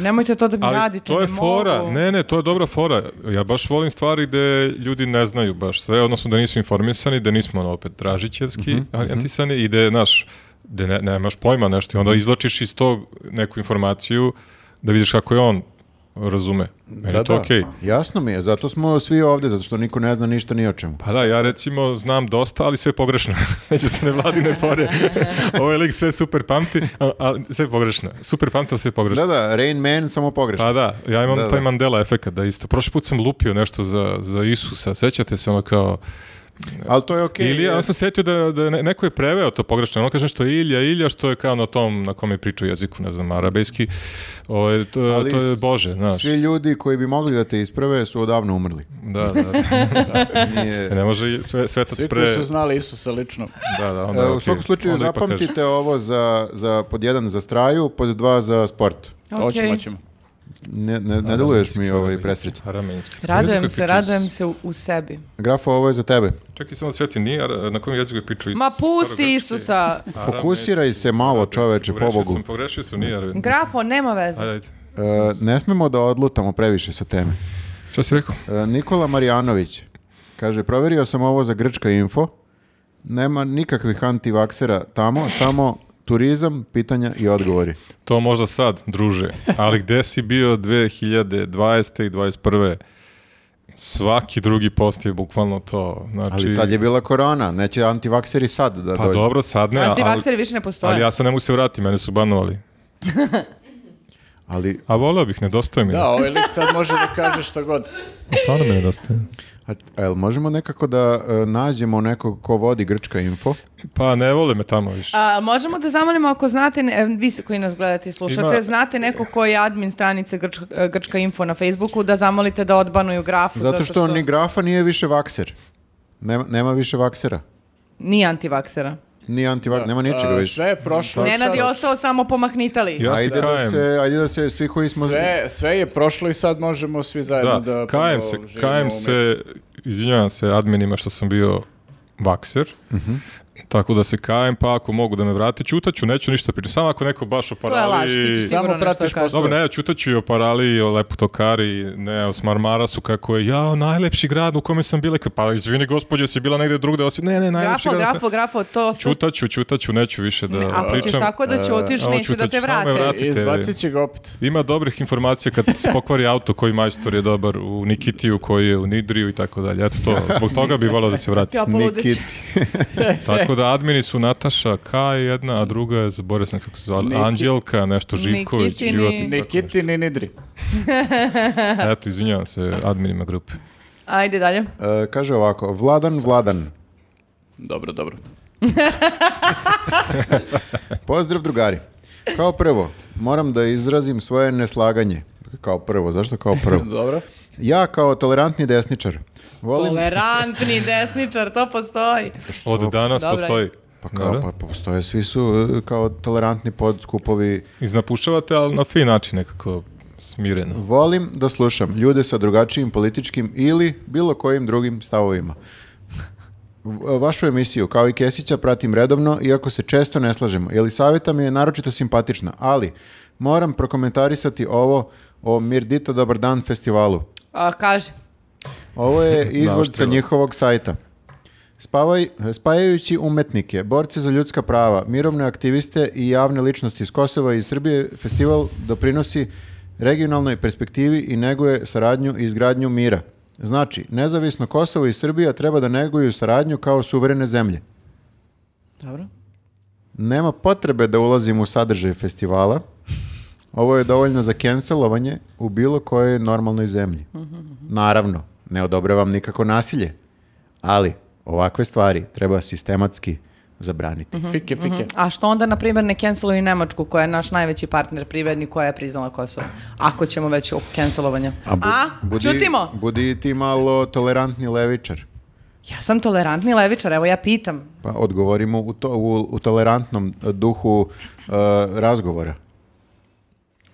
E: Nemojte to da mi
D: Ali
E: radite.
D: to je
E: ne
D: fora,
E: mogu.
D: ne, ne, to je dobra fora. Ja baš volim stvari gde ljudi ne znaju baš sve, odnosno da nisu informisani, da nismo ono, opet dražićevski orijentisani i gde, znaš, gde ne, Mhm. nemaš pojma nešto i onda izlačiš iz tog neku informaciju da vidiš kako je on uh, razume. Meni je to okej.
A: Jasno mi je, zato smo svi ovdje, zato što niko ne zna ništa ni o čemu.
D: Pa da, ja recimo znam dosta, ali sve pogrešno. [LAUGHS] Znači se ne vladi ne
E: [LAUGHS]
D: fore. Ovaj lik sve super pamti, a, a sve pogrešno. Super pamti, ali sve pogrešno.
A: Da, da, Rain Man samo pogrešno.
D: Pa da, ja imam
A: Da,
D: taj
A: da.
D: Mandela efekat da isto. Prošli put sam lupio nešto za, za Isusa, sećate se ono kao... Pa,
A: Ali to je okej.
D: Ilija, ja sam setio da, da je ne- neko je preveo to pogrešno, ono kaže što je Ilija, Ilija što je kao na tom na kom je pričao jeziku, ne znam, arabejski, Ovaj, to, je-
A: Ali
D: to je
A: s-
D: Bože, znaš.
A: Svi ljudi koji bi mogli da te isprave su odavno umrli.
D: Da, da, da. [LAUGHS]
A: Nije...
D: Ne može i sve, svetac
B: Svi
D: pre...
B: koji su znali Isusa lično.
D: Da, da, onda
A: E,
D: je
A: U
D: okej.
A: svakom slučaju
D: Onda ipak kaže.
A: zapamtite ovo za, za pod jedan za straju, pod dva za sport.
B: Hoćemo, hoćemo.
A: Ne, ne, ne deluješ mi ovaj
D: Aramenski,
A: presrećan.
D: aramenski. Jeziku
C: Radujem
D: je
C: se,
D: pričao
C: radujem
D: Isus.
C: se u, u sebi.
A: Grafo, ovo je za tebe.
D: Čekaj, samo da svetim, nije, ara- na kojem jeziku je pričao Isus?
C: Ma pusti
D: Starogrčki,
C: Isusa.
D: aramenski,
A: Fokusiraj se malo,
D: arabejski.
A: čoveče,
D: Pogrešio
A: pobogu.
D: sam, pogrešio sam, nije arabejski.
C: Grafo, nema veze.
D: Ajde, ajde.
A: E, ne smemo da odlutamo previše sa teme.
D: Šta si rekao?
A: E, Nikola Marjanović kaže, proverio sam ovo za Grčka info, nema nikakvih antivaksera tamo, samo turizam, pitanja i odgovori.
D: To možda sad, druže, ali gde si bio 2020. i 21. Svaki drugi post je bukvalno to. Znači,
A: Ali tad je bila korona, neće antivakseri sad da
D: pa
A: dođu.
D: dobro, sad ne,
C: Antivakseri
D: ali,
C: više ne postoje.
D: ali ja se ne mogu se vratiti, mene su banovali.
A: Ali,
D: A voleo bih, nedostaje mi.
B: Da, ovaj lik sad može da kaže šta god.
D: [LAUGHS] Stvarno mi nedostaje.
A: a, a jel možemo nekako da e, nađemo nekog ko vodi Grčka info?
D: Pa ne vole me tamo više.
C: A, možemo da zamolimo ako znate, ne- e, vi se koji nas gledate i slušate,
D: Ima-
C: znate neko ko je admin stranice Grčka, e, Grčka info na Facebooku da zamolite da odbanuju grafu.
A: Zato što ni Grafa nije više vakser. Nema, nema više vaksera.
C: Nije antivaksera.
A: Ni antivak, nema ničega
B: A,
A: više.
B: Sve je
D: Pa
B: prošlo. i
C: Nenad
B: sad-
C: je ostao samo pomahnitali.
D: Ja se
A: Ajde da,
D: kajem.
A: se, ajde da se svi koji smo...
B: Sve, sve je prošlo i sad možemo svi zajedno da...
D: Da, kajem
B: ponovo
D: se,
B: živimo u
D: kajem
B: miru.
D: se, izvinjavam se adminima što sam bio vakser,
A: Mhm.
D: tako da se kajem, pa ako mogu da me vrate, ćutaću, neću ništa pričati, samo ako neko baš o
C: To je laž, ti
D: paraliji-
B: Samo
C: ćeš sigurno nešto
B: pratiš
C: da kažeš.
B: postupak.
D: Dobro, ne, čutaću i o Parali, i o Lepotokari, ne, o Smarmarasu, kako je, ja, najlepši grad u kome sam bila, pa izvini gospođe, si bila negde drugde, osim, ne, ne, najlepši
C: Grafo,
D: grad.
C: grafo, grafo, to su...
D: Čutaću, čutaću, neću više da
C: Ako ćeš
D: pričam. E,
C: tako da će otiš,
D: evo,
C: neće da
D: ćutaću,
C: te
D: samo me
C: vrate.
D: vrati.
B: Izbacit će ga opet.
D: Ima dobrih informacija kad se pokvari auto koji majstor je dobar u Nikitiju, koji je u Nidriju i tako dalje. Eto to, zbog toga bi volao da se
C: [LAUGHS]
D: vrati.
C: Ti opoludeš.
A: Nikit.
D: Tako da admini su Nataša K jedna, a druga je, zaboravio sam kako se zvala,
B: Nikit-
D: Anđelka, nešto Živković,
C: Nikitini-
D: život. i tako
B: Nikiti ni Nidri.
D: nešto. Eto, izvinjavam se adminima grupe.
C: Ajde dalje.
A: E, kaže ovako, Vladan, Vladan,
B: Dobro, dobro.
A: pozdrav drugari. Kao prvo, moram da izrazim svoje neslaganje. Kao prvo, zašto kao prvo?
B: Dobro.
A: Ja kao tolerantni desničar volim...
C: Tolerantni desničar, to postoji.
D: Od danas
C: Dobra.
D: postoji.
A: Pa kao,
D: Dobro.
A: pa postoje, svi su e, kao tolerantni podskupovi.
D: Iznapušavate, ali na fin način nekako smireno.
A: Volim da slušam ljude sa drugačijim političkim ili bilo kojim drugim stavovima. V- Vašu emisiju, kao i Kesića, pratim redovno, iako se često ne slažemo. Jelisaveta mi je naročito simpatična, ali moram prokomentarisati ovo o Mirdita Dobar dan festivalu.
C: A, kaže,
A: Ovo je izvod sa
D: Naoštrilo.
A: njihovog sajta. Spavaj, spajajući umetnike, borce za ljudska prava, mirovne aktiviste i javne ličnosti iz Kosova i iz Srbije, festival doprinosi regionalnoj perspektivi i neguje saradnju i izgradnju mira. Znači, nezavisno Kosovo i Srbija treba da neguju saradnju kao suverene zemlje.
C: dobro.
A: Nema potrebe da ulazim u sadržaj festivala. Ovo je dovoljno za cancelovanje u bilo kojoj normalnoj zemlji. Naravno, ne odobravam nikako nasilje, ali ovakve stvari treba sistematski zabraniti.
B: Fike, fike.
C: A što onda, na primjer, ne canceluju Nemačku, koja je naš najveći partner privredni, koja je priznala Kosovo? Ako ćemo već o cancelovanju. A,
A: bu- budi,
C: čutimo?
A: Budi i ti malo tolerantni levičar.
C: Ja sam tolerantni levičar, evo ja pitam.
A: Pa odgovorimo u, to, u, u tolerantnom eh, duhu eh, razgovora.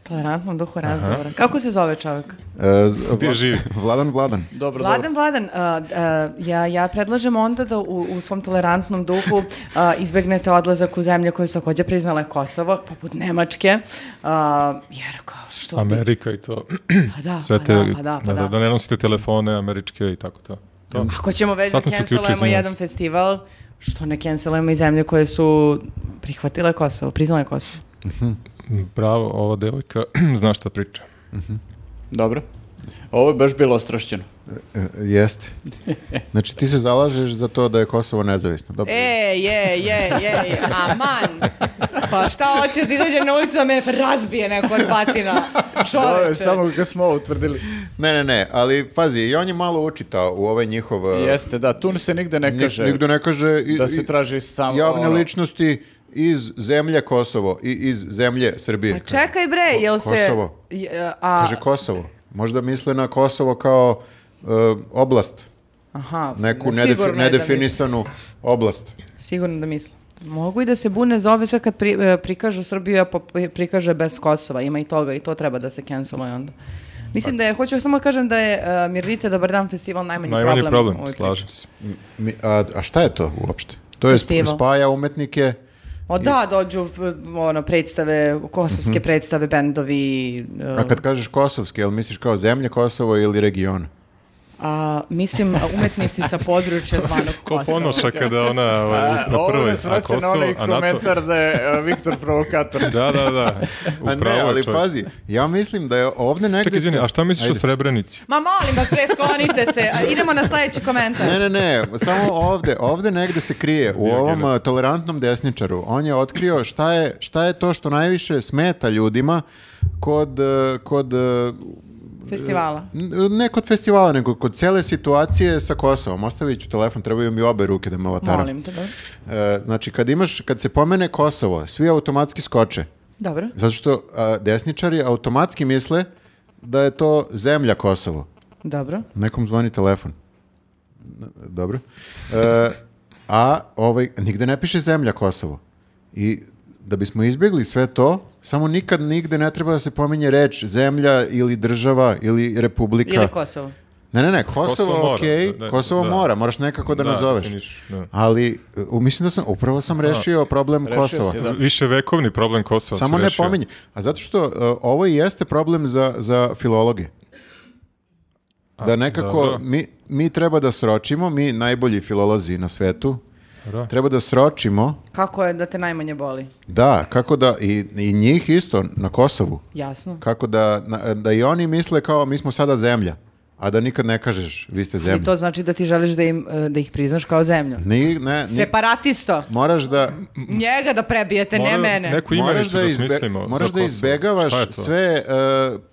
C: Tolerantnom duhu razgovora. Kako se zove čovjek?
A: Eh, z-
D: Gdje
A: Vla-
D: živi?
A: [LAUGHS] Vladan, Vladan.
B: Dobro, dobro.
C: Vladan, Vladan, a, d- a, ja, ja predlažem onda da u, u svom tolerantnom duhu a, izbegnete odlazak u zemlje koje su također priznale Kosovo, poput Nemačke, a, jer kao što... bi-
D: Amerika i to.
C: Pa da,
D: Sve
C: pa
D: te,
C: da, pa da, pa da.
D: da ne nosite telefone američke i tako to. To.
C: Ako ćemo već da
D: Sad sam se uključio,
C: cancelujemo
D: izvinjavam
C: jedan
D: se.
C: festival, što ne cancelujemo i zemlje koje su prihvatile Kosovo, priznale Kosovo.
D: [CLEARS THROAT] Bravo, ova devojka zna šta priča.
B: Dobro. Ovo je baš bilo ostrašćeno.
A: E, Jeste. Znači ti se zalažeš za to da je Kosovo nezavisno. Dobro.
C: E, je, je, je, aman. Pa šta hoćeš da izađe na ulicu da me razbije neko od batina?
B: Ovo je
C: Čoveče.
B: samo kad smo ovo utvrdili.
A: Ne, ne, ne, ali pazi, i on je malo učitao u ovaj njihov... e,
B: Jeste, da, tu se nigde ne
A: ni-
B: kaže
A: Nigde ne kaže... i-
B: da
A: i-
B: se traži samo...
A: javne
B: ono,
A: ličnosti iz zemlje Kosovo i iz zemlje Srbije.
C: Pa čekaj bre,
A: Ko-
C: jel se...
A: Kosovo.
C: J- A,
A: Kaže Kosovo. Možda misle na Kosovo kao e, oblast,
C: aha,
A: neku
C: sigurno je
A: nedefi-
C: da
A: nedefinisanu oblast.
C: misle. Sigurno da mislim. Mogu i da se bune zove sve kad pri, e, prikažu Srbiju, a pa pri- prikaže bez Kosova. Ima i toga i to treba da se canceluje onda.
D: Pa.
C: Mislim da je, hoću samo kažem da je uh, Mirnite Dobar dan festival najmanji,
D: Najmanji
C: problem.
D: problem,
C: u ovoj priči.
D: slažem se.
A: Mi- a, a šta je to uopšte? To je sp-
C: Festival.
A: spaja umetnike
C: O da, dođu v- ono, predstave, kosovske
D: Mhm.
C: predstave, bendovi. e,
A: A kad kažeš kosovski, jel misliš kao zemlje Kosovo ili region?
C: A, mislim, umetnici sa područja zvanog
D: [LAUGHS] Ko
C: Kosova.
D: ponoša kada
A: [LAUGHS]
D: ona ovaj,
B: A,
A: Pa,
D: na
B: ovo
D: prvoj,
B: nas
D: a
B: vraća na
D: Kosovo,
B: onaj
D: a NATO...
B: komentar da je e, Viktor provokator.
D: Da, da, da.
A: [LAUGHS] A
D: Upravo
A: ne,
D: je
A: ali
D: čovjek.
A: pazi, ja mislim da je ovdje negdje...
D: Čekaj, izvini,
A: se-
D: a šta misliš o
A: Ajde.
D: Srebrenici?
C: Ma molim vas, presklonite se. A, Idemo na sljedeći komentar.
A: Ne, ne, ne, samo ovdje, ovdje negdje se krije, u ovom a, tolerantnom desničaru. On je otkrio šta je, šta je to što najviše smeta ljudima kod, e, kod e,
C: Festivala.
A: N- Ne kod festivala, nego kod cele situacije sa Kosovom. Ostavit ću telefon, trebaju mi obe ruke da me lataram.
C: Molim te, dobro.
A: E, znači, kad, imaš, kad se pomene Kosovo, svi automatski skoče.
C: Dobro.
A: Zato što a, desničari automatski misle da je to zemlja Kosovo.
C: Dobro.
A: Nekom zvoni telefon. N- Dobro. E, a ovaj, nigde ne piše zemlja Kosovo. I da bismo izbjegli sve to, samo nikad nigde ne treba da se pominje reč zemlja ili država ili republika.
C: Ili Kosovo.
A: Ne, ne, ne, Kosovo,
D: Kosovo mora,
A: okej,
D: da, da,
A: Kosovo
D: da.
A: mora, moraš nekako da, nazoveš.
D: definiš, da.
A: Ali u, mislim da sam, upravo sam rešio problem
B: Rešio
A: Kosova.
B: si, da.
D: Više vekovni problem Kosova
A: Samo
D: se
A: ne
D: rešio.
A: pominje. A zato što uh, ovo i jeste problem za, za filologe. Da nekako
D: dobro.
A: mi, mi treba da sročimo, mi najbolji filolozi na svetu,
D: Dobro.
A: treba da sročimo,
C: Kako je da te najmanje boli?
A: da, kako da, i, i njih isto na Kosovu,
C: Jasno.
A: kako da, na- da i oni misle kao mi smo sada zemlja, a da nikad ne kažeš vi ste zemlja.
C: I to znači da ti želiš da, im, e, da ih priznaš kao zemlju.
A: Ni, ne, ni-
C: pa- Separatisto.
A: moraš da,
C: Njega da prebijete,
D: Mora
C: ne mene.
D: Neku
A: moraš
D: imenicu da,
A: da, izbe-
D: smislimo za
A: moraš da
D: Kosovo.
A: izbegavaš
D: Šta je to?
A: sve e,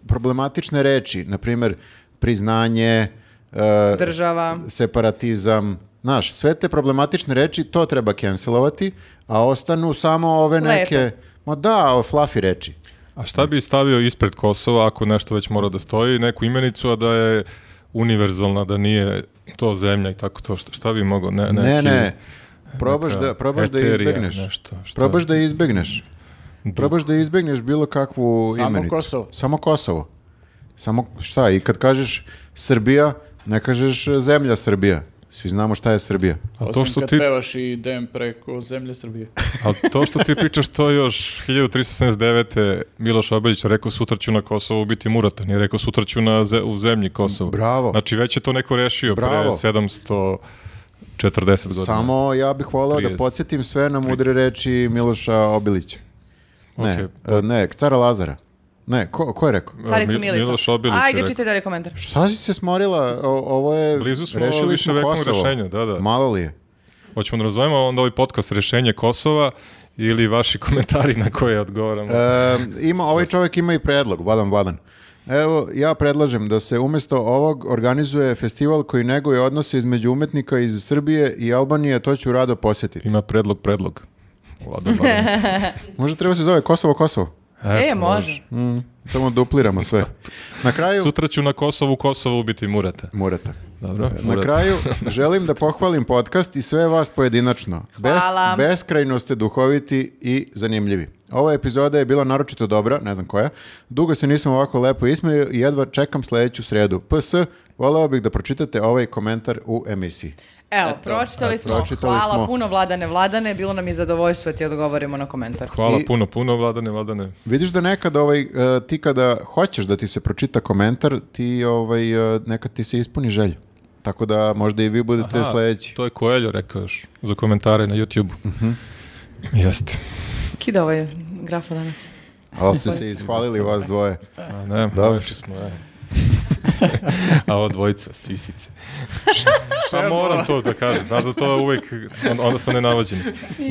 A: problematične reči, na primjer priznanje, e,
C: Država.
A: separatizam, znaš, sve te problematične reči, to treba cancelovati, a ostanu samo ove
C: Lepe.
A: neke, ma da, ove fluffy reči.
D: A šta bi stavio ispred Kosova ako nešto već mora da stoji, neku imenicu, a da je univerzalna, da nije to zemlja i tako to, šta, šta bi mogao? Ne, neki,
A: ne, ne, probaš,
D: neka
A: da, probaš da
D: eterija,
A: izbegneš.
D: nešto, šta?
A: Probaš da izbegneš. Probaš da izbegneš bilo kakvu
B: Samo
A: imenicu.
B: Kosovo.
A: Samo Kosovo. Samo, šta, i kad kažeš Srbija, ne kažeš e, zemlja Srbija. Svi znamo šta je Srbija.
D: A to
B: Osim
D: što
B: kad
D: ti,
B: pevaš i idem preko zemlje Srbije.
D: a to što ti pričaš to je još 1379. Miloš Obilić rekao sutra ću na Kosovu ubiti Murata, nije rekao sutra ću na ze- u zemlji Kosovo.
A: Bravo.
D: Znači već je to neko rešio
A: Bravo.
D: pre 740 godina.
A: Samo ja bih volao da
D: 30.
A: podsjetim sve na mudre reči Miloša Obilića. Ne,
D: pa-
A: e, ne, cara Lazara. Ne, ko, ko je rekao?
C: Carica
D: Mi-
C: Milica.
D: Miloš Obilić je
C: Ajde,
D: rekao.
C: čitaj dalje komentar.
A: Šta si se smorila? O- ovo je...
D: Blizu smo
A: rešili smo
D: viševekovnog
A: Kosovo.
D: rešenja, da, da.
A: Malo li je?
D: Hoćemo da razvojimo onda ovaj podcast Rešenje Kosova ili vaši komentari na koje odgovaramo.
A: E, ima, ovaj čovjek ima i predlog, Vladan Vladan. Evo, ja predlažem da se umjesto ovog organizuje festival koji neguje odnose između umetnika iz Srbije i Albanije, to ću rado posjetiti.
D: Ima predlog, predlog. Vladan, Vladan.
A: Možda treba se zove Kosovo, Kosovo.
C: E, može.
A: Samo dupliramo sve. Na kraju...
D: Sutra ću na Kosovu, Kosovo ubiti Murata.
A: Morate.
D: Dobro?
A: E, Na
D: Murata. [LAUGHS]
A: kraju želim da pohvalim podcast i sve vas pojedinačno. Bes,
C: Hvala.
A: beskrajno ste duhoviti i zanimljivi. Ova epizoda je bila naročito dobra, ne znam koja. Dugo se nisam ovako lepo ismio i jedva čekam sledeću sredu. PS, voleo bih da pročitate ovaj komentar u emisiji.
C: Evo, pročitali smo.
A: pročitali
C: Hvala
A: smo.
C: puno vladane vladane. Bilo nam je zadovoljstvo da ti odgovorimo na komentar.
D: Hvala
A: I-
D: puno, puno, Vladane, Vladane.
A: Vidiš da nekad ovaj, e, ti kada hoćeš da ti se pročita komentar, ti ovaj, e, nekad ti se ispuni želju. Tako da možda i vi budete
D: Aha,
A: sledeći. Mhm.
D: To je Koeljo rekao još za komentare na YouTube-u. Jeste.
C: Kida ovaj grafa danas.
A: Ali ste se ishvalili vas dvoje.
D: A ne,
A: Dobro.
D: da. smo, e. [LAUGHS] A ova dvojica, sisice. Pa moram to da kažem, znaš da to uvek, on- onda sam nenavađen.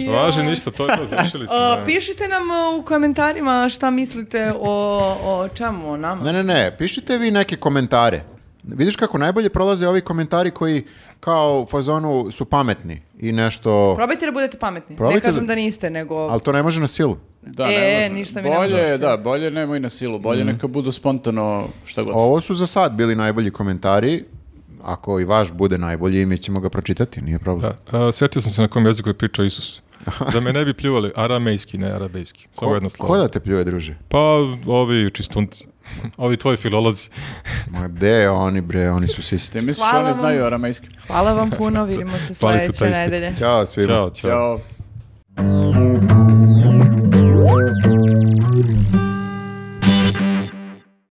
D: Važi ništa, to je to, završili smo. e.
C: A,
D: da.
C: E, pišite nam a, u komentarima šta mislite o, o čemu, o nama.
A: Ne, ne, ne, pišite vi neke komentare. Vidiš kako najbolje prolaze ovi komentari koji kao u fazonu su pametni i nešto...
C: Probajte da budete pametni. ne
A: Probajte
C: kažem
A: da-
C: da... niste, nego...
A: Ali to ne može na silu.
B: Da,
C: E,
B: ne može.
C: ništa mi ne
B: bolje,
C: može.
B: da, bolje nemoj na silu, bolje
D: Mhm.
B: neka budu spontano šta god.
A: Ovo su za sad bili najbolji komentari. Ako i vaš bude najbolji, mi ćemo ga pročitati, nije problem.
D: Da. A, sjetio sam se na kom jeziku je pričao Isus. Da me ne bi pljuvali, aramejski, ne arabejski. Samo
A: Ko,
D: jedno
A: ko
D: slovo.
A: da te pljuje, druže?
D: Pa ovi čistunci, [LAUGHS] ovi tvoji filolozi.
A: Ma gde oni bre, oni su
B: Ti
A: sisice.
B: misliš
C: Hvala
B: oni
C: vam.
B: znaju aramejski?
C: Hvala vam puno, vidimo se
D: Pali su taj
C: sledeće
D: ispit.
C: nedelje.
A: Ćao svima.
D: Ćao, čao.
B: Ćao.